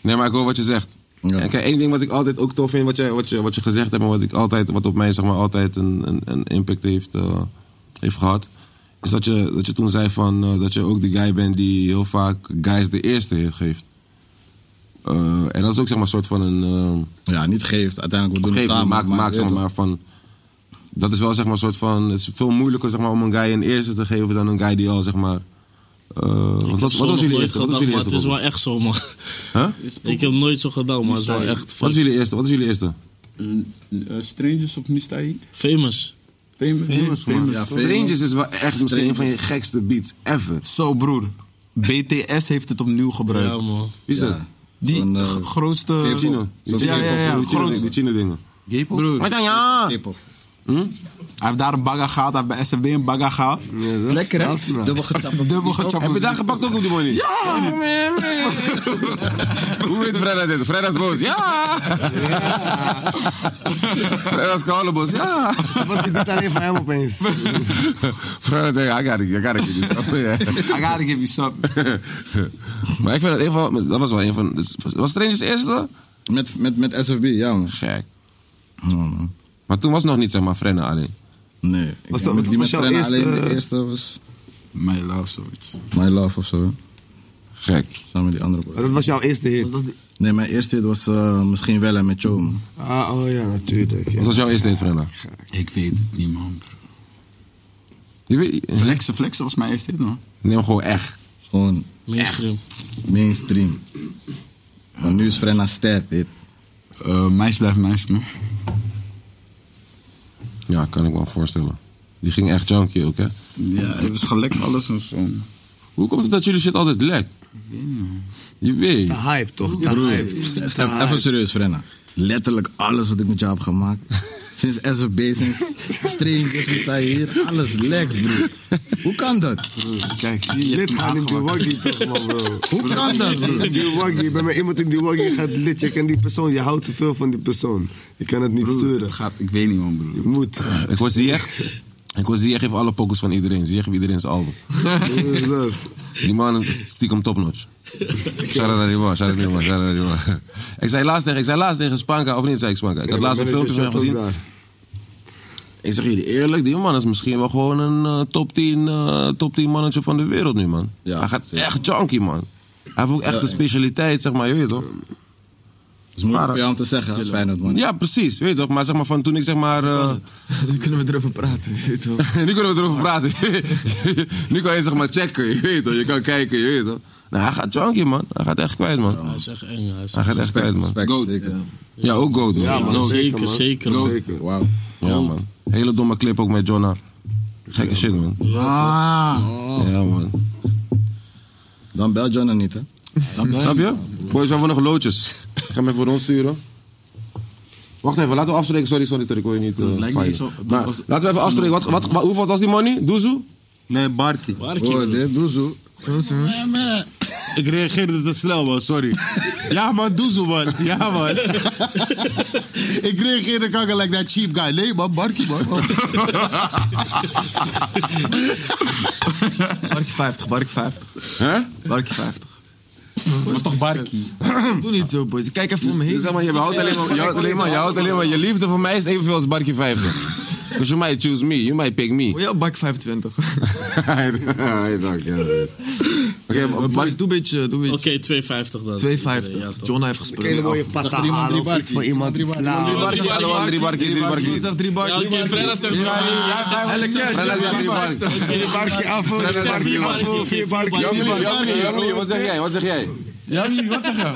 Speaker 2: Nee, maar ik hoor wat je zegt. En kijk, één ding wat ik altijd ook tof vind, wat je, wat je, wat je gezegd hebt... en wat, ik altijd, wat op mij zeg maar, altijd een, een, een impact heeft, eh, heeft gehad... is dat je, dat je toen zei van, eh, dat je ook de guy bent die heel vaak guys de eerste heeft- geeft. Eh, en dat is ook zeg maar, een soort van een... eh,
Speaker 10: ja, niet geeft. Uiteindelijk, we doen het
Speaker 2: geeft,
Speaker 10: samen.
Speaker 2: Maak,
Speaker 10: maar
Speaker 2: maak
Speaker 10: weet
Speaker 2: zeg
Speaker 10: toch.
Speaker 2: maar van... Dat is wel zeg maar, een soort van... Het is veel moeilijker zeg maar, om een guy een eerste te geven dan een guy die al zeg maar... eh, want wat, wat was jullie eerste? Wat was jullie
Speaker 5: maar
Speaker 2: eerste?
Speaker 5: het is wel
Speaker 2: bijvoorbeeld?
Speaker 5: echt zo, man.
Speaker 2: Huh?
Speaker 5: Ik heb nooit zo gedaan, maar het is wel echt...
Speaker 2: Wat is jullie eerste? Wat is jullie eerste?
Speaker 7: eh, Strangers of Mistai?
Speaker 5: Famous.
Speaker 7: Famous,
Speaker 2: Strangers is wel echt misschien een van je gekste beats ever.
Speaker 7: Zo broer, BTS heeft het opnieuw gebruikt.
Speaker 5: Ja, man.
Speaker 2: Wie is
Speaker 7: Ja.
Speaker 2: dat?
Speaker 7: Die g- grootste...
Speaker 2: Chino.
Speaker 7: Ja, ja, ja. ja,
Speaker 2: Die
Speaker 7: grootste.
Speaker 2: Chino dingen.
Speaker 7: Broer.
Speaker 2: Wat dan, ja?
Speaker 7: Hij heeft daar een bagger gehad, hij heeft bij SMB een bagger gehad. Lekker hè?
Speaker 10: Dubbel getapt.
Speaker 7: Dubbel getapt.
Speaker 2: Heb je daar gepakt ook op die money? Ja! Hoe weet Fredda dit? Fredda is boos. Ja! Fredda is koude Ja!
Speaker 9: Was die beat alleen van hem opeens?
Speaker 2: Fredda denkt, I gotta, I gotta give you something. I gotta give you something. maar ik vind dat een van... Dat was wel een van... dus- Was Strangers eerste?
Speaker 10: Met, met, met SFB, ja man.
Speaker 2: Gek.
Speaker 10: Ja, man.
Speaker 2: Maar toen was nog niet, zeg maar, Fredda alleen.
Speaker 10: Nee. Ik
Speaker 2: Was
Speaker 10: was
Speaker 2: dat-
Speaker 10: met die
Speaker 2: was
Speaker 10: met
Speaker 2: jouw
Speaker 10: Frenna
Speaker 2: eerste-
Speaker 10: alleen de eerste was
Speaker 7: My love, zoiets.
Speaker 10: My Love of zo. hè?
Speaker 2: Gek.
Speaker 10: Samen met die andere boy.
Speaker 9: Dat was jouw eerste hit.
Speaker 10: Nee, mijn eerste hit was eh, misschien wel en met Joe. man.
Speaker 9: Ah, oh ja, natuurlijk. Ja.
Speaker 2: Wat was jouw eerste hit, Frenna?
Speaker 7: Ik weet het niet man.
Speaker 2: Je weet...
Speaker 7: Flexen, flexen was mijn eerste hit man.
Speaker 2: Neem gewoon echt.
Speaker 10: Gewoon
Speaker 5: Mainstream.
Speaker 10: mainstream. Maar nu is Frenna sterk, dit.
Speaker 7: Eh meis blijft meis man.
Speaker 2: Ja, kan ik me wel voorstellen. Die ging echt junkie ook, hè?
Speaker 7: Ja, het was gelekt alles en zo.
Speaker 2: Hoe komt het dat jullie shit altijd lekt? Je weet.
Speaker 9: De hype toch? De
Speaker 10: Broer,
Speaker 9: hype.
Speaker 10: het-
Speaker 9: De hype.
Speaker 10: Even serieus, Frenna. Letterlijk alles wat ik met jou heb gemaakt. Sinds SFB, sinds Stranger, we staan hier. Alles lekt, broer. Hoe kan dat?
Speaker 7: Kijk, zie je.
Speaker 9: Dit gaat in die waggie toch, man, bro.
Speaker 10: Hoe kan dat, bro?
Speaker 9: In die waggie, bij mij iemand in die waggie gaat lid. Je kent die persoon, je houdt te veel van die persoon. Je kan het niet sturen.
Speaker 7: Het gaat, ik weet niet man broer.
Speaker 9: Je moet.
Speaker 2: Ik was die echt. Ik was die echt even alle pokus van iedereen. Zie geeft iedereen zijn album.
Speaker 9: Hoe is dat?
Speaker 2: Die man is stiekem topnotch. Shout out naar die man, shout out naar die man, shout out naar die man. Ik zei laatst tegen, ik zei laatst tegen Spanka, of niet zei ik Spanka. Ik had
Speaker 9: Ja,
Speaker 2: laatst een
Speaker 9: mijn
Speaker 2: filmpje van hem
Speaker 9: manager
Speaker 2: gezien.
Speaker 9: zat ook
Speaker 2: Ik zeg jullie eerlijk, die man is misschien wel gewoon een eh, top 10, eh, top 10 mannetje van de wereld nu, man. Hij gaat echt junkie, man. Hij heeft ook echt een specialiteit, zeg maar, je weet toch?
Speaker 29: is moeilijk voor jou om te zeggen als Feyenoord man.
Speaker 2: Ja, precies. Weet je toch? Maar zeg maar van toen ik zeg maar...
Speaker 15: Oh, Nu kunnen we erover praten. Weet je
Speaker 2: wel. nu kunnen we erover praten. nu kan je zeg maar checken. Je weet toch? Je kan kijken. Je weet toch? Nou, hij gaat junkie man. Hij gaat echt kwijt man.
Speaker 5: Hij is echt eng. Hij is
Speaker 2: Hij gaat echt
Speaker 5: respect,
Speaker 2: kwijt man.
Speaker 5: respect,
Speaker 2: Goat.
Speaker 5: zeker.
Speaker 2: Ja, ook goat.
Speaker 5: Ja, man,
Speaker 2: Goat.
Speaker 5: zeker, man. zeker, man.
Speaker 2: Goat.
Speaker 5: Zeker.
Speaker 2: Wauw. Ja man. Hele domme clip ook met Jonna. Gekke shit man. Ja man.
Speaker 29: Dan bel Jonna niet hè.
Speaker 2: Snap je? Boys, we hebben nog loodjes. Ga hem even rondsturen. Wacht even, laten we afspreken. Sorry, sorry, sorry. Ik wil je niet. eh,
Speaker 7: Het lijkt niet
Speaker 2: fijn.
Speaker 7: zo-
Speaker 2: maar,
Speaker 7: was-
Speaker 2: laten we even afspreken. Wat, wat, wat, hoeveel was die money? Doezoe?
Speaker 26: Nee, Barkie.
Speaker 29: Barkie. Oh, dit
Speaker 26: Doezoe. Ik reageerde te snel, man, sorry. Ja, man, doe zo, man. Ja, man. Ik reageerde kanker like that cheap guy. Nee, man, Barkie, man.
Speaker 15: Barkie 50, Barkie 50.
Speaker 2: Hè?
Speaker 15: Barkie 50. Was toch Barkie? Doe niet zo, boys. Ik Kijk even om me heen.
Speaker 2: Zeg maar, je houdt alleen maar, je houdt alleen maar, je houdt alleen maar. Je liefde voor mij is evenveel als Barkie 50. Because you might choose me, you might pick me.
Speaker 15: Ja, Barkie 25.
Speaker 2: Dank je. Oké,
Speaker 15: boys, doe een beetje. Doe een beetje.
Speaker 5: Oké, 250 dan.
Speaker 15: 250. John heeft gespeeld.
Speaker 5: Een hele mooie patta Zeg maar iemand halen drie of iets barkie. voor iemand Drie iets barkie. flauws. Drie barkie,
Speaker 15: Drie
Speaker 5: allemaal drie barkie, drie barkie.
Speaker 15: John zegt drie barkie.
Speaker 5: Ja, oké, Frenna zegt drie barkie. Ja, wij- wij-
Speaker 15: Elke keer.
Speaker 5: Frenna zegt drie barkie.
Speaker 15: Drie barkie af,
Speaker 2: Nee, nee,
Speaker 15: drie
Speaker 2: nee,
Speaker 15: barkie
Speaker 2: vier
Speaker 15: af,
Speaker 2: barkie.
Speaker 15: vier barkie.
Speaker 2: Jamie, Jamie, Jamie, wat zeg jij? Wat zeg jij?
Speaker 4: Jamie, wat zeg je?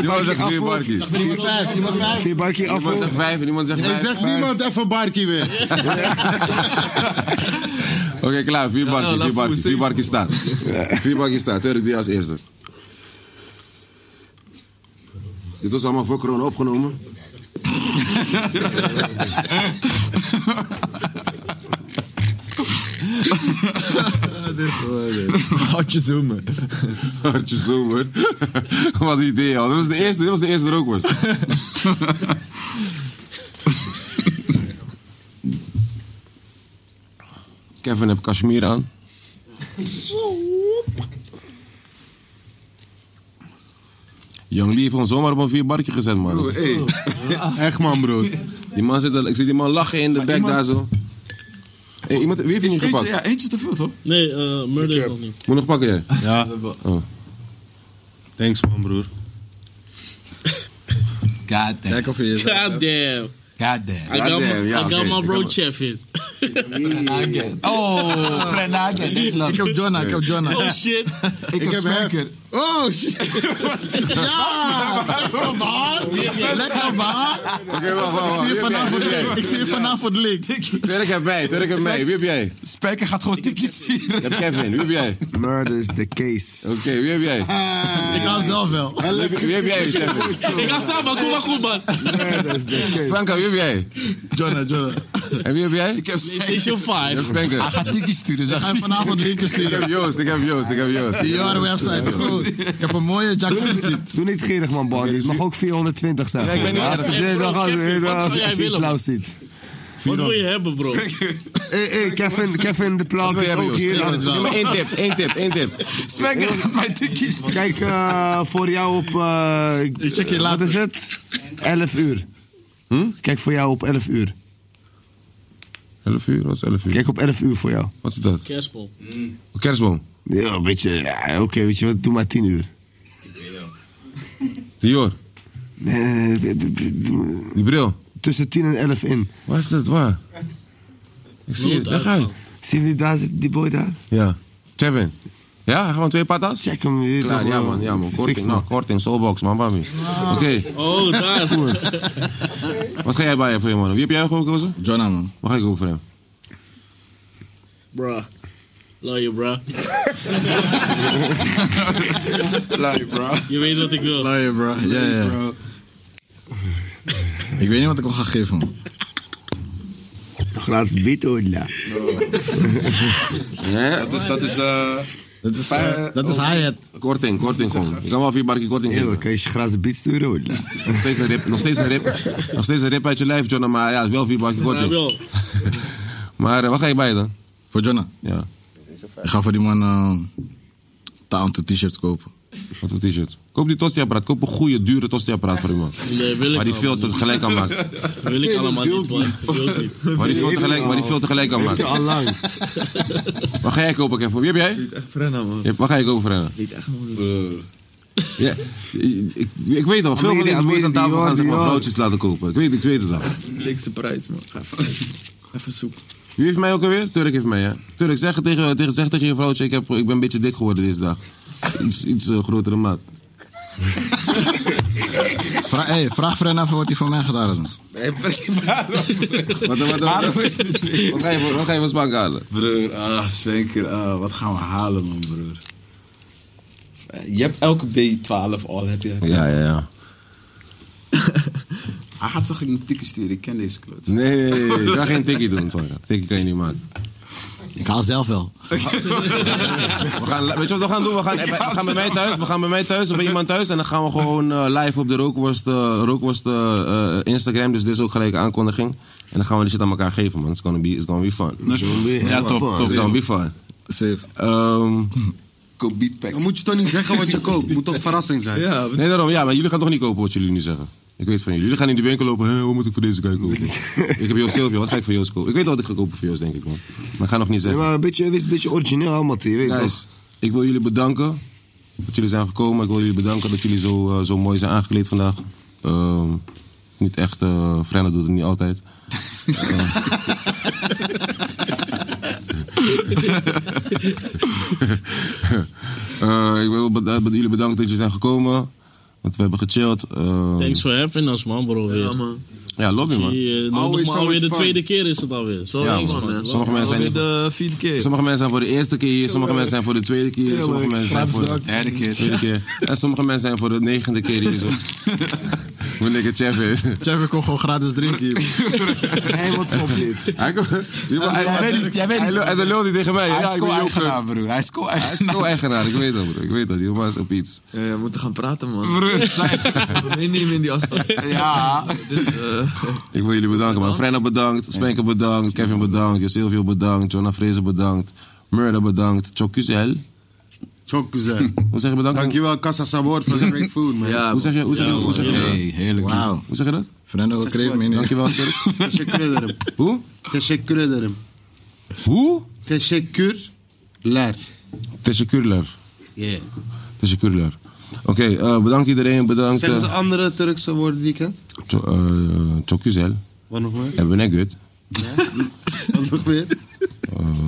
Speaker 2: Iemand zegt vier Barkie.
Speaker 26: Zegt er iemand vijf? Iemand vijf?
Speaker 2: Vier Barkie af. Iemand zegt vijf en iemand zegt
Speaker 26: Ik
Speaker 2: vijf.
Speaker 26: zeg niemand even Barkie weer.
Speaker 2: Oké, klaar. Vier Barkie, vier Barkie. Vier Barkie staat. Vier Barkie staat. Turk die als eerste. Dit was allemaal voor corona opgenomen.
Speaker 15: Hartje zoomen.
Speaker 2: Hartje zomer. Wat een idee al. Dit was de eerste, dit was de eerste rookworst. Kevin heeft Kashmir aan. Young Lee heeft ons zomaar op een vier barkje gezet, man.
Speaker 4: Bro, hey.
Speaker 2: Echt, man, bro. Die man zit, al- ik zie die man lachen in de bek daar zo. Hey, iemand, wie heeft je niet
Speaker 4: Eentje-
Speaker 2: gepakt?
Speaker 4: Ja, eentje te veel, toch?
Speaker 5: Nee, eh Murder is nog niet.
Speaker 2: Moet nog pakken, jij?
Speaker 26: Ja.
Speaker 2: Oh.
Speaker 26: Thanks, man, broer.
Speaker 28: God damn.
Speaker 29: Kijk of je je
Speaker 5: God damn.
Speaker 28: God damn.
Speaker 5: I got my,
Speaker 28: Goddamn, ja,
Speaker 5: I got
Speaker 28: oké.
Speaker 5: my
Speaker 28: Ik
Speaker 5: bro
Speaker 28: heb-
Speaker 5: chef in.
Speaker 28: Oh, Grenade. Ik heb Jonna, ik heb Jonna.
Speaker 5: Oh shit.
Speaker 28: Ik heb Spanker.
Speaker 29: Oh shit. Ja! Lekker man! Lekker man!
Speaker 2: Oké, wacht, wacht,
Speaker 29: Ik
Speaker 2: wacht. Wie
Speaker 29: stuur vanavond
Speaker 2: heb jij? Wie heb jij?
Speaker 29: Ik stuur vanavond de link.
Speaker 2: Twerk heb mij, Twerk heb mij. Wie heb jij?
Speaker 28: Spanker gaat gewoon tikjes zien.
Speaker 2: Je hebt Kevin, wie heb jij?
Speaker 14: Murder is the case.
Speaker 2: Oké, wie heb jij?
Speaker 29: Ik hou zelf wel.
Speaker 2: Wie heb jij, Kevin?
Speaker 5: Ik ga samen, kom maar goed man.
Speaker 2: Spanka, wie heb jij?
Speaker 29: Jonna, Jonna.
Speaker 2: En wie heb jij? Ik
Speaker 28: heb
Speaker 5: PlayStation 5.
Speaker 2: Spanker.
Speaker 28: Hij gaat tikjes sturen,
Speaker 29: Ik
Speaker 28: zegt
Speaker 29: ga
Speaker 28: hij.
Speaker 29: je vanavond linken
Speaker 2: Ik heb
Speaker 29: sturen.
Speaker 2: Joost, ik heb Joost, ik heb Joost.
Speaker 29: Zie jouw website. Goed. Ik heb een mooie jacuzzi.
Speaker 9: Doe niet gierig, man, Barney. Het mag ook 420 zijn.
Speaker 29: Ja, ik ben niet
Speaker 9: Als
Speaker 29: erg.
Speaker 9: je
Speaker 29: Hey,
Speaker 9: dit
Speaker 29: bro,
Speaker 9: dan gaat-
Speaker 29: Kevin,
Speaker 9: eh,
Speaker 29: wat zou
Speaker 9: als- als
Speaker 29: jij
Speaker 9: je iets
Speaker 29: willen?
Speaker 9: lauws ziet.
Speaker 5: Wat wil je hebben, bro?
Speaker 9: Hey, hey, Kevin, Kevin, de plaat is ook hier.
Speaker 2: Eén tip, één tip, één tip.
Speaker 9: Spanker gaat mij tikjes. Kijk eh, voor jou op. eh,
Speaker 29: check je later. Hm?
Speaker 9: Wat is het? 11 uur. Kijk voor jou op 11 uur.
Speaker 2: 11 uur, wat is 11 uur?
Speaker 9: Kijk op 11 uur voor jou.
Speaker 2: Wat is dat? Oh,
Speaker 5: Kerstbol.
Speaker 2: Kerstboom.
Speaker 9: Ja, een beetje. ja, Oké, weet je wat? Doe maar 10 uur.
Speaker 2: Dior.
Speaker 9: Nee, nee, nee, nee,
Speaker 2: Die bril.
Speaker 9: Eh, Tussen 10 en 11 in.
Speaker 2: Waar is dat? Waar? Ik zie het, daar ga je.
Speaker 9: Zien jullie daar zitten, die boy daar?
Speaker 2: Ja. Kevin. Ja, gewoon twee patas?
Speaker 9: Check hem weer.
Speaker 2: Klaar,
Speaker 9: toch,
Speaker 2: ja
Speaker 9: man.
Speaker 2: man, ja man.
Speaker 9: Fix
Speaker 2: Korting,
Speaker 9: me.
Speaker 2: nou, korting, soulbox man, bami. Oké,
Speaker 5: Oh, daar.
Speaker 2: wat ga jij bij voor je man? Wie heb jij gekozen?
Speaker 29: Jonna man.
Speaker 2: Wat ga ik ook voor hem?
Speaker 5: Bruh. Love you, bruh.
Speaker 29: Love you, bro.
Speaker 5: Je weet wat ik wil.
Speaker 29: Love you, bro. Ja, ja. Ik weet niet wat ik hem ga geven, man.
Speaker 9: Gratis bitola.
Speaker 2: Ja.
Speaker 4: Dat is. Dat is eh,
Speaker 29: Dat is,
Speaker 4: vijf-
Speaker 29: eh, dat is hi-hat.
Speaker 2: Korting, korting gewoon. Je kan wel vier barkie korting
Speaker 9: Ja,
Speaker 2: geven.
Speaker 9: maar kan je je gratis beat sturen? hoor?
Speaker 2: Nog steeds een rip, nog steeds een rip, nog steeds een rip uit je lijf, Jonna, maar ja, het is wel vier barkie
Speaker 5: Ja,
Speaker 2: korting.
Speaker 5: wel.
Speaker 2: Maar eh, wat ga je bij dan?
Speaker 29: Voor Jonna.
Speaker 2: Ja.
Speaker 29: Ik ga voor die man eh taal to t-shirt kopen.
Speaker 2: Dus Wat voor t-shirt? Koop die tosti-apparaat. Koop een goede, dure tosti-apparaat voor iemand.
Speaker 5: Nee, wil ik
Speaker 2: Waar die
Speaker 5: allemaal
Speaker 2: veel
Speaker 5: niet.
Speaker 2: tegelijk aan maakt.
Speaker 5: Wil ik allemaal niet, man. Wil niet.
Speaker 2: Waar die veel tegelijk, waar die veel tegelijk aan maakt.
Speaker 9: al lang.
Speaker 2: Wat ga jij kopen, Kevin? Wie heb jij?
Speaker 15: Frenna, man.
Speaker 2: Je hebt- Wat ga je kopen, Frenna?
Speaker 15: Niet echt, man.
Speaker 2: Ja, ik, ik weet al, veel van
Speaker 15: Amiri,
Speaker 2: deze boys aan
Speaker 15: Amiri,
Speaker 2: tafel
Speaker 15: Dior,
Speaker 2: gaan zeg maar
Speaker 15: Dior.
Speaker 2: broodjes laten kopen. Ik weet, ik weet het al.
Speaker 15: Dat is de dikste prijs, man. Ga even, even zoeken.
Speaker 2: Wie heeft mij ook alweer? Turk heeft mij, ja. Turk, zeg tegen, tegen, zeg tegen je vrouwtje, ik, heb, ik ben een beetje dik geworden deze dag. Iets, iets eh, grotere maat.
Speaker 29: Vra hey, vraag Fren even wat hij voor mij gedaan heeft. man.
Speaker 28: Nee, prima.
Speaker 2: Wat, wat, wat, wat, wat ga je voor- wat ga je van Spank halen?
Speaker 7: Broer, ah, Spanker, ah, wat gaan we halen, man, broer?
Speaker 32: Je hebt elke B12 al, heb je.
Speaker 2: Ja, ja, ja.
Speaker 7: Hij gaat zo gek een tikkie sturen, ik ken deze kloot.
Speaker 2: Nee, nee, nee, nee. Ik ga geen tikkie doen, van Tikkie kan je niet maken.
Speaker 29: Ik haal zelf wel.
Speaker 2: We gaan, weet je wat we gaan doen? We gaan, we gaan bij mij thuis, we gaan bij mij thuis of bij iemand thuis. En dan gaan we gewoon eh, live op de Rookworst, eh, rookworst eh, eh, Instagram. Dus dit is ook gelijk een aankondiging. En dan gaan we die shit aan elkaar geven, man. It's gonna be, it's gonna be fun.
Speaker 28: Dus-
Speaker 7: Dat is- ja, top, top.
Speaker 2: It's gonna be fun. Ehm,
Speaker 29: Safe.
Speaker 2: Koop beatpack.
Speaker 6: Dan moet je toch niet zeggen wat je koopt. Moet toch verrassing zijn.
Speaker 2: Nee, daarom. Ja, maar jullie gaan toch niet kopen wat jullie nu zeggen. Ik weet van jullie. Jullie gaan in de winkel lopen. Hé, wat moet ik voor deze guy kopen? ik heb Joost Silvio. Wat ga ik voor Joost kopen? Ik weet wel wat ik ga kopen voor Joost, denk ik, man. Maar ik ga nog niet
Speaker 9: Ja,
Speaker 2: zeggen.
Speaker 9: maar een beetje, wees een beetje origineel allemaal, je weet
Speaker 2: Guys,
Speaker 9: toch?
Speaker 2: ik wil jullie bedanken dat jullie zijn gekomen. Ik wil jullie bedanken dat jullie zo, eh, zo mooi zijn aangekleed vandaag. Ehm, het is niet echt, eh Frenna doet het niet altijd. Eh, ik wil beda- jullie bedanken dat jullie zijn gekomen. Want we hebben gechilled. Ehm,
Speaker 5: Thanks for having us, man, bro. Weer.
Speaker 2: Ja, man. ja, lobby man.
Speaker 5: Zie, eh, nou, maar alweer de tweede keer is het alweer.
Speaker 2: Ja,
Speaker 5: Eh,
Speaker 2: man. Sommige mensen zijn
Speaker 5: Alweer
Speaker 2: de vierde keer. Sommige mensen zijn voor de eerste keer hier, sommige mensen zijn voor de tweede keer hier, sommige mensen zijn voor de derde keer, tweede keer. En sommige mensen zijn voor de negende keer hier. Zo. Moet ik het cheffen?
Speaker 29: Chef, kon gewoon gratis drinken hier.
Speaker 2: Helemaal top dit. Hij komt.
Speaker 28: Jij weet niet, jij weet niet.
Speaker 2: En dan lult hij tegen mij.
Speaker 28: Hij is
Speaker 2: Ja, ik ben
Speaker 28: co-eigenaar,
Speaker 2: joker.
Speaker 28: broer. Hij is
Speaker 2: Hij is
Speaker 28: co-eigenaar.
Speaker 2: co-eigenaar, ik weet dat, broer. Ik weet dat, die jongen is op iets.
Speaker 15: Ja, we moeten gaan praten, man.
Speaker 28: Broer,
Speaker 15: We meenemen in die afspraak.
Speaker 28: Ja.
Speaker 2: Ik wil jullie bedanken, man. Frenna bedankt, Spenker bedankt, Kevin bedankt, Josilvio bedankt, Jonah Fraser bedankt, Murda bedankt, Chocuzel.
Speaker 6: Chocuzel.
Speaker 2: Hoe zeg je bedankt?
Speaker 6: Dankjewel, Casa Sabor, voor zijn great food, man.
Speaker 2: hoe zeg je, hoe zeg je, hoe zeg je dat?
Speaker 28: heerlijk.
Speaker 29: Wauw.
Speaker 2: Hoe zeg je dat?
Speaker 29: Fernando, wat kreeg me
Speaker 2: Dankjewel, Turk.
Speaker 6: Teşekkür ederim.
Speaker 2: Hoe?
Speaker 6: Teşekkür ederim.
Speaker 2: Hoe?
Speaker 6: Teşekkürler.
Speaker 2: Teşekkürler.
Speaker 6: Yeah.
Speaker 2: Dus Teşekkürler. Oké, eh, bedankt iedereen, bedankt.
Speaker 6: Zeggen ze
Speaker 2: eh,
Speaker 6: andere Turkse woorden die ik ken?
Speaker 2: Cho- eh, Chocuzel.
Speaker 6: Wat nog meer?
Speaker 2: Hebben we net goed.
Speaker 6: Wat nog meer?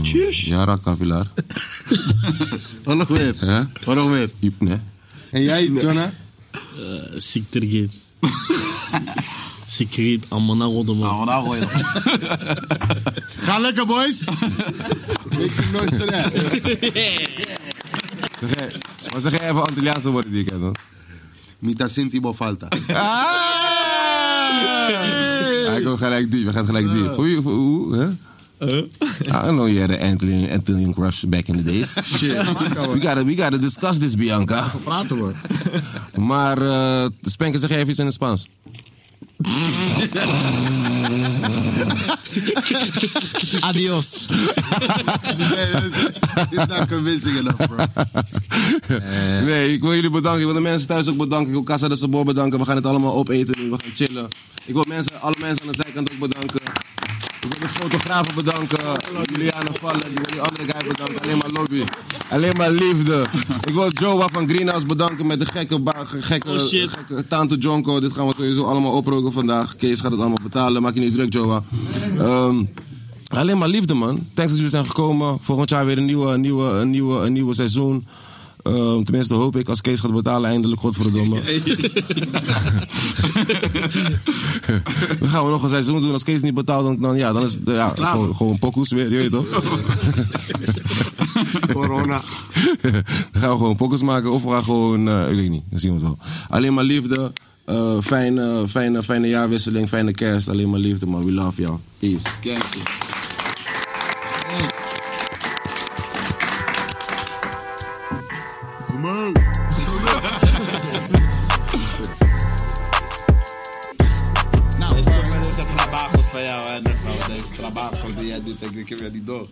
Speaker 2: Tjus. Jara Kavilar.
Speaker 6: Wat nog meer?
Speaker 2: Ja?
Speaker 6: Wat nog meer?
Speaker 2: Hypne.
Speaker 6: En jij, Jonna?
Speaker 5: Siktir git. Sikrit, amana godo
Speaker 2: Ah,
Speaker 5: man.
Speaker 28: Amana godo.
Speaker 6: Ga lekker, boys.
Speaker 29: Ik zie nooit van
Speaker 2: Zeg jij- Wat zeg jij even Antilliaanse woorden die ik ken, hoor?
Speaker 6: Mita Sinti Bofalta.
Speaker 2: Ah! Hij komt gelijk diep, hij gaat gelijk diep. Hoe, hoe, hoe, hè? I don't know you had an Antillian, Antillian crush back in the days.
Speaker 29: Shit.
Speaker 2: we, gotta, we gotta discuss this, Bianca.
Speaker 29: Praten we.
Speaker 2: Maar eh Spenker, zeg jij even iets in het Spaans?
Speaker 29: Adios.
Speaker 6: It's not nou convincing enough, bro.
Speaker 2: Nee, ik wil jullie bedanken. Ik wil de mensen thuis ook bedanken. Ik wil Casa de Sabor bedanken. We gaan het allemaal opeten nu. We gaan chillen. Ik wil mensen, alle mensen aan de zijkant ook bedanken. Ik wil de fotografen bedanken. Juliana Vallen. Ik wil die andere guy bedanken. Alleen maar lobby. Alleen maar liefde. Ik wil Joa van Greenhouse bedanken met de gekke, ba- ge- gekke,
Speaker 5: Oh, shit.
Speaker 2: gekke Tanto Jonko. Dit gaan we sowieso allemaal oproken vandaag. Kees gaat het allemaal betalen. Maak je niet druk, Joa. Ehm, alleen maar liefde, man. Thanks dat jullie zijn gekomen. Volgend jaar weer een nieuwe, een nieuwe, een nieuwe, een nieuwe seizoen. Ehm, tenminste hoop ik als Kees gaat betalen eindelijk, godverdomme. Dan gaan we nog een seizoen doen. Als Kees niet betaalt, dan, dan, ja, dan is het eh, ja, gewoon, gewoon pokoes weer. Je weet toch? Corona. dan gaan we gewoon pokoes maken. Of we gaan gewoon, eh, ik weet niet, dan zien we het wel. Alleen maar liefde. eh, fijne, fijne, fijne jaarwisseling, fijne kerst. Alleen maar liefde, man. We love you. Peace.
Speaker 32: Nou, deze trabajos van jou, hè? Deze trabajos die jij doet, ik ik heb jou niet door.